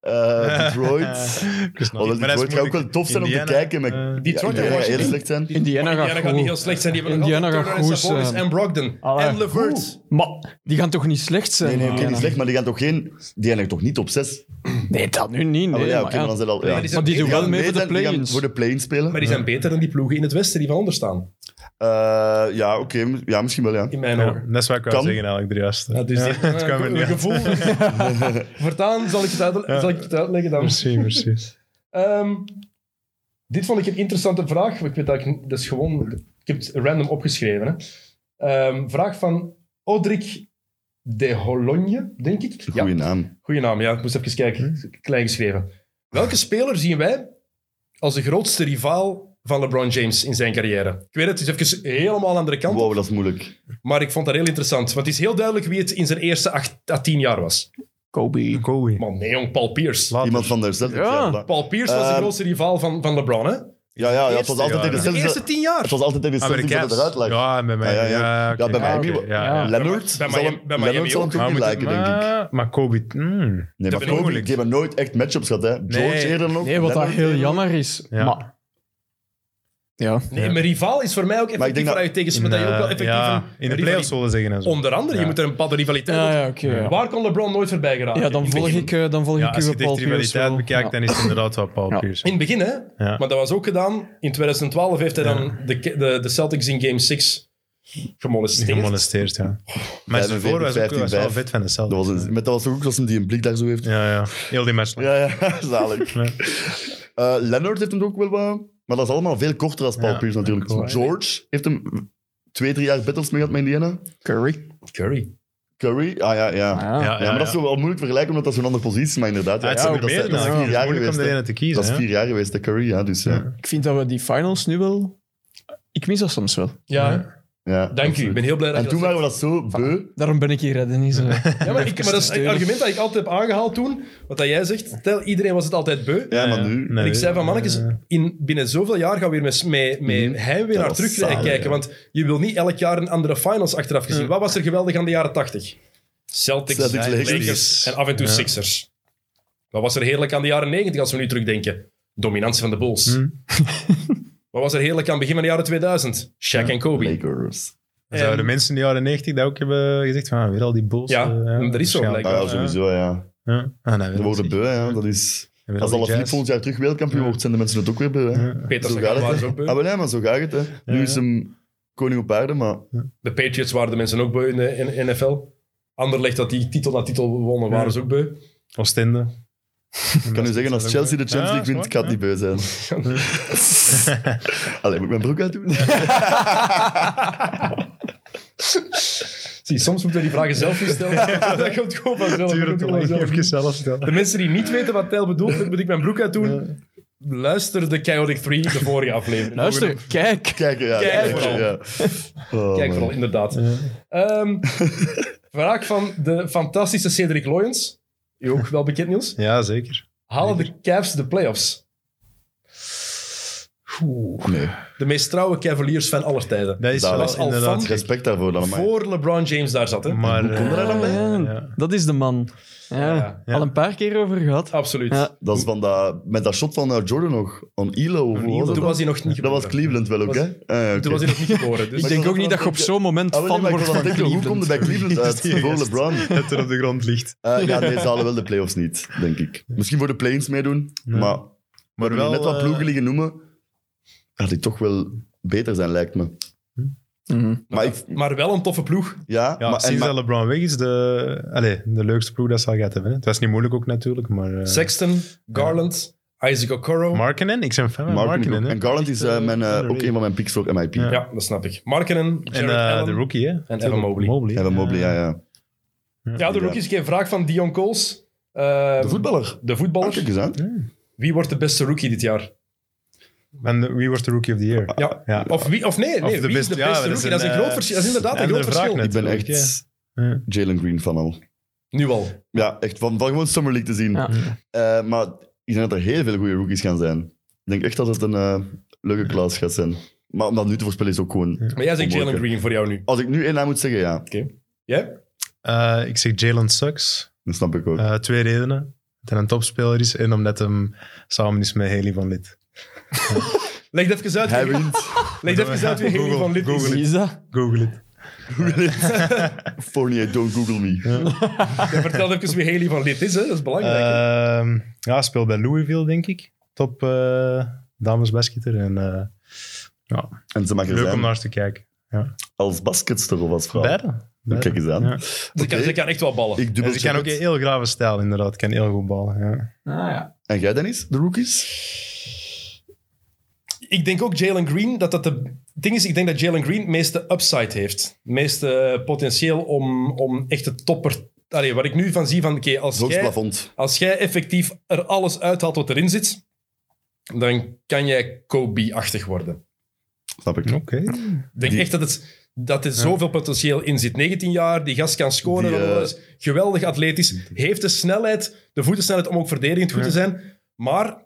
Speaker 5: eh, Detroit.
Speaker 6: Ik wist nog
Speaker 5: Alhoewel
Speaker 6: niet, maar dat is
Speaker 5: Detroit zou ook
Speaker 6: moeilijk.
Speaker 5: wel tof zijn om te
Speaker 6: Indiana,
Speaker 5: kijken. Maar
Speaker 6: eh,
Speaker 5: ja,
Speaker 4: Detroit en
Speaker 5: Indiana gaat heel
Speaker 4: Washington.
Speaker 5: slecht zijn.
Speaker 7: Indiana
Speaker 4: Indiana
Speaker 7: gaat
Speaker 4: gaat niet heel
Speaker 7: goed.
Speaker 4: slecht zijn. Die hebben
Speaker 7: Indiana
Speaker 4: nog
Speaker 7: gaat
Speaker 4: altijd Turner en
Speaker 7: goed
Speaker 4: Sabonis
Speaker 7: zijn.
Speaker 4: en Brogdon.
Speaker 7: Allee,
Speaker 4: en Levert.
Speaker 7: Maar die gaan toch niet slecht zijn?
Speaker 5: Nee, nee, oké,
Speaker 7: Indiana?
Speaker 5: niet slecht, maar die gaan toch geen... Die gaan er toch niet op zes?
Speaker 7: Nee, dat nu niet.
Speaker 5: Ah,
Speaker 7: Nee,
Speaker 5: wel, ja, oké,
Speaker 7: maar
Speaker 5: maar
Speaker 7: ja.
Speaker 5: dan zijn al...
Speaker 4: Nee,
Speaker 5: Ja.
Speaker 4: die zijn
Speaker 7: Maar die
Speaker 4: beter
Speaker 7: doen wel
Speaker 5: gaan
Speaker 7: mee voor
Speaker 5: meedoen,
Speaker 7: de
Speaker 5: die gaan
Speaker 7: play-ins.
Speaker 5: Voor de play-in spelen.
Speaker 4: Maar die zijn beter dan die ploegen in het westen die van onder staan.
Speaker 5: Eh, ja, oké. ja, misschien wel, ja.
Speaker 4: In mijn
Speaker 6: Ja,
Speaker 4: ogen.
Speaker 6: dat is wat ik wou
Speaker 5: Kan.
Speaker 6: zeggen eigenlijk, de juiste.
Speaker 4: Ja, dus
Speaker 6: Ja,
Speaker 4: die-
Speaker 6: het kwam er
Speaker 4: een
Speaker 6: niet uit.
Speaker 4: gevoel. Voortaan zal ik, het uitle- zal ik het uitleggen dan.
Speaker 6: Precies, precies.
Speaker 4: Ehm, dit vond ik een interessante vraag. Ik weet dat ik, dat is gewoon, ik heb het random opgeschreven. Hè. Ehm, vraag van Odrik de Hologne, denk ik.
Speaker 5: Goeie naam.
Speaker 4: goeie naam, ja. Ik moest even kijken.
Speaker 5: Hmm.
Speaker 4: Klein geschreven. Welke speler zien wij als de grootste rivaal van LeBron James in zijn carrière? Ik weet het, het is even helemaal aan de andere kant.
Speaker 5: Wow, dat is moeilijk.
Speaker 4: Maar ik vond dat heel interessant. Want het is heel duidelijk wie het in zijn eerste acht à tien jaar was.
Speaker 7: Kobe.
Speaker 4: Oh,
Speaker 6: Kobe.
Speaker 4: Man, nee jong, Paul Pierce.
Speaker 6: Later.
Speaker 5: Iemand van de Celtics.
Speaker 7: Ja.
Speaker 5: Ja, voilà.
Speaker 4: Paul Pierce was de
Speaker 5: Ehm,
Speaker 4: grootste rivaal van, van LeBron, hè?
Speaker 5: ja, ja, ja, het was
Speaker 6: Eerste
Speaker 5: altijd
Speaker 6: jaar.
Speaker 5: tegen de
Speaker 4: De
Speaker 5: Celtics.
Speaker 4: eerste
Speaker 5: dat-
Speaker 4: tien
Speaker 5: Het
Speaker 4: jaar.
Speaker 5: was altijd tegen de Celtics dat het
Speaker 6: Amerikaans.
Speaker 5: eruit lag.
Speaker 6: Ja, bij mij.
Speaker 5: Ja, ja, ja. Ja, bij
Speaker 6: mij.
Speaker 5: Miami wel.
Speaker 6: Ja,
Speaker 7: Ja.
Speaker 6: ja.
Speaker 5: Leonard,
Speaker 4: Bij
Speaker 5: zal
Speaker 4: Miami-
Speaker 5: hem-
Speaker 4: bij Miami
Speaker 5: Leonard zal hem
Speaker 4: ook.
Speaker 5: toch
Speaker 6: Maar
Speaker 5: niet
Speaker 6: we
Speaker 5: lijken,
Speaker 6: moeten-
Speaker 5: denk ik.
Speaker 6: maar- Maar Kobe... mm.
Speaker 5: Nee,
Speaker 4: Dat
Speaker 5: maar
Speaker 4: vind ik
Speaker 5: Kobe,
Speaker 4: moeilijk.
Speaker 5: die hebben nooit echt matchups gehad. Hè. George
Speaker 6: Nee.
Speaker 5: eerder nog.
Speaker 7: Nee, wat dat
Speaker 5: Leonard
Speaker 7: heel
Speaker 5: eerder nog.
Speaker 7: jammer is.
Speaker 6: Ja.
Speaker 7: Maar... Ja.
Speaker 4: Nee, maar rivaal is voor mij ook
Speaker 5: Maar ik
Speaker 4: effectief waar
Speaker 5: denk dat-
Speaker 4: je tegen
Speaker 6: In,
Speaker 4: speelt. Dat je ook wel
Speaker 6: eh,
Speaker 4: effectief
Speaker 6: ja,
Speaker 4: een-
Speaker 6: in de
Speaker 4: een
Speaker 6: playoffs zullen ze zeggen en zo.
Speaker 4: Onder andere, je
Speaker 6: Ja.
Speaker 4: moet er een bepaalde rivaliteit
Speaker 7: Ja,
Speaker 4: op-
Speaker 7: ja, oké. ja.
Speaker 4: Waar kon LeBron nooit voorbij geraken?
Speaker 7: Ja, dan
Speaker 4: In Ah, het
Speaker 7: volg
Speaker 4: begin.
Speaker 7: ik, eh, dan volg
Speaker 6: Ja,
Speaker 7: ik
Speaker 6: als
Speaker 7: uw
Speaker 6: je de
Speaker 7: Paul Pierce
Speaker 6: rivaliteit
Speaker 7: wel.
Speaker 6: bekijkt,
Speaker 7: Ja.
Speaker 6: dan is het inderdaad wel Paul
Speaker 7: Ja.
Speaker 4: In
Speaker 6: Pierce.
Speaker 4: het begin, hè.
Speaker 6: Ja.
Speaker 4: Maar dat was ook gedaan. In 2012 heeft hij dan de, de, de Celtics in Game 6 gemolesteerd.
Speaker 6: Gemolesteerd, ja. Maar zijn
Speaker 5: 45,
Speaker 6: voor was ook was wel
Speaker 5: 15,
Speaker 6: vet van de
Speaker 5: Dat
Speaker 6: Celtics.
Speaker 5: was een, met dat was toch ook zoals hem die een blik daar zo heeft. Ja,
Speaker 6: Ja, ja. Heel die match.
Speaker 5: ja, zalig.
Speaker 6: Ja.
Speaker 5: Eh, Leonard heeft hem ook wel wat... Maar dat is allemaal veel korter als Paul
Speaker 6: Ja,
Speaker 5: Pierce natuurlijk.
Speaker 6: cool.
Speaker 5: George heeft hem twee, drie jaar battles mee gehad met Indiana.
Speaker 7: Curry.
Speaker 4: Curry.
Speaker 5: Curry, ah ja, ja.
Speaker 7: Ah,
Speaker 5: ja.
Speaker 7: ja.
Speaker 6: Ja,
Speaker 5: maar dat is wel moeilijk vergelijken, omdat dat zo'n andere positie is. Maar inderdaad, ja,
Speaker 6: het
Speaker 5: ja,
Speaker 6: zijn
Speaker 5: dat,
Speaker 6: er
Speaker 5: is-
Speaker 6: meer
Speaker 5: dat
Speaker 6: dan.
Speaker 5: is
Speaker 6: Het
Speaker 5: vier
Speaker 6: is
Speaker 5: jaar
Speaker 6: moeilijk
Speaker 5: geweest.
Speaker 6: om er
Speaker 5: hè.
Speaker 6: een te
Speaker 5: Dat
Speaker 6: kiezen.
Speaker 5: is
Speaker 6: hè.
Speaker 5: vier jaar geweest, de Curry, ja. Dus, ja.
Speaker 6: Ja.
Speaker 7: Ik vind dat we die finals nu wel... Ik mis dat soms wel.
Speaker 4: Ja,
Speaker 5: Ja,
Speaker 4: dank u.
Speaker 5: absoluut.
Speaker 4: Ik ben heel blij dat
Speaker 5: En
Speaker 4: je
Speaker 5: toen
Speaker 4: dat
Speaker 5: waren we dat zo beu.
Speaker 7: Daarom ben ik hier, hè, Dennis. Eh,
Speaker 4: zegt. Ja, maar, ik, maar dat is het
Speaker 7: Steunen.
Speaker 4: argument dat ik altijd heb aangehaald toen. Wat dat jij zegt, tel, iedereen was het altijd beu.
Speaker 5: Ja, maar
Speaker 6: Ja,
Speaker 5: nu...
Speaker 6: nee.
Speaker 4: En ik zei van, mannetjes,
Speaker 6: eh,
Speaker 4: in, binnen zoveel jaar gaan we hier met, met, met heimwee
Speaker 5: Dat
Speaker 4: naar
Speaker 5: was
Speaker 4: terug
Speaker 5: zalig,
Speaker 4: kijken.
Speaker 5: ja.
Speaker 4: Want je wil niet elk jaar een andere finals achteraf gezien. Wat was er geweldig aan de jaren 80? Celtics,
Speaker 5: Celtics,
Speaker 4: Lakers,
Speaker 5: Lakers.
Speaker 4: en af en toe
Speaker 6: Ja.
Speaker 4: Sixers. Wat was er heerlijk aan de jaren 90 als we nu terugdenken? Dominantie van de Bulls.
Speaker 6: Hm.
Speaker 4: Wat was er heerlijk aan het begin van de jaren 2000? Shaq en Kobe.
Speaker 5: Lakers.
Speaker 6: Dan Zouden
Speaker 4: En-
Speaker 6: de mensen in de jaren 90 dat ook hebben gezegd van ah, weer al die bulls?
Speaker 4: Ja,
Speaker 6: eh,
Speaker 4: dat is zo
Speaker 6: waarschijnlijk.
Speaker 5: Nou ja, sowieso, ja.
Speaker 6: Ja. Ah, nee, weer
Speaker 5: We
Speaker 6: al
Speaker 5: worden
Speaker 6: die-
Speaker 5: beu, ja. Dat is...
Speaker 6: weer al
Speaker 5: Als alle
Speaker 6: die jazz.
Speaker 5: Philippe volgend jaar terug wereldkampioen
Speaker 6: Ja.
Speaker 5: wordt, zijn de mensen het ook weer beu, hè.
Speaker 6: Ja.
Speaker 4: Peter
Speaker 5: Zo
Speaker 4: Sagan
Speaker 5: gaat het,
Speaker 4: was
Speaker 5: hè.
Speaker 4: ook beu.
Speaker 5: Ah, wel, ja, maar zo gaat het, hè. Nu
Speaker 6: Ja.
Speaker 5: is hem koning op aarde, maar...
Speaker 4: De Patriots waren de mensen ook beu in de in- NFL. Anderlecht dat die titel na titel wonnen, waren ze ook beu.
Speaker 6: Oostende.
Speaker 5: Ik kan u zeggen, als Chelsea de Champions
Speaker 6: Ja,
Speaker 5: League wint,
Speaker 6: is
Speaker 5: ik ga het
Speaker 6: waar,
Speaker 5: niet beu zijn. Allee, moet ik mijn broek uitdoen?
Speaker 4: Zie, soms moeten we die vragen zelf niet stellen. dat komt gewoon vanzelf. Dat komt gewoon vanzelf.
Speaker 6: even zelf stellen.
Speaker 4: De mensen die niet weten wat Tijl bedoelt, moet ik mijn broek uit doen. Luister de Chaotic 3, de vorige aflevering.
Speaker 7: Luister, kijk.
Speaker 5: Kijk, ja.
Speaker 4: Kijk
Speaker 5: kijk,
Speaker 4: vooral.
Speaker 5: ja. Oh,
Speaker 4: Kijk
Speaker 5: man.
Speaker 4: vooral, inderdaad. Ehm, vraag van de fantastische Cedric Loyens. U ook wel bekend, Niels.
Speaker 6: Ja, zeker.
Speaker 4: Halen de Cavs de playoffs? Oeh.
Speaker 5: Nee.
Speaker 4: De meest trouwe Cavaliers van aller tijden.
Speaker 6: Dat is
Speaker 5: Dat
Speaker 6: wel
Speaker 5: was
Speaker 4: al
Speaker 6: inderdaad
Speaker 4: van-
Speaker 6: gek.
Speaker 5: Respect daarvoor dan, maar.
Speaker 4: Voor LeBron James daar zat, hè?
Speaker 6: Maar eh,
Speaker 5: Konden daar dan bij?
Speaker 7: Ah,
Speaker 6: Ja.
Speaker 7: Dat is de man. Ja.
Speaker 4: Ja. Ah,
Speaker 7: Al een paar keer over gehad.
Speaker 4: Absoluut.
Speaker 7: Ja.
Speaker 5: Dat is van dat... Met dat shot van eh, Jordan nog. On Ilo, of hoe was dat
Speaker 4: Toen
Speaker 5: dan?
Speaker 4: was hij nog niet
Speaker 5: Dat was
Speaker 4: geboren.
Speaker 5: Cleveland wel ook,
Speaker 4: Was-
Speaker 5: hè? Ah, ja, oké.
Speaker 4: Toen was hij nog niet geboren. Dus
Speaker 7: Ik denk ook niet dat je op zo'n moment
Speaker 5: Ah, wel, nee,
Speaker 7: fan
Speaker 5: maar ik
Speaker 7: wordt
Speaker 5: was aan
Speaker 7: van
Speaker 5: het denken, hoe komt
Speaker 7: Cleveland.
Speaker 5: het bij Cleveland uit
Speaker 6: Die
Speaker 5: voor
Speaker 6: gast.
Speaker 5: LeBron?
Speaker 6: Dat eh, er op de grond ligt.
Speaker 5: Eh, ja, nee, ze halen wel de playoffs niet, denk ik. Misschien voor de play-ins meedoen, maar,
Speaker 6: Maar
Speaker 5: maar wel, net wat
Speaker 6: eh,
Speaker 5: ploegen liggen noemen, gaat die toch wel beter zijn, lijkt me. Maar ik,
Speaker 4: Maar wel een toffe ploeg.
Speaker 5: ja,
Speaker 6: Ja,
Speaker 5: maar, en
Speaker 6: sinds
Speaker 5: maar-
Speaker 6: dat LeBron weg is, de, allez, de leukste ploeg dat ze al gaat hebben. hè. Het was niet moeilijk ook natuurlijk, maar... eh,
Speaker 4: Sexton, Garland, Isaac Okoro.
Speaker 6: Markkanen? Ik ben fan van
Speaker 5: Markkanen
Speaker 6: Markkanen.
Speaker 5: ook.
Speaker 6: eh, hè.
Speaker 5: En Garland is
Speaker 6: Echt, eh,
Speaker 5: eh, mijn, eh, ook
Speaker 6: underrated.
Speaker 5: een van mijn picks voor MIP.
Speaker 4: ja, dat snap ik. Markenen,
Speaker 6: En
Speaker 4: Jared
Speaker 6: eh,
Speaker 4: Allen.
Speaker 6: de rookie, hè?
Speaker 4: en Evan Mobley.
Speaker 5: En van Mobley, ja, ja.
Speaker 4: Ja, de rookies. Ik heb een vraag van Dion Kools. Eh,
Speaker 5: De voetballer.
Speaker 4: de voetballer.
Speaker 5: Ah, kijk eens aan.
Speaker 4: Wie wordt de beste rookie dit jaar?
Speaker 6: En de- wie wordt de rookie of the year?
Speaker 4: Ja.
Speaker 6: Ja.
Speaker 4: Of, wie, of nee, nee wie
Speaker 6: Of de
Speaker 4: is de beste
Speaker 6: beste- ja, dat is
Speaker 4: rookie?
Speaker 6: een,
Speaker 4: Dat is, een groot
Speaker 6: eh,
Speaker 4: verschil. Dat is inderdaad een
Speaker 6: andere
Speaker 4: groot
Speaker 6: vraag
Speaker 4: verschil.
Speaker 6: net.
Speaker 5: Ik ben
Speaker 6: Natuurlijk,
Speaker 5: echt
Speaker 6: Ja.
Speaker 5: Jalen Green fan al.
Speaker 4: Nu al.
Speaker 5: Ja, echt van, van gewoon Summer League te zien.
Speaker 7: Ja.
Speaker 5: Eh, maar ik denk dat er heel veel goede rookies gaan zijn. Ik denk echt dat het een eh, leuke klas gaat zijn. Maar om dat nu te voorspellen is ook gewoon...
Speaker 4: Maar jij zegt Jalen
Speaker 5: Onmogelijk.
Speaker 4: Green voor jou nu.
Speaker 5: Als ik nu één naam moet zeggen, ja.
Speaker 4: Jij?
Speaker 6: Eh, ik zeg Jalen Sucks.
Speaker 5: Dat snap ik ook.
Speaker 6: Eh, twee redenen. Dat hij een topspeler is en omdat hem samen is met Haley van Lid.
Speaker 4: Leg dat even uit.
Speaker 5: Hij
Speaker 4: wie-
Speaker 5: wint.
Speaker 4: Leg dat even uit wie Haley
Speaker 6: Google,
Speaker 4: van Lid is.
Speaker 6: Google.
Speaker 7: Wie is dat?
Speaker 6: Google het.
Speaker 5: Fournier, don't Google me.
Speaker 4: Vertel even wie Haley van Lid is. Hè. Dat is belangrijk.
Speaker 5: Eh,
Speaker 4: hè.
Speaker 6: Ehm, ja, speelt bij Louisville, denk ik. Top eh damesbasketer. En, eh, ja,
Speaker 5: En ze maken
Speaker 6: leuk om
Speaker 5: zijn
Speaker 6: naar te kijken.
Speaker 5: als basketster of als vrouw.
Speaker 6: Beide. Beide.
Speaker 5: Kijk eens aan.
Speaker 6: Ja.
Speaker 4: Dus Ze kan,
Speaker 5: oké.
Speaker 4: ze kan echt wel ballen.
Speaker 5: Ik dubbel
Speaker 6: En ze kan ook een heel grave stijl, inderdaad. Kan heel goed ballen. Ja.
Speaker 7: Ah, ja.
Speaker 5: En jij, Dennis? De rookies?
Speaker 4: Ik denk ook Jalen Green. Dat dat de... Het ding is, ik denk dat Jalen Green het meeste upside heeft. Het meeste potentieel om, om echt de topper... Allee, wat ik nu van zie van... oké, als
Speaker 5: Hoogst
Speaker 4: jij-
Speaker 5: plafond.
Speaker 4: Als jij effectief er alles uithaalt wat erin zit, dan kan jij Kobe-achtig worden.
Speaker 5: Snap ik.
Speaker 6: Oké.
Speaker 4: Ik denk
Speaker 5: Die-
Speaker 4: echt dat, het, dat er zoveel potentieel in zit. 19 jaar, die gast kan scoren,
Speaker 5: Die, eh,
Speaker 4: dat is geweldig atletisch, heeft de snelheid, de voetensnelheid om ook verdedigend goed te zijn. Maar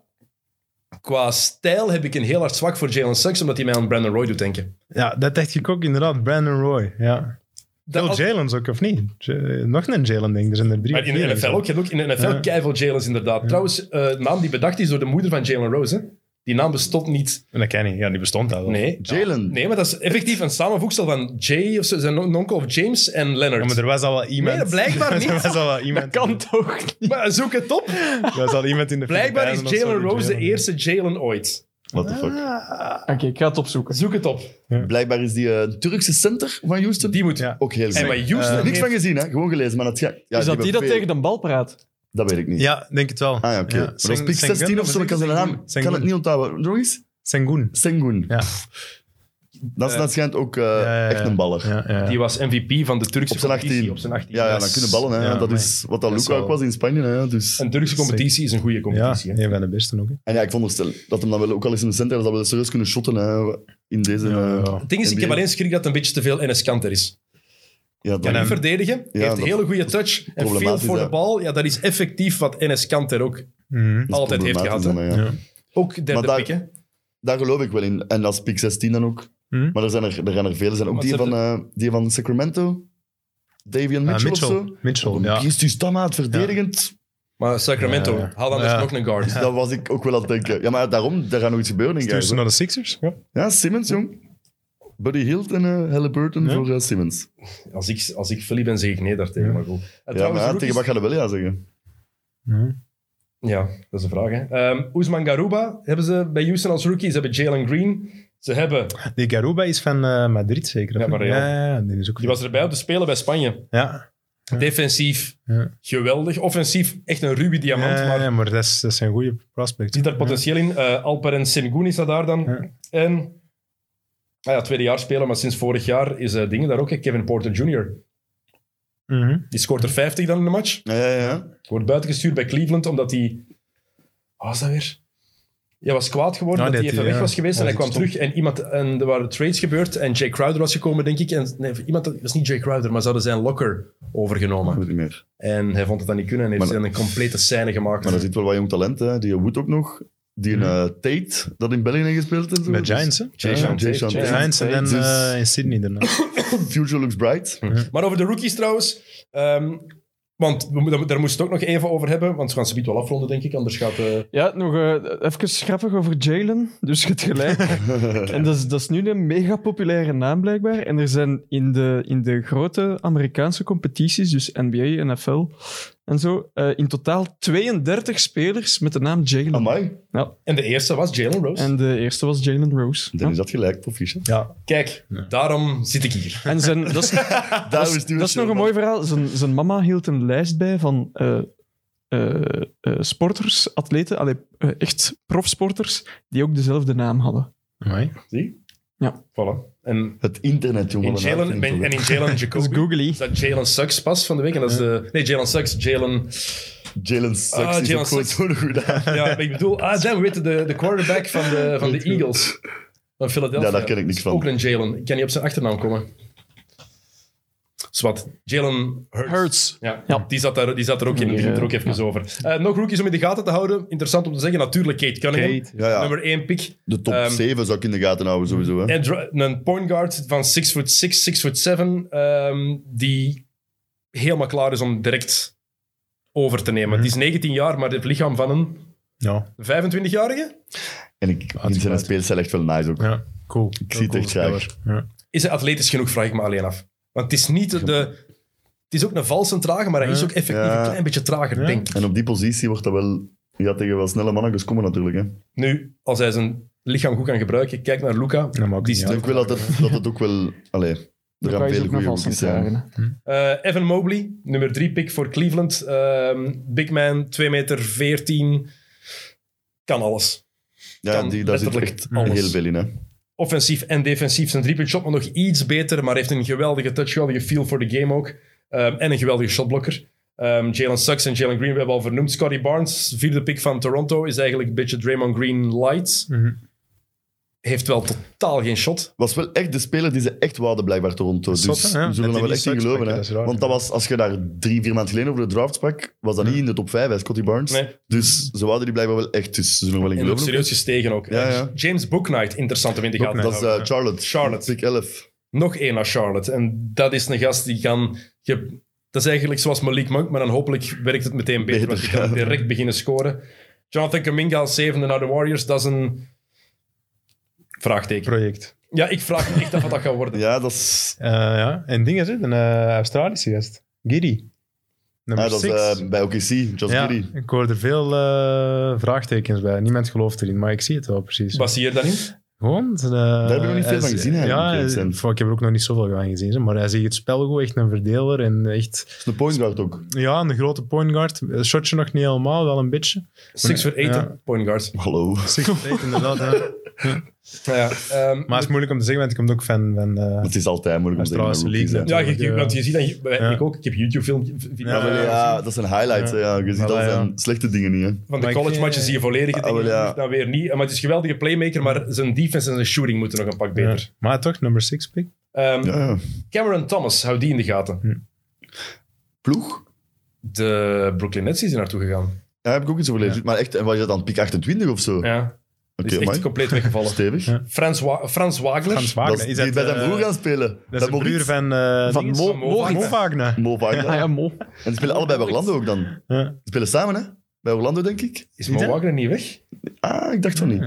Speaker 4: qua stijl heb ik een heel hard zwak voor Jalen Suggs, omdat hij mij aan Brandon Roy doet denken.
Speaker 6: Ja, dat dacht ik ook inderdaad. Brandon Roy. Ja.
Speaker 4: Dat
Speaker 6: Veel
Speaker 4: als-
Speaker 6: Jalen's ook, of niet? J- nog een Jalen, denk ik. Er zijn er drie.
Speaker 4: maar in
Speaker 6: vier
Speaker 4: de
Speaker 6: of
Speaker 4: NFL
Speaker 6: zo.
Speaker 4: ook. Je hebt ook in de NFL
Speaker 6: Ja.
Speaker 4: keiveel Jalen's inderdaad. Trouwens, eh, een naam die bedacht is door de moeder van Jalen Rose. hè. Die naam bestond niet.
Speaker 6: En Dat ken ik. Ja, die bestond al. wel.
Speaker 4: Nee.
Speaker 5: Jalen.
Speaker 4: Nee, maar dat is effectief een samenvoegsel van Jay, of zo, zijn on- onkel of James en
Speaker 6: Ja,
Speaker 4: Leonard.
Speaker 6: maar er was al wel iemand.
Speaker 4: Nee, blijkbaar
Speaker 6: er
Speaker 4: niet.
Speaker 6: was al wel iemand.
Speaker 7: Kan toch niet?
Speaker 4: Maar zoek het op.
Speaker 6: Er was al iemand in de
Speaker 4: Blijkbaar is
Speaker 6: Filipijnen of zo
Speaker 4: Jalen
Speaker 6: die
Speaker 4: Rose de
Speaker 6: Jalen-
Speaker 4: eerste Jalen ooit.
Speaker 5: What the
Speaker 6: Ah.
Speaker 5: fuck.
Speaker 7: Oké, ik ga het opzoeken.
Speaker 4: Zoek het op.
Speaker 5: Blijkbaar is die eh, Turkse center van Houston
Speaker 4: Die moet.
Speaker 6: Ja.
Speaker 5: ook heel
Speaker 4: En
Speaker 5: goed.
Speaker 4: maar Houston.
Speaker 5: Niks
Speaker 4: heeft-
Speaker 5: van gezien, hè? Gewoon gelezen. Maar dat, ja, ja,
Speaker 7: is dat die dat
Speaker 5: hebben
Speaker 7: tegen
Speaker 5: veel-
Speaker 7: de bal praat?
Speaker 5: Dat weet ik niet.
Speaker 6: Ja, denk het wel.
Speaker 5: Ah ja, oké. Maar Dat was
Speaker 6: Seng-
Speaker 5: pick
Speaker 6: Sengun,
Speaker 5: 16 of zo, ik kan zijn naam
Speaker 6: Sengun.
Speaker 5: kan het niet onthouden. Nog eens?
Speaker 6: Sengun.
Speaker 5: Sengun.
Speaker 6: Ja.
Speaker 5: Dat, is- dat schijnt ook eh,
Speaker 6: ja, ja.
Speaker 5: echt een baller.
Speaker 6: Ja, ja.
Speaker 4: Die was MVP van de Turkse
Speaker 5: Op zijn
Speaker 4: competitie
Speaker 5: 18.
Speaker 4: op zijn 18.
Speaker 5: Ja, ja,
Speaker 4: Dat
Speaker 5: dan
Speaker 4: is-
Speaker 5: kunnen ballen. Hè.
Speaker 6: ja,
Speaker 5: dat
Speaker 6: maar-
Speaker 5: is wat dat
Speaker 4: dat is
Speaker 5: Luca ook
Speaker 4: wel-
Speaker 5: was in Spanje. Hè. Dus.
Speaker 4: Een Turkse competitie is een goede
Speaker 6: ja,
Speaker 4: competitie. hè.
Speaker 6: een van de beste ook. hè.
Speaker 5: En ja, ik veronderstel dat hem dan wel ook al eens in de center dat we serieus kunnen shotten hè, in deze...
Speaker 6: Ja,
Speaker 5: eh,
Speaker 6: ja.
Speaker 4: Het ding is, ik
Speaker 5: NBA.
Speaker 4: heb alleen schrik dat het een beetje te veel NS Kanter is.
Speaker 5: Ja,
Speaker 4: Kan
Speaker 5: dan,
Speaker 4: niet verdedigen, heeft
Speaker 5: dat-
Speaker 4: een hele goede touch en veel
Speaker 5: problematisch,
Speaker 4: voor de
Speaker 5: hè.
Speaker 4: bal. Ja, dat is effectief wat NS Kanter ook
Speaker 6: Mhm.
Speaker 5: dat is
Speaker 4: altijd heeft
Speaker 5: problematisch
Speaker 4: gehad. hè.
Speaker 5: dan, ja.
Speaker 6: Ja.
Speaker 4: Ook
Speaker 5: Maar
Speaker 4: derde
Speaker 5: daar-
Speaker 4: pick, hè.
Speaker 5: Daar geloof ik wel in. En als pick 16 dan ook.
Speaker 6: Hm?
Speaker 5: Maar er zijn er, er, gaan er veel. Er zijn ook
Speaker 4: Maar
Speaker 5: die
Speaker 4: ze
Speaker 5: van, eh, die van Sacramento. Davian
Speaker 6: Ah,
Speaker 5: Mitchell, of
Speaker 6: Mitchell.
Speaker 5: zo.
Speaker 6: Mitchell,
Speaker 5: Ja.
Speaker 6: ja.
Speaker 5: Die is dus stammaat verdedigend.
Speaker 4: Maar Sacramento,
Speaker 6: Ja, ja.
Speaker 4: haal anders
Speaker 6: Ja.
Speaker 4: nog een guard.
Speaker 5: Dat was ik ook wel aan het denken. Ja, maar daarom, daar gaat nog iets gebeuren, denk ik.
Speaker 6: Stuur ze
Speaker 5: eigenlijk.
Speaker 6: naar de Sixers? Ja.
Speaker 5: Ja, Simmons, jong. Buddy Hield en eh, Halliburton
Speaker 6: Ja.
Speaker 5: voor eh, Simmons.
Speaker 4: Als ik, als ik Philly ben, zeg ik nee daartegen, maar goed. En
Speaker 5: Ja,
Speaker 4: trouwens,
Speaker 5: maar ja,
Speaker 4: rookies-
Speaker 5: tegen wat gaat hij wel ja zeggen?
Speaker 4: Ja, dat is een vraag, hè. Ehm Ousman Garuba hebben ze bij Houston als rookie. Ze hebben Jalen Green. Ze hebben...
Speaker 6: Die Garuba is van eh, Madrid zeker. of
Speaker 4: Ja,
Speaker 6: niet?
Speaker 4: maar Real.
Speaker 6: ja, ja, die is ook
Speaker 4: Die was erbij op de Spelen bij Spanje.
Speaker 6: Ja,
Speaker 4: Defensief,
Speaker 6: Ja.
Speaker 4: geweldig. Offensief, echt een ruwe diamant.
Speaker 6: ja,
Speaker 4: maar
Speaker 6: ja, maar dat is, dat is een goede prospect.
Speaker 4: zit daar potentieel in. Eh, Alperen Semgoen is dat daar dan.
Speaker 6: Ja.
Speaker 4: En... Ah ja, tweede jaar spelen, maar sinds vorig jaar is eh dingen daar ook. hè. Kevin Porter Jr.
Speaker 6: Mhm.
Speaker 4: Die scoort er 50 dan in de match.
Speaker 5: Ja, ja, ja.
Speaker 4: Wordt buitengestuurd bij Cleveland omdat hij. Wat was dat weer? Hij was kwaad geworden
Speaker 6: Ah,
Speaker 4: dat hij
Speaker 6: dat
Speaker 4: even
Speaker 6: hij,
Speaker 4: weg
Speaker 6: ja.
Speaker 4: was geweest en
Speaker 6: Ja,
Speaker 4: hij kwam
Speaker 6: dat is
Speaker 4: terug en, iemand, en er waren trades gebeurd en Jay Crowder was gekomen, denk ik. En, nee, iemand, dat was niet Jay Crowder, maar ze hadden zijn locker
Speaker 5: Ik
Speaker 4: overgenomen.
Speaker 5: weet niet meer.
Speaker 4: En hij vond het dan niet kunnen en heeft
Speaker 5: Maar-
Speaker 4: dan een complete scène gemaakt.
Speaker 5: Maar er zit wel wat jong talent, hè. Die Wood ook nog. Die een eh, Tate, dat in België gespeeld heeft.
Speaker 6: Bij Giants, hè?
Speaker 4: Jay
Speaker 5: Ja,
Speaker 4: Sean Tate,
Speaker 5: Jay Sean
Speaker 4: Jay
Speaker 5: Tate.
Speaker 6: Giants en dan
Speaker 5: Dus-
Speaker 6: eh, in Sydney daarna.
Speaker 5: Future looks bright.
Speaker 4: Maar over de rookies trouwens. ehm, want we, moeten- daar moesten we het ook nog even over hebben, want we gaan ze niet wel afronden, denk ik. Anders gaat... eh,
Speaker 7: Ja, nog eh, even grappig over Jalen. Dus je hebt gelijk. en dat is, dat is nu een mega populaire naam blijkbaar. En er zijn in de, in de grote Amerikaanse competities, dus NBA, NFL, en zo. eh, in totaal 32 spelers met de naam Jalen.
Speaker 5: Amai.
Speaker 4: En de eerste was Jalen Rose.
Speaker 7: En de eerste was Jalen Rose.
Speaker 5: Dan is dat gelijk, proficiat.
Speaker 6: Ja,
Speaker 4: Kijk, daarom zit ik hier.
Speaker 7: En zijn, dat is, Ah, dat is, dat is nog een mooi verhaal. Zijn, zijn mama hield een lijst bij van eh, eh, eh, sporters, atleten, allee, eh, echt profsporters, die ook dezelfde naam hadden.
Speaker 6: amai.
Speaker 5: Zie?
Speaker 4: Voilà. En
Speaker 5: Het internet, jongen.
Speaker 4: in
Speaker 5: wat een
Speaker 4: Jalen,
Speaker 5: uitvinding,
Speaker 4: ben- en in
Speaker 5: toch?
Speaker 4: Jalen
Speaker 7: Dat is
Speaker 4: Jacoby.
Speaker 7: googly.
Speaker 4: Is dat Jalen Sucks pas van de week? En dat is de, nee, Jalen Sucks, Jalen...
Speaker 5: Jalen Sucks
Speaker 4: Ah,
Speaker 5: is
Speaker 4: Jalen
Speaker 5: ook gewoon
Speaker 4: Suggs.
Speaker 5: zo'n goede naam.
Speaker 4: Ja, maar ik bedoel... Ah, zijn we weten, de, de quarterback van de, van de Eagles. Van Philadelphia.
Speaker 5: Ja, daar ken ik niks van.
Speaker 4: Ook een Jalen. Ik kan niet op zijn achternaam komen. Zwat. Jalen Hurts.
Speaker 7: Hurts.
Speaker 4: Ja,
Speaker 7: Ja.
Speaker 4: Die, zat daar, die zat er ook in. Die ging er ook even over. Eh, nog rookies om in de gaten te houden. Interessant om te zeggen. Natuurlijk Kate Cunningham.
Speaker 6: Kate.
Speaker 5: Ja, ja.
Speaker 4: Nummer 1 pick.
Speaker 5: De top
Speaker 4: Ehm,
Speaker 5: 7 zou ik in de gaten houden, sowieso. Hè.
Speaker 4: En dra- een point guard van 6 foot 6, 6 foot 7, ehm, die helemaal klaar is om direct over te nemen.
Speaker 5: Mhm.
Speaker 4: Die is 19 jaar, maar het lichaam van een
Speaker 6: Ja,
Speaker 4: 25-jarige.
Speaker 5: En ik vind zijn
Speaker 6: uit.
Speaker 5: speelstijl echt wel nice ook.
Speaker 6: ja. cool.
Speaker 5: Ik zie het echt graag.
Speaker 6: Ja.
Speaker 4: Is hij atletisch genoeg, vraag ik me alleen af. Want het is niet de... het is ook een valse trager, maar hij is ook effectief
Speaker 5: Ja.
Speaker 4: een klein beetje trager,
Speaker 6: Ja.
Speaker 4: denk ik.
Speaker 5: En op die positie wordt dat wel... Ja, tegen wel snelle mannen komen natuurlijk. Hè.
Speaker 4: Nu, als hij zijn lichaam goed kan gebruiken, kijk naar Luca.
Speaker 6: Dat maakt
Speaker 4: Die is
Speaker 6: niet
Speaker 5: Dus Ik
Speaker 6: uit.
Speaker 5: denk wel dat het, dat het ook wel... Allee, er
Speaker 7: Daar
Speaker 5: gaan
Speaker 7: kan je
Speaker 5: veel
Speaker 7: ook nog
Speaker 5: goede
Speaker 7: vals aan
Speaker 5: hoekjes zijn.
Speaker 7: vragen, hè.
Speaker 4: Eh, Evan Mobley, nummer 3 pick voor Cleveland. Ehm, big man, 2 meter 14. Kan alles.
Speaker 5: Ja,
Speaker 4: Kan
Speaker 5: die, daar zit
Speaker 4: letterlijk
Speaker 5: echt
Speaker 4: alles.
Speaker 5: heel veel in. Hè.
Speaker 4: offensief en defensief. Zijn driepunt shot nog iets beter, maar heeft een geweldige touch, geweldige feel voor de game ook. Ehm, en een geweldige shotblokker. Ehm, Jalen Sucks en Jalen Green, we hebben al vernoemd. Scotty Barnes, vierde pick van Toronto, is eigenlijk een beetje Draymond Green light.
Speaker 6: Mhm.
Speaker 4: Heeft wel totaal geen shot.
Speaker 5: was wel echt de speler die ze echt wouden, blijkbaar Toronto. Dus
Speaker 6: Zot, hè?
Speaker 5: we
Speaker 6: Dat die
Speaker 5: zullen er wel
Speaker 6: niet
Speaker 5: echt in
Speaker 6: sucks
Speaker 5: geloven.
Speaker 6: pakken,
Speaker 5: Hè?
Speaker 6: dat is raar,
Speaker 5: Want dat was, als je daar drie, vier maanden geleden over de draft sprak, was dat niet in de top vijf, hè, Scotty Barnes.
Speaker 4: Nee.
Speaker 5: Dus ze wouden die blijkbaar wel echt, dus ze zullen er wel in
Speaker 4: En ook
Speaker 5: geloven.
Speaker 4: serieus gestegen ook.
Speaker 5: Ja, ja.
Speaker 4: James Booknight, interessant om in de gaten te
Speaker 5: Dat is eh,
Speaker 4: houden.
Speaker 5: Charlotte.
Speaker 4: Charlotte.
Speaker 5: Pick 11.
Speaker 4: Nog één naar Charlotte. En dat is een gast die kan... Je, dat is eigenlijk zoals Malik Monk, maar dan hopelijk werkt het meteen beter,
Speaker 5: Beter,
Speaker 4: want je kan
Speaker 5: ja.
Speaker 4: direct beginnen scoren. Jonathan Kaminga als zevende naar de Warriors, dat is een... Vraagteken.
Speaker 6: Project.
Speaker 4: Ja, ik vraag me echt af wat dat gaat worden.
Speaker 5: Ja, dat is...
Speaker 6: Eh, ja, en dingen zit een eh, Australische gast. Giddy. Nummer
Speaker 5: Ja, dat is
Speaker 6: six.
Speaker 5: eh, bij OKC, Josh
Speaker 6: ja,
Speaker 5: Giddy.
Speaker 6: ik hoor er veel eh, vraagtekens bij. Niemand gelooft erin, maar ik zie het wel precies.
Speaker 4: Baseer daarin.
Speaker 6: Gewoon. eh,
Speaker 5: heb ik nog niet veel
Speaker 6: hij
Speaker 5: van
Speaker 6: is-
Speaker 5: gezien, eigenlijk,
Speaker 6: Ja,
Speaker 5: moet ik eerlijk zijn.
Speaker 6: fuck, ik heb er ook nog niet zoveel van gezien. zeg, Maar hij ziet het spel goed, echt een verdeler. En echt,
Speaker 5: Dat is een point guard ook.
Speaker 6: ja, een grote point guard. Eh, Shotje nog niet helemaal, wel een beetje.
Speaker 4: Six for eight,
Speaker 6: Ja.
Speaker 4: hè, point guard.
Speaker 5: Hallo.
Speaker 6: Six of eight, inderdaad. hè.
Speaker 4: Nou ja, ehm,
Speaker 6: Maar het is moeilijk om te zeggen, want ik ben ook fan van... eh,
Speaker 5: Het is altijd moeilijk om te
Speaker 6: Australische
Speaker 5: zeggen. rookies,
Speaker 4: ja,
Speaker 5: hè.
Speaker 6: league,
Speaker 4: je, je- want je ziet dat... je-
Speaker 6: Ja.
Speaker 4: Ik ook. Ik heb YouTube-filmpjes
Speaker 5: Ja, wel, ja, dat zijn highlights. hè, Ja. Je ziet
Speaker 6: Maar
Speaker 5: dat
Speaker 6: ja.
Speaker 5: zijn slechte dingen niet. Hè.
Speaker 4: van
Speaker 6: Maar
Speaker 4: de
Speaker 6: ik
Speaker 4: college-matches
Speaker 6: vind-
Speaker 4: zie je volledige
Speaker 5: Ah, wel,
Speaker 4: dingen,
Speaker 5: ja.
Speaker 4: dan weer niet. Maar het is een geweldige playmaker, maar zijn defense en zijn shooting moeten nog een pak
Speaker 6: ja.
Speaker 4: beter.
Speaker 6: Maar toch, nummer six pick.
Speaker 4: Ehm,
Speaker 5: Ja, ja.
Speaker 4: Cameron Thomas, hou die in de gaten.
Speaker 5: Ploeg?
Speaker 4: De Brooklyn Nets is er naartoe gegaan.
Speaker 5: Ja, heb ik ook iets over gelezen. Maar echt, en was je dan pick 28 of zo?
Speaker 4: Ja, die
Speaker 5: Oké,
Speaker 4: is echt
Speaker 5: amai.
Speaker 4: compleet weggevallen.
Speaker 5: Stevig.
Speaker 6: Ja.
Speaker 4: Frans, Wa- Frans Wagner.
Speaker 6: Frans
Speaker 5: Dat
Speaker 6: Wagner.
Speaker 5: is,
Speaker 6: Is
Speaker 5: die bij
Speaker 6: eh,
Speaker 5: zijn broer gaan spelen.
Speaker 6: Dat is de
Speaker 5: Moritz.
Speaker 6: broer van... eh,
Speaker 7: Van
Speaker 6: dinges?
Speaker 7: Mo,
Speaker 4: Van Mo
Speaker 7: Mo-
Speaker 4: Wagner.
Speaker 6: Mo Wagner.
Speaker 5: Mo Wagner.
Speaker 7: Ah ja, Mo.
Speaker 5: En ze spelen allebei bij Orlando ook dan.
Speaker 6: Ja.
Speaker 5: Ze spelen samen, hè? Bij Orlando, denk ik.
Speaker 4: Is Mo Wagner niet weg?
Speaker 5: Ah, ik dacht van niet.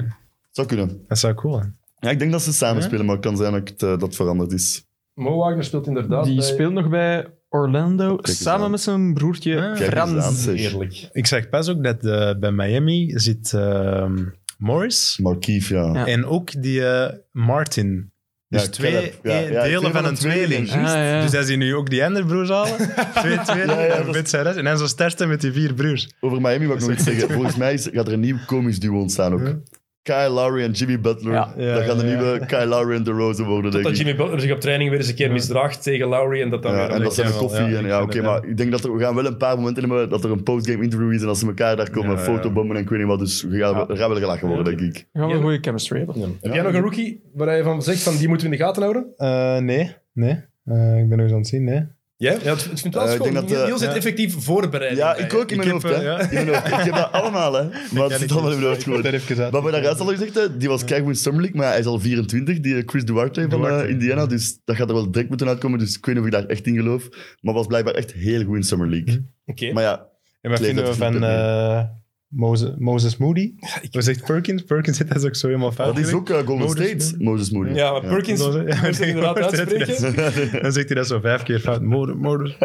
Speaker 5: Zou kunnen.
Speaker 6: Dat zou cool zijn.
Speaker 5: Ja, ik denk dat ze samen spelen, maar het kan zijn dat het, eh, dat veranderd is.
Speaker 4: Mo Wagner speelt inderdaad
Speaker 7: Die
Speaker 4: bij-
Speaker 7: speelt nog bij Orlando
Speaker 5: eens
Speaker 7: samen
Speaker 5: aan.
Speaker 7: met zijn broertje
Speaker 5: Kijk eens aan,
Speaker 7: Frans.
Speaker 5: zeg.
Speaker 4: Heerlijk.
Speaker 6: Ik zag pas ook dat eh, bij Miami zit ehm, Morris
Speaker 5: Markief, ja.
Speaker 7: Ja.
Speaker 6: en ook die eh, Martin. Dus
Speaker 5: Ja,
Speaker 6: twee
Speaker 5: Caleb. Ja,
Speaker 6: eh,
Speaker 5: ja,
Speaker 6: delen
Speaker 5: twee
Speaker 6: van, een tweeling.
Speaker 5: juist.
Speaker 7: Ah, ja.
Speaker 6: Dus dat zie nu ook die andere broers halen. twee tweelingen
Speaker 5: Ja, ja,
Speaker 6: en
Speaker 5: dat
Speaker 6: Bits en Rest. En dan zo starten met die vier broers.
Speaker 5: Over Miami wil ik nog iets zeggen. Volgens mij is- gaat er een nieuw komisch duo ontstaan ook. Kyle Lowry en Jimmy Butler.
Speaker 7: Ja.
Speaker 6: Ja,
Speaker 5: dat gaan de
Speaker 6: ja, ja.
Speaker 5: nieuwe Kyle Lowry en DeRozan worden, denk
Speaker 4: Dat
Speaker 5: ik.
Speaker 4: Jimmy Butler zich op training weer eens een keer misdraagt tegen Lowry en dat dan
Speaker 5: Ja,
Speaker 4: weer...
Speaker 5: en dat
Speaker 6: ken
Speaker 5: zijn een
Speaker 6: wel,
Speaker 5: koffie.
Speaker 6: ja,
Speaker 5: en
Speaker 6: ik
Speaker 5: ja,
Speaker 6: ken
Speaker 5: oké,
Speaker 6: het,
Speaker 5: maar ik denk dat er, we gaan wel een paar momenten hebben dat er een postgame interview is en als ze elkaar daar komen,
Speaker 6: ja.
Speaker 5: fotobommen en ik weet niet wat. Dus we gaan, we gaan wel gelachen worden, denk ik.
Speaker 7: Gaan we een goede chemistry hebben.
Speaker 4: Heb jij nog een rookie waar je van zegt, van die moeten we in de gaten houden?
Speaker 6: Eh, nee, nee. Eh, ik ben nog eens aan het zien, nee.
Speaker 4: Ja, ja het, het vindt wel
Speaker 5: Eh, ik
Speaker 4: schoon.
Speaker 5: denk dat, eh,
Speaker 4: Niels zit
Speaker 6: ja.
Speaker 4: effectief voorbereid.
Speaker 5: Ja, ik ook in mijn
Speaker 6: heb,
Speaker 5: hoofd, hè.
Speaker 6: eh, ja.
Speaker 5: In mijn hoofd. Ik heb dat allemaal, hè. Maar het zit allemaal in mijn hoofd
Speaker 6: Ik heb
Speaker 5: gewoon.
Speaker 6: daar even uit.
Speaker 5: Wat we daaruit al gezegd hebben, die was keigoed in Summer League, maar hij is al 24, die Chris Duarte van eh,
Speaker 6: Duarte.
Speaker 5: Indiana. Dus dat gaat er wel direct moeten uitkomen, dus ik weet niet of ik daar echt in geloof. Maar was blijkbaar echt heel goed in Summer League.
Speaker 4: Oké.
Speaker 5: Maar ja,
Speaker 6: En wat
Speaker 5: Kleed
Speaker 6: vinden we
Speaker 5: dat
Speaker 6: van
Speaker 5: verdiep in,
Speaker 6: eh, Moses, Moses Moody. Hoe zegt Perkins? Perkins zit dat is ook zo helemaal fout.
Speaker 5: Dat is ook eh, Golden
Speaker 6: Moses
Speaker 5: State, Moses Moody.
Speaker 4: Ja, maar Perkins
Speaker 6: Dan-
Speaker 4: moet het inderdaad
Speaker 6: dan zegt hij dat
Speaker 4: uitspreken.
Speaker 6: zo- Dan zegt hij dat zo vijf keer fout. Modus, modus,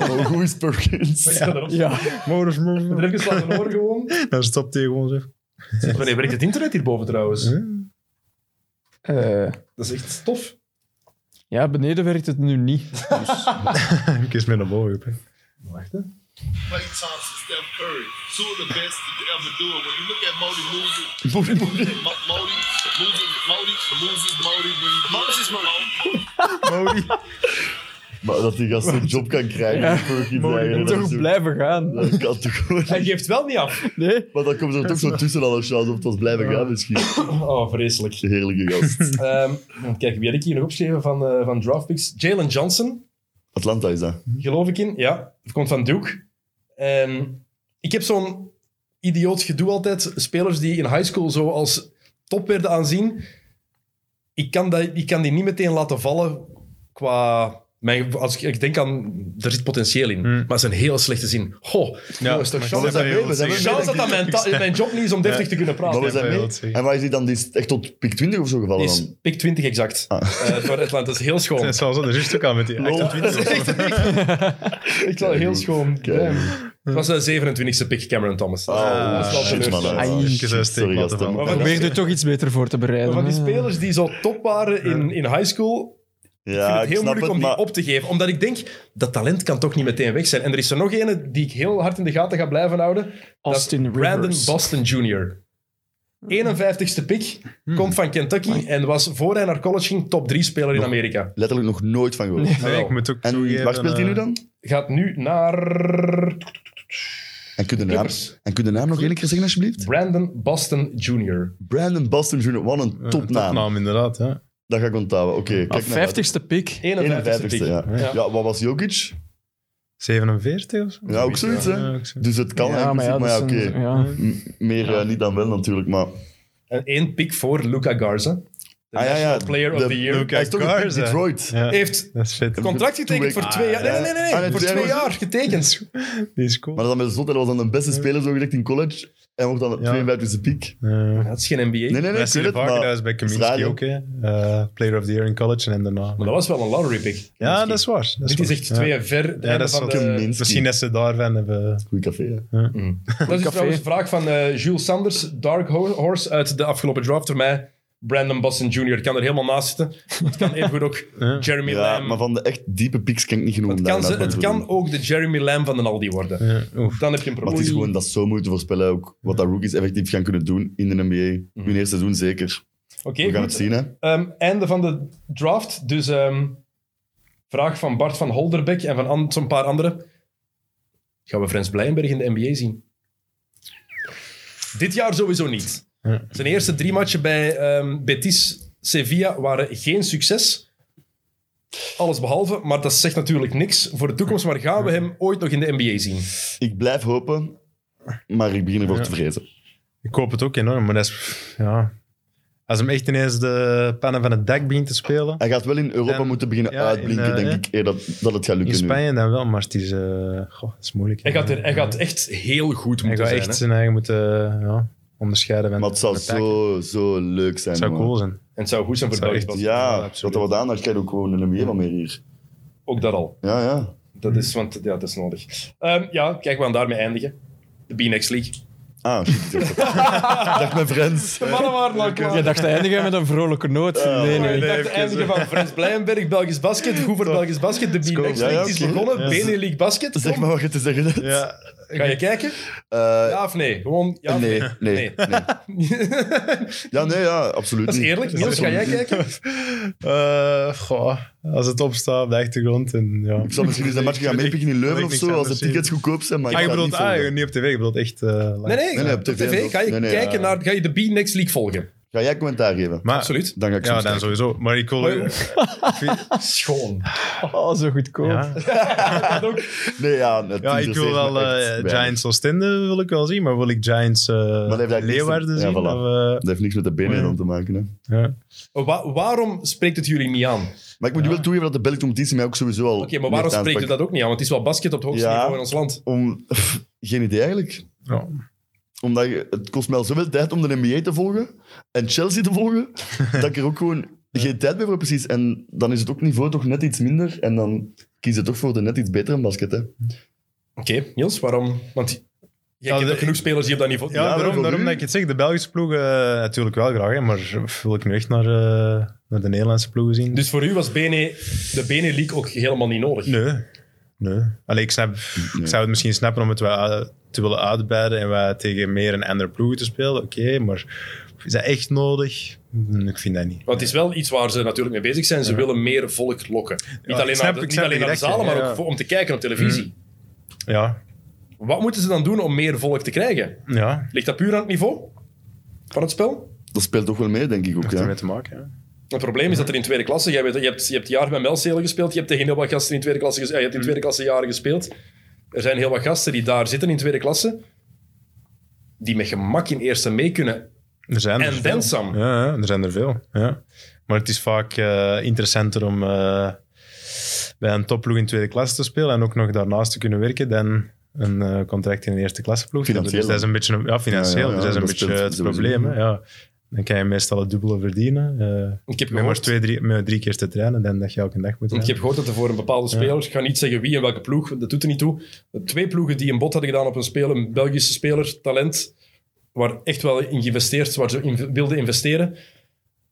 Speaker 5: Oh, Hoe is Perkins?
Speaker 4: Ja, daarop.
Speaker 7: Ja,
Speaker 6: modus,
Speaker 4: Er
Speaker 6: modus.
Speaker 4: even slaan we door gewoon.
Speaker 6: Dan stopt hij gewoon zo.
Speaker 4: Wanneer werkt het internet hierboven trouwens?
Speaker 7: eh,
Speaker 4: Dat is echt tof.
Speaker 7: ja beneden werkt het nu niet.
Speaker 6: Een keer meer naar boven. gepikt.
Speaker 4: Wacht, hè.
Speaker 1: Clay Thompson, Steph Curry, two of the best to ever do it. When you look at Modi Moody,
Speaker 5: Moody, Moody.
Speaker 1: Mo- Modi, Moody, Modi, Moses Modi, when you Moses Modi.
Speaker 6: Modi.
Speaker 5: Maar dat die gast een job kan krijgen,
Speaker 7: Ja.
Speaker 5: die Perkins
Speaker 6: Moody,
Speaker 5: eigenlijk, dat is
Speaker 7: Toch
Speaker 5: ook-
Speaker 7: blijven gaan.
Speaker 5: Dat kan toch gewoon
Speaker 4: Hij geeft wel niet af.
Speaker 7: Nee?
Speaker 5: Maar dan komt er toch zo tussen alle shows op het was blijven gaan misschien.
Speaker 4: Oh, vreselijk.
Speaker 5: Heerlijke gast.
Speaker 4: Ehm, kijk, wie had ik hier nog opgeschreven van, eh, van draftpicks? Jalen Johnson,
Speaker 5: Atlanta is dat.
Speaker 4: geloof ik in. Ja, komt van Duke. En ik heb zo'n idioot gedoe altijd. Spelers die in high school zo als top werden aanzien. Ik kan, dat, ik kan die niet meteen laten vallen qua... Mijn, als ik, ik denk aan... Er zit potentieel in. Maar het is een heel slechte zin. Ho, ja, is toch
Speaker 6: maar
Speaker 4: chance,
Speaker 5: dat
Speaker 6: hebben
Speaker 5: is
Speaker 6: we
Speaker 5: dat
Speaker 6: ons
Speaker 5: hebben
Speaker 6: gezien.
Speaker 4: chance dat dat mijn, ta- mijn job niet is om deftig te kunnen praten.
Speaker 5: Maar we zijn
Speaker 6: ja,
Speaker 5: mee.
Speaker 6: dat zie ik.
Speaker 5: En waar is die dan die is echt tot pick 20 of zo gevallen
Speaker 4: is
Speaker 5: dan?
Speaker 4: pick 20 exact. Eh voor Atlanta. Dat is heel schoon.
Speaker 6: Dat is wel zo, er is ook al met die.
Speaker 5: Lol.
Speaker 6: 28.
Speaker 4: Echt wel heel
Speaker 5: Keigoed.
Speaker 4: schoon.
Speaker 5: Keigoed.
Speaker 4: Damn. Het was de 27e pick Cameron Thomas. Dat is-
Speaker 5: Ah,
Speaker 4: dat is wel
Speaker 5: shit,
Speaker 4: teleurstellend.
Speaker 5: man.
Speaker 7: Ai,
Speaker 5: Ah,
Speaker 6: Ik
Speaker 5: shit,
Speaker 6: zou
Speaker 5: sorry,
Speaker 6: een steek laten
Speaker 5: gasten.
Speaker 6: vallen.
Speaker 4: Maar van die,
Speaker 7: Probeer er toch iets beter voor te
Speaker 4: maar
Speaker 7: bereiden.
Speaker 4: van die
Speaker 7: hè.
Speaker 4: spelers die zo top waren in, in high school, ik
Speaker 5: Ja,
Speaker 4: vind
Speaker 5: ik
Speaker 4: het heel
Speaker 5: snap
Speaker 4: moeilijk om
Speaker 5: het,
Speaker 4: die
Speaker 5: maar
Speaker 4: op te geven. Omdat ik denk, dat talent kan toch niet meteen weg zijn. En er is er nog ene die ik heel hard in de gaten ga blijven houden. Dat is
Speaker 7: Austin Rivers.
Speaker 4: Brandon Boston Jr. 51ste pick,
Speaker 5: Hmm.
Speaker 4: komt van
Speaker 5: Ah.
Speaker 4: Kentucky en was voor hij naar college ging top 3 speler in Amerika.
Speaker 5: letterlijk nog nooit van gehoord.
Speaker 6: Nee, ik moet ook
Speaker 5: En
Speaker 6: toegeven,
Speaker 5: waar speelt hij nu
Speaker 6: eh,
Speaker 5: dan?
Speaker 4: Gaat nu naar
Speaker 5: En kun je de naam, en kun je de naam nog één keer zeggen alsjeblieft?
Speaker 4: Brandon Boston Jr.
Speaker 5: Brandon Boston Jr. Wat een
Speaker 6: eh, een
Speaker 5: Eh, topnaam.
Speaker 6: Topnaam, inderdaad. Hè.
Speaker 5: Dat ga ik onthouden. Oké,
Speaker 7: Ah,
Speaker 5: kijk naar
Speaker 7: 50ste pick.
Speaker 4: 51ste
Speaker 5: 51ste,
Speaker 4: pick.
Speaker 5: ja.
Speaker 4: Ja.
Speaker 5: ja. Wat was Jokic?
Speaker 6: 47 of zo?
Speaker 5: Ja, ook zoiets, hè?
Speaker 6: ook zo.
Speaker 5: Dus het kan
Speaker 7: Ja,
Speaker 5: eigenlijk,
Speaker 7: maar ja,
Speaker 5: maar ja,
Speaker 7: dat
Speaker 5: oké.
Speaker 7: is een- ja.
Speaker 5: M- Meer eh, niet dan wel natuurlijk, maar...
Speaker 4: En één pick voor Luca Garza. De
Speaker 5: Ah, ja, ja.
Speaker 4: National Player of
Speaker 5: De-
Speaker 4: the Year.
Speaker 5: Hij is toch een pick
Speaker 6: Garza.
Speaker 5: Detroit.
Speaker 6: Ja,
Speaker 4: Heeft
Speaker 6: dat is vet.
Speaker 4: contract getekend
Speaker 5: Two-way-
Speaker 4: voor twee jaar. Nee, nee, nee. nee,
Speaker 5: Ah, nee,
Speaker 4: voor
Speaker 5: twee
Speaker 4: twee
Speaker 5: jaar.
Speaker 4: jaar getekend.
Speaker 6: Die is cool.
Speaker 5: Maar dan met zot, hij was dan de beste speler zo gezegd in college. En wordt dan de
Speaker 6: Ja.
Speaker 5: 52e piek.
Speaker 6: Eh,
Speaker 4: Dat is geen NBA.
Speaker 5: Nee, nee, nee,
Speaker 6: Wij
Speaker 5: ik
Speaker 6: zien
Speaker 5: weet
Speaker 6: het
Speaker 5: het,
Speaker 6: vaker,
Speaker 5: maar...
Speaker 6: dat is bij
Speaker 5: raar,
Speaker 6: Kaminsky
Speaker 5: hè?
Speaker 6: ook, hè. Eh, Player of the Year in college en daarna.
Speaker 4: Maar dat was wel een lottery pick.
Speaker 6: Ja, dat is waar. dat
Speaker 4: Dit is
Speaker 6: waar.
Speaker 4: echt
Speaker 6: Ja.
Speaker 4: twee ver. het
Speaker 6: Ja,
Speaker 4: einde
Speaker 6: dat is
Speaker 4: van
Speaker 6: wel
Speaker 4: de-
Speaker 5: Kaminsky.
Speaker 6: Misschien dat ze daarvan hebben...
Speaker 5: Goed café, hè.
Speaker 4: Dat is
Speaker 7: Café.
Speaker 4: trouwens een vraag van eh, Jules Sanders, Dark Ho- Horse uit de afgelopen draft voor mij. Brandon Boston Jr. kan er helemaal naast zitten. Het kan evengoed ook Jeremy
Speaker 5: Ja,
Speaker 4: Lamb.
Speaker 5: maar van de echt diepe pieks ken ik niet genoeg
Speaker 4: het
Speaker 5: om
Speaker 4: kan,
Speaker 5: daar
Speaker 4: ze-
Speaker 5: een
Speaker 4: het
Speaker 5: antwoord op
Speaker 4: kan
Speaker 5: te
Speaker 4: ook de Jeremy Lamb van de Aldi worden.
Speaker 6: Ja, oef.
Speaker 4: Dan heb je een
Speaker 5: doen. Maar het
Speaker 4: probleem.
Speaker 5: is gewoon dat is zo moeilijk te voorspellen ook wat dat rookies effectief gaan kunnen doen in de NBA.
Speaker 6: Mhm.
Speaker 5: Hun eerste seizoen zeker.
Speaker 4: Oké,
Speaker 5: We
Speaker 4: goed.
Speaker 5: gaan het zien, hè.
Speaker 4: Ehm, einde van de draft. Dus ehm, vraag van Bart van Holderbeck en van an- zo'n paar anderen. Gaan we Frans Blijenberg in de NBA zien? Dit jaar sowieso niet. Zijn eerste drie matchen bij ehm, Betis Sevilla waren geen succes. Alles behalve, maar dat zegt natuurlijk niks voor de toekomst. Maar gaan we hem ooit nog in de NBA zien?
Speaker 5: Ik blijf hopen, maar ik begin ervoor te vrezen.
Speaker 6: Ik hoop het ook enorm, maar dat is... Ja. Als hem echt ineens de pannen van het dak begint te spelen...
Speaker 5: Hij gaat wel in Europa
Speaker 6: En-
Speaker 5: moeten beginnen
Speaker 6: ja, in,
Speaker 5: uitblinken,
Speaker 6: eh,
Speaker 5: denk
Speaker 6: ja.
Speaker 5: ik, eer dat, dat het gaat
Speaker 6: In
Speaker 5: lukken nu.
Speaker 6: Spanje dan wel, maar het is... eh, goh, dat is moeilijk.
Speaker 4: Hij gaat, er, hij
Speaker 6: Ja.
Speaker 4: gaat echt heel goed
Speaker 6: Hij
Speaker 4: moeten
Speaker 6: gaat
Speaker 4: zijn.
Speaker 6: echt
Speaker 4: hè?
Speaker 6: zijn eigen moeten ja, onderscheiden. van-
Speaker 5: Maar het zou
Speaker 6: van de taak.
Speaker 5: zo, zo leuk zijn,
Speaker 6: Het zou
Speaker 5: man.
Speaker 6: cool zijn.
Speaker 4: En het zou goed zijn voor
Speaker 6: zou
Speaker 4: België.
Speaker 6: echt-
Speaker 4: want
Speaker 5: Ja,
Speaker 6: Ja,
Speaker 5: dat
Speaker 6: absoluut.
Speaker 5: er wat aandacht krijgt ook gewoon in de NBA van meer hier.
Speaker 4: Ook dat al.
Speaker 5: Ja, ja.
Speaker 4: Dat
Speaker 5: Hmm.
Speaker 4: is, want ja, dat is nodig. Ehm, ja, kijk, we gaan daarmee eindigen. De B-Next League.
Speaker 5: Ah, shit. Dag, mijn friends.
Speaker 4: De mannen waren al klaar.
Speaker 7: Jij dacht te eindigen met een vrolijke noot. nee, nee.
Speaker 4: Ik
Speaker 6: nee,
Speaker 4: dacht te
Speaker 6: even,
Speaker 4: eindigen van Frans Blijenberg, Belgisch Basket. Goed voor Belgisch Basket. De B-Next League
Speaker 5: Ja, ja,
Speaker 4: is
Speaker 5: oké.
Speaker 4: begonnen.
Speaker 5: Ja.
Speaker 4: Benelink Basket.
Speaker 5: Zeg maar wat je te zeggen hebt.
Speaker 6: Ja,
Speaker 4: Kom, Ga je kijken?
Speaker 5: Eh,
Speaker 4: Ja of nee? Gewoon ja of
Speaker 5: nee,
Speaker 4: nee.
Speaker 5: nee, nee, Ja, nee, ja, absoluut
Speaker 4: Dat is
Speaker 5: niet.
Speaker 4: eerlijk. Niels, ga jij kijken?
Speaker 6: Eh, goh, als het opstaat op de achtergrond. En, ja.
Speaker 5: Ik zal misschien eens een match gaan meepikken in Leuven
Speaker 6: ik
Speaker 5: of
Speaker 6: niks
Speaker 5: zo, als de
Speaker 6: anders
Speaker 5: tickets goedkoop zijn, maar ik
Speaker 6: Ah, je
Speaker 5: ga het
Speaker 6: bedoelt
Speaker 5: niet
Speaker 6: ah,
Speaker 5: volgen.
Speaker 6: niet op tv, je bedoelt echt... eh, live.
Speaker 4: Nee, nee.
Speaker 5: Nee, nee,
Speaker 4: op
Speaker 5: op tv
Speaker 4: tv ga je
Speaker 5: Nee, nee,
Speaker 4: kijken
Speaker 5: ja.
Speaker 4: naar... Ga je de B-Next League volgen?
Speaker 5: Ga jij commentaar geven?
Speaker 6: Maar,
Speaker 4: Absoluut. Ah,
Speaker 5: Dan ga ik
Speaker 6: Ja,
Speaker 5: soms
Speaker 6: dan
Speaker 5: kijken.
Speaker 6: sowieso. Maar ik wil...
Speaker 4: Schoon.
Speaker 7: Oh, zo goedkoop.
Speaker 6: ja.
Speaker 5: Nee, ja, het
Speaker 6: ja, ik wil
Speaker 5: interesseert me
Speaker 6: wel
Speaker 5: echt
Speaker 6: eh,
Speaker 5: weinig.
Speaker 6: Giants Oostende wil ik wel zien, maar wil ik Giants eh
Speaker 5: dat heeft eigenlijk niks
Speaker 6: Leeuwarden
Speaker 5: te-
Speaker 6: zien?
Speaker 5: ja, voilà.
Speaker 6: of,
Speaker 5: Dat heeft niks met de benen om te maken. Hè.
Speaker 6: eh, ja.
Speaker 4: Wa- waarom spreekt het jullie niet aan? Oké,
Speaker 5: Maar ik moet nu wel toegeven dat de Belgische competitie mij ook sowieso al.
Speaker 4: maar waarom
Speaker 5: meer
Speaker 4: spreekt u dat
Speaker 5: aanspakt.
Speaker 4: ook niet aan? Want het is wel basket op het hoogste
Speaker 5: Ja.
Speaker 4: niveau in ons land.
Speaker 5: Om, geen idee eigenlijk.
Speaker 6: Ja.
Speaker 5: Omdat je- het kost mij al zoveel tijd om de NBA te volgen en Chelsea te volgen, dat ik er ook gewoon geen tijd meer voor heb, precies. En dan is het ook niveau toch net iets minder en dan kies je toch voor de net iets betere basket. Hè.
Speaker 4: Oké, Niels, waarom? Want jij kent
Speaker 6: de-
Speaker 4: ook genoeg spelers die op dat niveau
Speaker 6: Ja,
Speaker 4: Ja,
Speaker 5: daarom
Speaker 6: daarom, daarom
Speaker 5: nu.
Speaker 6: dat ik het zeg. De Belgische ploegen eh, natuurlijk wel graag, hè, maar wil ik nu echt naar, eh, naar de Nederlandse ploegen zien?
Speaker 4: Dus voor u was Bene, de Bene League ook helemaal niet nodig.
Speaker 6: Nee. nee. Allee, ik, snap, ik zou het misschien snappen om het wel uit- te willen uitbreiden en wat tegen meer een andere ploeg te spelen. Oké, maar is dat echt nodig? Hm, Ik vind dat niet.
Speaker 4: Want het is wel iets waar ze natuurlijk mee bezig zijn. Ze willen meer volk lokken. niet alleen
Speaker 6: snap-
Speaker 4: naar de,
Speaker 6: ik
Speaker 4: niet
Speaker 6: snap
Speaker 4: alleen naar de
Speaker 6: direct,
Speaker 4: zalen, maar
Speaker 6: ja. Mm.
Speaker 4: ook voor- om te kijken op televisie.
Speaker 6: Ja,
Speaker 4: Wat moeten ze dan doen om meer volk te krijgen?
Speaker 6: ja.
Speaker 4: Ligt dat puur aan het niveau van het spel?
Speaker 5: Dat speelt toch wel mee, denk ik ook.
Speaker 6: Heeft
Speaker 5: Ja.
Speaker 6: ermee te maken. hè.
Speaker 4: Het probleem is dat er in tweede klasse, jij weet, je hebt, je hebt jaren bij Melcelen gespeeld, je hebt tegen heel wat gasten in tweede klasse, ges- ja, je hebt in tweede klasse jaren gespeeld. Er zijn heel wat gasten die daar zitten in tweede klasse, die met gemak in eerste mee kunnen.
Speaker 6: Er zijn er
Speaker 4: En
Speaker 6: veel.
Speaker 4: dan some.
Speaker 6: Ja, ja, er zijn er veel. Ja. Maar het is vaak eh, interessanter om eh, bij een topploeg in tweede klasse te spelen en ook nog daarnaast te kunnen werken dan een eh, contract in een eerste klasseploeg.
Speaker 5: Financieel.
Speaker 6: Dus dat is een beetje, een- ja, financieel.
Speaker 5: Ja, ja, ja,
Speaker 6: dus dat is een
Speaker 5: dat
Speaker 6: beetje
Speaker 5: speelt
Speaker 6: het
Speaker 5: sowieso.
Speaker 6: probleem. hè, Ja. Dan kan je meestal het dubbele verdienen. eh
Speaker 4: Ik heb
Speaker 6: met maar
Speaker 4: gehoord,
Speaker 6: twee, drie, met drie keer te trainen dan dat je elke dag moet
Speaker 4: want ik heb
Speaker 6: trainen.
Speaker 4: gehoord dat er voor een bepaalde speler, ik ga niet zeggen wie en welke ploeg, want dat doet er niet toe, twee ploegen die een bod hadden gedaan op een speler, een Belgische speler, talent, waar echt wel in geïnvesteerd, waar ze in wilden investeren,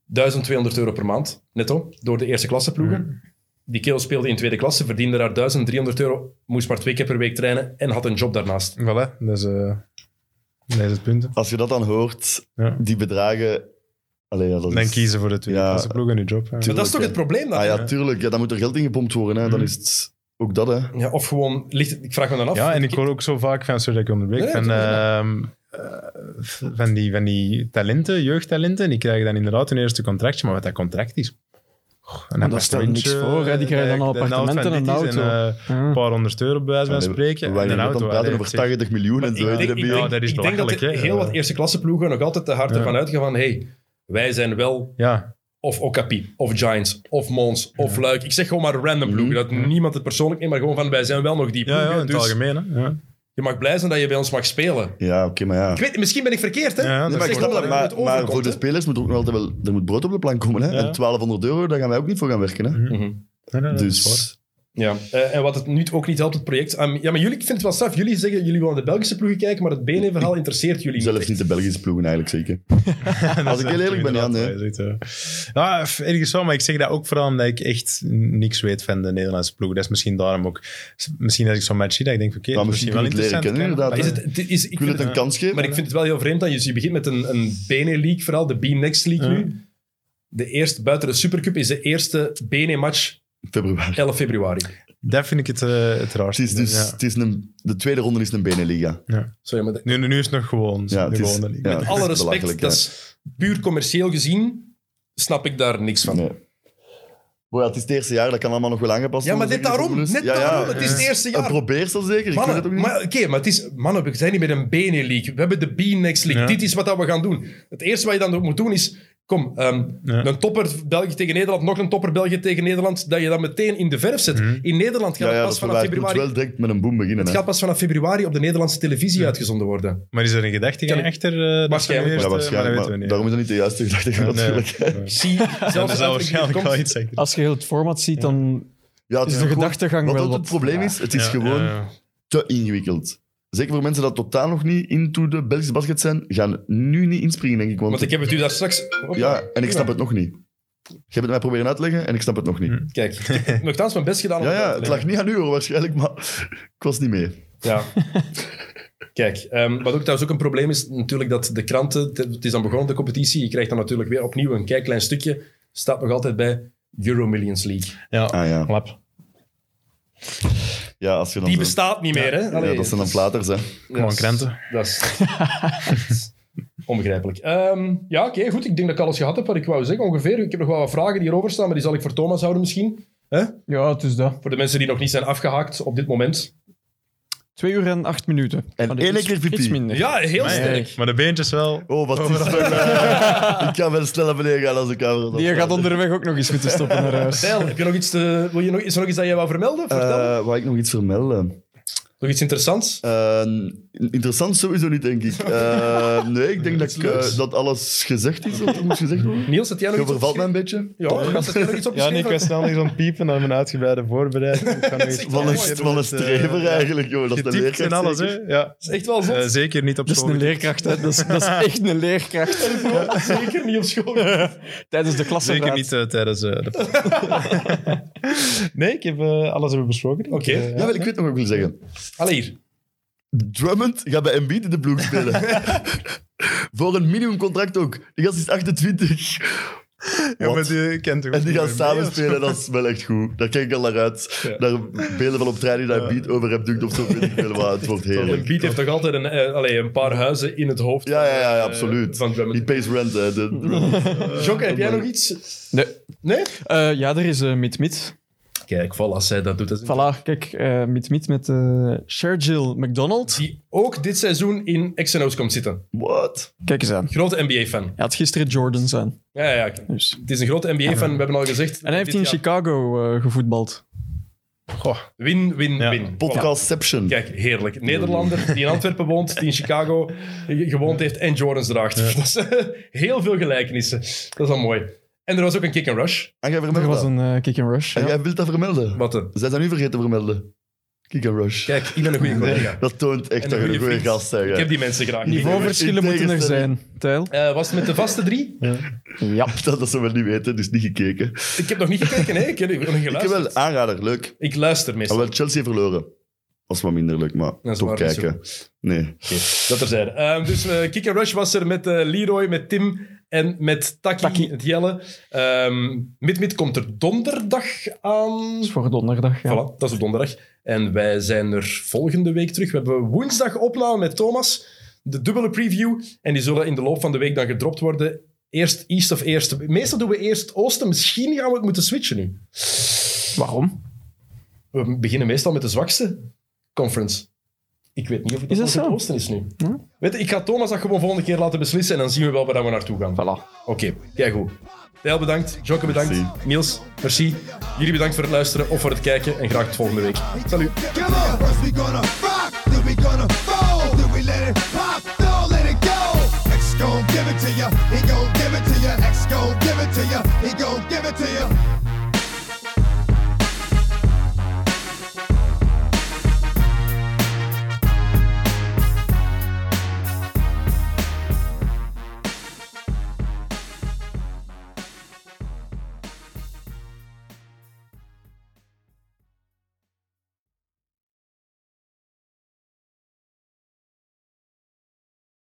Speaker 4: 1200 euro per maand, netto, door de eerste klasse ploegen. Die kerel speelde in tweede klasse, verdiende daar 1300 euro, moest maar twee keer per week trainen en had een job daarnaast.
Speaker 6: Voilà, dat is, eh, dat is het punt.
Speaker 5: Als je dat dan hoort,
Speaker 6: Ja.
Speaker 5: die bedragen... Allee, ja, dat
Speaker 6: Dan
Speaker 5: is-
Speaker 6: kiezen voor de tweede
Speaker 5: Dus Ja.
Speaker 6: klasseploeg en je job.
Speaker 4: Maar
Speaker 6: ja.
Speaker 4: dat
Speaker 5: Tuurlijk,
Speaker 4: is toch
Speaker 5: hè.
Speaker 4: het probleem dan?
Speaker 5: Ah ja, tuurlijk. Ja, dan moet er geld ingepompt worden. Hè. Dan
Speaker 6: Mm.
Speaker 5: is het ook dat, hè.
Speaker 4: Ja, of gewoon, ligt, ik vraag me dan af.
Speaker 6: Ja, en ik hoor ook zo vaak van, sorry dat ik onderbreek,
Speaker 4: Nee,
Speaker 6: van,
Speaker 4: dat is
Speaker 6: ehm, eh, van, die, van die talenten, jeugdtalenten, die krijgen dan inderdaad hun eerste contractje, maar wat dat contract is... goh, Een
Speaker 7: daar stelt
Speaker 6: appartementje,
Speaker 7: niks voor, hè. Die krijgen dan al
Speaker 6: de helft van
Speaker 7: appartementen en
Speaker 6: dit is
Speaker 7: een auto.
Speaker 6: eh, een paar honderd euro bij wijze van spreken.
Speaker 5: Wij
Speaker 6: en
Speaker 5: gaan
Speaker 6: een
Speaker 5: dan
Speaker 6: auto.
Speaker 5: praten
Speaker 6: allee,
Speaker 5: over
Speaker 6: zeg,
Speaker 5: 80 miljoen en zo.
Speaker 4: Ik
Speaker 5: hè,
Speaker 4: denk,
Speaker 5: die
Speaker 4: ik
Speaker 5: NBA.
Speaker 6: Ja, dat is
Speaker 4: ik denk dat
Speaker 6: belachelijk,
Speaker 4: er
Speaker 6: hè.
Speaker 4: heel wat eerste klasse ploegen nog altijd te hard
Speaker 6: Ja.
Speaker 4: ervan uitgaan van hey, wij zijn wel
Speaker 6: Ja,
Speaker 4: of Okapi, of Giants, of Mons, of Luik. Ik zeg gewoon maar random ploegen, dat niemand het persoonlijk neemt, maar gewoon van wij zijn wel nog die
Speaker 6: Mhm. ja,
Speaker 4: ploegen.
Speaker 6: ja, in het
Speaker 4: dus
Speaker 6: algemeen. Hè. Ja.
Speaker 4: je mag blij zijn dat je bij ons mag spelen.
Speaker 5: Ja, oké, maar ja.
Speaker 4: Ik weet, misschien ben ik verkeerd, hè?
Speaker 6: Ja, dat
Speaker 5: Nee, maar, ik
Speaker 4: is
Speaker 5: snap
Speaker 4: gewoon
Speaker 5: dat,
Speaker 4: waar
Speaker 5: maar,
Speaker 4: het
Speaker 5: maar
Speaker 4: overkomt,
Speaker 5: voor de
Speaker 4: hè.
Speaker 5: spelers moet ook nog altijd wel... Er moet brood op de plank komen, hè.
Speaker 6: Ja.
Speaker 5: En 1200 euro, daar gaan wij ook niet voor gaan werken, hè.
Speaker 6: Ja, ja, dat is waar.
Speaker 5: Dus...
Speaker 4: Ja, eh, en wat het nu ook niet helpt, het project. Am- ja, maar jullie, ik vind het wel straf. Jullie zeggen, jullie willen de Belgische ploegen kijken, maar het BNE-verhaal interesseert jullie
Speaker 5: Zelfs
Speaker 4: niet.
Speaker 5: niet de Belgische ploegen eigenlijk, zeker. Als ik heel eerlijk ben, ja,
Speaker 6: Inderdaad,
Speaker 5: nee.
Speaker 6: hij zegt, eh, Ja, f- ergens wel, maar ik zeg dat ook vooral omdat ik echt niks weet van de Nederlandse ploeg. Dat is misschien daarom ook... s- Misschien als ik zo'n match zie, dat ik denk, oké,
Speaker 5: Maar
Speaker 6: dat is
Speaker 5: misschien
Speaker 6: misschien wel
Speaker 5: moet je het
Speaker 6: interessant.
Speaker 5: leren kennen, inderdaad,
Speaker 6: kan-
Speaker 4: Is
Speaker 5: hè.
Speaker 6: Maar
Speaker 4: het, het is, ik
Speaker 5: Ik wil het een kans geven.
Speaker 4: Maar ik vind het wel heel vreemd dat je, je begint met een, een Bene-league vooral, de B-Next League nu. De eerste, buiten de Supercup is de eerste Bene-match
Speaker 5: Februari.
Speaker 4: 11 februari.
Speaker 6: Dat vind ik het, eh, het
Speaker 5: Het
Speaker 6: raarste.
Speaker 5: is dus...
Speaker 6: Ja.
Speaker 5: Het is een, de tweede ronde is een Beneliga.
Speaker 4: Sorry, maar de-
Speaker 6: Nu, nu is het nog gewoon.
Speaker 5: Ja,
Speaker 6: de
Speaker 5: het is...
Speaker 6: gewone league.
Speaker 5: ja, het is
Speaker 4: alle
Speaker 5: belachelijk,
Speaker 4: respect, dat
Speaker 5: hè.
Speaker 4: is puur commercieel gezien, snap ik daar niks van.
Speaker 5: Nee. Maar ja, het is het eerste jaar, dat kan allemaal nog wel aangepast
Speaker 4: Ja, maar
Speaker 5: worden,
Speaker 4: net
Speaker 5: zeker,
Speaker 4: daarom,
Speaker 5: voor de
Speaker 4: net
Speaker 5: bonus. Ja, ja.
Speaker 4: daarom, het is het eerste
Speaker 5: Ja,
Speaker 4: jaar.
Speaker 5: probeer zo zeker. ik weet het ook
Speaker 4: Mannen,
Speaker 5: niet.
Speaker 4: maar, oké, maar het is, mannen, we zijn hier met een BNE-league. We hebben de B-Next League.
Speaker 6: Ja.
Speaker 4: Dit is wat dat we gaan doen. Het eerste wat je dan moet doen is... Kom, ehm,
Speaker 6: Ja.
Speaker 4: een topper België tegen Nederland, nog een topper België tegen Nederland, dat je dat meteen in de verf zet.
Speaker 6: Mhm.
Speaker 4: In Nederland gaat
Speaker 5: ja, ja,
Speaker 4: het
Speaker 5: dat
Speaker 4: pas
Speaker 5: is wel waar.
Speaker 4: vanaf
Speaker 5: Het moet
Speaker 4: februari...
Speaker 5: wel direct met een boom beginnen.
Speaker 4: Het
Speaker 5: hè.
Speaker 4: gaat pas vanaf februari op de Nederlandse televisie uitgezonden worden.
Speaker 6: Maar is er een gedachte
Speaker 4: Kan ik-
Speaker 6: achter? eh, dat
Speaker 4: Waarschijnlijk.
Speaker 6: is
Speaker 5: Ja,
Speaker 6: de eerste,
Speaker 5: waarschijnlijk.
Speaker 6: maar dat
Speaker 5: maar
Speaker 6: weten
Speaker 5: Daarom
Speaker 6: we
Speaker 5: is dat niet de juiste gedachte, natuurlijk.
Speaker 6: niet. Nee, nee.
Speaker 4: Ik zie zelfs
Speaker 6: dus Dat
Speaker 4: als
Speaker 6: zou
Speaker 4: het niet
Speaker 6: waarschijnlijk wel
Speaker 4: komt,
Speaker 6: iets zeggen.
Speaker 7: Als je heel het format ziet, dan...
Speaker 5: Ja, het
Speaker 7: Is de
Speaker 5: ook gewoon-
Speaker 7: gedachtegang
Speaker 5: wat
Speaker 7: wel
Speaker 5: ook
Speaker 7: wat-
Speaker 5: het probleem is, het is
Speaker 6: Ja,
Speaker 5: gewoon
Speaker 6: ja, ja.
Speaker 5: te ingewikkeld. Zeker voor mensen dat totaal nog niet into de Belgische basket zijn, gaan nu niet inspringen, denk ik. Want,
Speaker 4: want ik heb het u daar straks... Hoppa.
Speaker 5: ja, en ik snap het nog niet. Je hebt het mij proberen uitleggen en ik snap het nog niet.
Speaker 4: Kijk, ik heb nogthans mijn best gedaan om
Speaker 5: Ja,
Speaker 4: het uit
Speaker 5: ja,
Speaker 4: te
Speaker 5: het
Speaker 4: leggen.
Speaker 5: lag niet aan u hoor, waarschijnlijk, maar ik was niet mee.
Speaker 4: Ja. Kijk, ehm, wat ook trouwens ook een probleem is, natuurlijk dat de kranten, te- het is dan begonnen de competitie, je krijgt dan natuurlijk weer opnieuw een kei klein stukje, staat nog altijd bij Euro Millions League.
Speaker 5: Ah ja,
Speaker 6: Klap.
Speaker 5: ja als je dan
Speaker 4: Die
Speaker 5: zo-
Speaker 4: bestaat niet meer, hè? Allee,
Speaker 5: Ja, dat zijn dan platers, hè.
Speaker 6: Gewoon
Speaker 4: is-
Speaker 6: krenten.
Speaker 4: Dat is onbegrijpelijk. Ehm, ja, oké, goed. Ik denk dat ik alles gehad heb wat ik wou zeggen, ongeveer. Ik heb nog wel wat vragen die hierover staan, maar die zal ik voor Thomas houden misschien.
Speaker 7: Ja, het is dat.
Speaker 4: Voor de mensen die nog niet zijn afgehaakt op dit moment.
Speaker 7: Twee uur en acht minuten.
Speaker 5: En
Speaker 7: Allee,
Speaker 5: één
Speaker 7: iets-
Speaker 5: keer pipi.
Speaker 7: Iets minder.
Speaker 4: Ja, heel
Speaker 6: Maar,
Speaker 4: sterk.
Speaker 6: maar de beentjes wel.
Speaker 5: Oh, wat is dat? eh, ik kan wel snel naar beneden gaan als ik aan.
Speaker 7: Die gaat onderweg ook nog eens moeten stoppen naar huis.
Speaker 5: Eh,
Speaker 4: Stijl, heb je nog iets te, wil je nog, is er nog iets dat jij wou vermelden? Vertel.
Speaker 5: Waar ik nog iets vermelden?
Speaker 4: Nog iets interessants?
Speaker 5: Ehm, interessant sowieso niet, denk ik. Ehm, nee, ik denk dat, ik, eh, dat alles gezegd is wat er moest gezegd worden.
Speaker 4: Mhm. Niels, had jij nog
Speaker 5: Je
Speaker 4: iets
Speaker 5: vervalt mij een
Speaker 4: opgeschreven?
Speaker 5: beetje.
Speaker 4: Ja, had jij nog iets
Speaker 6: Ja,
Speaker 4: opgeschreven?
Speaker 6: nee, ik was snel eens aan het piepen naar mijn uitgebreide voorbereiding. Ik ga nog eens
Speaker 5: Van een,
Speaker 6: kijken
Speaker 5: van
Speaker 6: hoe
Speaker 5: een
Speaker 6: het, eh,
Speaker 5: strever
Speaker 6: ja.
Speaker 5: eigenlijk, joh. Dat is de
Speaker 6: Getypt
Speaker 5: leerkracht
Speaker 6: en alles,
Speaker 5: zeker.
Speaker 6: hè? Ja.
Speaker 4: Dat is echt wel zot.
Speaker 6: Eh, zeker niet op
Speaker 7: Dat is
Speaker 6: school.
Speaker 7: een leerkracht, hè. Dat is, dat is echt een leerkracht.
Speaker 4: Zeker niet op school.
Speaker 7: Tijdens de klassenraad.
Speaker 6: Zeker niet eh, tijdens eh, de... nee, ik heb eh, alles hebben besproken. denk ik.
Speaker 4: Oké.
Speaker 6: Eh, ja.
Speaker 5: Ja, wel, ik weet nog wat ik wil zeggen.
Speaker 4: Allee, hier.
Speaker 5: Drummond gaat bij Embiid in de ploeg spelen. Voor een minimumcontract ook. Die gast is 28.
Speaker 6: Ja, maar
Speaker 5: Wat?
Speaker 6: die kent toch
Speaker 5: En die
Speaker 6: wel
Speaker 5: gaan
Speaker 6: mee,
Speaker 5: samen
Speaker 6: of zo?
Speaker 5: spelen, dat is wel echt goed. Daar kijk ik al naar uit. Daar beelden van op trein die daar beat over hebt dukt of zo. Weet ik veel wat. Het wordt
Speaker 4: Een
Speaker 5: heerlijk.
Speaker 4: beat heeft toch altijd een, eh, allee, een paar huizen in het hoofd
Speaker 5: Ja, ja, ja, ja,
Speaker 4: eh,
Speaker 5: absoluut.
Speaker 4: van Drummond.
Speaker 5: Die pays rent, hè. De,
Speaker 4: Jokke, heb jij nog iets?
Speaker 7: Nee.
Speaker 4: Nee?
Speaker 7: Eh, ja, er is eh Mit Mit.
Speaker 4: Kijk, voilà, als zij dat doet, dat is
Speaker 7: Voilà, kijk, eh Mit Mit met eh Shergill McDonald.
Speaker 4: die ook dit seizoen in X&O's komt zitten.
Speaker 5: Wat?
Speaker 7: Kijk eens aan.
Speaker 4: Grote NBA-fan.
Speaker 7: Hij had gisteren Jordans aan.
Speaker 4: Ja, ja, ja.
Speaker 7: Dus.
Speaker 4: Het is een grote NBA-fan, we hebben al gezegd.
Speaker 7: En hij heeft
Speaker 4: Dit
Speaker 7: in
Speaker 4: jaar-
Speaker 7: Chicago eh, gevoetbald.
Speaker 4: Win, win,
Speaker 6: Ja.
Speaker 4: win. Voilà.
Speaker 5: Podcastception.
Speaker 4: Kijk, heerlijk. Nederlander die in Antwerpen woont, die in Chicago ge- gewoond heeft en Jordans draagt. Dat is, eh, heel veel gelijkenissen. Dat is al mooi. En er was ook een kick-and-rush.
Speaker 5: En jij
Speaker 7: Er
Speaker 5: vermeldt
Speaker 7: was
Speaker 5: dat.
Speaker 7: een eh, kick and rush.
Speaker 5: En
Speaker 7: ja.
Speaker 5: jij wilt dat vermelden.
Speaker 4: Wat een-
Speaker 5: Zijn dat nu vergeten te vermelden? Kick and Rush.
Speaker 4: Kijk, ik ben een goede collega.
Speaker 5: Dat toont echt
Speaker 4: En
Speaker 5: dat je een goede
Speaker 4: vriend.
Speaker 5: gast bent.
Speaker 4: Ik
Speaker 5: hè.
Speaker 4: heb die mensen graag.
Speaker 7: Niveauverschillen
Speaker 5: In
Speaker 7: moeten er
Speaker 5: tegenstelling-
Speaker 7: zijn. Tijl?
Speaker 4: Eh, was het met de vaste drie?
Speaker 7: Ja.
Speaker 5: Dat, dat ze wel niet weten, dus niet gekeken.
Speaker 4: Ik heb nog niet gekeken, hè? Ik heb nog geluisterd.
Speaker 5: Ik heb wel aanrader, leuk.
Speaker 4: Ik luister
Speaker 5: Maar
Speaker 4: meestal.
Speaker 5: wel Chelsea verloren. Was wat minder leuk, maar
Speaker 4: Dat is
Speaker 5: toch
Speaker 4: waar, dat is
Speaker 5: kijken. Nee.
Speaker 4: Oké, dat terzijde. Ehm dus eh Kick and Rush was er met eh, Leroy, met Tim en met Taki,
Speaker 7: Taki.
Speaker 4: het Jelle. Ehm Mid Mid komt er donderdag aan.
Speaker 7: Dat is voor donderdag. Ja.
Speaker 4: Voilà, dat is op donderdag. En wij zijn er volgende week terug. We hebben woensdag opname met Thomas. De dubbele preview. En die zullen in de loop van de week dan gedropt worden. Eerst East of Eerst. Meestal doen we eerst Oosten. Misschien gaan we het moeten switchen nu.
Speaker 7: Waarom?
Speaker 4: We beginnen meestal met de zwakste conference. Ik weet niet of het
Speaker 7: Is dat
Speaker 4: altijd
Speaker 7: zo? Hm?
Speaker 4: het oosten is nu. Weet je, ik ga Thomas dat gewoon volgende keer laten beslissen en dan zien we wel waar we naartoe gaan.
Speaker 7: Voilà.
Speaker 4: Oké, kijk goed. Deel bedankt, Jokke bedankt,
Speaker 5: Merci.
Speaker 4: Niels, merci. Jullie bedankt voor het luisteren of voor het kijken en graag tot volgende week. Salut.
Speaker 3: Come on. First we gonna rock, then we gonna fold, then we let it pop, don't let it go. X gon' give it to ya, he gon' give it to ya, X gon' give it to ya, he gon' give it to ya.